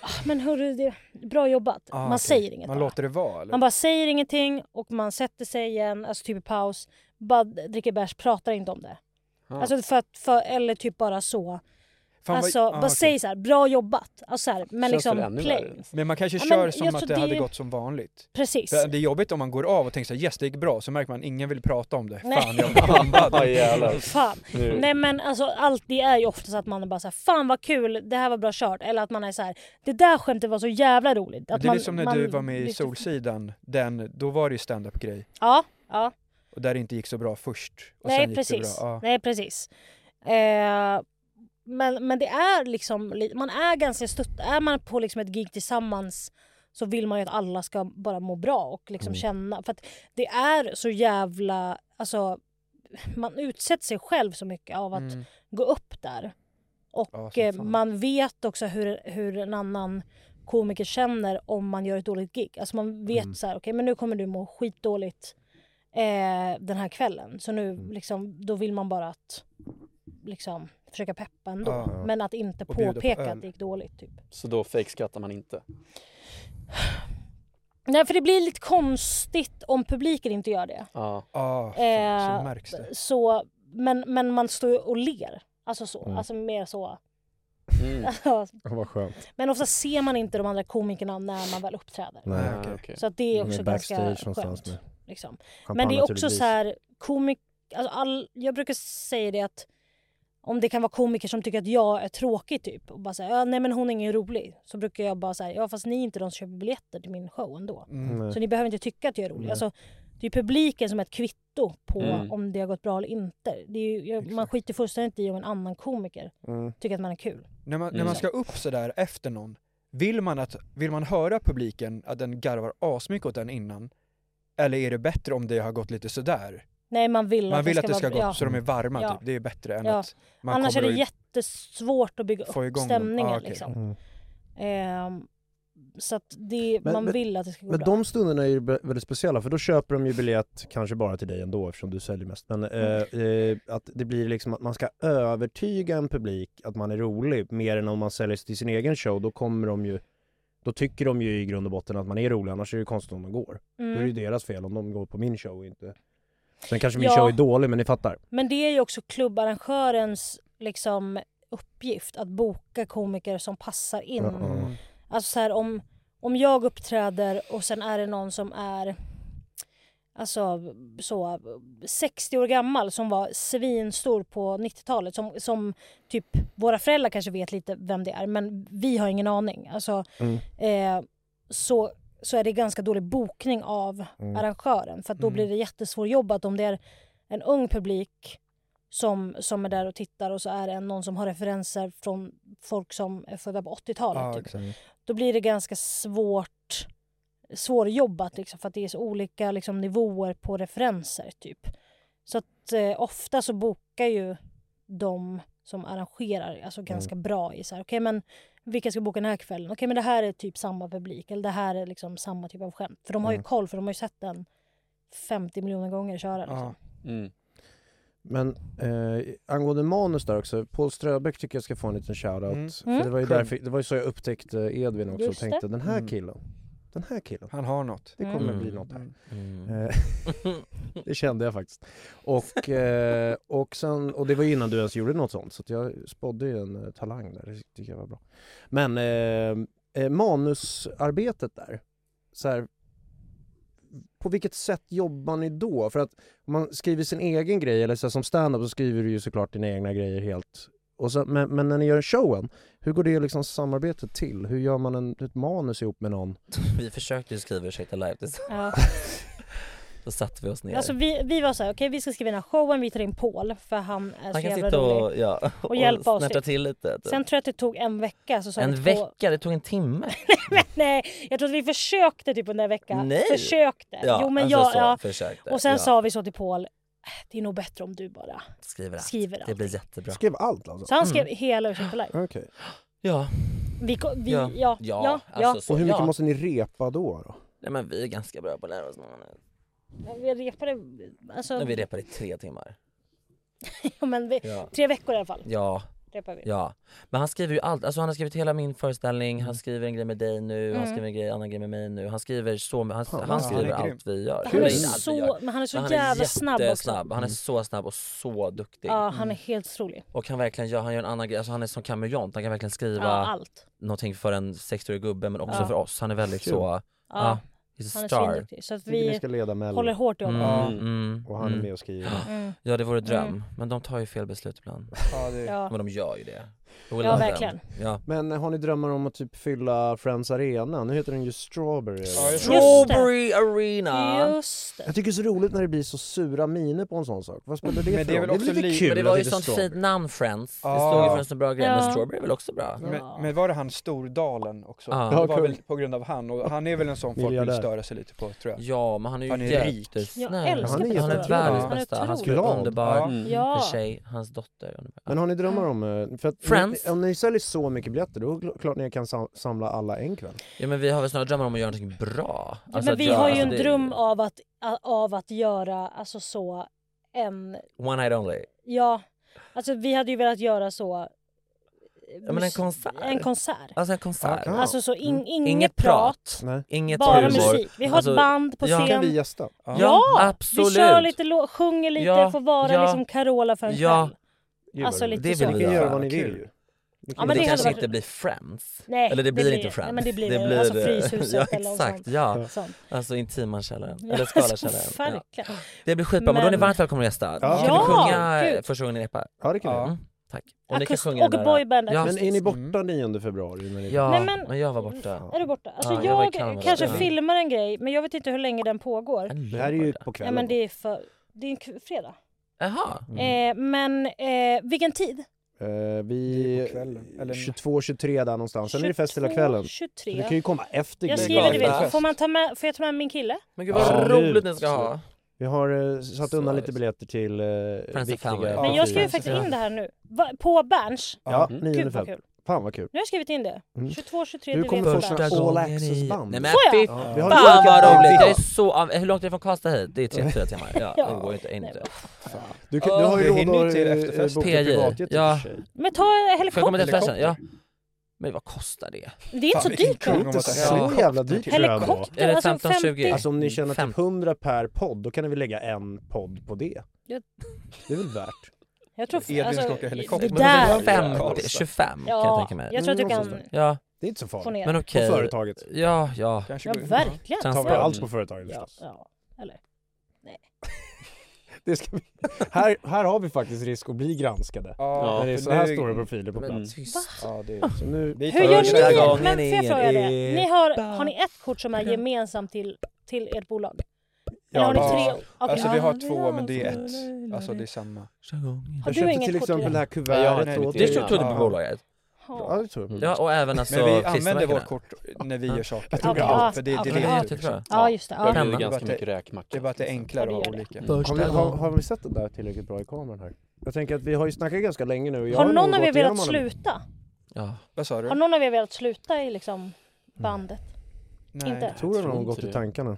Speaker 2: ah, men hörru, det bra jobbat.
Speaker 5: Ah,
Speaker 2: man
Speaker 5: okej.
Speaker 2: säger inget
Speaker 5: Man
Speaker 2: bara.
Speaker 5: låter det vara eller?
Speaker 2: Man bara säger ingenting och man sätter sig igen, alltså typ i paus, bara dricker bärs, pratar inte om det.
Speaker 5: Ah.
Speaker 2: Alltså för att, för, eller typ bara så.
Speaker 5: Fan, vad-
Speaker 2: alltså
Speaker 5: ah,
Speaker 2: bara
Speaker 5: okej.
Speaker 2: säg så här, bra jobbat. Alltså så här, men liksom plain.
Speaker 5: Men man kanske
Speaker 2: Ja,
Speaker 5: kör
Speaker 2: men jag
Speaker 5: som att
Speaker 2: tror
Speaker 5: det hade
Speaker 2: det-
Speaker 5: gått som vanligt.
Speaker 2: Precis.
Speaker 5: För Det är jobbigt om man går av och tänker såhär yes det gick bra, så märker man ingen vill prata om det.
Speaker 2: Nej.
Speaker 5: Fan jag blev bombad.
Speaker 7: Ja, jävlar.
Speaker 2: Fan. Nej men alltså allt det är ju ofta så att man är bara så här, fan vad kul, det här var bra kört. Eller att man är så här, det där skämtet var så jävla roligt. Att
Speaker 5: det är
Speaker 2: man,
Speaker 5: lite som när
Speaker 2: man
Speaker 5: du var med i
Speaker 2: lyfter-
Speaker 5: Solsidan, den, då var det ju stand-up grej.
Speaker 2: Ja, ja.
Speaker 5: Och där det inte gick så bra först. Och sen
Speaker 2: Nej
Speaker 5: gick
Speaker 2: precis.
Speaker 5: Det bra. Ja.
Speaker 2: Nej precis. Eh, men, men det är liksom, li- man är ganska stött. Är man på liksom ett gig tillsammans så vill man ju att alla ska bara må bra och liksom
Speaker 14: Mm.
Speaker 2: känna. För att det är så jävla, alltså man utsätter sig själv så mycket av att
Speaker 14: Mm.
Speaker 2: gå upp där.
Speaker 14: Ja,
Speaker 2: Och
Speaker 14: som
Speaker 2: eh,
Speaker 14: fan.
Speaker 2: man vet också hur, hur en annan komiker känner om man gör ett dåligt gig. Alltså man vet
Speaker 7: Mm.
Speaker 2: så här, okej men nu kommer du må skitdåligt eh, den här kvällen. Så nu
Speaker 7: Mm.
Speaker 2: liksom, då vill man bara att liksom försöka peppa ändå.
Speaker 7: Ja, ja.
Speaker 2: Men att inte
Speaker 7: Och bjuda på
Speaker 2: påpeka
Speaker 7: öl.
Speaker 2: att det gick dåligt. Typ.
Speaker 7: Så då fejkskrattar man inte.
Speaker 2: Nej för det blir lite konstigt om publiken inte gör det.
Speaker 7: Ja.
Speaker 5: Ah,
Speaker 2: Eh,
Speaker 5: så märks det.
Speaker 2: Så, men, men man står ju och ler. Alltså så.
Speaker 1: Mm.
Speaker 2: Alltså mer så.
Speaker 7: Mm.
Speaker 1: Ja, vad skönt.
Speaker 2: men ofta ser man inte de andra komikerna när man väl uppträder.
Speaker 1: Nej, Ah, okej. okej.
Speaker 2: Så att det
Speaker 1: De
Speaker 2: är
Speaker 1: är
Speaker 2: också ganska
Speaker 1: backstage någonstans
Speaker 2: skönt.
Speaker 1: med
Speaker 2: Liksom. Men
Speaker 1: champagne
Speaker 2: det är också
Speaker 1: naturligtvis.
Speaker 2: så här, komik, alltså all, jag brukar säga det att om det kan vara komiker som tycker att jag är tråkig typ och bara säger ja, nej men hon är ingen rolig. Så brukar jag bara säga ja fast ni är inte de som köper biljetter till min show ändå.
Speaker 1: Mm. Nej.
Speaker 2: Så ni behöver inte tycka att jag är rolig.
Speaker 1: Nej.
Speaker 2: Alltså, Det är publiken som är ett kvitto på
Speaker 5: Mm.
Speaker 2: om det har gått bra eller inte. Det är ju, jag, man skiter fullständigt i om en annan komiker
Speaker 5: Mm.
Speaker 2: tycker att man är kul.
Speaker 5: När man, när
Speaker 2: Mm.
Speaker 5: man ska upp sådär efter någon, vill man, att, vill man höra publiken att den garvar asmycket åt den innan? Eller är det bättre om det har gått lite sådär?
Speaker 2: Nej, man vill
Speaker 5: Man vill att det
Speaker 2: vara-
Speaker 5: ska gå
Speaker 2: ja.
Speaker 5: så de är varma
Speaker 2: Ja.
Speaker 5: typ. Det är bättre än
Speaker 2: Ja.
Speaker 5: att man
Speaker 2: Annars är
Speaker 5: kommer
Speaker 2: det
Speaker 5: och-
Speaker 2: jättesvårt att bygga
Speaker 5: få
Speaker 2: upp
Speaker 5: igång dem.
Speaker 2: stämningen.
Speaker 5: Ah, okej.
Speaker 2: liksom.
Speaker 1: Mm.
Speaker 2: Ehm, så att det, man vill att det ska gå
Speaker 1: men
Speaker 2: bra.
Speaker 1: de stunderna är ju be- väldigt speciella för då köper de ju biljett, kanske bara till dig ändå eftersom du säljer mest, men eh,
Speaker 2: Mm.
Speaker 1: eh, att det blir liksom att man ska övertyga en publik att man är rolig mer än om man säljer sig till sin egen show, då kommer de ju då tycker de ju i grund och botten att man är rolig, annars är det ju konstigt om de går.
Speaker 2: Mm.
Speaker 1: Då är det ju deras fel om de går på min show och inte... Sen kanske min
Speaker 2: Ja.
Speaker 1: show är dålig, men ni fattar.
Speaker 2: Men det är ju också klubbarrangörens liksom, uppgift att boka komiker som passar in.
Speaker 1: Mm.
Speaker 2: Alltså så här, om, om jag uppträder och sen är det någon som är alltså, så, 60 år gammal som var svinstor på 90-talet som, som typ våra föräldrar kanske vet lite vem det är men vi har ingen aning. Alltså,
Speaker 14: Mm.
Speaker 2: eh, så, så är det ganska dålig bokning av
Speaker 14: Mm.
Speaker 2: arrangören för att då
Speaker 14: Mm.
Speaker 2: blir det jättesvårjobbat om det är en ung publik som, som är där och tittar och så är det någon som har referenser från folk som är födda på 80-talet.
Speaker 5: Ja,
Speaker 2: typ.
Speaker 5: exakt.
Speaker 2: Då blir det ganska svårt svårjobbat liksom, för att det är så olika liksom, nivåer på referenser. typ. Så att eh, ofta så bokar ju de som arrangerar alltså ganska bra i så här, okej men vilka ska boka den här kvällen? Okej men det här är typ samma publik eller det här är liksom samma typ av skämt. För de har ju
Speaker 1: Mm.
Speaker 2: koll för de har ju sett den 50 miljoner gånger köra. Liksom.
Speaker 5: Mm.
Speaker 1: Men eh, angående manus där också, Paul Ströbeck tycker jag ska få en liten shoutout.
Speaker 5: Mm.
Speaker 1: För det var ju
Speaker 5: Mm.
Speaker 1: därför, det var ju så jag upptäckte Edvin också
Speaker 5: Just
Speaker 1: och tänkte
Speaker 5: det.
Speaker 1: den här
Speaker 5: Mm.
Speaker 1: killen, den här killen.
Speaker 5: Han har något.
Speaker 1: Det kommer
Speaker 5: Mm.
Speaker 1: bli något här.
Speaker 5: Mm.
Speaker 1: Eh, det kände jag faktiskt. Och, eh, och, sen, och det var ju innan du ens gjorde något sånt så att jag spådde ju en eh, talang där, det tycker jag var bra. Men eh, eh, manusarbetet där, så här, på vilket sätt jobbar ni då? För att om man skriver sin egen grej, eller så här, som stand-up så skriver du ju såklart dina egna grejer helt. Och så, men, men när ni gör showen, hur går det liksom samarbetet till? Hur gör man en, ett manus ihop med någon?
Speaker 3: Vi försökte ju skriva Ursäkta live
Speaker 2: Ja.
Speaker 3: Då satte vi oss ner.
Speaker 2: Alltså vi, vi var så här, okej vi ska skriva den här showen, vi tar in Paul för han är så
Speaker 3: han kan
Speaker 2: jävla
Speaker 3: sitta och,
Speaker 2: rolig.
Speaker 3: ja,
Speaker 2: och hjälpa oss
Speaker 3: snärta
Speaker 2: lite.
Speaker 3: till lite. typ.
Speaker 2: Sen tror jag att det tog en vecka så sa vi
Speaker 3: en
Speaker 2: två-
Speaker 3: vecka, det tog en timme.
Speaker 2: Nej, jag tror att vi försökte typ under en vecka.
Speaker 3: Nej.
Speaker 2: Försökte.
Speaker 3: Ja,
Speaker 2: jo, men
Speaker 3: alltså
Speaker 2: jag,
Speaker 3: så,
Speaker 2: ja.
Speaker 3: försökte,
Speaker 2: Och sen
Speaker 3: ja.
Speaker 2: sa vi så till Paul, "Äh, det är nog bättre om du bara
Speaker 3: Skriver allt.
Speaker 2: skriver allt.
Speaker 3: Det blir jättebra.
Speaker 1: Skrev allt alltså?
Speaker 2: Så han skrev hela Ursäkta live.
Speaker 1: Okej.
Speaker 3: Ja.
Speaker 2: Vi, ko- vi, ja,
Speaker 3: Ja.
Speaker 2: ja,
Speaker 3: Ja,
Speaker 2: ja.
Speaker 3: alltså så.
Speaker 1: Och hur mycket
Speaker 3: Ja.
Speaker 1: måste ni repa då? då?
Speaker 3: Nej men vi är ganska bra på att lära oss.
Speaker 2: Vi repade, alltså,
Speaker 3: När vi repade i tre timmar.
Speaker 2: ja, men vi,
Speaker 3: Ja.
Speaker 2: tre veckor i alla fall.
Speaker 3: Ja.
Speaker 2: Repar vi.
Speaker 3: Ja. Men han skriver ju allt. Alltså han har skrivit hela min föreställning, han skriver en grej med dig nu, han
Speaker 2: Mm.
Speaker 3: skriver en grej, en annan grej med mig nu. Han skriver så han,
Speaker 1: vad
Speaker 3: han
Speaker 1: bra.
Speaker 3: skriver
Speaker 1: Han är grym.
Speaker 3: allt vi gör.
Speaker 2: Han
Speaker 3: Eller
Speaker 2: är
Speaker 3: inte allt vi
Speaker 2: så-
Speaker 3: gör.
Speaker 2: men han är så jävla snabb också.
Speaker 3: jättesnabb. Han är
Speaker 2: Mm.
Speaker 3: så snabb och så duktig.
Speaker 2: Ja, han är helt otrolig.
Speaker 3: Och han verkligen gör, han gör en annan grej, alltså han är som kameleont, han kan verkligen skriva
Speaker 2: Ja, allt.
Speaker 3: någonting för en 60-årig gubbe men också
Speaker 2: Ja.
Speaker 3: för oss. Han är väldigt
Speaker 1: Kul.
Speaker 3: så, ja,
Speaker 2: Ja,
Speaker 3: he's a
Speaker 2: han är
Speaker 3: star. Mm,
Speaker 2: svinduktig. Så att
Speaker 1: Tycker ni
Speaker 2: vi
Speaker 1: ska leda Mello.
Speaker 2: håller hårt i honom.
Speaker 1: Ja. Och han är med och skriver.
Speaker 2: Mm.
Speaker 3: Ja det vore dröm,
Speaker 2: Mm.
Speaker 3: men de tar ju fel beslut ibland.
Speaker 5: Ja, det-
Speaker 2: Ja.
Speaker 3: Men de gör ju det. Jag
Speaker 2: Ja,
Speaker 3: gillar den.
Speaker 2: verkligen.
Speaker 3: Ja.
Speaker 1: Men har ni drömmar om att typ fylla Friends Arena? Nu heter den ju Strawberry.
Speaker 3: Ja, just det.
Speaker 2: Strawberry
Speaker 3: Arena!
Speaker 2: Just det.
Speaker 1: Jag tycker det är så roligt när det blir så sura miner på en sån sak. Vad spelar det
Speaker 5: Men
Speaker 1: för
Speaker 5: det är
Speaker 1: roll?
Speaker 5: väl också
Speaker 1: det är lite
Speaker 5: li-
Speaker 1: kul
Speaker 3: Men det var
Speaker 1: att
Speaker 3: ju
Speaker 1: heter
Speaker 3: sånt
Speaker 1: Strawberry.
Speaker 3: fint namn Friends. Det
Speaker 5: Ja.
Speaker 3: stod ju Friends en bra grej,
Speaker 2: Ja.
Speaker 3: men Strawberry är väl också bra?
Speaker 5: Men, men var det han Stordalen också?
Speaker 3: Ja.
Speaker 5: Det
Speaker 3: Ja,
Speaker 5: var
Speaker 3: kul.
Speaker 5: väl på grund av han och han är väl en sån folk vill
Speaker 3: Miljardär.
Speaker 5: störa sig lite på tror jag.
Speaker 3: Ja, men han är ju
Speaker 5: Han är rik.
Speaker 3: jättesnäll.
Speaker 2: Jag älskar
Speaker 3: han är,
Speaker 2: Peter
Speaker 3: han är
Speaker 2: Stordalen.
Speaker 3: världens
Speaker 2: Han är
Speaker 3: bästa. Han skulle
Speaker 2: otrolig.
Speaker 3: vara underbar.
Speaker 1: Ja.
Speaker 3: Mm.
Speaker 2: Ja.
Speaker 3: För sig, hans dotter. är underbar.
Speaker 1: Men har ni drömmar om... eh, För att
Speaker 3: Friends.
Speaker 1: Ni, om ni säljer så mycket biljetter då är det klart ni kan sam- samla alla en kväll.
Speaker 3: Ja men vi har väl snarare drömmar om att göra någonting bra.
Speaker 2: Ja,
Speaker 3: Alltså
Speaker 2: men
Speaker 3: att
Speaker 2: vi
Speaker 3: göra-
Speaker 2: har ju
Speaker 3: alltså,
Speaker 2: en
Speaker 3: det-
Speaker 2: dröm av att, av att göra alltså så en,
Speaker 3: One night only.
Speaker 2: ja, alltså vi hade ju velat göra så. eh,
Speaker 3: Ja, men en konsert.
Speaker 2: En konsert.
Speaker 3: Alltså en konsert.
Speaker 2: Ja. Alltså, så in-
Speaker 3: Mm.
Speaker 2: inget prat,
Speaker 1: Nej.
Speaker 3: Inget
Speaker 2: bara
Speaker 3: humor. Alltså,
Speaker 2: musik. Vi har ett band på scen. Kan vi
Speaker 1: gästa?
Speaker 3: Ja,
Speaker 2: Ja,
Speaker 3: absolut.
Speaker 2: vi kör lite, lå- sjunger lite,
Speaker 3: Ja,
Speaker 2: får vara
Speaker 3: ja.
Speaker 2: liksom Carola för en
Speaker 3: Ja.
Speaker 2: kväll. Alltså lite
Speaker 3: det
Speaker 2: så.
Speaker 3: vill vi
Speaker 1: kan
Speaker 3: göra.
Speaker 1: göra vad ni vill ju.
Speaker 2: Ja, men
Speaker 3: det,
Speaker 2: det hade
Speaker 3: kanske
Speaker 2: varit-
Speaker 3: inte blir Friends.
Speaker 2: Nej,
Speaker 3: eller det
Speaker 2: det
Speaker 3: blir,
Speaker 2: blir-
Speaker 3: inte Friends.
Speaker 2: nej, men det blir- alltså Fryshuset
Speaker 3: ja,
Speaker 2: eller något
Speaker 3: exakt,
Speaker 2: sånt.
Speaker 3: Ja,
Speaker 2: Sånt.
Speaker 3: Alltså Intimankällaren.
Speaker 2: Ja,
Speaker 3: eller Skalakällaren.
Speaker 2: alltså, verkligen.
Speaker 3: Det blir skitbra, men då är ni
Speaker 2: Men-
Speaker 3: varmt välkomna att gästa.
Speaker 2: Ja.
Speaker 3: Kan vi
Speaker 2: Ja,
Speaker 3: sjunga
Speaker 2: gud.
Speaker 3: första gången ni repar?
Speaker 1: Ja det kan vi göra.
Speaker 3: Tack. Om ni kan
Speaker 2: Akust-
Speaker 3: sjunga
Speaker 2: och
Speaker 3: den där-
Speaker 2: boyband
Speaker 3: Ja.
Speaker 1: Men är ni
Speaker 5: Mm.
Speaker 1: borta 9 februari? När ni...
Speaker 3: Ja,
Speaker 2: Nej,
Speaker 3: men... jag var borta.
Speaker 2: Är du borta? Alltså
Speaker 3: Ja, jag var i
Speaker 2: jag,
Speaker 3: Kanada.
Speaker 2: kanske
Speaker 3: Ja.
Speaker 2: filmar en grej, men jag vet inte hur länge den pågår.
Speaker 1: Det här är ju på
Speaker 2: Nej
Speaker 1: kvällen.
Speaker 2: men det är för... Det är en k- fredag.
Speaker 3: Jaha.
Speaker 2: Eh, men eh, vilken tid?
Speaker 1: Eh, vi... 22-23 där någonstans. Sen är det fest hela
Speaker 2: 22,
Speaker 1: kvällen.
Speaker 2: 23.
Speaker 1: Du kan ju komma efter
Speaker 2: Jag
Speaker 1: grejen.
Speaker 2: skriver det vet. Får, man ta med, får jag ta med min kille?
Speaker 3: Men gud vad roligt ni ska ha.
Speaker 1: Vi har eh, satt undan lite biljetter till eh,
Speaker 3: Friends and
Speaker 1: viktiga
Speaker 3: family.
Speaker 2: Men jag skriver faktiskt in det här nu. Va, på Berns?
Speaker 1: Ja,
Speaker 2: Mm.
Speaker 1: 9
Speaker 2: Gud vad
Speaker 1: februari.
Speaker 2: kul.
Speaker 1: Fan vad kul.
Speaker 2: Nu har jag skrivit in det.
Speaker 1: Mm.
Speaker 2: 22, 23,
Speaker 1: Nu
Speaker 2: du
Speaker 1: kommer
Speaker 2: vet på
Speaker 1: första
Speaker 2: Berns.
Speaker 1: All Access-band.
Speaker 3: Nej men
Speaker 2: Så ja. Ja.
Speaker 3: fy fan
Speaker 2: Vi har
Speaker 1: lite
Speaker 3: vad
Speaker 1: olika-
Speaker 3: roligt! Det
Speaker 1: Ja.
Speaker 3: är så... av- Hur långt är det från Karlstad hit? Det är tre, fyra timmar. Ja,
Speaker 2: Ja.
Speaker 3: det går ju inte. inte.
Speaker 1: Du, kan, du har ju
Speaker 3: Vi hinner
Speaker 1: råd att
Speaker 3: till
Speaker 1: eh,
Speaker 3: efterfest.
Speaker 1: boka
Speaker 3: PJ,
Speaker 1: privatjet i och för
Speaker 3: ja.
Speaker 1: sig.
Speaker 2: Men ta
Speaker 3: Ska jag komma till
Speaker 2: helikopter.
Speaker 3: efterfesten? Ja. Men vad kostar det?
Speaker 2: Det är inte så dyrt
Speaker 1: Det är inte så jävla dyrt tror jag ändå.
Speaker 2: Helikopter, Är det alltså 15, 20?
Speaker 1: Alltså om ni tjänar typ 100 per podd, då kan ni väl lägga en podd på det?
Speaker 2: Jag-
Speaker 1: Det är väl värt?
Speaker 2: Jag tror...
Speaker 1: Edvin
Speaker 2: alltså,
Speaker 1: ska åka helikopter.
Speaker 2: det
Speaker 3: Men de
Speaker 2: där...
Speaker 3: är 50, 25 kan jag
Speaker 2: Ja,
Speaker 3: tänka mig.
Speaker 2: jag tror att du
Speaker 3: Mm,
Speaker 2: kan-
Speaker 3: någonstans där. ja.
Speaker 1: Det är inte så farligt.
Speaker 2: Få ner.
Speaker 3: Men okej.
Speaker 1: På företaget.
Speaker 3: Ja, ja.
Speaker 1: Kanske
Speaker 2: Ja,
Speaker 1: går in.
Speaker 2: verkligen.
Speaker 1: Tar vi
Speaker 2: Ja.
Speaker 1: allt på företaget förstås.
Speaker 2: Ja, eller? Nej.
Speaker 1: Det ska vi... här, här har vi faktiskt risk att bli granskade.
Speaker 5: Ja,
Speaker 1: när det är Mm.
Speaker 5: för
Speaker 1: så här
Speaker 5: nu-
Speaker 1: stora profiler på
Speaker 5: Men
Speaker 1: plats.
Speaker 3: tyst.
Speaker 5: Ja, det
Speaker 1: Så nu...
Speaker 2: Hur gör ni? Men får jag fråga det? Ni har, har ni ett kort som är gemensamt till, till ert bolag? Eller har ni tre? Okej.
Speaker 5: Alltså vi har två men det är ett. Alltså det är samma. Alltså,
Speaker 2: Har
Speaker 1: Jag
Speaker 2: du
Speaker 1: köpte
Speaker 2: inget
Speaker 1: till
Speaker 2: kort till
Speaker 1: exempel det här
Speaker 2: det?
Speaker 1: kuvertet
Speaker 5: nej,
Speaker 1: åt
Speaker 5: det
Speaker 1: er.
Speaker 5: tog- tog du på bolaget?
Speaker 1: Ja, det tror jag.
Speaker 3: Ja, och även alltså
Speaker 5: Men vi använder
Speaker 3: klistermärkena.
Speaker 5: vårt kort när vi gör saker.
Speaker 3: Jag tog
Speaker 5: Ja,
Speaker 3: allt.
Speaker 5: För det är
Speaker 3: Ja,
Speaker 5: det
Speaker 3: det
Speaker 5: leder
Speaker 3: är jättebra.
Speaker 2: Ja, just det. Ja.
Speaker 7: Jag bjuder
Speaker 5: Bara att
Speaker 7: ganska
Speaker 5: det-
Speaker 7: mycket räkmacka.
Speaker 5: Det är bara att det är enklare att ha olika.
Speaker 1: Har vi, har, har vi sett det där tillräckligt bra i kameran här? Jag tänker att vi har ju snackat ganska länge nu. Jag
Speaker 2: Har
Speaker 1: nog
Speaker 2: någon av
Speaker 1: gått
Speaker 2: er velat
Speaker 1: igenom alla-
Speaker 2: sluta?
Speaker 3: Ja.
Speaker 5: Vad sa du?
Speaker 2: Har någon av er velat sluta i liksom bandet?
Speaker 5: Nej.
Speaker 2: Inte?
Speaker 1: Tror du
Speaker 5: tror
Speaker 1: någon
Speaker 5: inte
Speaker 1: gått i
Speaker 5: det.
Speaker 1: tankarna?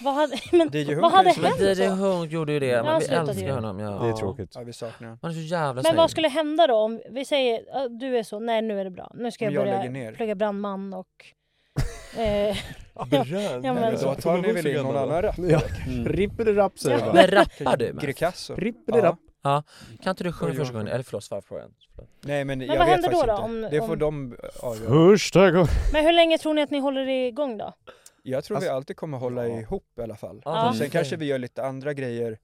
Speaker 2: Vad hade, men,
Speaker 5: DJ Hunk
Speaker 2: vad hade
Speaker 5: kanske?
Speaker 2: hänt?
Speaker 3: Men DJ
Speaker 2: då?
Speaker 3: Hung gjorde ju det,
Speaker 2: Ja,
Speaker 3: men
Speaker 2: han
Speaker 3: vi
Speaker 2: slutade
Speaker 3: älskar
Speaker 2: ju.
Speaker 3: honom. Ja.
Speaker 1: Det är tråkigt.
Speaker 5: Ja vi saknar honom.
Speaker 3: Han är så jävla
Speaker 2: Men
Speaker 3: snäll.
Speaker 2: vad skulle hända då om vi säger "Ja, du är så, nej nu är det bra, nu ska jag,
Speaker 5: Men jag lägger
Speaker 2: börja
Speaker 5: ner.
Speaker 2: plugga brandman och... Eh,
Speaker 3: Bröd?
Speaker 2: Ja, men-
Speaker 5: Då tar ni väl in någon annan rapp?
Speaker 1: Ja.
Speaker 2: Mm.
Speaker 1: Rippeli-rapp säger
Speaker 3: Ja.
Speaker 1: jag bara.
Speaker 3: Men rappar du? med?
Speaker 5: Grecasso?
Speaker 1: Rippeli-rapp.
Speaker 3: Ja. Kan inte du sjunga
Speaker 5: Oj,
Speaker 3: första
Speaker 5: oj, oj.
Speaker 3: gången? Eller förlåt, svara på frågan.
Speaker 5: Nej men,
Speaker 2: vad
Speaker 5: jag vet
Speaker 2: händer
Speaker 5: faktiskt
Speaker 2: då
Speaker 5: inte.
Speaker 2: då om-
Speaker 5: det
Speaker 2: om-
Speaker 5: får de avgöra.
Speaker 1: Första gången.
Speaker 2: men hur länge tror ni att ni håller igång då?
Speaker 5: Jag tror
Speaker 1: Alltså-
Speaker 5: vi alltid kommer hålla ihop i alla fall.
Speaker 3: Ja,
Speaker 2: Ja.
Speaker 5: Sen kanske vi gör lite andra grejer.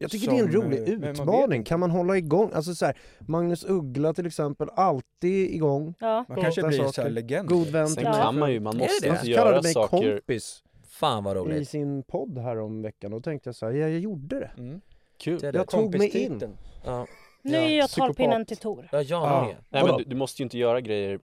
Speaker 1: Jag tycker det är en
Speaker 5: som,
Speaker 1: rolig
Speaker 5: eh, men man vet
Speaker 1: utmaning.
Speaker 5: inte.
Speaker 1: Kan man hålla igång? Alltså så här, Magnus Uggla till exempel, alltid igång.
Speaker 2: Ja.
Speaker 5: Man kanske
Speaker 1: Goda
Speaker 5: blir så
Speaker 1: saker.
Speaker 5: här legend.
Speaker 1: God vän
Speaker 7: Sen
Speaker 1: till mig.
Speaker 7: kan man ju, man
Speaker 3: Är
Speaker 7: måste
Speaker 3: det?
Speaker 7: inte
Speaker 1: Han kallade
Speaker 7: göra
Speaker 1: mig
Speaker 7: saker
Speaker 1: kompis
Speaker 3: Fan vad
Speaker 1: i
Speaker 3: roligt.
Speaker 1: sin podd här om veckan och tänkte jag så här, ja, jag gjorde det.
Speaker 5: Mm.
Speaker 7: kul.
Speaker 3: Det är det.
Speaker 1: Jag tog mig in.
Speaker 5: Kompistiteln.
Speaker 3: Ja,
Speaker 2: Nu
Speaker 5: Ja,
Speaker 2: är jag
Speaker 5: psykopat.
Speaker 2: talpinnen till Tor.
Speaker 3: ja jag
Speaker 5: Ja.
Speaker 3: med.
Speaker 7: Nej
Speaker 1: Vadå?
Speaker 7: men du, du måste ju inte göra grejer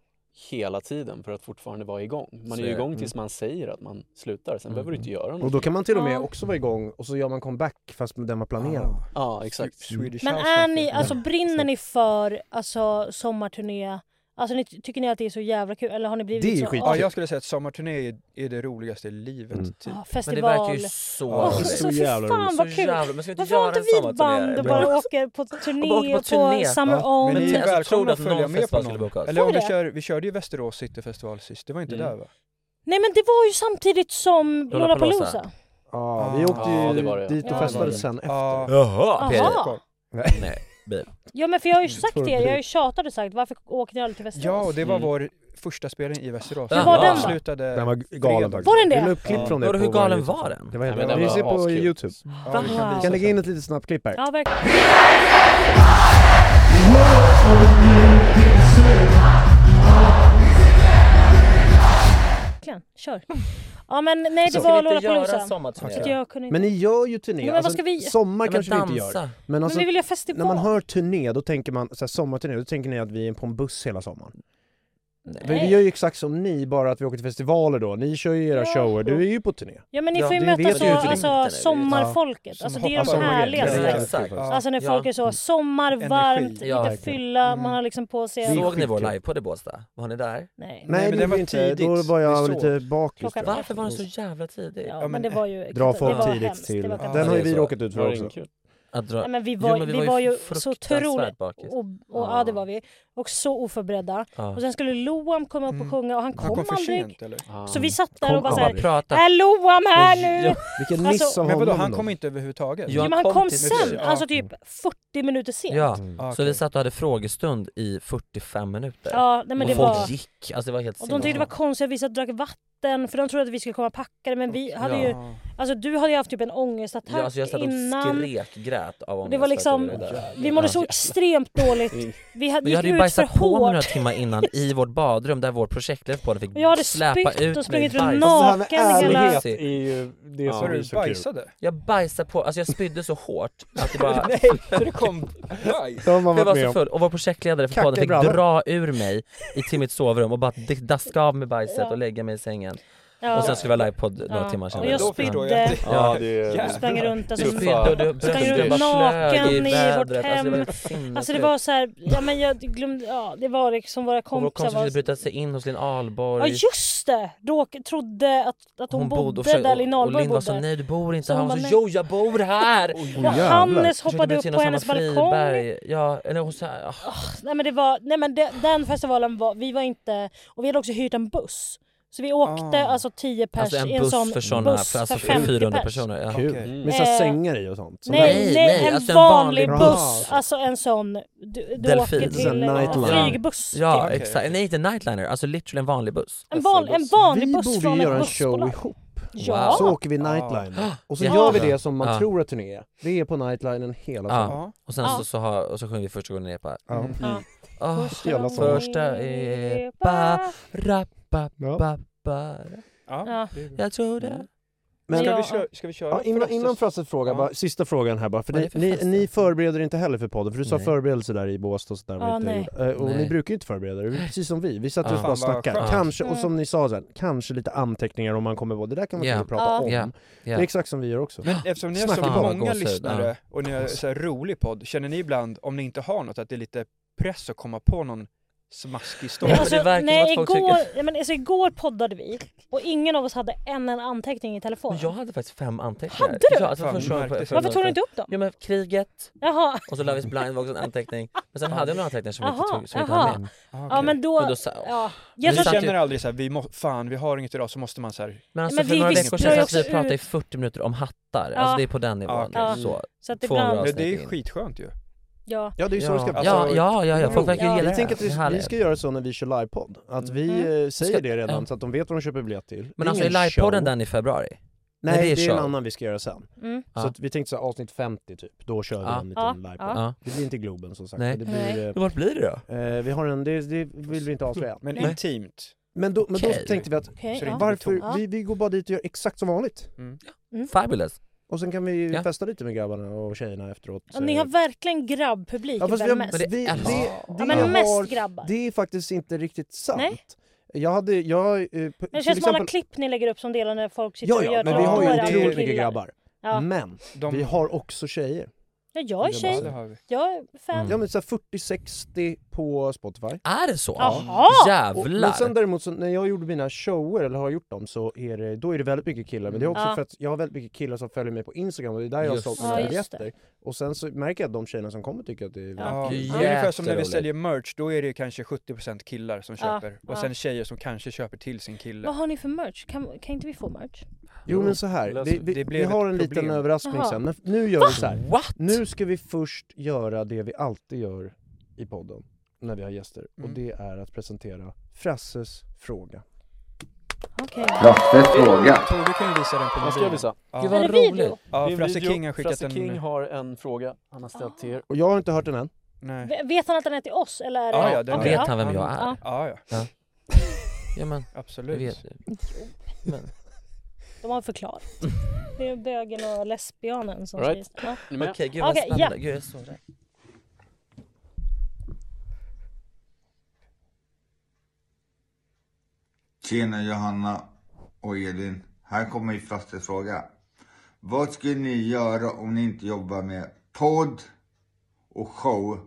Speaker 7: hela tiden för att fortfarande vara igång. Man är
Speaker 3: Så
Speaker 7: ju
Speaker 3: är det.
Speaker 7: igång tills man säger att man slutar, sen
Speaker 3: Mm.
Speaker 7: behöver du inte göra
Speaker 1: Och
Speaker 7: något.
Speaker 1: då kan man till och med
Speaker 2: Ja.
Speaker 1: också vara igång och så gör man comeback fast med den man planerat.
Speaker 5: Ah,
Speaker 7: Ja, exakt.
Speaker 5: Swedish
Speaker 2: Men
Speaker 5: House
Speaker 2: är
Speaker 5: Mafia.
Speaker 2: ni, alltså brinner ni för alltså, sommarturné? Alltså ni, tycker ni att det är så jävla kul? Eller har ni blivit
Speaker 1: Det är
Speaker 2: så...
Speaker 1: skitkul.
Speaker 5: Ja, jag skulle säga att sommarturné är, är det roligaste i livet.
Speaker 1: Mm.
Speaker 5: Typ.
Speaker 2: Ja,
Speaker 3: Men det
Speaker 2: festival.
Speaker 3: verkar ju så
Speaker 5: Ja,
Speaker 2: Åh,
Speaker 5: det är
Speaker 3: roligt.
Speaker 2: så,
Speaker 1: så
Speaker 2: fy
Speaker 1: jävla
Speaker 2: fan
Speaker 1: roligt.
Speaker 2: vad kul!
Speaker 3: jävla, men ska vi inte
Speaker 2: Varför har
Speaker 3: göra
Speaker 2: inte
Speaker 3: en
Speaker 2: vi ett band
Speaker 3: sommarturné?
Speaker 2: och bara åker på turné
Speaker 3: Och åker på
Speaker 2: och
Speaker 3: turné.
Speaker 2: på Summer
Speaker 5: Ja,
Speaker 2: On?
Speaker 5: Men ni
Speaker 3: Alltså,
Speaker 5: är
Speaker 3: tror du
Speaker 5: välkomna
Speaker 3: att
Speaker 5: att följa
Speaker 3: någon
Speaker 5: med på
Speaker 3: festival skulle boka
Speaker 5: någon.
Speaker 3: oss?
Speaker 5: Eller om
Speaker 2: Får
Speaker 5: vi
Speaker 2: det?
Speaker 5: kör, vi körde ju Västerås cityfestival sist, det var inte
Speaker 7: Mm.
Speaker 5: där va?
Speaker 2: Nej men det var ju samtidigt som Lollapalooza.
Speaker 3: Lollapalooza.
Speaker 1: Ja, vi åkte ju
Speaker 7: Ja, det var det.
Speaker 1: dit och
Speaker 2: Ah. Ja, det
Speaker 1: festade
Speaker 2: var det.
Speaker 1: sen efter.
Speaker 5: Ja,
Speaker 3: Jaha PJ.
Speaker 2: Jaha!
Speaker 3: Nej, bil.
Speaker 2: Ja men för jag har ju sagt
Speaker 1: Torr
Speaker 2: det, jag har ju
Speaker 1: blik.
Speaker 2: tjatat och sagt varför åker ni aldrig till Västerås?
Speaker 5: ja och det var
Speaker 7: Mm.
Speaker 5: vår första spelning i Västerås.
Speaker 3: Hur var den då?
Speaker 5: Slutade
Speaker 1: Den var galen faktiskt.
Speaker 2: Var den det?
Speaker 1: Vi la upp klipp
Speaker 7: Ja.
Speaker 1: från det
Speaker 3: Vadå, hur
Speaker 1: på vår
Speaker 3: galen
Speaker 1: YouTube.
Speaker 3: var den?
Speaker 1: Det var helt
Speaker 7: Nej, men
Speaker 1: jävla-
Speaker 7: den
Speaker 1: Vi
Speaker 7: var
Speaker 1: ser på
Speaker 7: askul.
Speaker 1: youtube.
Speaker 5: Ja, vi
Speaker 2: Wow.
Speaker 5: kan
Speaker 1: Vi
Speaker 5: visa
Speaker 1: kan lägga
Speaker 5: sen.
Speaker 1: in ett litet snabbt klipp här.
Speaker 2: Ja verkligen. Verkligen, kör. Ja men nej det
Speaker 3: Ska
Speaker 2: var
Speaker 3: vi inte göra en
Speaker 2: Lollapalooza. Så att
Speaker 3: sommarturné?
Speaker 2: jag kunde inte...
Speaker 1: Men ni gör ju turné. Alltså,
Speaker 2: Men vad ska vi-
Speaker 1: Sommar
Speaker 3: Ja, men
Speaker 1: kanske vi inte gör.
Speaker 3: dansa.
Speaker 1: Men
Speaker 2: Men
Speaker 1: alltså,
Speaker 2: vi vill göra
Speaker 1: när
Speaker 2: festival.
Speaker 1: man hör turné, då tänker man så här, sommarturné, då tänker ni att vi är på en buss hela sommaren. Men vi
Speaker 2: Nej.
Speaker 1: gör ju exakt som ni, bara att vi åker till festivaler då. Ni kör ju era
Speaker 2: Ja.
Speaker 1: shower, du är ju på turné.
Speaker 2: Ja men ni
Speaker 3: Ja,
Speaker 2: får ju
Speaker 1: det
Speaker 2: möta
Speaker 1: vet
Speaker 2: så,
Speaker 1: vi ju inte
Speaker 2: alltså,
Speaker 3: riktigt, eller?
Speaker 2: sommarfolket. Alltså det är
Speaker 1: hoppar
Speaker 2: de
Speaker 1: på
Speaker 2: härligaste.
Speaker 1: grejer.
Speaker 3: Ja,
Speaker 1: Ja,
Speaker 3: exakt.
Speaker 5: ja.
Speaker 2: Alltså när
Speaker 3: Ja.
Speaker 2: folk är
Speaker 1: Mm.
Speaker 2: så sommar,
Speaker 5: Energi.
Speaker 2: varmt,
Speaker 3: Ja,
Speaker 2: lite
Speaker 3: verkligen.
Speaker 2: fylla,
Speaker 5: Mm.
Speaker 2: man har liksom på sig...
Speaker 1: Det är
Speaker 3: Såg ni vår
Speaker 1: skitkul.
Speaker 3: live på det Båstad? Var ni där?
Speaker 2: Nej.
Speaker 1: Nej,
Speaker 5: men
Speaker 1: det
Speaker 5: den
Speaker 1: var
Speaker 5: var
Speaker 1: inte.
Speaker 5: tidigt.
Speaker 1: Då var jag
Speaker 5: Vi såg.
Speaker 1: lite bakis.
Speaker 2: Klockan
Speaker 1: tror jag.
Speaker 3: Varför var den så jävla tidig?
Speaker 2: Ja,
Speaker 5: men-
Speaker 2: men det var ju...
Speaker 1: Dra
Speaker 2: det var
Speaker 1: folk tidigt
Speaker 2: hemskt, det
Speaker 1: till...
Speaker 2: var
Speaker 3: hemskt.
Speaker 1: Den har ju
Speaker 3: Ja, det är
Speaker 1: vi
Speaker 3: så.
Speaker 1: råkat ut
Speaker 7: Var
Speaker 1: för
Speaker 7: det
Speaker 1: också.
Speaker 7: inte kul?
Speaker 3: Att dra...
Speaker 2: Nej, men vi
Speaker 3: Jo,
Speaker 2: var,
Speaker 3: men
Speaker 2: vi var ju så
Speaker 3: fruktansvärt
Speaker 2: otroligt...
Speaker 3: bakis.
Speaker 2: Och, och, ja. det var vi. Och så oförberedda.
Speaker 3: Ja.
Speaker 2: Och sen skulle Loam komma upp och sjunga och han kom,
Speaker 5: Han kom för
Speaker 2: aldrig.
Speaker 5: sent eller?
Speaker 7: Ah.
Speaker 2: Så vi satt där
Speaker 1: Kom
Speaker 2: och bara
Speaker 3: Han
Speaker 2: såhär
Speaker 3: bara pratade.
Speaker 2: Är Loam här nu?
Speaker 3: Ja.
Speaker 1: Vilken
Speaker 2: Alltså-
Speaker 1: miss av
Speaker 5: Men vadå,
Speaker 1: honom
Speaker 5: han
Speaker 1: då.
Speaker 5: kom inte överhuvudtaget?
Speaker 3: Ja.
Speaker 2: Jo men han kom
Speaker 3: kompis.
Speaker 2: sen,
Speaker 5: Ja.
Speaker 2: alltså typ 40 minuter sent.
Speaker 3: Ja,
Speaker 1: Mm.
Speaker 5: Ah,
Speaker 3: så
Speaker 5: okej.
Speaker 3: vi satt och hade frågestund i 45 minuter.
Speaker 2: Ja, nej, men
Speaker 3: och
Speaker 2: det
Speaker 3: folk
Speaker 2: var...
Speaker 3: gick, alltså det var helt alltså.
Speaker 2: Och de tyckte det var
Speaker 3: sinnessjukt.
Speaker 2: konstigt att vissa drack vatten natten för de trodde att vi skulle komma packade men vi hade ju
Speaker 3: Ja.
Speaker 2: Alltså du hade ju haft typ en ångestattack
Speaker 3: Ja, alltså jag satt och
Speaker 2: innan.
Speaker 3: skrek, grät av ångest.
Speaker 2: Det var
Speaker 3: för att jag
Speaker 2: liksom,
Speaker 3: gjorde det där.
Speaker 2: vi mådde så
Speaker 3: Ja.
Speaker 2: extremt dåligt. Vi hade,
Speaker 3: Men jag hade ju
Speaker 2: gick ut för
Speaker 3: bajsat på mig
Speaker 2: hårt.
Speaker 3: några timmar innan i vårt badrum där vår projektledare på fick
Speaker 2: Och jag hade
Speaker 3: släpa
Speaker 2: spytt och
Speaker 3: ut mig i
Speaker 2: sprungit runt
Speaker 3: bajs.
Speaker 2: naken hela...
Speaker 3: Är ju det
Speaker 5: som är så kul. Bajsade?
Speaker 3: Jag bajsade på, alltså jag spydde så hårt att det bara...
Speaker 5: Nej, för det kom bajs.
Speaker 3: Jag
Speaker 5: varit
Speaker 3: var
Speaker 5: med
Speaker 3: så
Speaker 5: om.
Speaker 3: full och vår projektledare för
Speaker 5: Kacka
Speaker 3: podden
Speaker 5: i
Speaker 3: fick
Speaker 5: brallan.
Speaker 3: dra ur mig i- till mitt sovrum och bara d- daska av med bajset
Speaker 2: Ja.
Speaker 3: och lägga mig i sängen.
Speaker 2: Ja.
Speaker 3: Och sen skulle vi ha livepodd några
Speaker 2: Ja.
Speaker 3: timmar senare.
Speaker 2: Och jag spydde, sprang runt, alltså,
Speaker 3: Du spydde och du
Speaker 2: sprang
Speaker 3: du
Speaker 2: runt
Speaker 3: bara slög
Speaker 2: naken i vårt
Speaker 3: vädret. Alltså, det var
Speaker 2: hem.
Speaker 3: helt sinnessjukt.
Speaker 2: Alltså det var så här, ja men jag glömde, ja det var liksom våra
Speaker 3: Och vår
Speaker 2: kompisar
Speaker 3: kompis
Speaker 2: var...
Speaker 3: försökte bryta sig in hos Linn Ahlborg.
Speaker 2: Ja just det! Råk, trodde att, att hon, bodde
Speaker 3: försökte-
Speaker 2: där Linn
Speaker 3: Och
Speaker 2: Ahlborg
Speaker 3: Linn var
Speaker 2: bodde.
Speaker 3: så nej du bor inte
Speaker 2: Så
Speaker 3: här.
Speaker 2: hon
Speaker 3: Hon
Speaker 2: bara,
Speaker 3: sa
Speaker 2: "Nej."
Speaker 3: jo jag bor här!
Speaker 2: Ja, jävlar. Hannes
Speaker 3: Försökte
Speaker 2: hoppade
Speaker 3: bryta
Speaker 2: upp
Speaker 3: sig in
Speaker 2: på
Speaker 3: hos
Speaker 2: hennes
Speaker 3: Sanna
Speaker 2: balkong.
Speaker 3: Friberg. Ja, eller hon sa, ah.
Speaker 2: Nej men det var, nej men det, den festivalen var, vi var inte, och vi hade också hyrt en buss. Så vi åkte alltså 10 pers
Speaker 3: Ah. Alltså en
Speaker 2: i en
Speaker 3: buss
Speaker 2: sån
Speaker 3: för sådana,
Speaker 2: buss
Speaker 3: för alltså
Speaker 2: för 50
Speaker 3: 400
Speaker 2: pers.
Speaker 3: personer, ja.
Speaker 1: Kul.
Speaker 3: Okej.
Speaker 1: Med så här
Speaker 2: Eh,
Speaker 1: sängar i och sånt? Som-
Speaker 2: Nej, nej,
Speaker 3: Mm. Nej, nej,
Speaker 2: en
Speaker 3: alltså en
Speaker 2: vanlig
Speaker 3: vanlig
Speaker 2: buss.
Speaker 3: buss.
Speaker 2: Alltså en sån, du, du
Speaker 3: delfin.
Speaker 2: åker till en flygbuss.
Speaker 3: Ja,
Speaker 2: typ.
Speaker 3: exakt. Nej, inte nightliner. Alltså literally en vanlig buss.
Speaker 2: En, van, en vanlig buss
Speaker 1: Vi
Speaker 2: från
Speaker 1: borde göra
Speaker 2: ett
Speaker 1: en show
Speaker 2: bussbolag.
Speaker 1: ihop.
Speaker 2: Ja.
Speaker 1: Så åker vi nightliner. Och så
Speaker 3: Ja.
Speaker 1: gör vi det som man
Speaker 3: Ja.
Speaker 1: tror att turné är. Det är på nightlinen hela tiden.
Speaker 3: Ja. Och sen så, så, har, och så sjunger vi första gången i epa.
Speaker 1: Alltså. Ja. Mm. Ja.
Speaker 3: Ah,
Speaker 1: Första Jävla sång.
Speaker 3: första epa, rappa, ba, ba. Ah,
Speaker 2: Ja.
Speaker 3: Jag tror
Speaker 2: Mm.
Speaker 3: det.
Speaker 1: Men-
Speaker 5: Ska vi kö- ska vi köra
Speaker 1: ja, innan,
Speaker 5: Frasses?
Speaker 1: innan Frasses fråga, bara, sista frågan här bara. För
Speaker 5: Vad är
Speaker 1: ni,
Speaker 5: det för
Speaker 1: ni,
Speaker 5: Frasse?
Speaker 1: ni förbereder inte heller för podden, för du sa
Speaker 5: Nej.
Speaker 1: förberedelse där i Båstad och sådär.
Speaker 5: Ja,
Speaker 1: och inte
Speaker 5: nej.
Speaker 1: gjorde. Eh, och
Speaker 5: Nej.
Speaker 1: ni brukar ju inte förbereda er, precis som vi. Vi satt
Speaker 5: Ja.
Speaker 1: just bara och
Speaker 5: Fan, vad
Speaker 1: snackade.
Speaker 5: skönt.
Speaker 1: Kanske, och som
Speaker 5: Mm.
Speaker 1: ni sa sen, kanske lite anteckningar om man kommer på. Det där kan man
Speaker 3: Ja.
Speaker 1: yeah. prata
Speaker 3: Ja.
Speaker 1: om.
Speaker 3: Ja.
Speaker 1: Det
Speaker 3: Ja.
Speaker 1: är exakt som vi gör också.
Speaker 5: Men eftersom ni har
Speaker 1: Snacka
Speaker 5: så
Speaker 1: bara
Speaker 5: många
Speaker 1: gåshud.
Speaker 5: lyssnare och ni har
Speaker 1: Ja.
Speaker 5: så här rolig podd, känner ni ibland, om ni inte har något, att det är lite press att komma på någon smaskig story?
Speaker 2: Alltså, nej, igår, ja, men, alltså, igår poddade vi och ingen av oss hade en, en anteckning i telefonen.
Speaker 3: Men jag hade faktiskt fem anteckningar.
Speaker 2: Hade du?
Speaker 3: Ja, alltså,
Speaker 2: Fan,
Speaker 3: först-
Speaker 2: märkte
Speaker 3: först-
Speaker 2: Varför tog du inte upp dem?
Speaker 3: Ja men kriget.
Speaker 2: Jaha.
Speaker 3: Och så Love is blind var också en anteckning. Men sen hade jag några anteckningar som jag inte
Speaker 2: Jaha,
Speaker 3: tog, som jag inte
Speaker 2: jaha.
Speaker 3: hade med.
Speaker 2: Ja men då,
Speaker 3: Men då sa-
Speaker 2: ja.
Speaker 5: Jag
Speaker 2: Jag tror att-
Speaker 5: Ah, känner aldrig så här, vi må, fan vi har inget idag så måste man så här...
Speaker 3: Men alltså
Speaker 2: Men
Speaker 3: för
Speaker 2: vi
Speaker 3: några
Speaker 2: visste
Speaker 3: veckor
Speaker 2: ju
Speaker 3: sedan så
Speaker 2: också
Speaker 3: vi pratade i
Speaker 2: ut-
Speaker 3: 40 minuter om hattar.
Speaker 2: Ja.
Speaker 3: Alltså det är på den nivån.
Speaker 2: Ah, okej. Ja.
Speaker 3: Så,
Speaker 2: Så att det
Speaker 3: 200
Speaker 2: ibland-
Speaker 5: Men
Speaker 3: avsnitt
Speaker 5: det är ju
Speaker 3: in.
Speaker 5: skitskönt ju.
Speaker 2: Ja.
Speaker 1: Ja det är ju så det ska
Speaker 3: Ja, ja, ja, ja, folk verkar ju gilla
Speaker 1: Jag
Speaker 3: det.
Speaker 1: tänker att
Speaker 3: Det är
Speaker 1: vi, vi
Speaker 3: härligt. Mm.
Speaker 1: ska göra så när vi kör livepodd, att vi eh, säger det redan så att de vet vad de köper biljett till.
Speaker 3: Men alltså är
Speaker 1: Ingen
Speaker 3: livepodden
Speaker 1: show.
Speaker 3: den i februari?
Speaker 1: Nej, det är,
Speaker 3: show.
Speaker 1: en annan vi ska göra sen.
Speaker 2: Mm.
Speaker 1: Så
Speaker 3: Ja.
Speaker 1: att vi tänkte så här, avsnitt 50 typ, då kör vi
Speaker 3: Ja.
Speaker 1: en liten
Speaker 3: Ja.
Speaker 1: livepodd.
Speaker 3: Ja.
Speaker 1: Det blir inte Globen som sagt.
Speaker 3: Nej.
Speaker 1: men Det blir, eh,
Speaker 3: Nej. Men vart blir det
Speaker 1: då? Eh, vi har en, det, det vill vi inte avslöja.
Speaker 5: Men
Speaker 1: Nej.
Speaker 5: intimt.
Speaker 1: Men då, men
Speaker 5: Okej.
Speaker 1: då tänkte vi att
Speaker 5: Okej, Så det ja. inte blir
Speaker 1: varför,
Speaker 5: tomt. Ja.
Speaker 1: vi, vi går bara dit och gör exakt som vanligt.
Speaker 3: Fabulous.
Speaker 1: Och sen kan vi ju
Speaker 3: Ja.
Speaker 1: festa lite med grabbarna och tjejerna efteråt.
Speaker 2: Ja, ni
Speaker 1: eh,
Speaker 2: har verkligen grabbpublik.
Speaker 1: Ja, fast
Speaker 2: ibland
Speaker 1: vi har,
Speaker 2: mest.
Speaker 1: vi, det, det
Speaker 2: ja, men mest
Speaker 1: har-
Speaker 2: grabbar.
Speaker 1: Det är faktiskt inte riktigt sant.
Speaker 2: Nej.
Speaker 1: Jag hade, jag... eh, på-
Speaker 2: Men
Speaker 1: till
Speaker 2: det känns som alla
Speaker 1: exempel-
Speaker 2: klipp ni lägger upp som delar när folk sitter
Speaker 1: Ja,
Speaker 2: och gör
Speaker 1: ja, men vi har ju
Speaker 2: tårar och
Speaker 1: otroligt mycket
Speaker 2: killar.
Speaker 1: grabbar.
Speaker 2: Ja.
Speaker 1: Men
Speaker 5: De-
Speaker 1: vi har också tjejer.
Speaker 2: Ja, jag är
Speaker 1: Det
Speaker 2: tjej.
Speaker 1: måste ha vi. Mm.
Speaker 2: Jag är fem.
Speaker 1: Ja men så här 40-60 på Spotify.
Speaker 3: Är det så?
Speaker 2: Jaha!
Speaker 3: Jävlar!
Speaker 1: Och, men sen däremot så när jag gjorde mina shower eller har gjort dem så är det, då är det väldigt mycket killar men det är också
Speaker 2: Ja.
Speaker 1: för att jag har väldigt mycket killar som följer mig på Instagram och det är där jag har
Speaker 5: Just
Speaker 1: sålt
Speaker 5: det.
Speaker 1: mina
Speaker 5: Ja, just
Speaker 1: biljetter. Och sen så märker jag att de tjejerna som kommer tycker att det är väldigt
Speaker 5: Ja.
Speaker 1: kul.
Speaker 5: Det är ungefär som när vi säljer merch, då är det kanske 70% killar som
Speaker 2: Ja,
Speaker 5: köper
Speaker 2: ja.
Speaker 5: och sen tjejer som kanske köper till sin kille.
Speaker 2: Vad har ni för merch? Kan, kan inte vi få merch?
Speaker 1: Jo men så här,
Speaker 5: Löser-
Speaker 1: vi, vi,
Speaker 5: det
Speaker 1: vi
Speaker 5: blev
Speaker 1: har
Speaker 5: ett
Speaker 1: en liten
Speaker 5: problem.
Speaker 1: överraskning
Speaker 2: Jaha.
Speaker 1: sen. Men nu gör
Speaker 2: Va?
Speaker 1: vi så här.
Speaker 3: What?
Speaker 1: Nu ska vi först göra det vi alltid gör i podden när vi har gäster
Speaker 5: Mm.
Speaker 1: och det är att presentera Frasses fråga.
Speaker 2: Okej.
Speaker 5: Frasses fråga. Tove kan ju visa den på
Speaker 7: Vad ska
Speaker 5: mobilen.
Speaker 7: jag visa?
Speaker 5: Ja.
Speaker 7: Gud vad
Speaker 5: Är det video?
Speaker 7: roligt.
Speaker 5: Ja,
Speaker 7: Det är en
Speaker 5: Frasse
Speaker 7: video.
Speaker 5: King har skickat
Speaker 7: Frasse
Speaker 5: en-
Speaker 7: King har en fråga han har ställt till er.
Speaker 1: Och jag har inte hört den än.
Speaker 5: Nej.
Speaker 2: V- Vet han att den är till oss eller är det...
Speaker 5: Ja, ja, den
Speaker 2: Okej,
Speaker 5: vet
Speaker 3: Vet han vem jag är?
Speaker 2: Ja.
Speaker 5: Ja, ja.
Speaker 3: Ja, ja men.
Speaker 5: Absolut.
Speaker 3: jag vet. Men.
Speaker 2: De har förklarat. Det är bögen och lesbianen som
Speaker 3: Alright.
Speaker 2: säger så.
Speaker 3: Ni med? Okej, gud vad
Speaker 2: Okej, ja.
Speaker 3: spännande. Gud, jag är så rädd.
Speaker 14: Tjena Johanna och Elin. Här kommer min första fråga. Vad skulle ni göra om ni inte jobbar med podd och show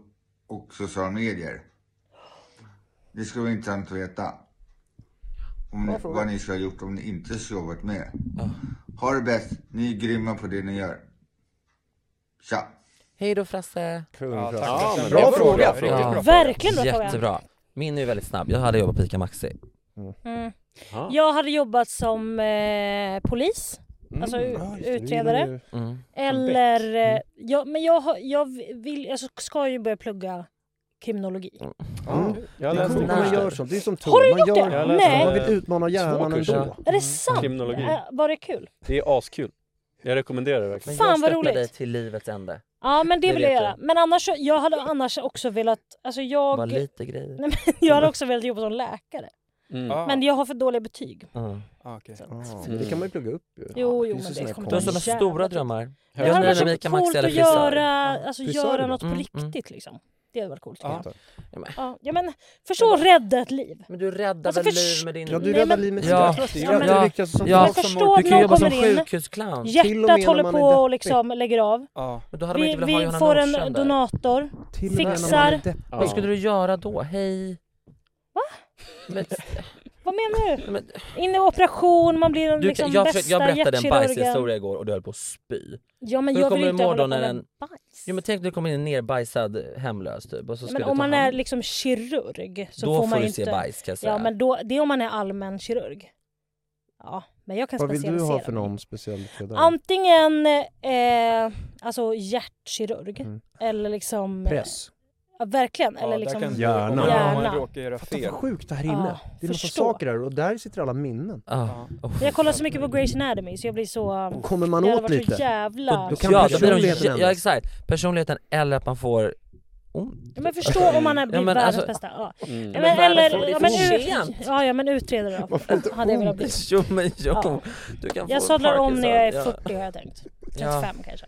Speaker 14: och sociala medier? Det skulle vara intressant att veta. Om ni,
Speaker 1: Bra fråga.
Speaker 14: vad ni skulle ha gjort om ni inte skulle ha jobbat med. Ha det bäst. Ni är grymma på det ni gör. Tja!
Speaker 3: Hej då Frasse!
Speaker 1: Kung
Speaker 14: Ja,
Speaker 3: Frasse.
Speaker 14: tack, Ja, Frasse. men bra fråga. Riktigt bra fråga.
Speaker 2: Verkligen bra fråga.
Speaker 3: Jättebra. Min är ju väldigt snabb. Jag hade jobbat på ICA Maxi.
Speaker 2: Mm.
Speaker 3: Ja.
Speaker 2: Jag hade jobbat som eh, polis, alltså
Speaker 1: Mm.
Speaker 2: u- utredare.
Speaker 3: Mm.
Speaker 2: Eller, eh, jag, men jag, har- jag vill, jag ska ju börja plugga kriminologi.
Speaker 1: Mm. Jag
Speaker 7: läste
Speaker 1: läste man
Speaker 7: kursen.
Speaker 1: gör sånt. Det är som tur.
Speaker 2: Har du
Speaker 1: man
Speaker 2: gjort
Speaker 1: gör
Speaker 2: det?
Speaker 1: sånt.
Speaker 2: Jag läste
Speaker 1: Man
Speaker 7: det.
Speaker 1: vill utmana hjärnan
Speaker 7: Två kurser.
Speaker 1: ändå.
Speaker 2: Är det sant?
Speaker 7: Kriminologi.
Speaker 2: Äh, var det kul?
Speaker 7: Det är askul. Jag rekommenderar det verkligen.
Speaker 2: Fan, vad roligt.
Speaker 3: dig till livets ände.
Speaker 2: Ja men det
Speaker 3: Det
Speaker 2: vill
Speaker 3: vet
Speaker 2: jag göra.
Speaker 3: du.
Speaker 2: Men annars, jag hade annars också velat, alltså jag...
Speaker 3: Bara lite grejer.
Speaker 2: Nej, men jag hade också velat jobba som läkare.
Speaker 3: Mm.
Speaker 2: Men jag har för dåliga betyg.
Speaker 3: Mm.
Speaker 1: Det kan man ju plugga upp ju.
Speaker 2: Jo, jo,
Speaker 1: finns
Speaker 2: men
Speaker 1: ju såna
Speaker 2: det
Speaker 1: här
Speaker 2: kommer
Speaker 3: Du har sådana
Speaker 2: jävla
Speaker 3: stora
Speaker 2: tufft.
Speaker 3: drömmar.
Speaker 2: Det hade
Speaker 3: Jag
Speaker 2: varit
Speaker 3: nöjer
Speaker 2: så
Speaker 3: mig med Max
Speaker 2: coolt
Speaker 3: eller
Speaker 2: att
Speaker 3: frisör.
Speaker 2: göra, alltså,
Speaker 3: Frisör
Speaker 2: göra
Speaker 3: då?
Speaker 2: något på
Speaker 3: Mm, mm.
Speaker 2: riktigt liksom. Det hade varit coolt.
Speaker 3: Ja.
Speaker 2: Ja, ja men förstå att rädda ett liv.
Speaker 3: Men du räddar
Speaker 2: Alltså,
Speaker 3: väl
Speaker 2: förs-
Speaker 3: liv med din...
Speaker 1: Ja, du räddar liv med
Speaker 3: Ja.
Speaker 1: sitt hjärta.
Speaker 3: Ja,
Speaker 1: Det är
Speaker 3: men-
Speaker 1: ju det viktigaste som
Speaker 3: ja.
Speaker 1: finns.
Speaker 2: Men
Speaker 1: som
Speaker 2: förstå
Speaker 3: Du
Speaker 2: att
Speaker 3: kan ju
Speaker 2: någon
Speaker 3: jobba som
Speaker 2: kommer in,
Speaker 3: sjukhusclown. Till och
Speaker 2: hjärtat
Speaker 3: med när
Speaker 2: håller
Speaker 3: man
Speaker 2: på
Speaker 3: är
Speaker 2: och
Speaker 3: deppig.
Speaker 2: liksom lägger av.
Speaker 3: Men då hade man
Speaker 2: Vi,
Speaker 3: inte velat ha
Speaker 2: vi
Speaker 3: Johanna
Speaker 2: får
Speaker 3: Nordström
Speaker 2: en
Speaker 3: där.
Speaker 2: donator,
Speaker 3: Till och med när man är
Speaker 2: fixar.
Speaker 3: deppig. Vad skulle du göra då? Hej? Va?
Speaker 2: Vad menar du? In i operation, man blir den
Speaker 3: Du,
Speaker 2: liksom
Speaker 3: jag, försökte-
Speaker 2: bästa
Speaker 3: jag berättade en
Speaker 2: hjärtkirurgen.
Speaker 3: bajshistoria igår och du höll på att spy.
Speaker 2: Ja men
Speaker 3: Hur
Speaker 2: jag
Speaker 3: kommer
Speaker 2: vill
Speaker 3: du
Speaker 2: inte
Speaker 3: må
Speaker 2: hålla
Speaker 3: då
Speaker 2: på
Speaker 3: när
Speaker 2: med
Speaker 3: den... Jo, men tänk dig du kommer in en nerbajsad hemlös typ och så
Speaker 2: Ja,
Speaker 3: ska
Speaker 2: men
Speaker 3: du ta
Speaker 2: om man
Speaker 3: hand
Speaker 2: är liksom kirurg så
Speaker 3: Då
Speaker 2: får
Speaker 3: får
Speaker 2: man
Speaker 3: du
Speaker 2: ju
Speaker 3: se
Speaker 2: inte...
Speaker 3: bajs, kan jag säga.
Speaker 2: Ja men då, det är om man är allmän kirurg. Ja, men jag kan
Speaker 1: Vad vill du
Speaker 2: specialisera
Speaker 1: ha för
Speaker 2: mig.
Speaker 1: någon specialitet? där?
Speaker 2: Antingen eh, alltså hjärtkirurg eller liksom...
Speaker 1: Mm. Press.
Speaker 2: Ja, verkligen.
Speaker 5: Ja,
Speaker 2: Eller
Speaker 5: där
Speaker 2: liksom...
Speaker 5: kan-
Speaker 1: Hjärnan.
Speaker 5: Om man- Om
Speaker 2: Hjärnan.
Speaker 5: man råkar göra
Speaker 1: Fatta
Speaker 5: fel.
Speaker 1: vad sjukt det här
Speaker 2: Ja,
Speaker 1: inne. det är massa
Speaker 2: förstå.
Speaker 1: saker här och där sitter alla minnen.
Speaker 2: Jag kollar så mycket på Grey's Anatomy så jag blir så...
Speaker 1: Kommer man
Speaker 2: jag hade
Speaker 1: åt
Speaker 2: varit
Speaker 1: lite?
Speaker 2: Så jävla...
Speaker 1: Då- då kan
Speaker 3: ja, då blir de,
Speaker 1: personligheten
Speaker 3: ja,
Speaker 1: ändras.
Speaker 3: exakt. Personligheten eller att man får ont.
Speaker 2: Ja, men förstå om man är blir
Speaker 3: Ja, men
Speaker 2: världens
Speaker 3: alltså-
Speaker 2: bästa. Ja.
Speaker 3: Mm.
Speaker 2: Ja,
Speaker 3: Men
Speaker 2: men,
Speaker 3: varför?
Speaker 2: eller,
Speaker 3: Det är
Speaker 2: ja, men,
Speaker 3: för
Speaker 2: ut, ja, ja men utredare då. Hade jag velat bli.
Speaker 3: Jo men jo.
Speaker 2: Ja.
Speaker 3: Du kan
Speaker 2: Jag
Speaker 3: få
Speaker 2: sadlar om när jag är
Speaker 3: Parkinson.
Speaker 2: 40 har jag tänkt.
Speaker 3: Ja.
Speaker 2: 35 kanske.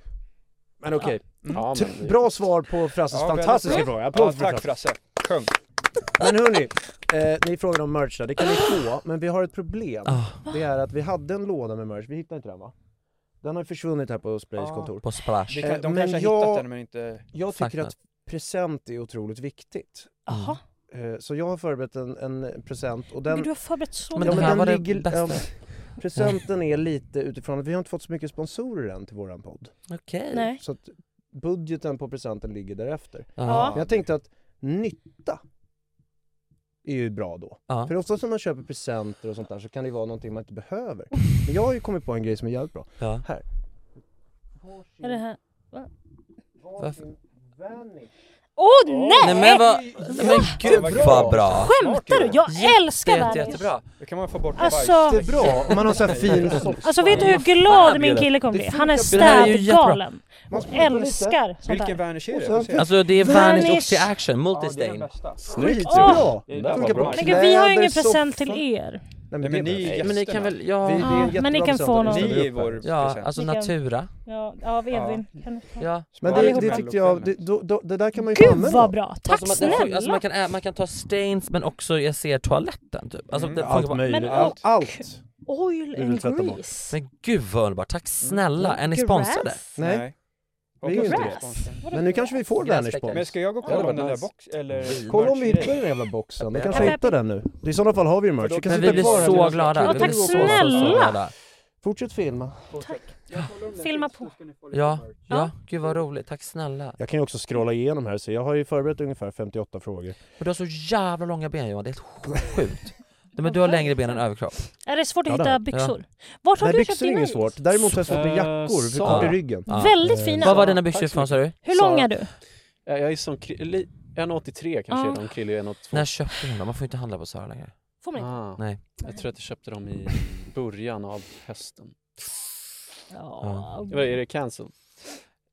Speaker 1: Men okej.
Speaker 7: Ja,
Speaker 1: T-
Speaker 7: men det-
Speaker 1: Mm. Bra svar på Frasses
Speaker 5: Ja, väldigt
Speaker 1: fantastiska
Speaker 5: bra.
Speaker 1: fråga.
Speaker 5: Ja,
Speaker 1: Alltså, Applåd för
Speaker 5: tack
Speaker 1: Frasse.
Speaker 5: Frasse. Kung.
Speaker 1: Men hörni, eh, ni frågade om merch där. Det kan ni få, men vi har ett problem.
Speaker 3: Ah.
Speaker 1: Det är att vi hade en låda med merch, vi hittade inte den va? Den har ju försvunnit här på Splays
Speaker 5: Ja.
Speaker 1: kontor.
Speaker 3: På Splash.
Speaker 5: Det kan- de
Speaker 1: Eh,
Speaker 5: kanske har hittat den, men inte
Speaker 1: Jag tycker
Speaker 5: saknat.
Speaker 1: att present är otroligt viktigt.
Speaker 2: Jaha.
Speaker 1: Eh, Så jag har förberett en, en present och den...
Speaker 2: Men du har förberett så
Speaker 1: Ja,
Speaker 2: mycket.
Speaker 1: den ja, presenten är lite utifrån att vi har inte fått så mycket sponsorer än till våran podd.
Speaker 3: Okej.
Speaker 2: Nej.
Speaker 1: Så att budgeten på presenten ligger därefter.
Speaker 3: Ja.
Speaker 1: Men jag tänkte att nytta är ju bra då.
Speaker 3: Ja.
Speaker 1: För ofta när man köper presenter och sånt där så kan det vara någonting man inte behöver. Men jag har ju kommit på en grej som är jävligt bra.
Speaker 3: Ja.
Speaker 1: Här.
Speaker 2: Är det här? Va?
Speaker 3: Varför?
Speaker 2: Åh nej!
Speaker 3: Nej men vad, men gud
Speaker 5: Vad
Speaker 3: vad bra!
Speaker 2: Skämtar du? Jag älskar
Speaker 3: Jätte,
Speaker 2: Vanish!
Speaker 3: jättebra!
Speaker 5: Då kan man få bort
Speaker 2: Alltså-
Speaker 5: bajs.
Speaker 1: Bra! Om man har så här fin
Speaker 2: Alltså vet du hur
Speaker 3: fan
Speaker 2: glad
Speaker 3: är
Speaker 2: min
Speaker 3: det?
Speaker 2: kille kommer
Speaker 3: Det
Speaker 2: bli? Han är
Speaker 3: funkar bra. Det här är ju jättebra.
Speaker 2: städgalen.
Speaker 1: Man
Speaker 2: Och
Speaker 1: smakar lite.
Speaker 2: älskar sånt
Speaker 5: Vilken
Speaker 2: här.
Speaker 5: vanish är det?
Speaker 1: Och
Speaker 5: Får
Speaker 1: sen-
Speaker 5: se.
Speaker 3: Alltså det är Vanish och
Speaker 2: Vanish.
Speaker 3: till action,
Speaker 5: det är den
Speaker 3: multistain.
Speaker 5: bästa.
Speaker 1: Skitbra!
Speaker 7: Det där var
Speaker 1: Funkar på
Speaker 7: bra.
Speaker 2: Men gud, vi har ju
Speaker 1: kläder,
Speaker 2: ingen present
Speaker 1: soffa.
Speaker 2: till er.
Speaker 1: Nej,
Speaker 5: Nej,
Speaker 1: men det
Speaker 5: men ni
Speaker 1: är
Speaker 5: är
Speaker 1: bra.
Speaker 3: Nej, men ni kan väl,
Speaker 1: Vi- det är en
Speaker 3: ja,
Speaker 2: men
Speaker 1: jättebra
Speaker 2: ni kan
Speaker 1: present
Speaker 2: få
Speaker 1: att
Speaker 2: någon.
Speaker 1: ställa
Speaker 5: Ni är
Speaker 1: upp här.
Speaker 5: vår
Speaker 3: ja
Speaker 5: present.
Speaker 3: alltså
Speaker 2: Ni kan-
Speaker 3: natura.
Speaker 2: Ja, av Edvin. Kan du ta?
Speaker 3: Ja.
Speaker 1: Men
Speaker 5: Spara
Speaker 1: det,
Speaker 5: ihop
Speaker 1: det
Speaker 5: den.
Speaker 1: tyckte jag, det, då, då, det där kan man ju få
Speaker 2: Gud
Speaker 1: använda.
Speaker 2: vad bra! Tack
Speaker 3: Alltså man, den får- alltså man,
Speaker 2: snälla!
Speaker 3: kan, ä- man kan ta stains men också, jag ser toaletten typ. Alltså, det funkar
Speaker 1: Mm. Allt
Speaker 3: bara-
Speaker 1: möjligt.
Speaker 2: Men-
Speaker 1: allt. allt.
Speaker 2: Oil
Speaker 1: vill
Speaker 2: and
Speaker 1: tvätta bort.
Speaker 2: grease.
Speaker 3: men gud vad underbart, tack snälla! Är ni
Speaker 2: Grass?
Speaker 3: sponsrade?
Speaker 1: Mm. Nej,
Speaker 5: Och
Speaker 1: vi är ju inte
Speaker 5: grass.
Speaker 2: Grass? Vadå
Speaker 1: men nu kanske vi får Vanish
Speaker 3: Gräsbäcken.
Speaker 1: på
Speaker 5: Men ska jag gå och
Speaker 3: Ja,
Speaker 5: kolla
Speaker 3: det
Speaker 5: på den
Speaker 3: var
Speaker 5: där
Speaker 3: nice.
Speaker 5: box eller?
Speaker 1: Kolla om vi hittar
Speaker 5: merch-grejen?
Speaker 1: den jävla boxen, vi kanske hittar den nu. I sådana fall har vi ju merch, vi kan
Speaker 3: Men vi
Speaker 1: sitta
Speaker 3: blir
Speaker 1: kvar här
Speaker 3: så
Speaker 1: tills-
Speaker 3: glada!
Speaker 2: Ja,
Speaker 3: Vi
Speaker 2: tack
Speaker 3: blir så, så, så
Speaker 2: snälla.
Speaker 3: glada.
Speaker 1: Fortsätt filma.
Speaker 2: Filma på.
Speaker 3: Ja, ja, gud vad roligt, tack snälla.
Speaker 1: Jag kan ju också scrolla igenom här, så jag har ju förberett ungefär 58 frågor.
Speaker 3: Men du har så jävla långa ben Johan, det är helt sjukt. Nej, men du har längre ben än överkropp.
Speaker 2: Är det svårt
Speaker 1: Ja,
Speaker 2: att
Speaker 1: det är
Speaker 2: hitta
Speaker 1: det.
Speaker 2: byxor? Vart har
Speaker 1: Nej
Speaker 2: du köpt
Speaker 1: byxor är
Speaker 2: dina?
Speaker 1: inget svårt, däremot har jag svårt med
Speaker 7: Eh,
Speaker 1: jackor, för
Speaker 7: så.
Speaker 1: kort i ryggen.
Speaker 3: Ja.
Speaker 2: Väldigt
Speaker 1: Eh,
Speaker 2: fina.
Speaker 3: Vad var
Speaker 7: Ja,
Speaker 3: dina
Speaker 7: tack
Speaker 3: byxor
Speaker 7: så
Speaker 3: ifrån sa du?
Speaker 2: Hur lång är du?
Speaker 7: Jag jag är som Kri- li- 1,83 kanske
Speaker 2: Ja.
Speaker 7: är de, Krille är 1,82.
Speaker 3: När köpte du dem? Man får inte handla på Zara längre.
Speaker 2: Får man inte?
Speaker 7: Ah,
Speaker 3: Nej.
Speaker 7: Jag tror att jag köpte dem i början av hösten.
Speaker 2: Ja.
Speaker 7: Vad Är det cancelled?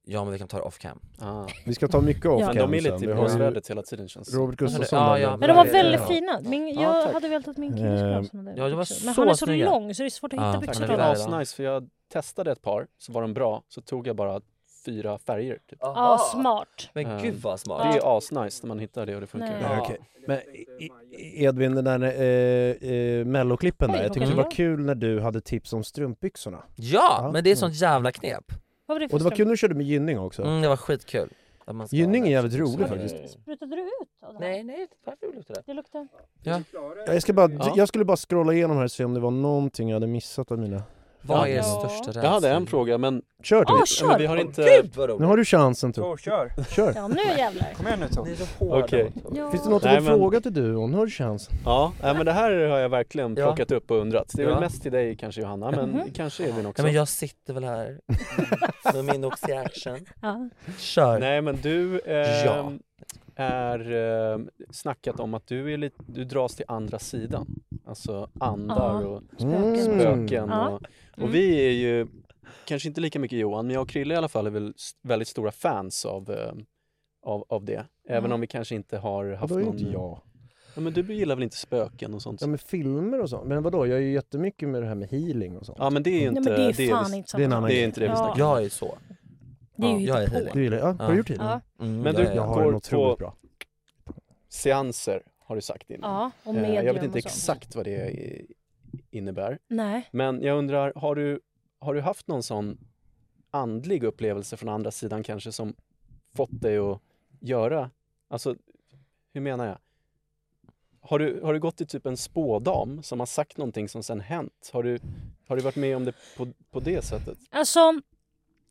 Speaker 3: Ja men vi kan ta det off cam.
Speaker 7: Ah.
Speaker 1: Vi ska ta mycket off
Speaker 2: Ja.
Speaker 7: Men de är lite
Speaker 1: sen. Vi
Speaker 7: i
Speaker 1: har ju
Speaker 7: blåsvädret hela tiden känns det som.
Speaker 1: Robert Gustafsson
Speaker 3: Ja,
Speaker 1: där.
Speaker 3: ja,
Speaker 2: Men de var
Speaker 3: Ja.
Speaker 2: väldigt fina. Min, jag
Speaker 7: Ja, tack.
Speaker 2: hade velat att min kille skulle ha
Speaker 1: Eh,
Speaker 2: såna där
Speaker 3: ja, det var
Speaker 2: byxor. Men
Speaker 3: så
Speaker 2: han är så
Speaker 3: snygga.
Speaker 2: lång så det är svårt att
Speaker 3: Ja,
Speaker 2: hitta
Speaker 3: han är
Speaker 2: byxor
Speaker 7: Men
Speaker 3: Tack.
Speaker 2: till
Speaker 7: det
Speaker 3: Tyvärr,
Speaker 7: var
Speaker 2: honom.
Speaker 3: då.
Speaker 7: asnice för jag testade ett par så var de bra så tog jag bara fyra färger. Typ. Ehm,
Speaker 2: Ja, smart.
Speaker 3: Men gud vad smart.
Speaker 7: Det är asnice när man hittar det och det funkar.
Speaker 2: Nej.
Speaker 1: Ja,
Speaker 3: Ja.
Speaker 1: okej. Men i- i- Edvin, den där eh, eh, melloklippen där,
Speaker 2: Oj,
Speaker 1: jag
Speaker 2: vad
Speaker 1: tyckte det
Speaker 2: bra.
Speaker 1: var kul när du hade tips om strumpbyxorna.
Speaker 3: Ja,
Speaker 1: Ja.
Speaker 3: men det är sånt jävla knep.
Speaker 2: Vad var det för
Speaker 1: Och det var kul
Speaker 2: strumpor?
Speaker 1: när du körde med Gynning också.
Speaker 3: Mm, det var skitkul. Att man ska
Speaker 1: Gynning är
Speaker 3: ha-
Speaker 1: jävligt rolig
Speaker 3: Mm.
Speaker 1: faktiskt.
Speaker 2: Sprutade du ut av det här?
Speaker 3: Nej, nej, varför luktar det?
Speaker 2: Det luktar...
Speaker 1: Jag, ska bara,
Speaker 7: Ja.
Speaker 1: jag skulle bara scrolla igenom här och se om det var någonting jag hade missat av mina...
Speaker 3: Vad är
Speaker 7: Ja.
Speaker 3: er största rädsla?
Speaker 7: Jag hade en fråga men,
Speaker 1: Kör
Speaker 2: Ah,
Speaker 1: du!
Speaker 7: Nej, men vi
Speaker 2: kör!
Speaker 7: har inte...
Speaker 3: Gud vad
Speaker 1: Nu
Speaker 3: roligt!
Speaker 1: har du chansen Tor.
Speaker 5: Tor, kör!
Speaker 1: Kör!
Speaker 2: Ja, nu jävlar.
Speaker 5: Kom igen nu Tor.
Speaker 3: Ni är så hårda.
Speaker 7: Okej.
Speaker 2: Ja.
Speaker 1: Finns det något du
Speaker 7: Nej,
Speaker 1: vill
Speaker 7: men-
Speaker 1: fråga till duon? Nu har du chansen.
Speaker 7: Ja, nej, men det här har jag verkligen
Speaker 3: Ja.
Speaker 7: plockat upp och undrat. Det är
Speaker 3: Ja.
Speaker 7: väl mest till dig kanske Johanna, men
Speaker 2: Mhm. Mm-hmm.
Speaker 7: kanske Edvin också.
Speaker 3: Nej, men jag sitter väl här med min Oxy Action.
Speaker 2: Ja.
Speaker 3: Kör!
Speaker 7: Nej men du, eh,
Speaker 3: Ja.
Speaker 7: är eh, snackat om att du, är lite, du dras till andra sidan. Alltså andar
Speaker 2: Ja,
Speaker 7: och
Speaker 2: spöken.
Speaker 7: spöken.
Speaker 2: Ja.
Speaker 7: och,
Speaker 2: Mm.
Speaker 7: och vi är ju, kanske inte lika mycket Johan, men jag och Krille i alla fall är väl s- väldigt stora fans av, eh, av, av det. Även
Speaker 1: Ja.
Speaker 7: om vi kanske inte har haft
Speaker 1: Vadå
Speaker 7: någon...
Speaker 1: inte jag?
Speaker 7: Ja, men du gillar väl inte spöken och sånt?
Speaker 1: Ja men filmer och sånt, men vadå jag är ju jättemycket med det här med healing och sånt
Speaker 7: Ja men det är ju
Speaker 2: Nej,
Speaker 7: inte...
Speaker 2: men det är fan
Speaker 7: vi-
Speaker 2: inte samma
Speaker 7: det är en annan
Speaker 2: sak.
Speaker 7: grej. Det är inte det vi
Speaker 2: Ja.
Speaker 7: snackar om.
Speaker 3: Jag är så.
Speaker 2: Det är ju
Speaker 3: jag är
Speaker 2: hittepå.
Speaker 3: healing.
Speaker 1: Du gillar, ja, har du gjort healing?
Speaker 2: Ja.
Speaker 3: Mm,
Speaker 7: men
Speaker 3: jag
Speaker 7: du
Speaker 3: är- jag har
Speaker 7: går
Speaker 3: en
Speaker 7: på
Speaker 3: otroligt bra.
Speaker 7: seanser har du sagt innan.
Speaker 2: Ja, och
Speaker 7: Eh, Jag
Speaker 2: medium
Speaker 7: vet inte
Speaker 2: och sånt.
Speaker 7: exakt vad det i- innebär.
Speaker 2: Nej.
Speaker 7: Men jag undrar, har du, har du haft någon sån andlig upplevelse från andra sidan kanske som fått dig att göra, alltså hur menar jag? Har du, har du gått till typ en spådam som har sagt någonting som sen hänt? Har du, har du varit med om det på, på det sättet?
Speaker 2: Alltså,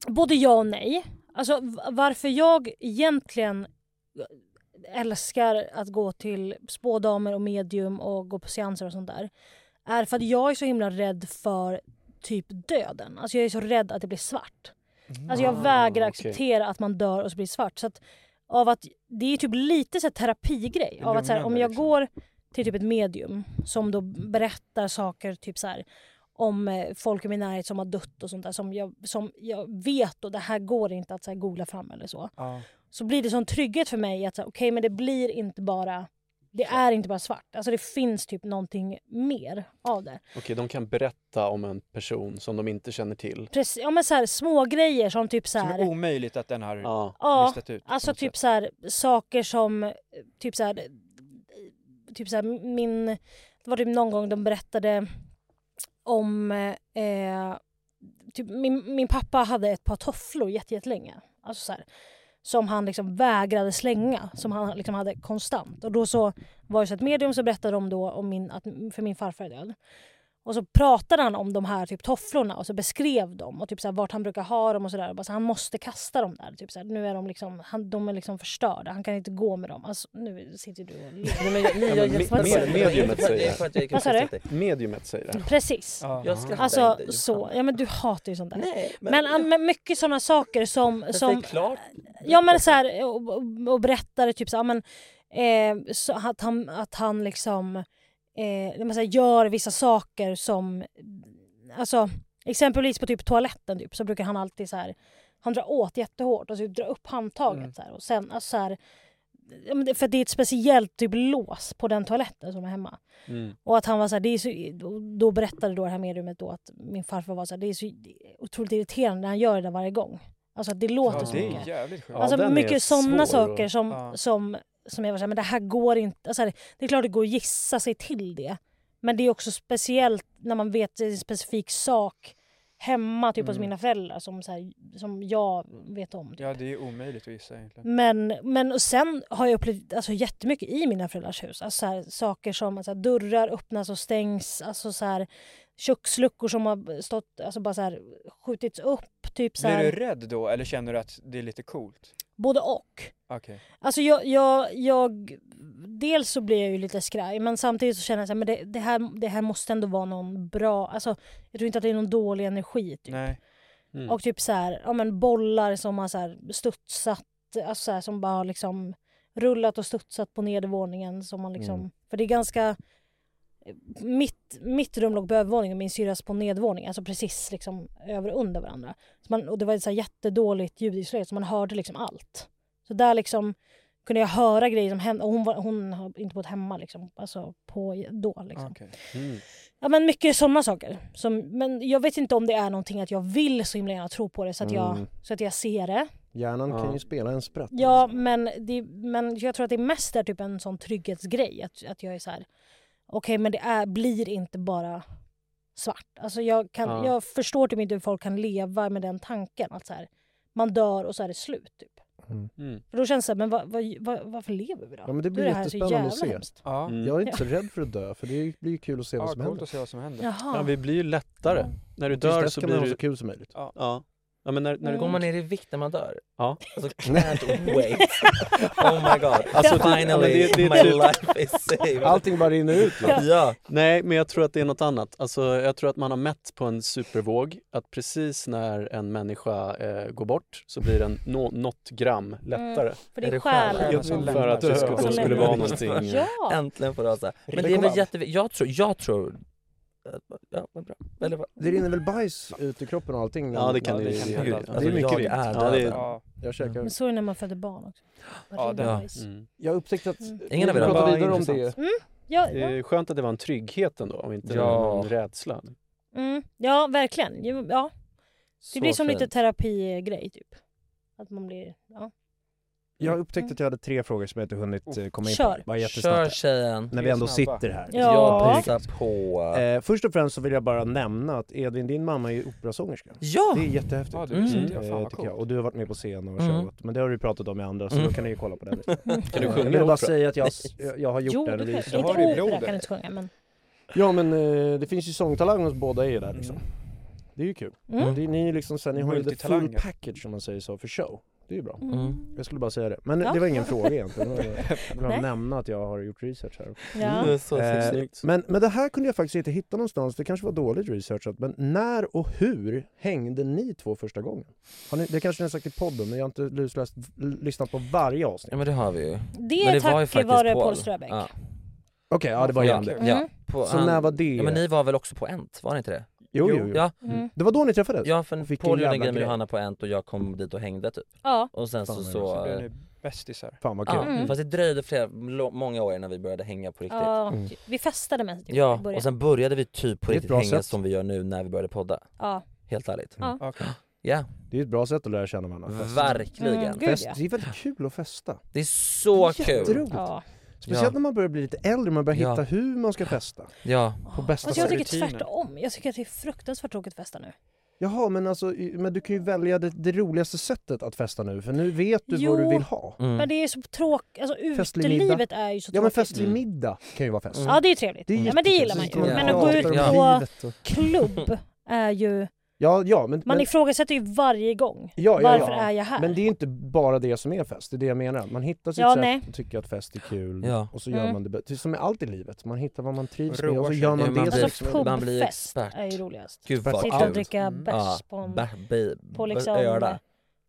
Speaker 2: både ja och nej. Alltså v- varför jag egentligen älskar att gå till spådamer och medium och gå på seanser och sånt där är för att jag är så himla rädd för typ döden. Alltså jag är så rädd att det blir svart. Alltså jag
Speaker 15: Ah,
Speaker 2: vägrar
Speaker 15: okej.
Speaker 2: acceptera att man dör och så blir det svart. Så att, av att, det är typ lite så här terapigrej. Av att så här, om
Speaker 15: lugnande, liksom.
Speaker 2: jag går till typ ett medium som då berättar saker typ så här om eh, folk i min närhet som har dött och sånt där som jag, som jag vet och det här går inte att så här, googla fram eller så.
Speaker 15: Ja.
Speaker 2: Så blir det sån trygghet för mig att så här, okej men det blir inte bara det är inte bara svart. Alltså det finns typ någonting mer av det.
Speaker 7: Okej, de kan berätta om en person som de inte känner till.
Speaker 2: Precis, ja men så här, små grejer som typ så
Speaker 7: Som är
Speaker 2: här,
Speaker 7: omöjligt att den har
Speaker 2: Ja,
Speaker 7: listat ut.
Speaker 2: alltså typ så här, saker som eh, typ så här, eh, typ så här min, det var typ någon gång de berättade om eh, typ min, min pappa hade ett par tofflor jätte- jättelänge. Alltså så här, som han liksom vägrade slänga, som han liksom hade konstant. Och då så var det så ett medium så berättade de då om min, att, för min farfar är död. Och så pratade han om de här typ tofflorna och så beskrev dem och typ så här, vart han brukar ha dem och sådär. Och bara så här, Han måste kasta dem där. Typ så här, nu är de liksom, han, de är liksom förstörda. Han kan inte gå med dem. Alltså, nu sitter du och
Speaker 3: Nej, men jag- nej, jag- jag-
Speaker 7: med, med, mediumet
Speaker 3: Det är
Speaker 7: säger
Speaker 3: för att
Speaker 7: det.
Speaker 3: jag gick och Vad sa du? skrattat
Speaker 7: Mediumet säger det.
Speaker 2: Precis.
Speaker 3: Jag skrattar
Speaker 2: alltså
Speaker 3: inte, Jossan.
Speaker 2: så. Ja men du hatar ju sånt där.
Speaker 3: Nej,
Speaker 2: men... Men, mycket sådana saker som...
Speaker 3: Fast
Speaker 2: som
Speaker 3: det är klart.
Speaker 2: Ja men så här, och, och- och berättade typ så, här, men, eh, så att, han, att han liksom eh, man säger, gör vissa saker som, alltså exempelvis på typ toaletten typ, så brukar han alltid så här, han drar åt jättehårt och så drar upp handtaget så här, och sen, alltså, så här, ja, men det- för det är ett speciellt typ lås på den toaletten som är hemma.
Speaker 15: Mm.
Speaker 2: Och att han var så här, det är så, då- då berättade då det här mediumet då att min farfar var så här, det är så otroligt irriterande när han gör det där varje gång. Alltså att det låter
Speaker 5: Ja,
Speaker 2: så
Speaker 5: det är
Speaker 2: mycket.
Speaker 5: jävligt sjukt. Ja,
Speaker 2: Alltså
Speaker 5: den är
Speaker 2: mycket sådana
Speaker 5: svår att-
Speaker 2: saker som,
Speaker 5: Ja.
Speaker 2: som, som jag var såhär, men det här går inte. Alltså, det är klart det går att gissa sig till det. Men det är också speciellt när man vet en specifik sak hemma, typ hos
Speaker 5: Mm.
Speaker 2: mina föräldrar som, så här, som jag vet om.
Speaker 5: Ja, det är omöjligt att gissa egentligen.
Speaker 2: Men, men och sen har jag upplevt alltså, jättemycket i mina föräldrars hus. Alltså, så här, saker som alltså, dörrar öppnas och stängs. Alltså, så här, köksluckor som har stått, alltså, bara, så här, skjutits upp. Typ, så
Speaker 5: Blir
Speaker 2: här,
Speaker 5: du rädd då eller känner du att det är lite coolt?
Speaker 2: Både och.
Speaker 5: Okej.
Speaker 2: Alltså jag, jag, jag, dels så blir jag ju lite skraj men samtidigt så känner jag så här, men det, det, här, det här måste ändå vara någon bra, alltså jag tror inte att det är någon dålig energi. Typ.
Speaker 5: Nej.
Speaker 4: Mm.
Speaker 2: Och typ så här, ja men bollar som har så här studsat, alltså så här, som bara har liksom rullat och studsat på nedervåningen som man liksom,
Speaker 15: Mm.
Speaker 2: för det är ganska mitt, mitt rum låg på övervåningen och min syrras på nedervåningen, alltså precis liksom över och under varandra. Så man, och det var ett så här jättedåligt ljudisolerat så man hörde liksom allt. Så där liksom kunde jag höra grejer som hände och hon, var, hon har inte bott hemma liksom, alltså på då liksom. Ja men mycket sådana saker. Som, men jag vet inte om det är någonting att jag vill så himla gärna tro på det så att, jag,
Speaker 1: Mm.
Speaker 2: så att jag ser det.
Speaker 1: Hjärnan
Speaker 2: Ja.
Speaker 1: kan ju spela en spratt
Speaker 2: Ja men, det, men jag tror att det mest är typ en sån trygghetsgrej. Att, att jag är så här. okej men det är, blir inte bara svart. Alltså jag, kan,
Speaker 15: Ja.
Speaker 2: jag förstår typ inte hur folk kan leva med den tanken. Att så här, man dör och så är det slut. Typ. För då känns det så här, men vad, vad, vad, varför lever vi då?
Speaker 1: Mm. Ja men det
Speaker 2: Då
Speaker 1: blir
Speaker 2: är här så
Speaker 1: jättespännande
Speaker 2: jävla
Speaker 1: att se. Mm.
Speaker 2: hemskt. Mm.
Speaker 1: Jag är inte så rädd för att dö, för det blir ju kul att se vad som händer.
Speaker 5: se vad som händer.
Speaker 2: Jaha.
Speaker 7: Ja, vi blir ju lättare. När du
Speaker 1: Tills
Speaker 7: dör
Speaker 1: dess
Speaker 7: så
Speaker 1: ska
Speaker 7: blir
Speaker 1: man ha
Speaker 7: du...
Speaker 1: så kul som möjligt.
Speaker 7: Ja. Ja, men när, när
Speaker 2: Mm.
Speaker 7: du
Speaker 3: Går man ner i vikt när man dör?
Speaker 7: Ja.
Speaker 3: Alltså can't wait. Oh my god.
Speaker 7: Alltså, det- ja, men
Speaker 3: Finally
Speaker 7: det- typ- det-
Speaker 3: my
Speaker 7: det-
Speaker 3: life is saved.
Speaker 1: Allting bara rinner ut.
Speaker 3: Ja. ja.
Speaker 7: Nej, men jag tror att det är något annat. Alltså, jag tror att man har mätt på en supervåg att precis när en människa eh, går bort så blir den nå något gram lättare.
Speaker 2: Mm, för det är Är det själen? själen
Speaker 7: Jag
Speaker 2: som
Speaker 7: tror för att det
Speaker 2: lämnar
Speaker 7: skulle,
Speaker 2: döden.
Speaker 7: då skulle vara någonting.
Speaker 2: Ja.
Speaker 3: Äntligen får rasa. Men det är
Speaker 1: Välkommen.
Speaker 3: väl jätteviktigt. Jag tror, jag tror... Ja, vad bra. Väldigt bra.
Speaker 1: Det rinner väl bajs ut i kroppen och allting?
Speaker 7: Ja, det kan det ju
Speaker 1: hända.
Speaker 7: göra.
Speaker 1: Det
Speaker 3: Alltså,
Speaker 1: är mycket
Speaker 3: jag
Speaker 1: vilt.
Speaker 3: är
Speaker 1: Ja, det är-
Speaker 3: död.
Speaker 1: ja, jag käkar.
Speaker 2: Men så är det när man föder barn också.
Speaker 5: Ja,
Speaker 2: det
Speaker 5: det-
Speaker 3: Ja.
Speaker 7: Mm.
Speaker 1: Jag har upptäckt att...
Speaker 3: Ingen av er
Speaker 1: Vi
Speaker 3: har-
Speaker 1: pratar
Speaker 7: Vad
Speaker 1: vidare om
Speaker 7: intressant.
Speaker 1: det.
Speaker 2: Mm. Ja,
Speaker 7: Det
Speaker 2: ja.
Speaker 7: är skönt att det var en trygghet ändå och inte
Speaker 3: Ja.
Speaker 7: någon rädsla.
Speaker 2: Mm. ja, verkligen. Jo, Ja. Det
Speaker 3: Så
Speaker 2: blir som lite
Speaker 3: fint.
Speaker 2: terapigrej typ. Att man blir... Ja.
Speaker 1: Jag
Speaker 3: Mm.
Speaker 1: har upptäckt att jag hade tre frågor som jag inte hunnit eh, komma in
Speaker 2: Kör.
Speaker 1: på. Bara jättesnabbt.
Speaker 3: Kör tjejen.
Speaker 1: När vi ändå
Speaker 5: Snabba.
Speaker 1: sitter här.
Speaker 2: Ja.
Speaker 3: Jag
Speaker 2: Ja.
Speaker 3: pissar på.
Speaker 1: Eh, först och främst så vill jag bara nämna att Edvin, din mamma är ju operasångerska.
Speaker 3: Ja!
Speaker 1: Det är jättehäftigt.
Speaker 5: Ja, det
Speaker 3: Mm.
Speaker 5: visste inte jag. Fan
Speaker 1: Eh,
Speaker 5: vad
Speaker 1: tycker jag.
Speaker 5: coolt.
Speaker 1: Och du har varit med på scen och
Speaker 3: Mm.
Speaker 1: showat. Men det har du ju pratat om i andra, så
Speaker 3: Mm.
Speaker 1: då kan ni ju kolla på den.
Speaker 7: Kan du
Speaker 1: Eh, Jag
Speaker 7: sjunga
Speaker 1: vill bara
Speaker 7: opera?
Speaker 1: säga att jag, jag, jag har gjort
Speaker 2: Jo,
Speaker 1: den.
Speaker 2: du kan,
Speaker 1: releasen.
Speaker 2: inte
Speaker 5: har du i
Speaker 2: opera
Speaker 5: blodet.
Speaker 2: kan du inte sjunga men...
Speaker 1: Ja men eh, det finns ju sångtalang hos båda er där liksom.
Speaker 3: Mm.
Speaker 1: Det är ju kul.
Speaker 2: Mm.
Speaker 1: Det, är ni, är liksom, så här, ni har ju the full
Speaker 5: Multitalanger.
Speaker 1: package som man säger så för show. Det är ju bra.
Speaker 3: Mm.
Speaker 1: Jag skulle bara säga det. Men
Speaker 2: Ja.
Speaker 1: det var ingen fråga egentligen. Det var- Jag vill bara
Speaker 2: Nej.
Speaker 1: nämna att jag har gjort research här.
Speaker 3: Mm. Det
Speaker 2: Ja.
Speaker 3: är så
Speaker 1: Eh,
Speaker 3: snyggt.
Speaker 1: men, men det här kunde jag faktiskt inte hitta någonstans, det kanske var dåligt researchat, men när och hur hängde ni två första gången? Har ni, det kanske ni har sagt i podden, men jag har inte lusläst, l- lyssnat på varje avsnitt.
Speaker 3: Ja men det har vi ju.
Speaker 2: Det
Speaker 3: Men
Speaker 2: är
Speaker 3: det var ju
Speaker 2: tack
Speaker 3: faktiskt
Speaker 2: vare
Speaker 3: Paul.
Speaker 2: Paul Mm. Ströbeck.
Speaker 3: Ja.
Speaker 1: Okej, ja det var
Speaker 3: ja.
Speaker 1: igen det.
Speaker 3: Ja. På,
Speaker 1: Mm. Så när var det?
Speaker 3: Ja, men ni var väl också på Ent? Var ni inte det?
Speaker 1: Jo, jo, jo.
Speaker 3: Ja,
Speaker 2: Mm.
Speaker 1: Det var då ni träffades?
Speaker 3: ja
Speaker 1: Och
Speaker 3: för
Speaker 1: fick
Speaker 3: Paul
Speaker 1: en
Speaker 3: gjorde en
Speaker 1: jävla
Speaker 3: grej med
Speaker 1: grej.
Speaker 3: Johanna på Ent och jag kom dit och hängde typ.
Speaker 2: Ja.
Speaker 3: Och sen
Speaker 1: Fan,
Speaker 3: så
Speaker 1: vad
Speaker 3: så...
Speaker 5: Så blev
Speaker 3: eh,
Speaker 5: ni bästisar.
Speaker 1: Fan vad kul.
Speaker 3: Ja,
Speaker 2: Mm.
Speaker 3: fast det dröjde flera, lo- många år innan vi började hänga på riktigt.
Speaker 2: Ja.
Speaker 1: Mm.
Speaker 2: Vi festade mest typ, i
Speaker 3: Ja,
Speaker 2: början.
Speaker 3: och sen började vi typ på
Speaker 1: Det är ett
Speaker 3: riktigt
Speaker 1: bra
Speaker 3: hänga
Speaker 1: sätt.
Speaker 3: som vi gör nu när vi började podda.
Speaker 2: Ja.
Speaker 3: Helt ärligt.
Speaker 2: Ja.
Speaker 1: Mm.
Speaker 5: Okej.
Speaker 3: Ja,
Speaker 1: Det är ett bra sätt att lära känna varandra. Fest.
Speaker 3: verkligen.
Speaker 2: Mm, gud.
Speaker 1: Fest.
Speaker 2: ja.
Speaker 1: Det är väldigt kul att festa.
Speaker 3: Det är så kul.
Speaker 1: Jätteroligt.
Speaker 2: Ja.
Speaker 1: Speciellt
Speaker 3: Ja.
Speaker 1: när man börjar bli lite äldre, man börjar
Speaker 3: Ja.
Speaker 1: hitta hur man ska festa.
Speaker 3: Ja,
Speaker 1: På bästa
Speaker 2: Fast jag
Speaker 1: sätt.
Speaker 2: tycker
Speaker 5: rutiner.
Speaker 2: tvärtom. Jag tycker att det är fruktansvärt tråkigt att festa nu.
Speaker 1: Jaha, men alltså, i- men du kan ju välja det, det roligaste sättet att festa nu, för nu vet du vad du
Speaker 2: Jo.
Speaker 1: vill ha.
Speaker 3: mm.
Speaker 2: Men det är så tråkigt. Alltså
Speaker 1: Festlig middag.
Speaker 2: utelivet är ju så
Speaker 1: Ja men
Speaker 2: tråkigt. Mm.
Speaker 1: festlig
Speaker 3: Mm.
Speaker 1: middag kan ju vara fest.
Speaker 2: Ja det är ju trevligt.
Speaker 1: Det är
Speaker 2: ja, men det
Speaker 1: jättekul.
Speaker 2: gillar man
Speaker 1: Så sitter
Speaker 2: ju.
Speaker 3: Ja.
Speaker 2: Men
Speaker 1: man och pratar
Speaker 2: att gå ut
Speaker 1: om
Speaker 2: på
Speaker 1: livet och-
Speaker 2: klubb är ju...
Speaker 1: Ja, ja men,
Speaker 2: Man
Speaker 1: men,
Speaker 2: ifrågasätter ju varje gång.
Speaker 1: Ja, ja,
Speaker 2: Varför
Speaker 1: ja.
Speaker 2: är jag här?
Speaker 1: men det är inte bara det som är fest, det är det jag menar. Man hittar sitt
Speaker 2: Ja,
Speaker 1: sätt
Speaker 2: nej.
Speaker 1: och tycker att fest är kul
Speaker 3: Ja.
Speaker 1: och så gör
Speaker 2: Mm.
Speaker 1: man det bäst. Det är som med allt i livet, man hittar vad man trivs
Speaker 5: Roar
Speaker 1: med och så
Speaker 5: sig.
Speaker 1: gör man
Speaker 3: Ja,
Speaker 1: det.
Speaker 3: man
Speaker 1: som-
Speaker 3: blir-
Speaker 2: alltså
Speaker 3: man blir
Speaker 2: pubfest
Speaker 3: expert.
Speaker 2: är ju roligast.
Speaker 3: Gud vad
Speaker 2: Sitta och
Speaker 3: kul.
Speaker 2: dricka
Speaker 5: Mm.
Speaker 2: bärs på en...
Speaker 3: Ba- bi-
Speaker 2: På liksom...
Speaker 3: öra.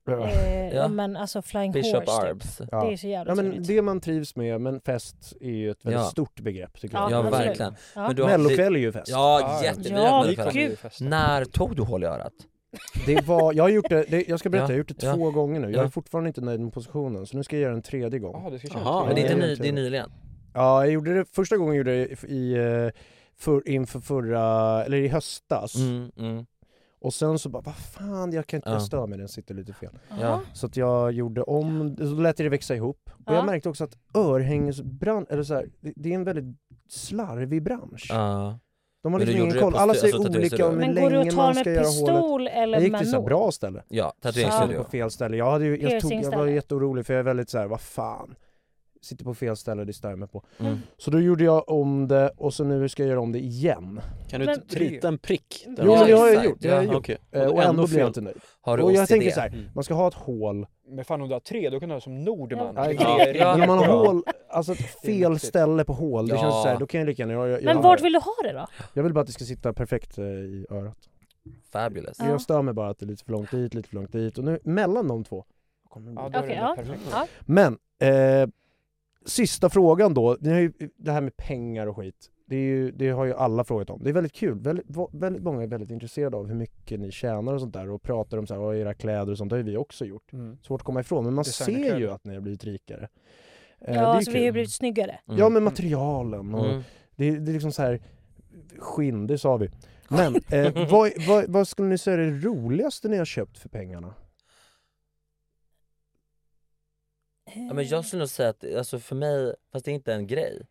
Speaker 2: Eh, ja.
Speaker 3: Ja.
Speaker 2: men alltså Flying
Speaker 3: Bishop
Speaker 2: Horse typ.
Speaker 3: Arbs.
Speaker 2: Det
Speaker 1: Ja.
Speaker 2: är så jävla
Speaker 1: ja men
Speaker 2: trevligt.
Speaker 1: det man trivs med, men fest är ju ett väldigt
Speaker 3: Ja.
Speaker 1: stort begrepp tycker
Speaker 2: Ja,
Speaker 3: Ja,
Speaker 1: jag.
Speaker 2: absolut.
Speaker 3: verkligen.
Speaker 2: Ja.
Speaker 3: Men du har-
Speaker 1: Mellokväll är ju fest.
Speaker 3: Ja, jätte... vi har
Speaker 2: Ja,
Speaker 3: haft
Speaker 5: Ni
Speaker 3: det
Speaker 5: kommer
Speaker 3: förut.
Speaker 5: ju
Speaker 2: gud.
Speaker 5: festa.
Speaker 3: När tog du hål i örat?
Speaker 1: Det var, jag har gjort det, det jag ska berätta,
Speaker 3: Ja,
Speaker 1: jag har gjort det
Speaker 3: ja.
Speaker 1: två gånger nu. Jag är
Speaker 3: Ja.
Speaker 1: fortfarande inte nöjd med positionen, så nu ska jag göra en tredje gång.
Speaker 5: Jaha, du ska köra
Speaker 7: Jaha,
Speaker 5: tre.
Speaker 3: Men det är,
Speaker 1: Ja,
Speaker 3: inte
Speaker 1: det
Speaker 3: ny,
Speaker 1: vet
Speaker 3: det är
Speaker 1: jag.
Speaker 3: nyligen.
Speaker 1: Ja, jag gjorde det första gången jag gjorde det i, i eh, för, inför förra, eller i höstas.
Speaker 3: Mm, mm.
Speaker 1: Och sen så bara, vad fan, jag kan inte,
Speaker 3: Ja.
Speaker 1: jag stör mig, den sitter lite fel.
Speaker 3: Ja.
Speaker 1: Så att jag gjorde om, så lät jag det växa ihop. Och
Speaker 2: Ja.
Speaker 1: jag märkte också att örhängesbransch, eller så här, det, det är en väldigt slarvig bransch.
Speaker 3: Ja.
Speaker 1: De har
Speaker 3: Men du
Speaker 1: liksom
Speaker 3: gjorde
Speaker 1: ingen
Speaker 3: det
Speaker 1: koll,
Speaker 3: på
Speaker 1: alla
Speaker 3: stu-
Speaker 1: säger
Speaker 3: alltså,
Speaker 1: olika om hur
Speaker 2: Men går du
Speaker 1: länge
Speaker 2: och tar
Speaker 1: man
Speaker 2: med
Speaker 1: ska göra hålet.
Speaker 2: pistol
Speaker 1: Jag
Speaker 2: eller
Speaker 1: gick till
Speaker 2: med
Speaker 1: så här
Speaker 2: nål?
Speaker 1: bra ställe.
Speaker 3: Ja,
Speaker 1: Satt på
Speaker 3: tatueringsstudio.
Speaker 1: fel ställe. Jag, hade ju, jag, tog, jag var
Speaker 2: Piercingställe.
Speaker 1: jätteorolig för jag är väldigt så här, vad fan. Sitter på fel ställe, det stör jag mig på.
Speaker 3: Mm.
Speaker 1: Så då gjorde jag om det och så nu ska jag göra om det igen.
Speaker 7: Kan du
Speaker 2: Men-
Speaker 7: inte rita en prick? där?
Speaker 1: Jo, men det har jag
Speaker 3: exakt.
Speaker 1: gjort. Det har jag
Speaker 7: Ja,
Speaker 1: gjort.
Speaker 7: okej.
Speaker 1: Eh, Och ändå blir jag inte nöjd.
Speaker 3: Har du
Speaker 1: Och jag
Speaker 3: OCD?
Speaker 1: tänker så här,
Speaker 7: Mm.
Speaker 1: man ska ha ett hål.
Speaker 5: Men fan om du har tre, då kan du ha som Nordman.
Speaker 2: Ja.
Speaker 5: Tre
Speaker 3: Ja.
Speaker 5: ringar.
Speaker 3: Ja.
Speaker 1: Men om man har
Speaker 3: bra.
Speaker 1: hål, alltså ett fel
Speaker 5: viktigt.
Speaker 1: ställe på hål, det
Speaker 3: Ja.
Speaker 1: känns så här, då kan jag lika gärna jag, jag,
Speaker 2: Men
Speaker 1: jag,
Speaker 2: vart vill du ha det då?
Speaker 1: jag vill bara att det ska sitta perfekt eh, i örat.
Speaker 3: Fabulous.
Speaker 2: Ja.
Speaker 1: Jag stör mig bara att det är lite för långt dit, lite för långt dit och nu mellan de två kommer det
Speaker 5: Ja,
Speaker 1: gå
Speaker 5: då är det
Speaker 2: Okej, ja.
Speaker 5: perfekt.
Speaker 2: Ja.
Speaker 1: Men, eh, sista frågan då. Ni har ju, det här med pengar och skit, det, är ju, det har ju alla frågat om. Det är väldigt kul. Väldigt, va- väldigt många är väldigt intresserade av hur mycket ni tjänar och sånt där och pratar om så här, "Åh, era kläder och sånt. Det har ju vi också gjort.
Speaker 5: Mm.
Speaker 1: Svårt att komma ifrån, men man ser ju
Speaker 5: Designerkläder.
Speaker 1: att ni har blivit rikare. Eh, det är
Speaker 2: Ja,
Speaker 1: ju
Speaker 2: så vi har
Speaker 1: kul.
Speaker 2: blivit snyggare.
Speaker 3: Mm.
Speaker 1: Ja, men materialen och
Speaker 3: Mm.
Speaker 1: det, det är liksom så här skinn, det sa vi. Men eh, vad, vad, vad skulle ni säga är det roligaste ni har köpt för pengarna?
Speaker 2: Eh,
Speaker 3: Ja, men jag skulle nog säga att, alltså för mig, fast det är inte en grej.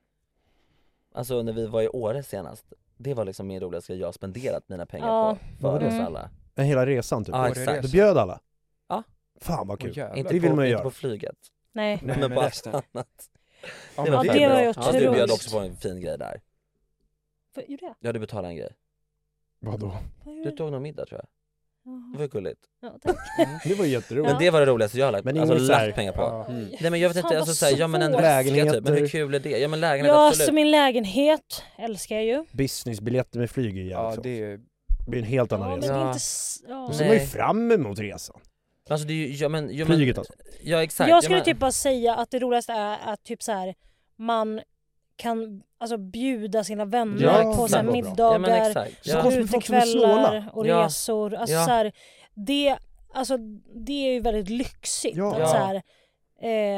Speaker 3: Alltså när vi var i Åre senast, det var liksom min roligaste grej jag har spenderat mina pengar
Speaker 2: Ja.
Speaker 3: på. För
Speaker 1: Vadå?
Speaker 3: oss
Speaker 2: Mm.
Speaker 3: alla.
Speaker 1: Eh, Hela resan typ?
Speaker 3: Ja
Speaker 5: Åre
Speaker 3: exakt.
Speaker 1: Du
Speaker 5: resa.
Speaker 1: bjöd alla?
Speaker 3: Ja.
Speaker 1: Fan vad kul.
Speaker 5: Åh, jävlar.
Speaker 3: Inte,
Speaker 1: Det vill
Speaker 3: på,
Speaker 1: man ju
Speaker 3: inte
Speaker 1: göra.
Speaker 3: på flyget.
Speaker 2: Nej.
Speaker 5: Nej,
Speaker 3: men
Speaker 5: men
Speaker 3: på
Speaker 5: resten.
Speaker 3: allt annat.
Speaker 5: Ja,
Speaker 3: Det
Speaker 5: men
Speaker 3: var
Speaker 2: det
Speaker 3: fett
Speaker 2: var
Speaker 3: bra.
Speaker 2: ju
Speaker 3: ja, Du bjöd
Speaker 2: otroligt.
Speaker 3: också på en fin grej där.
Speaker 2: Vad gjorde jag?
Speaker 3: Ja du betalade en grej.
Speaker 1: Vadå?
Speaker 2: Vad
Speaker 3: Du
Speaker 2: gjorde jag?
Speaker 3: tog någon middag tror jag. Det var ju gulligt.
Speaker 2: Ja, tack.
Speaker 1: Det var jätteroligt.
Speaker 3: Mm. Men det var det roligaste jag har lagt
Speaker 1: Men
Speaker 3: alltså,
Speaker 1: ingen så här-
Speaker 3: lagt pengar på.
Speaker 1: Ja.
Speaker 3: Mm. Nej men jag vet
Speaker 2: Fan,
Speaker 3: inte,
Speaker 2: vad
Speaker 3: alltså, så här, ja men en
Speaker 2: svårt.
Speaker 3: väska typ, men hur
Speaker 1: Lägenheter.
Speaker 3: kul är det? Ja men lägenhet
Speaker 2: Ja,
Speaker 3: absolut.
Speaker 2: så min lägenhet älskar jag ju.
Speaker 1: Businessbiljetter med flyg är jävligt
Speaker 5: Ja,
Speaker 1: sånt.
Speaker 5: det är...
Speaker 1: Det blir en helt annan
Speaker 2: Men
Speaker 1: resa.
Speaker 2: det är
Speaker 3: Ja.
Speaker 2: inte... s- Ja.
Speaker 1: Då ser man ju
Speaker 3: Nej.
Speaker 1: fram emot resan.
Speaker 3: Men Alltså det är ju, ja men, ja, men
Speaker 1: Flyget alltså.
Speaker 3: Ja exakt.
Speaker 2: Jag skulle
Speaker 3: ja, men,
Speaker 2: typ bara säga att det roligaste är att typ så här, man kan alltså, bjuda sina vänner
Speaker 3: Ja,
Speaker 2: på
Speaker 3: exakt.
Speaker 2: så här,
Speaker 3: Ja, men
Speaker 2: middagar,
Speaker 3: exakt. Ja. Så
Speaker 1: konstigt med folk som är snåla.
Speaker 2: utekvällar och
Speaker 3: Ja.
Speaker 2: resor. Alltså,
Speaker 3: Ja.
Speaker 2: så här, det, alltså, det är ju väldigt lyxigt
Speaker 3: Ja.
Speaker 2: att,
Speaker 3: Ja.
Speaker 2: Så här,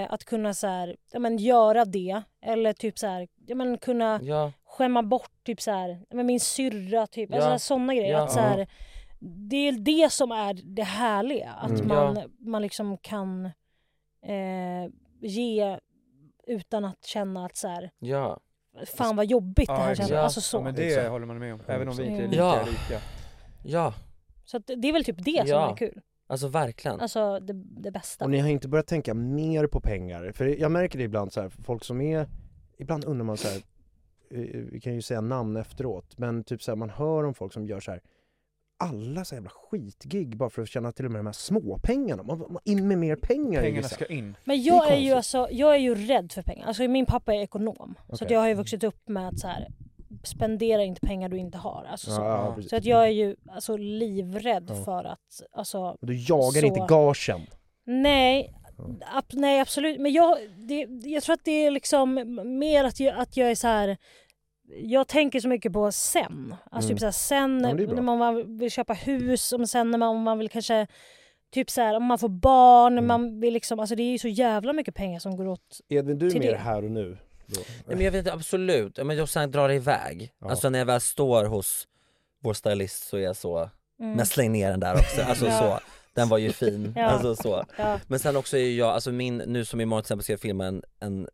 Speaker 2: eh, att kunna så här, ja, men, göra det. Eller typ så här, ja, men, kunna
Speaker 3: ja.
Speaker 2: skämma bort typ så här, ja, men, min syrra, typ.
Speaker 3: Ja.
Speaker 2: Alltså, sådana grejer.
Speaker 3: Ja.
Speaker 2: Att, så här, det är det som är det härliga. Att
Speaker 3: Mm.
Speaker 2: man,
Speaker 3: Ja.
Speaker 2: man liksom kan eh, ge utan att känna att så här,
Speaker 3: Ja.
Speaker 2: fan vad jobbigt det här
Speaker 5: exakt.
Speaker 2: känns. Alltså så.
Speaker 5: Ja, men det
Speaker 3: Exakt.
Speaker 5: håller man med om, även om vi inte är
Speaker 2: Mm.
Speaker 5: lika
Speaker 3: Ja.
Speaker 5: rika.
Speaker 3: Ja.
Speaker 2: Så att det- det är väl typ det som
Speaker 3: Ja.
Speaker 2: är kul.
Speaker 3: Alltså verkligen.
Speaker 2: Alltså det, det bästa.
Speaker 1: Och ni har inte börjat tänka mer på pengar? För jag märker det ibland så här, folk som är, ibland undrar man så här, eh, vi kan ju säga namn efteråt, men typ så här, man hör om folk som gör så här alla så här jävla skitgig bara för att tjäna till och med de här småpengarna. Man, man, in med mer pengar i
Speaker 5: Pengarna
Speaker 1: vissa.
Speaker 5: ska in.
Speaker 2: Men
Speaker 1: Det
Speaker 2: jag är, ju
Speaker 1: konstigt.
Speaker 2: alltså, jag är ju rädd för pengar. Alltså min pappa är ekonom. Så att
Speaker 1: Okej.
Speaker 2: jag har ju vuxit upp med att så här, spendera inte pengar du inte har. Alltså, så.
Speaker 1: Ja, ja, precis.
Speaker 2: så att jag är ju alltså, livrädd
Speaker 1: Ja.
Speaker 2: för att... Alltså,
Speaker 1: Och Du jagar
Speaker 2: så.
Speaker 1: inte gagen.
Speaker 2: Nej, ab nej absolut. Men jag, det, jag tror att det är liksom mer att jag, att jag är så här. Jag tänker så mycket på sen. Alltså
Speaker 3: Mm.
Speaker 2: typ så här, sen
Speaker 3: Ja, men det är bra.
Speaker 2: när man vill köpa hus, och sen när man, om man vill kanske Typ så här, om man får barn,
Speaker 3: Mm.
Speaker 2: man vill liksom, alltså det är ju så jävla mycket pengar som går åt.
Speaker 1: Edvin, du är
Speaker 2: Till
Speaker 1: mer
Speaker 2: det.
Speaker 1: här och nu. Då.
Speaker 3: Nej, men jag vet inte, absolut. Ja, Men jag sen drar det iväg. Alltså när jag väl står hos vår stylist så är jag så,
Speaker 2: Mm.
Speaker 3: men släng ner den där också. Alltså
Speaker 2: Ja.
Speaker 3: så. Den var ju fin.
Speaker 2: Ja.
Speaker 3: Alltså så.
Speaker 2: Ja.
Speaker 3: Men sen också är ju jag, alltså min, nu som imorgon till exempel ska jag filma en, en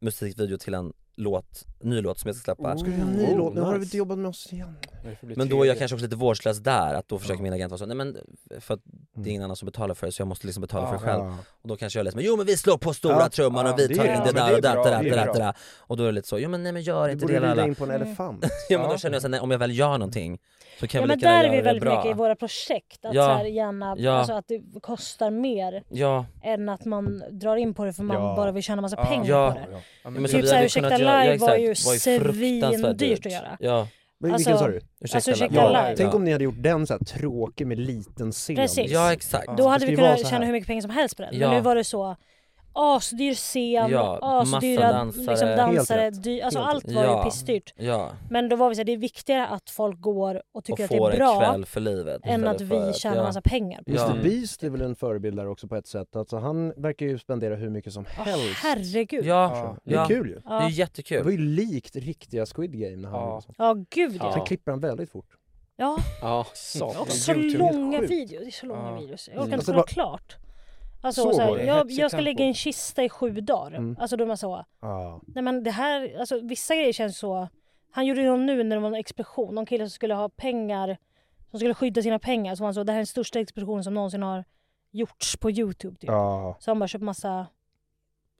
Speaker 3: musikvideo till en låt, ny låt som jag ska släppa.
Speaker 1: Ska vi göra en ny låt? Nu har du inte jobbat med oss igen.
Speaker 3: Men då är jag kanske också lite vårdslös där, att då försöker min agent vara så, nej men eh, för att det är
Speaker 1: Mm.
Speaker 3: ingen annan som betalar för det så jag måste liksom betala för det
Speaker 1: Ah.
Speaker 3: själv. Och då kanske jag är lite men jo men vi slår på stora
Speaker 1: Ja.
Speaker 3: trumman
Speaker 1: Ah,
Speaker 3: och vi
Speaker 1: det
Speaker 3: tar
Speaker 1: är-
Speaker 3: in
Speaker 1: ja,
Speaker 3: det
Speaker 1: men
Speaker 3: där
Speaker 1: det är
Speaker 3: och
Speaker 1: bra,
Speaker 3: det där
Speaker 1: det är
Speaker 3: och
Speaker 1: bra.
Speaker 3: det där. Och då är det lite så, jo men nej men gör
Speaker 1: Du
Speaker 3: inte
Speaker 1: borde
Speaker 3: det
Speaker 1: rida
Speaker 3: lalla.
Speaker 1: in på en
Speaker 2: Mm.
Speaker 1: elefant.
Speaker 3: Ja men då känner jag såhär, nej om jag väl gör någonting så kan
Speaker 2: Ja
Speaker 3: jag
Speaker 2: men
Speaker 3: väl lika gärna
Speaker 2: där är
Speaker 3: göra
Speaker 2: vi
Speaker 3: det
Speaker 2: väldigt
Speaker 3: bra.
Speaker 2: mycket i våra projekt, att
Speaker 3: Ja.
Speaker 2: så här, gärna,
Speaker 3: Ja.
Speaker 2: alltså att det kostar mer
Speaker 3: Ja.
Speaker 2: än att man drar in på det för man
Speaker 3: Ja.
Speaker 2: bara vill tjäna massa
Speaker 3: Ja.
Speaker 2: pengar
Speaker 3: Ja.
Speaker 2: på det.
Speaker 3: Ja. Ja, men
Speaker 2: men
Speaker 3: så
Speaker 2: typ
Speaker 3: vi
Speaker 2: såhär,
Speaker 3: hade
Speaker 2: Ursäkta
Speaker 3: kunnat
Speaker 2: Live
Speaker 3: göra- ja,
Speaker 2: var
Speaker 3: exakt.
Speaker 2: ju
Speaker 3: Var ju fruktansvärt
Speaker 2: svindyrt
Speaker 3: dyrt.
Speaker 2: att göra.
Speaker 3: Ja.
Speaker 1: Men
Speaker 2: Alltså-
Speaker 1: vilken sa du?
Speaker 3: Ursäkta,
Speaker 2: alltså, ursäkta
Speaker 1: ja,
Speaker 2: live.
Speaker 1: Tänk
Speaker 3: Ja.
Speaker 1: om ni hade gjort den så här tråkig med liten scen.
Speaker 2: Precis.
Speaker 3: Ja, exakt.
Speaker 2: Då
Speaker 1: Det
Speaker 2: hade
Speaker 1: ska
Speaker 2: vi
Speaker 1: ju vara
Speaker 2: kunnat
Speaker 1: så här.
Speaker 2: tjäna hur mycket pengar som helst på den.
Speaker 3: Ja.
Speaker 2: Men nu var det så asdyr scen,
Speaker 3: Ja,
Speaker 2: asdyra
Speaker 3: massa dansare.
Speaker 2: Liksom dansare
Speaker 3: Helt rätt.
Speaker 2: dy, alltså
Speaker 3: Helt
Speaker 2: allt
Speaker 3: rätt.
Speaker 2: var
Speaker 3: Ja.
Speaker 2: ju pissdyrt.
Speaker 3: Ja.
Speaker 2: Men då var vi så här, det är viktigare att folk går och tycker
Speaker 3: Och
Speaker 2: att det
Speaker 3: får
Speaker 2: är
Speaker 3: en
Speaker 2: bra
Speaker 3: kväll för livet
Speaker 2: än
Speaker 3: istället
Speaker 2: att
Speaker 3: för
Speaker 2: vi
Speaker 3: att-
Speaker 2: tjänar
Speaker 3: ja.
Speaker 2: mr pengar. på
Speaker 1: Just
Speaker 2: det.
Speaker 1: the Beast är väl en förebild där också på ett sätt. Alltså han verkar ju spendera hur mycket som
Speaker 2: Ja,
Speaker 1: helst. Alltså,
Speaker 2: herregud.
Speaker 3: Ja,
Speaker 1: Det är
Speaker 3: ja.
Speaker 1: kul ju.
Speaker 2: Ja. Det är
Speaker 3: jättekul.
Speaker 1: Det var ju likt riktiga Squid Game när han gjorde sånt.
Speaker 2: Ja, gud ja.
Speaker 1: Sen klipper han väldigt fort.
Speaker 2: Ja.
Speaker 7: Ja,
Speaker 2: Och så långa videos. Det är så långa videos. Jag orkar
Speaker 1: Mm.
Speaker 2: inte
Speaker 1: Alltså,
Speaker 2: kolla
Speaker 1: bara-
Speaker 2: klart. Alltså,
Speaker 1: Så
Speaker 2: så
Speaker 1: går
Speaker 2: här,
Speaker 1: det.
Speaker 2: jag,
Speaker 1: Hetsigt
Speaker 2: jag ska
Speaker 1: tempo.
Speaker 2: lägga i en kista i sju dagar.
Speaker 1: Mm.
Speaker 2: Alltså då är man så,
Speaker 1: Ja.
Speaker 2: nej men det här, alltså vissa grejer känns så. Han gjorde ju någon nu när det var en explosion. Någon kille som skulle ha pengar, som skulle skydda sina pengar. Så var han så, det här är den största explosionen som någonsin har gjorts på Youtube. Typ.
Speaker 1: ja.
Speaker 2: Så han bara köpt massa,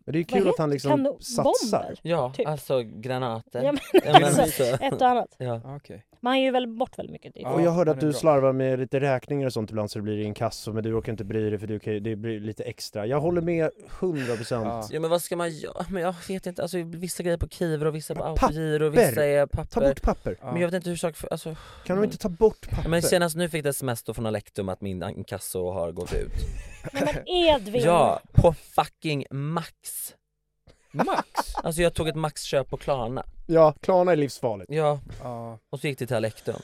Speaker 1: Men det är
Speaker 2: Vad
Speaker 1: kul att han
Speaker 2: heter-
Speaker 1: liksom
Speaker 2: kanon-
Speaker 1: satsar.
Speaker 2: bomber?
Speaker 3: Ja,
Speaker 2: Typ.
Speaker 3: alltså granater.
Speaker 2: ja, men, alltså,
Speaker 3: alltså.
Speaker 2: ett och annat.
Speaker 5: Ah,
Speaker 3: Ja.
Speaker 2: Men han ger ju väl bort väldigt mycket. typ.
Speaker 1: och jag hörde
Speaker 5: han
Speaker 1: att
Speaker 5: är
Speaker 1: du
Speaker 5: bra.
Speaker 1: slarvar med lite räkningar och sånt ibland så det blir inkasso men du orkar inte bry dig för du kan, ju- det blir lite extra. Jag håller med 100% procent.
Speaker 3: ja men vad ska man göra? Men jag vet inte, alltså vissa grejer på Kivra och vissa på Autogiro och vissa är papper.
Speaker 1: Ta bort papper!
Speaker 3: Men jag vet inte hur saker, alltså
Speaker 1: Kan de inte ta bort papper?
Speaker 3: Men senast nu fick jag ett sms då från Alektum att min inkasso har gått ut.
Speaker 2: Nej, men Edvin!
Speaker 3: Ja, på fucking Max!
Speaker 5: Max?
Speaker 3: Alltså jag tog ett maxköp på Klarna.
Speaker 1: Ja, Klarna är livsfarligt.
Speaker 3: Ja,
Speaker 5: Ja.
Speaker 3: och så gick det till Alektum.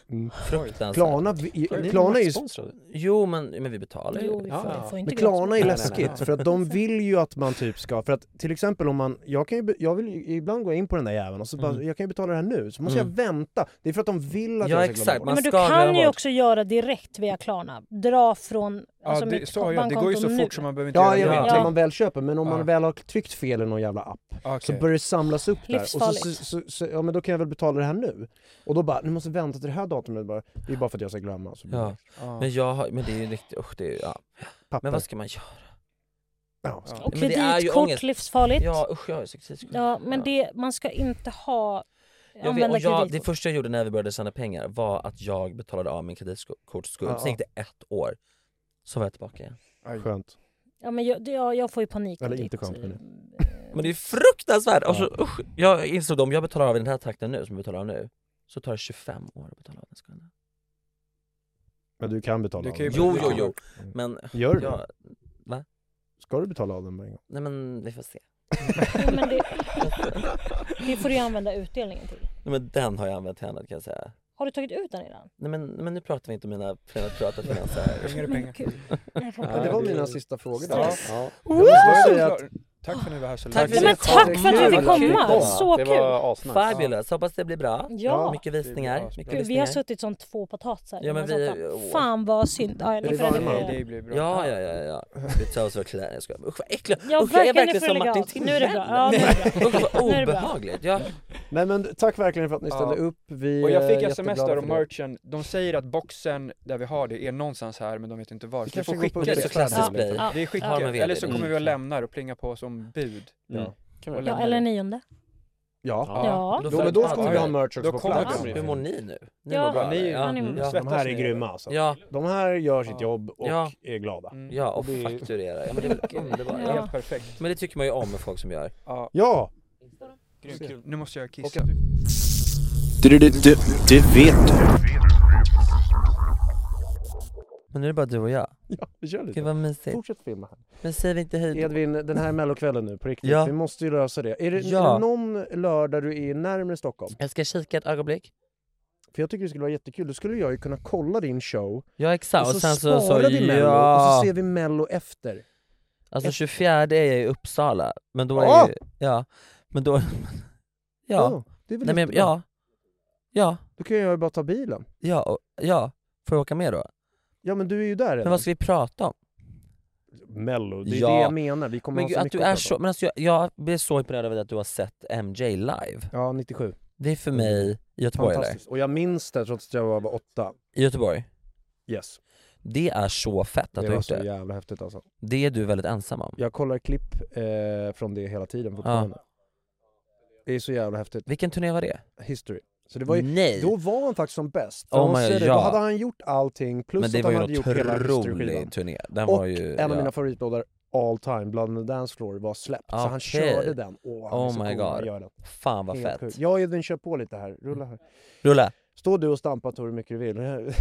Speaker 3: Fruktansvärt.
Speaker 1: Mm. Klarna, vi, Klarna är ju...
Speaker 3: Jo men, men vi betalar
Speaker 2: Jo,
Speaker 3: ju.
Speaker 2: vi får, vi får inte
Speaker 1: Men Klarna är
Speaker 2: glömma.
Speaker 1: läskigt för att de vill ju att man typ ska, för att till exempel om man, jag kan ju, be- jag vill ju ibland gå in på den där jäveln och så bara,
Speaker 3: Mm.
Speaker 1: jag kan ju betala det här nu, så måste
Speaker 3: Mm.
Speaker 1: jag vänta. Det är för att de vill att
Speaker 3: Ja,
Speaker 1: jag ska glömma
Speaker 3: exakt.
Speaker 1: bort
Speaker 3: Man
Speaker 1: det.
Speaker 2: Men du
Speaker 3: ska
Speaker 2: kan
Speaker 3: glömma
Speaker 2: ju
Speaker 3: bort.
Speaker 2: också göra direkt via Klarna. Dra från alltså
Speaker 5: ja, det,
Speaker 2: mitt
Speaker 5: så har jag, det går ju så
Speaker 2: bankkonto
Speaker 5: fort
Speaker 2: nu.
Speaker 5: så man behöver inte
Speaker 1: Ja, jag
Speaker 5: göra
Speaker 1: vet,
Speaker 5: någonting.
Speaker 1: när man väl köper, men om
Speaker 5: Ja.
Speaker 1: man väl har tryckt fel i någon jävla app så
Speaker 5: Okej.
Speaker 1: börjar det samlas upp där och så, så,
Speaker 2: Livsfarligt.
Speaker 1: så, så, ja men då kan jag väl betala det här nu. Och då bara, nu måste jag vänta till det här datumet bara, det är bara för att jag ska glömma. Så blir
Speaker 3: Ja.
Speaker 1: det.
Speaker 3: Men jag har, men det är ju riktigt, usch det är ju, ja.
Speaker 1: Papper.
Speaker 3: Men vad ska man göra?
Speaker 1: Ja, vad ska-
Speaker 2: Och
Speaker 3: Men det är ju
Speaker 2: kreditkort, liksom,
Speaker 3: ångest.
Speaker 2: livsfarligt.
Speaker 3: Ja usch jag har ju sex- sex-
Speaker 2: Ja, men det, man ska inte ha
Speaker 3: Jag vet,
Speaker 2: använda
Speaker 3: och jag, det
Speaker 2: kreditkort.
Speaker 3: första jag gjorde när vi började tjäna pengar var att jag betalade av min kreditkortsskuld.
Speaker 1: Ja.
Speaker 3: Sen gick det ett år, så var jag tillbaka igen.
Speaker 1: Skönt.
Speaker 2: Ja, men jag, det- jag, jag får ju panik. typ, av
Speaker 1: Eller
Speaker 2: ditt.
Speaker 1: inte skönt men det.
Speaker 2: eh,
Speaker 3: Men det är fruktansvärt! Alltså, usch, jag insåg om jag betalar av i den här takten nu, som jag betalar av nu, så tar det 25 år att betala av den skulden.
Speaker 1: Men du kan betala
Speaker 3: Du
Speaker 1: av
Speaker 3: kan ju-
Speaker 1: den.
Speaker 3: Jo, jo, jo. Men-
Speaker 1: Gör du
Speaker 3: jag-
Speaker 1: det? Ska du betala av den på en gång?
Speaker 3: Nej men vi får se.
Speaker 2: Jo, men det, det får du ju använda utdelningen till.
Speaker 3: Nej, men den har jag använt till annat kan jag säga.
Speaker 2: Har du tagit ut den redan?
Speaker 3: Nej men, men nu pratar vi inte om mina pre- privata finanser här.
Speaker 5: Pengar är pengar.
Speaker 2: Nej,
Speaker 1: Ja, det var mina sista frågor där.
Speaker 5: Ja.
Speaker 1: Ja.
Speaker 5: Jag
Speaker 1: Woo!
Speaker 5: måste säga att- Tack för att ni var här så
Speaker 3: Tack
Speaker 5: länge.
Speaker 3: för att ni kom.
Speaker 2: Så
Speaker 7: det
Speaker 2: kul.
Speaker 7: Var asnice.
Speaker 3: Fabulous, hoppas det blir bra.
Speaker 2: Ja.
Speaker 3: Mycket visningar. Mycket
Speaker 2: Gud, vi
Speaker 3: visningar.
Speaker 2: har suttit som två potatisar.
Speaker 3: Ja, men
Speaker 2: i den här
Speaker 3: vi-
Speaker 2: soffan.
Speaker 3: åh.
Speaker 2: Fan vad synd. Ja, ni får redigera.
Speaker 3: Ja, ja, ja, ja. Vi tar oss verkligen där. Jag skojar. Usch vad äckligt.
Speaker 2: Ja,
Speaker 3: Usch, jag
Speaker 2: verkligen,
Speaker 3: är verkligen
Speaker 2: nu får
Speaker 3: som
Speaker 2: jag lägga
Speaker 3: Martin
Speaker 2: av. Nu är det
Speaker 3: Timell.
Speaker 2: bra. Ja, nu är det bra.
Speaker 3: Usch vad
Speaker 2: Nu är det bra.
Speaker 3: obehagligt. Ja.
Speaker 1: Nej men tack verkligen för att ni ställde
Speaker 5: Ja.
Speaker 1: upp. Vi
Speaker 5: och jag
Speaker 1: är
Speaker 5: fick sms där
Speaker 1: jätteglada
Speaker 5: om
Speaker 1: för det.
Speaker 5: merchen, de säger att boxen där vi har det är någonstans här men de vet inte var.
Speaker 1: Vi
Speaker 5: Så ni får
Speaker 1: kanske går på
Speaker 5: skicka
Speaker 1: Ulrikas
Speaker 5: det.
Speaker 1: klassdisplay.
Speaker 5: Ja. Det är
Speaker 3: Ja,
Speaker 5: skicka,
Speaker 3: men vi
Speaker 5: eller
Speaker 3: gör
Speaker 5: så
Speaker 3: det.
Speaker 5: kommer vi
Speaker 3: Mm.
Speaker 5: och lämnar och plingar på som bud.
Speaker 1: Mm.
Speaker 5: Ja.
Speaker 1: Kan
Speaker 5: Och
Speaker 1: vi-
Speaker 2: Ja,
Speaker 5: lämnar
Speaker 2: eller
Speaker 5: det.
Speaker 2: nionde.
Speaker 1: Ja.
Speaker 2: Ja.
Speaker 1: Då, men då kommer vi ha
Speaker 3: Ja,
Speaker 1: merch
Speaker 3: då
Speaker 1: också på
Speaker 3: kommer
Speaker 1: plats.
Speaker 3: vi. Hur mår ni nu? Ni
Speaker 2: Ja.
Speaker 3: mår bra?
Speaker 2: Ja, ni-
Speaker 3: eller?
Speaker 2: ja, ni mår
Speaker 3: Ja.
Speaker 1: De här är grymma alltså.
Speaker 3: Ja.
Speaker 1: De här gör sitt jobb och
Speaker 3: Ja. Mm.
Speaker 1: är glada.
Speaker 3: Ja, och
Speaker 1: det är-
Speaker 3: fakturera. Ja, men det är väl underbart.
Speaker 5: Ja. Helt perfekt.
Speaker 3: Men det tycker man ju om med folk som gör.
Speaker 5: Ja.
Speaker 1: Ja!
Speaker 5: Nu måste jag kissa.
Speaker 16: Du, du, du, du vet du.
Speaker 3: Men nu är det bara du och jag.
Speaker 1: Ja, vi kör lite.
Speaker 3: Gud vad mysigt.
Speaker 1: Fortsätt filma här.
Speaker 3: Men säger vi inte hej då?
Speaker 1: Edvin, den här mellokvällen nu på riktigt.
Speaker 3: Ja.
Speaker 1: Vi måste ju lösa Alltså det. Är det,
Speaker 3: Ja.
Speaker 1: är det någon lördag du är närmare Stockholm?
Speaker 3: Jag ska kika ett ögonblick.
Speaker 1: För jag tycker det skulle vara jättekul. Då skulle jag ju kunna kolla din show.
Speaker 3: Ja exakt.
Speaker 1: Och
Speaker 3: Och,
Speaker 1: så
Speaker 3: sen så, så,
Speaker 1: sparar vi Mello,
Speaker 3: ja.
Speaker 1: och så ser vi Mello efter.
Speaker 3: Alltså
Speaker 1: Ett-
Speaker 3: 24 är jag i Uppsala, men då är
Speaker 1: Ja.
Speaker 3: jag ju, ja, men då, ja.
Speaker 1: Ja, det är väl
Speaker 3: Nej, men,
Speaker 1: jättebra.
Speaker 3: ja, ja,
Speaker 1: Då kan jag ju bara ta bilen.
Speaker 3: ja, och- ja, får jag åka med då?
Speaker 1: Ja men du är ju där redan.
Speaker 3: Men vad ska vi prata om?
Speaker 1: Mello, det är
Speaker 3: Ja.
Speaker 1: det jag menar. Vi kommer
Speaker 3: Men
Speaker 1: ha
Speaker 3: gud,
Speaker 1: så
Speaker 3: att
Speaker 1: mycket
Speaker 3: du är
Speaker 1: prata om.
Speaker 3: så, men alltså jag, jag blir så imponerad över att du har sett MJ live.
Speaker 1: Ja, 97.
Speaker 3: Det är för mig i Göteborg eller?
Speaker 1: Fantastiskt. Och jag minns det trots att jag var åtta.
Speaker 3: I Göteborg?
Speaker 1: Yes.
Speaker 3: Det är så fett att
Speaker 1: Det
Speaker 3: du har
Speaker 1: var
Speaker 3: gjort
Speaker 1: så
Speaker 3: det.
Speaker 1: jävla häftigt alltså.
Speaker 3: Det är du väldigt ensam om.
Speaker 1: Jag kollar klipp eh, från det hela tiden fortfarande. Det är så jävla häftigt.
Speaker 3: Vilken turné var det?
Speaker 1: History. Så det var ju,
Speaker 3: Nej.
Speaker 1: Då var han faktiskt som bäst. För
Speaker 3: Oh
Speaker 1: jag måste säga
Speaker 3: my God,
Speaker 1: det, Då
Speaker 3: ja.
Speaker 1: hade han gjort allting, plus
Speaker 3: Men det
Speaker 1: att
Speaker 3: var
Speaker 1: han
Speaker 3: ju
Speaker 1: hade gjort hela
Speaker 3: en
Speaker 1: History-skivan.
Speaker 3: otrolig turné. Den
Speaker 1: och
Speaker 3: var ju,
Speaker 1: en av
Speaker 3: ja.
Speaker 1: mina favoritlåtar all time, Blood on the dance floor, var släppt. Så han
Speaker 3: Okej.
Speaker 1: körde den. Åh, han är
Speaker 3: Oh
Speaker 1: så
Speaker 3: my
Speaker 1: cool när han
Speaker 3: God.
Speaker 1: gör den.
Speaker 3: Fan vad
Speaker 1: Helt
Speaker 3: fett.
Speaker 1: sjukt. Jag och Edvin kör på lite här, rulla här.
Speaker 3: Rulla.
Speaker 1: Stå du och stampa Tor hur mycket du vill.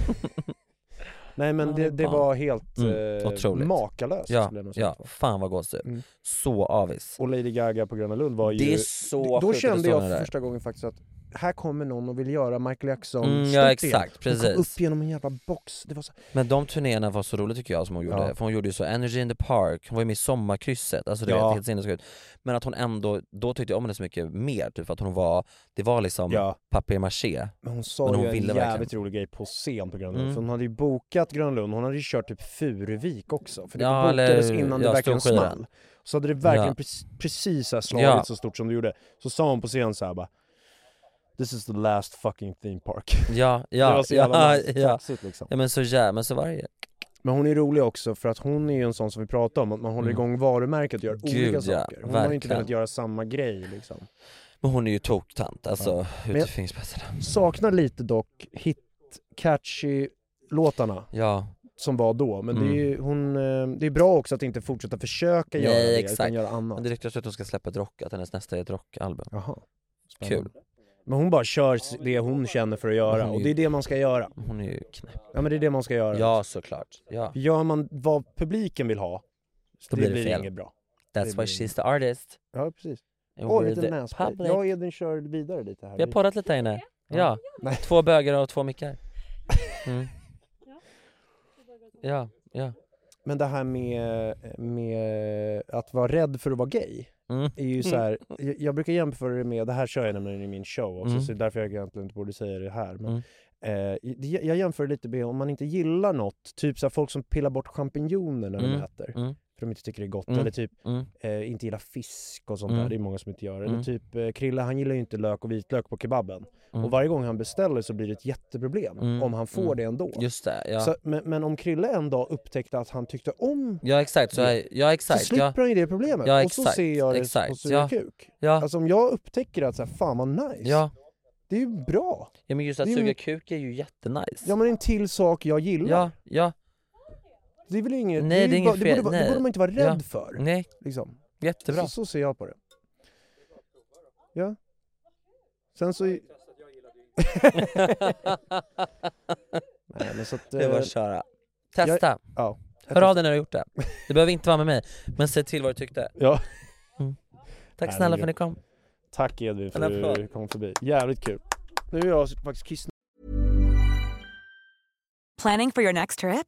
Speaker 1: Nej men
Speaker 3: Ja,
Speaker 1: det,
Speaker 3: det
Speaker 1: det
Speaker 3: var-
Speaker 1: var helt
Speaker 3: Mm,
Speaker 1: eh,
Speaker 3: otroligt.
Speaker 1: makalöst
Speaker 3: Ja,
Speaker 1: skulle jag nog säga.
Speaker 3: ja, fan vad gåshud. Så avis.
Speaker 1: Mm. Och Lady Gaga på Gröna Lund var ju...
Speaker 3: Det är så
Speaker 1: Då- Då
Speaker 3: sjukt att
Speaker 1: kände
Speaker 3: det
Speaker 1: jag för
Speaker 3: står där.
Speaker 1: första gången faktiskt att här kommer någon och vill göra Michael Jackson
Speaker 3: Mm, ja,
Speaker 1: stort igen.
Speaker 3: exakt,
Speaker 1: Hon
Speaker 3: precis.
Speaker 1: kom upp genom en jävla box. Det var så...
Speaker 3: Men de turnéerna var så roliga tycker jag som hon gjorde,
Speaker 1: Ja.
Speaker 3: för hon gjorde ju så Energy in the Park, hon var ju med i Sommarkrysset, alltså det
Speaker 1: Ja.
Speaker 3: vet, helt sinnessjukt. Men att hon ändå, då tyckte jag om henne så mycket mer, typ för att hon var, det var liksom
Speaker 1: Ja.
Speaker 3: papier-maché.
Speaker 1: Men hon sa
Speaker 3: Men hon
Speaker 1: ju en
Speaker 3: ville
Speaker 1: jävligt
Speaker 3: verkligen.
Speaker 1: rolig grej på scen på Gröna Lund.
Speaker 3: Mm.
Speaker 1: För hon hade ju bokat Gröna Lund, hon hade ju kört typ Furuvik också. För det
Speaker 3: Ja,
Speaker 1: bokades
Speaker 3: eller-
Speaker 1: innan det
Speaker 3: ja,
Speaker 1: verkligen
Speaker 3: Storskyran.
Speaker 1: small. Så hade det verkligen
Speaker 3: Ja.
Speaker 1: precis, precis så här slagit
Speaker 3: Ja.
Speaker 1: så stort som det gjorde. Så sa hon på scen så här bara This is the last fucking theme park.
Speaker 3: Ja, ja,
Speaker 1: det var så jävla
Speaker 3: ja,
Speaker 1: nice.
Speaker 3: ja.
Speaker 1: Kaxigt, liksom.
Speaker 3: ja men så jävla, men så var det ju.
Speaker 1: Men hon är rolig också för att hon är ju en sån som vi pratar om, att man håller
Speaker 3: Mm.
Speaker 1: igång varumärket och gör
Speaker 3: Gud,
Speaker 1: olika
Speaker 3: ja.
Speaker 1: saker. Hon har ju inte
Speaker 3: Verkligen.
Speaker 1: velat göra samma grej liksom.
Speaker 3: Men hon är ju toktant, alltså
Speaker 1: Ja.
Speaker 3: hur
Speaker 1: Men-
Speaker 3: det finns bättre.
Speaker 1: Saknar lite dock hit, catchy låtarna
Speaker 3: Ja,
Speaker 1: som var då, men
Speaker 3: Mm.
Speaker 1: det, är ju, hon, eh, det är bra också att inte fortsätta försöka göra
Speaker 3: nej
Speaker 1: det,
Speaker 3: exakt.
Speaker 1: utan göra annat.
Speaker 3: Men det ryktas att hon ska släppa ett rock, att hennes nästa är ett rockalbum.
Speaker 1: Jaha.
Speaker 3: Kul.
Speaker 1: Men hon bara kör det hon känner för att
Speaker 3: Men
Speaker 1: göra
Speaker 3: hon är
Speaker 1: och
Speaker 3: ju-
Speaker 1: det är det man ska göra.
Speaker 3: Hon är ju knäpp.
Speaker 1: Ja men det är det man ska göra.
Speaker 3: Ja såklart. Ja.
Speaker 1: Gör man vad publiken vill ha,
Speaker 3: Då
Speaker 1: det
Speaker 3: blir det
Speaker 1: blir
Speaker 3: fel.
Speaker 1: inget bra. Det
Speaker 3: That's why
Speaker 1: blir-
Speaker 3: she's the artist.
Speaker 1: Ja precis.
Speaker 3: And
Speaker 1: Åh,
Speaker 3: we're
Speaker 1: lite
Speaker 3: the
Speaker 1: nässpray.
Speaker 3: public.
Speaker 1: Jag och Edvin kör vidare lite här.
Speaker 3: Vi har poddat lite här inne. Ja.
Speaker 1: Nej.
Speaker 3: Två bögar och två mickar. Mm. Ja, ja.
Speaker 1: Men det här med, med att vara rädd för att vara gay
Speaker 3: Mm.
Speaker 1: är ju så här, jag, jag brukar jämföra det med, det här kör jag nämligen i min show också
Speaker 3: Mm.
Speaker 1: så det är därför jag egentligen inte borde säga det här. Men, eh, det- jag jämför det lite med om man inte gillar något, typ så här, folk som pillar bort champinjoner när
Speaker 3: Mm.
Speaker 1: de äter
Speaker 3: Mm.
Speaker 1: för de inte tycker det är gott
Speaker 3: Mm.
Speaker 1: eller typ
Speaker 3: Mm.
Speaker 1: eh, inte gillar fisk och sånt
Speaker 3: Mm.
Speaker 1: där, det är många som inte gör det. Eller
Speaker 3: Mm.
Speaker 1: typ eh, Krille han gillar ju inte lök och vitlök på kebaben
Speaker 3: Mm.
Speaker 1: och varje gång han beställer så blir det ett jätteproblem
Speaker 3: Mm.
Speaker 1: om han får
Speaker 3: Mm.
Speaker 1: det ändå.
Speaker 3: Just det, ja.
Speaker 1: Så, men, men om Krille en dag upptäckte att han tyckte om
Speaker 3: ja exakt, så,
Speaker 1: det,
Speaker 3: ja
Speaker 1: så
Speaker 3: exakt.
Speaker 1: slipper
Speaker 3: Ja.
Speaker 1: han ju det problemet.
Speaker 3: Ja,
Speaker 1: och så
Speaker 3: exakt,
Speaker 1: ser jag det
Speaker 3: exakt,
Speaker 1: på sura
Speaker 3: ja.
Speaker 1: kuk.
Speaker 3: Ja.
Speaker 1: Alltså om jag upptäcker att så här, fan vad nice,
Speaker 3: Ja.
Speaker 1: Det är ju bra!
Speaker 3: Ja men just att
Speaker 1: Det är ju-
Speaker 3: suga kuk är ju jättenice.
Speaker 1: Ja men en till sak jag gillar.
Speaker 3: Ja, ja.
Speaker 1: Det är väl inget,
Speaker 3: Nej,
Speaker 1: är
Speaker 3: det är
Speaker 1: ju
Speaker 3: inget
Speaker 1: bara-
Speaker 3: fel.
Speaker 1: det, borde, vara-
Speaker 3: Nej.
Speaker 1: det borde man inte vara rädd
Speaker 3: Ja.
Speaker 1: för.
Speaker 3: Nej.
Speaker 1: Liksom.
Speaker 3: Jättebra.
Speaker 1: Så, så ser jag på det. Ja. Sen så... Nej, men så att,
Speaker 3: Det var
Speaker 1: eh,
Speaker 3: att köra. Testa.
Speaker 1: Jag- ja.
Speaker 3: Hör av dig när du har gjort det. Det behöver inte vara med mig, men säg till vad du tyckte.
Speaker 1: Ja.
Speaker 3: Mm. Tack
Speaker 1: Nej,
Speaker 3: snälla
Speaker 1: men
Speaker 3: för att ni
Speaker 1: grymt.
Speaker 3: kom.
Speaker 1: Tack Edvin för
Speaker 3: En
Speaker 1: att du
Speaker 3: applåd.
Speaker 1: kom förbi. Jävligt kul. Nu är jag faktiskt kissnödig.
Speaker 15: Planning for your next trip?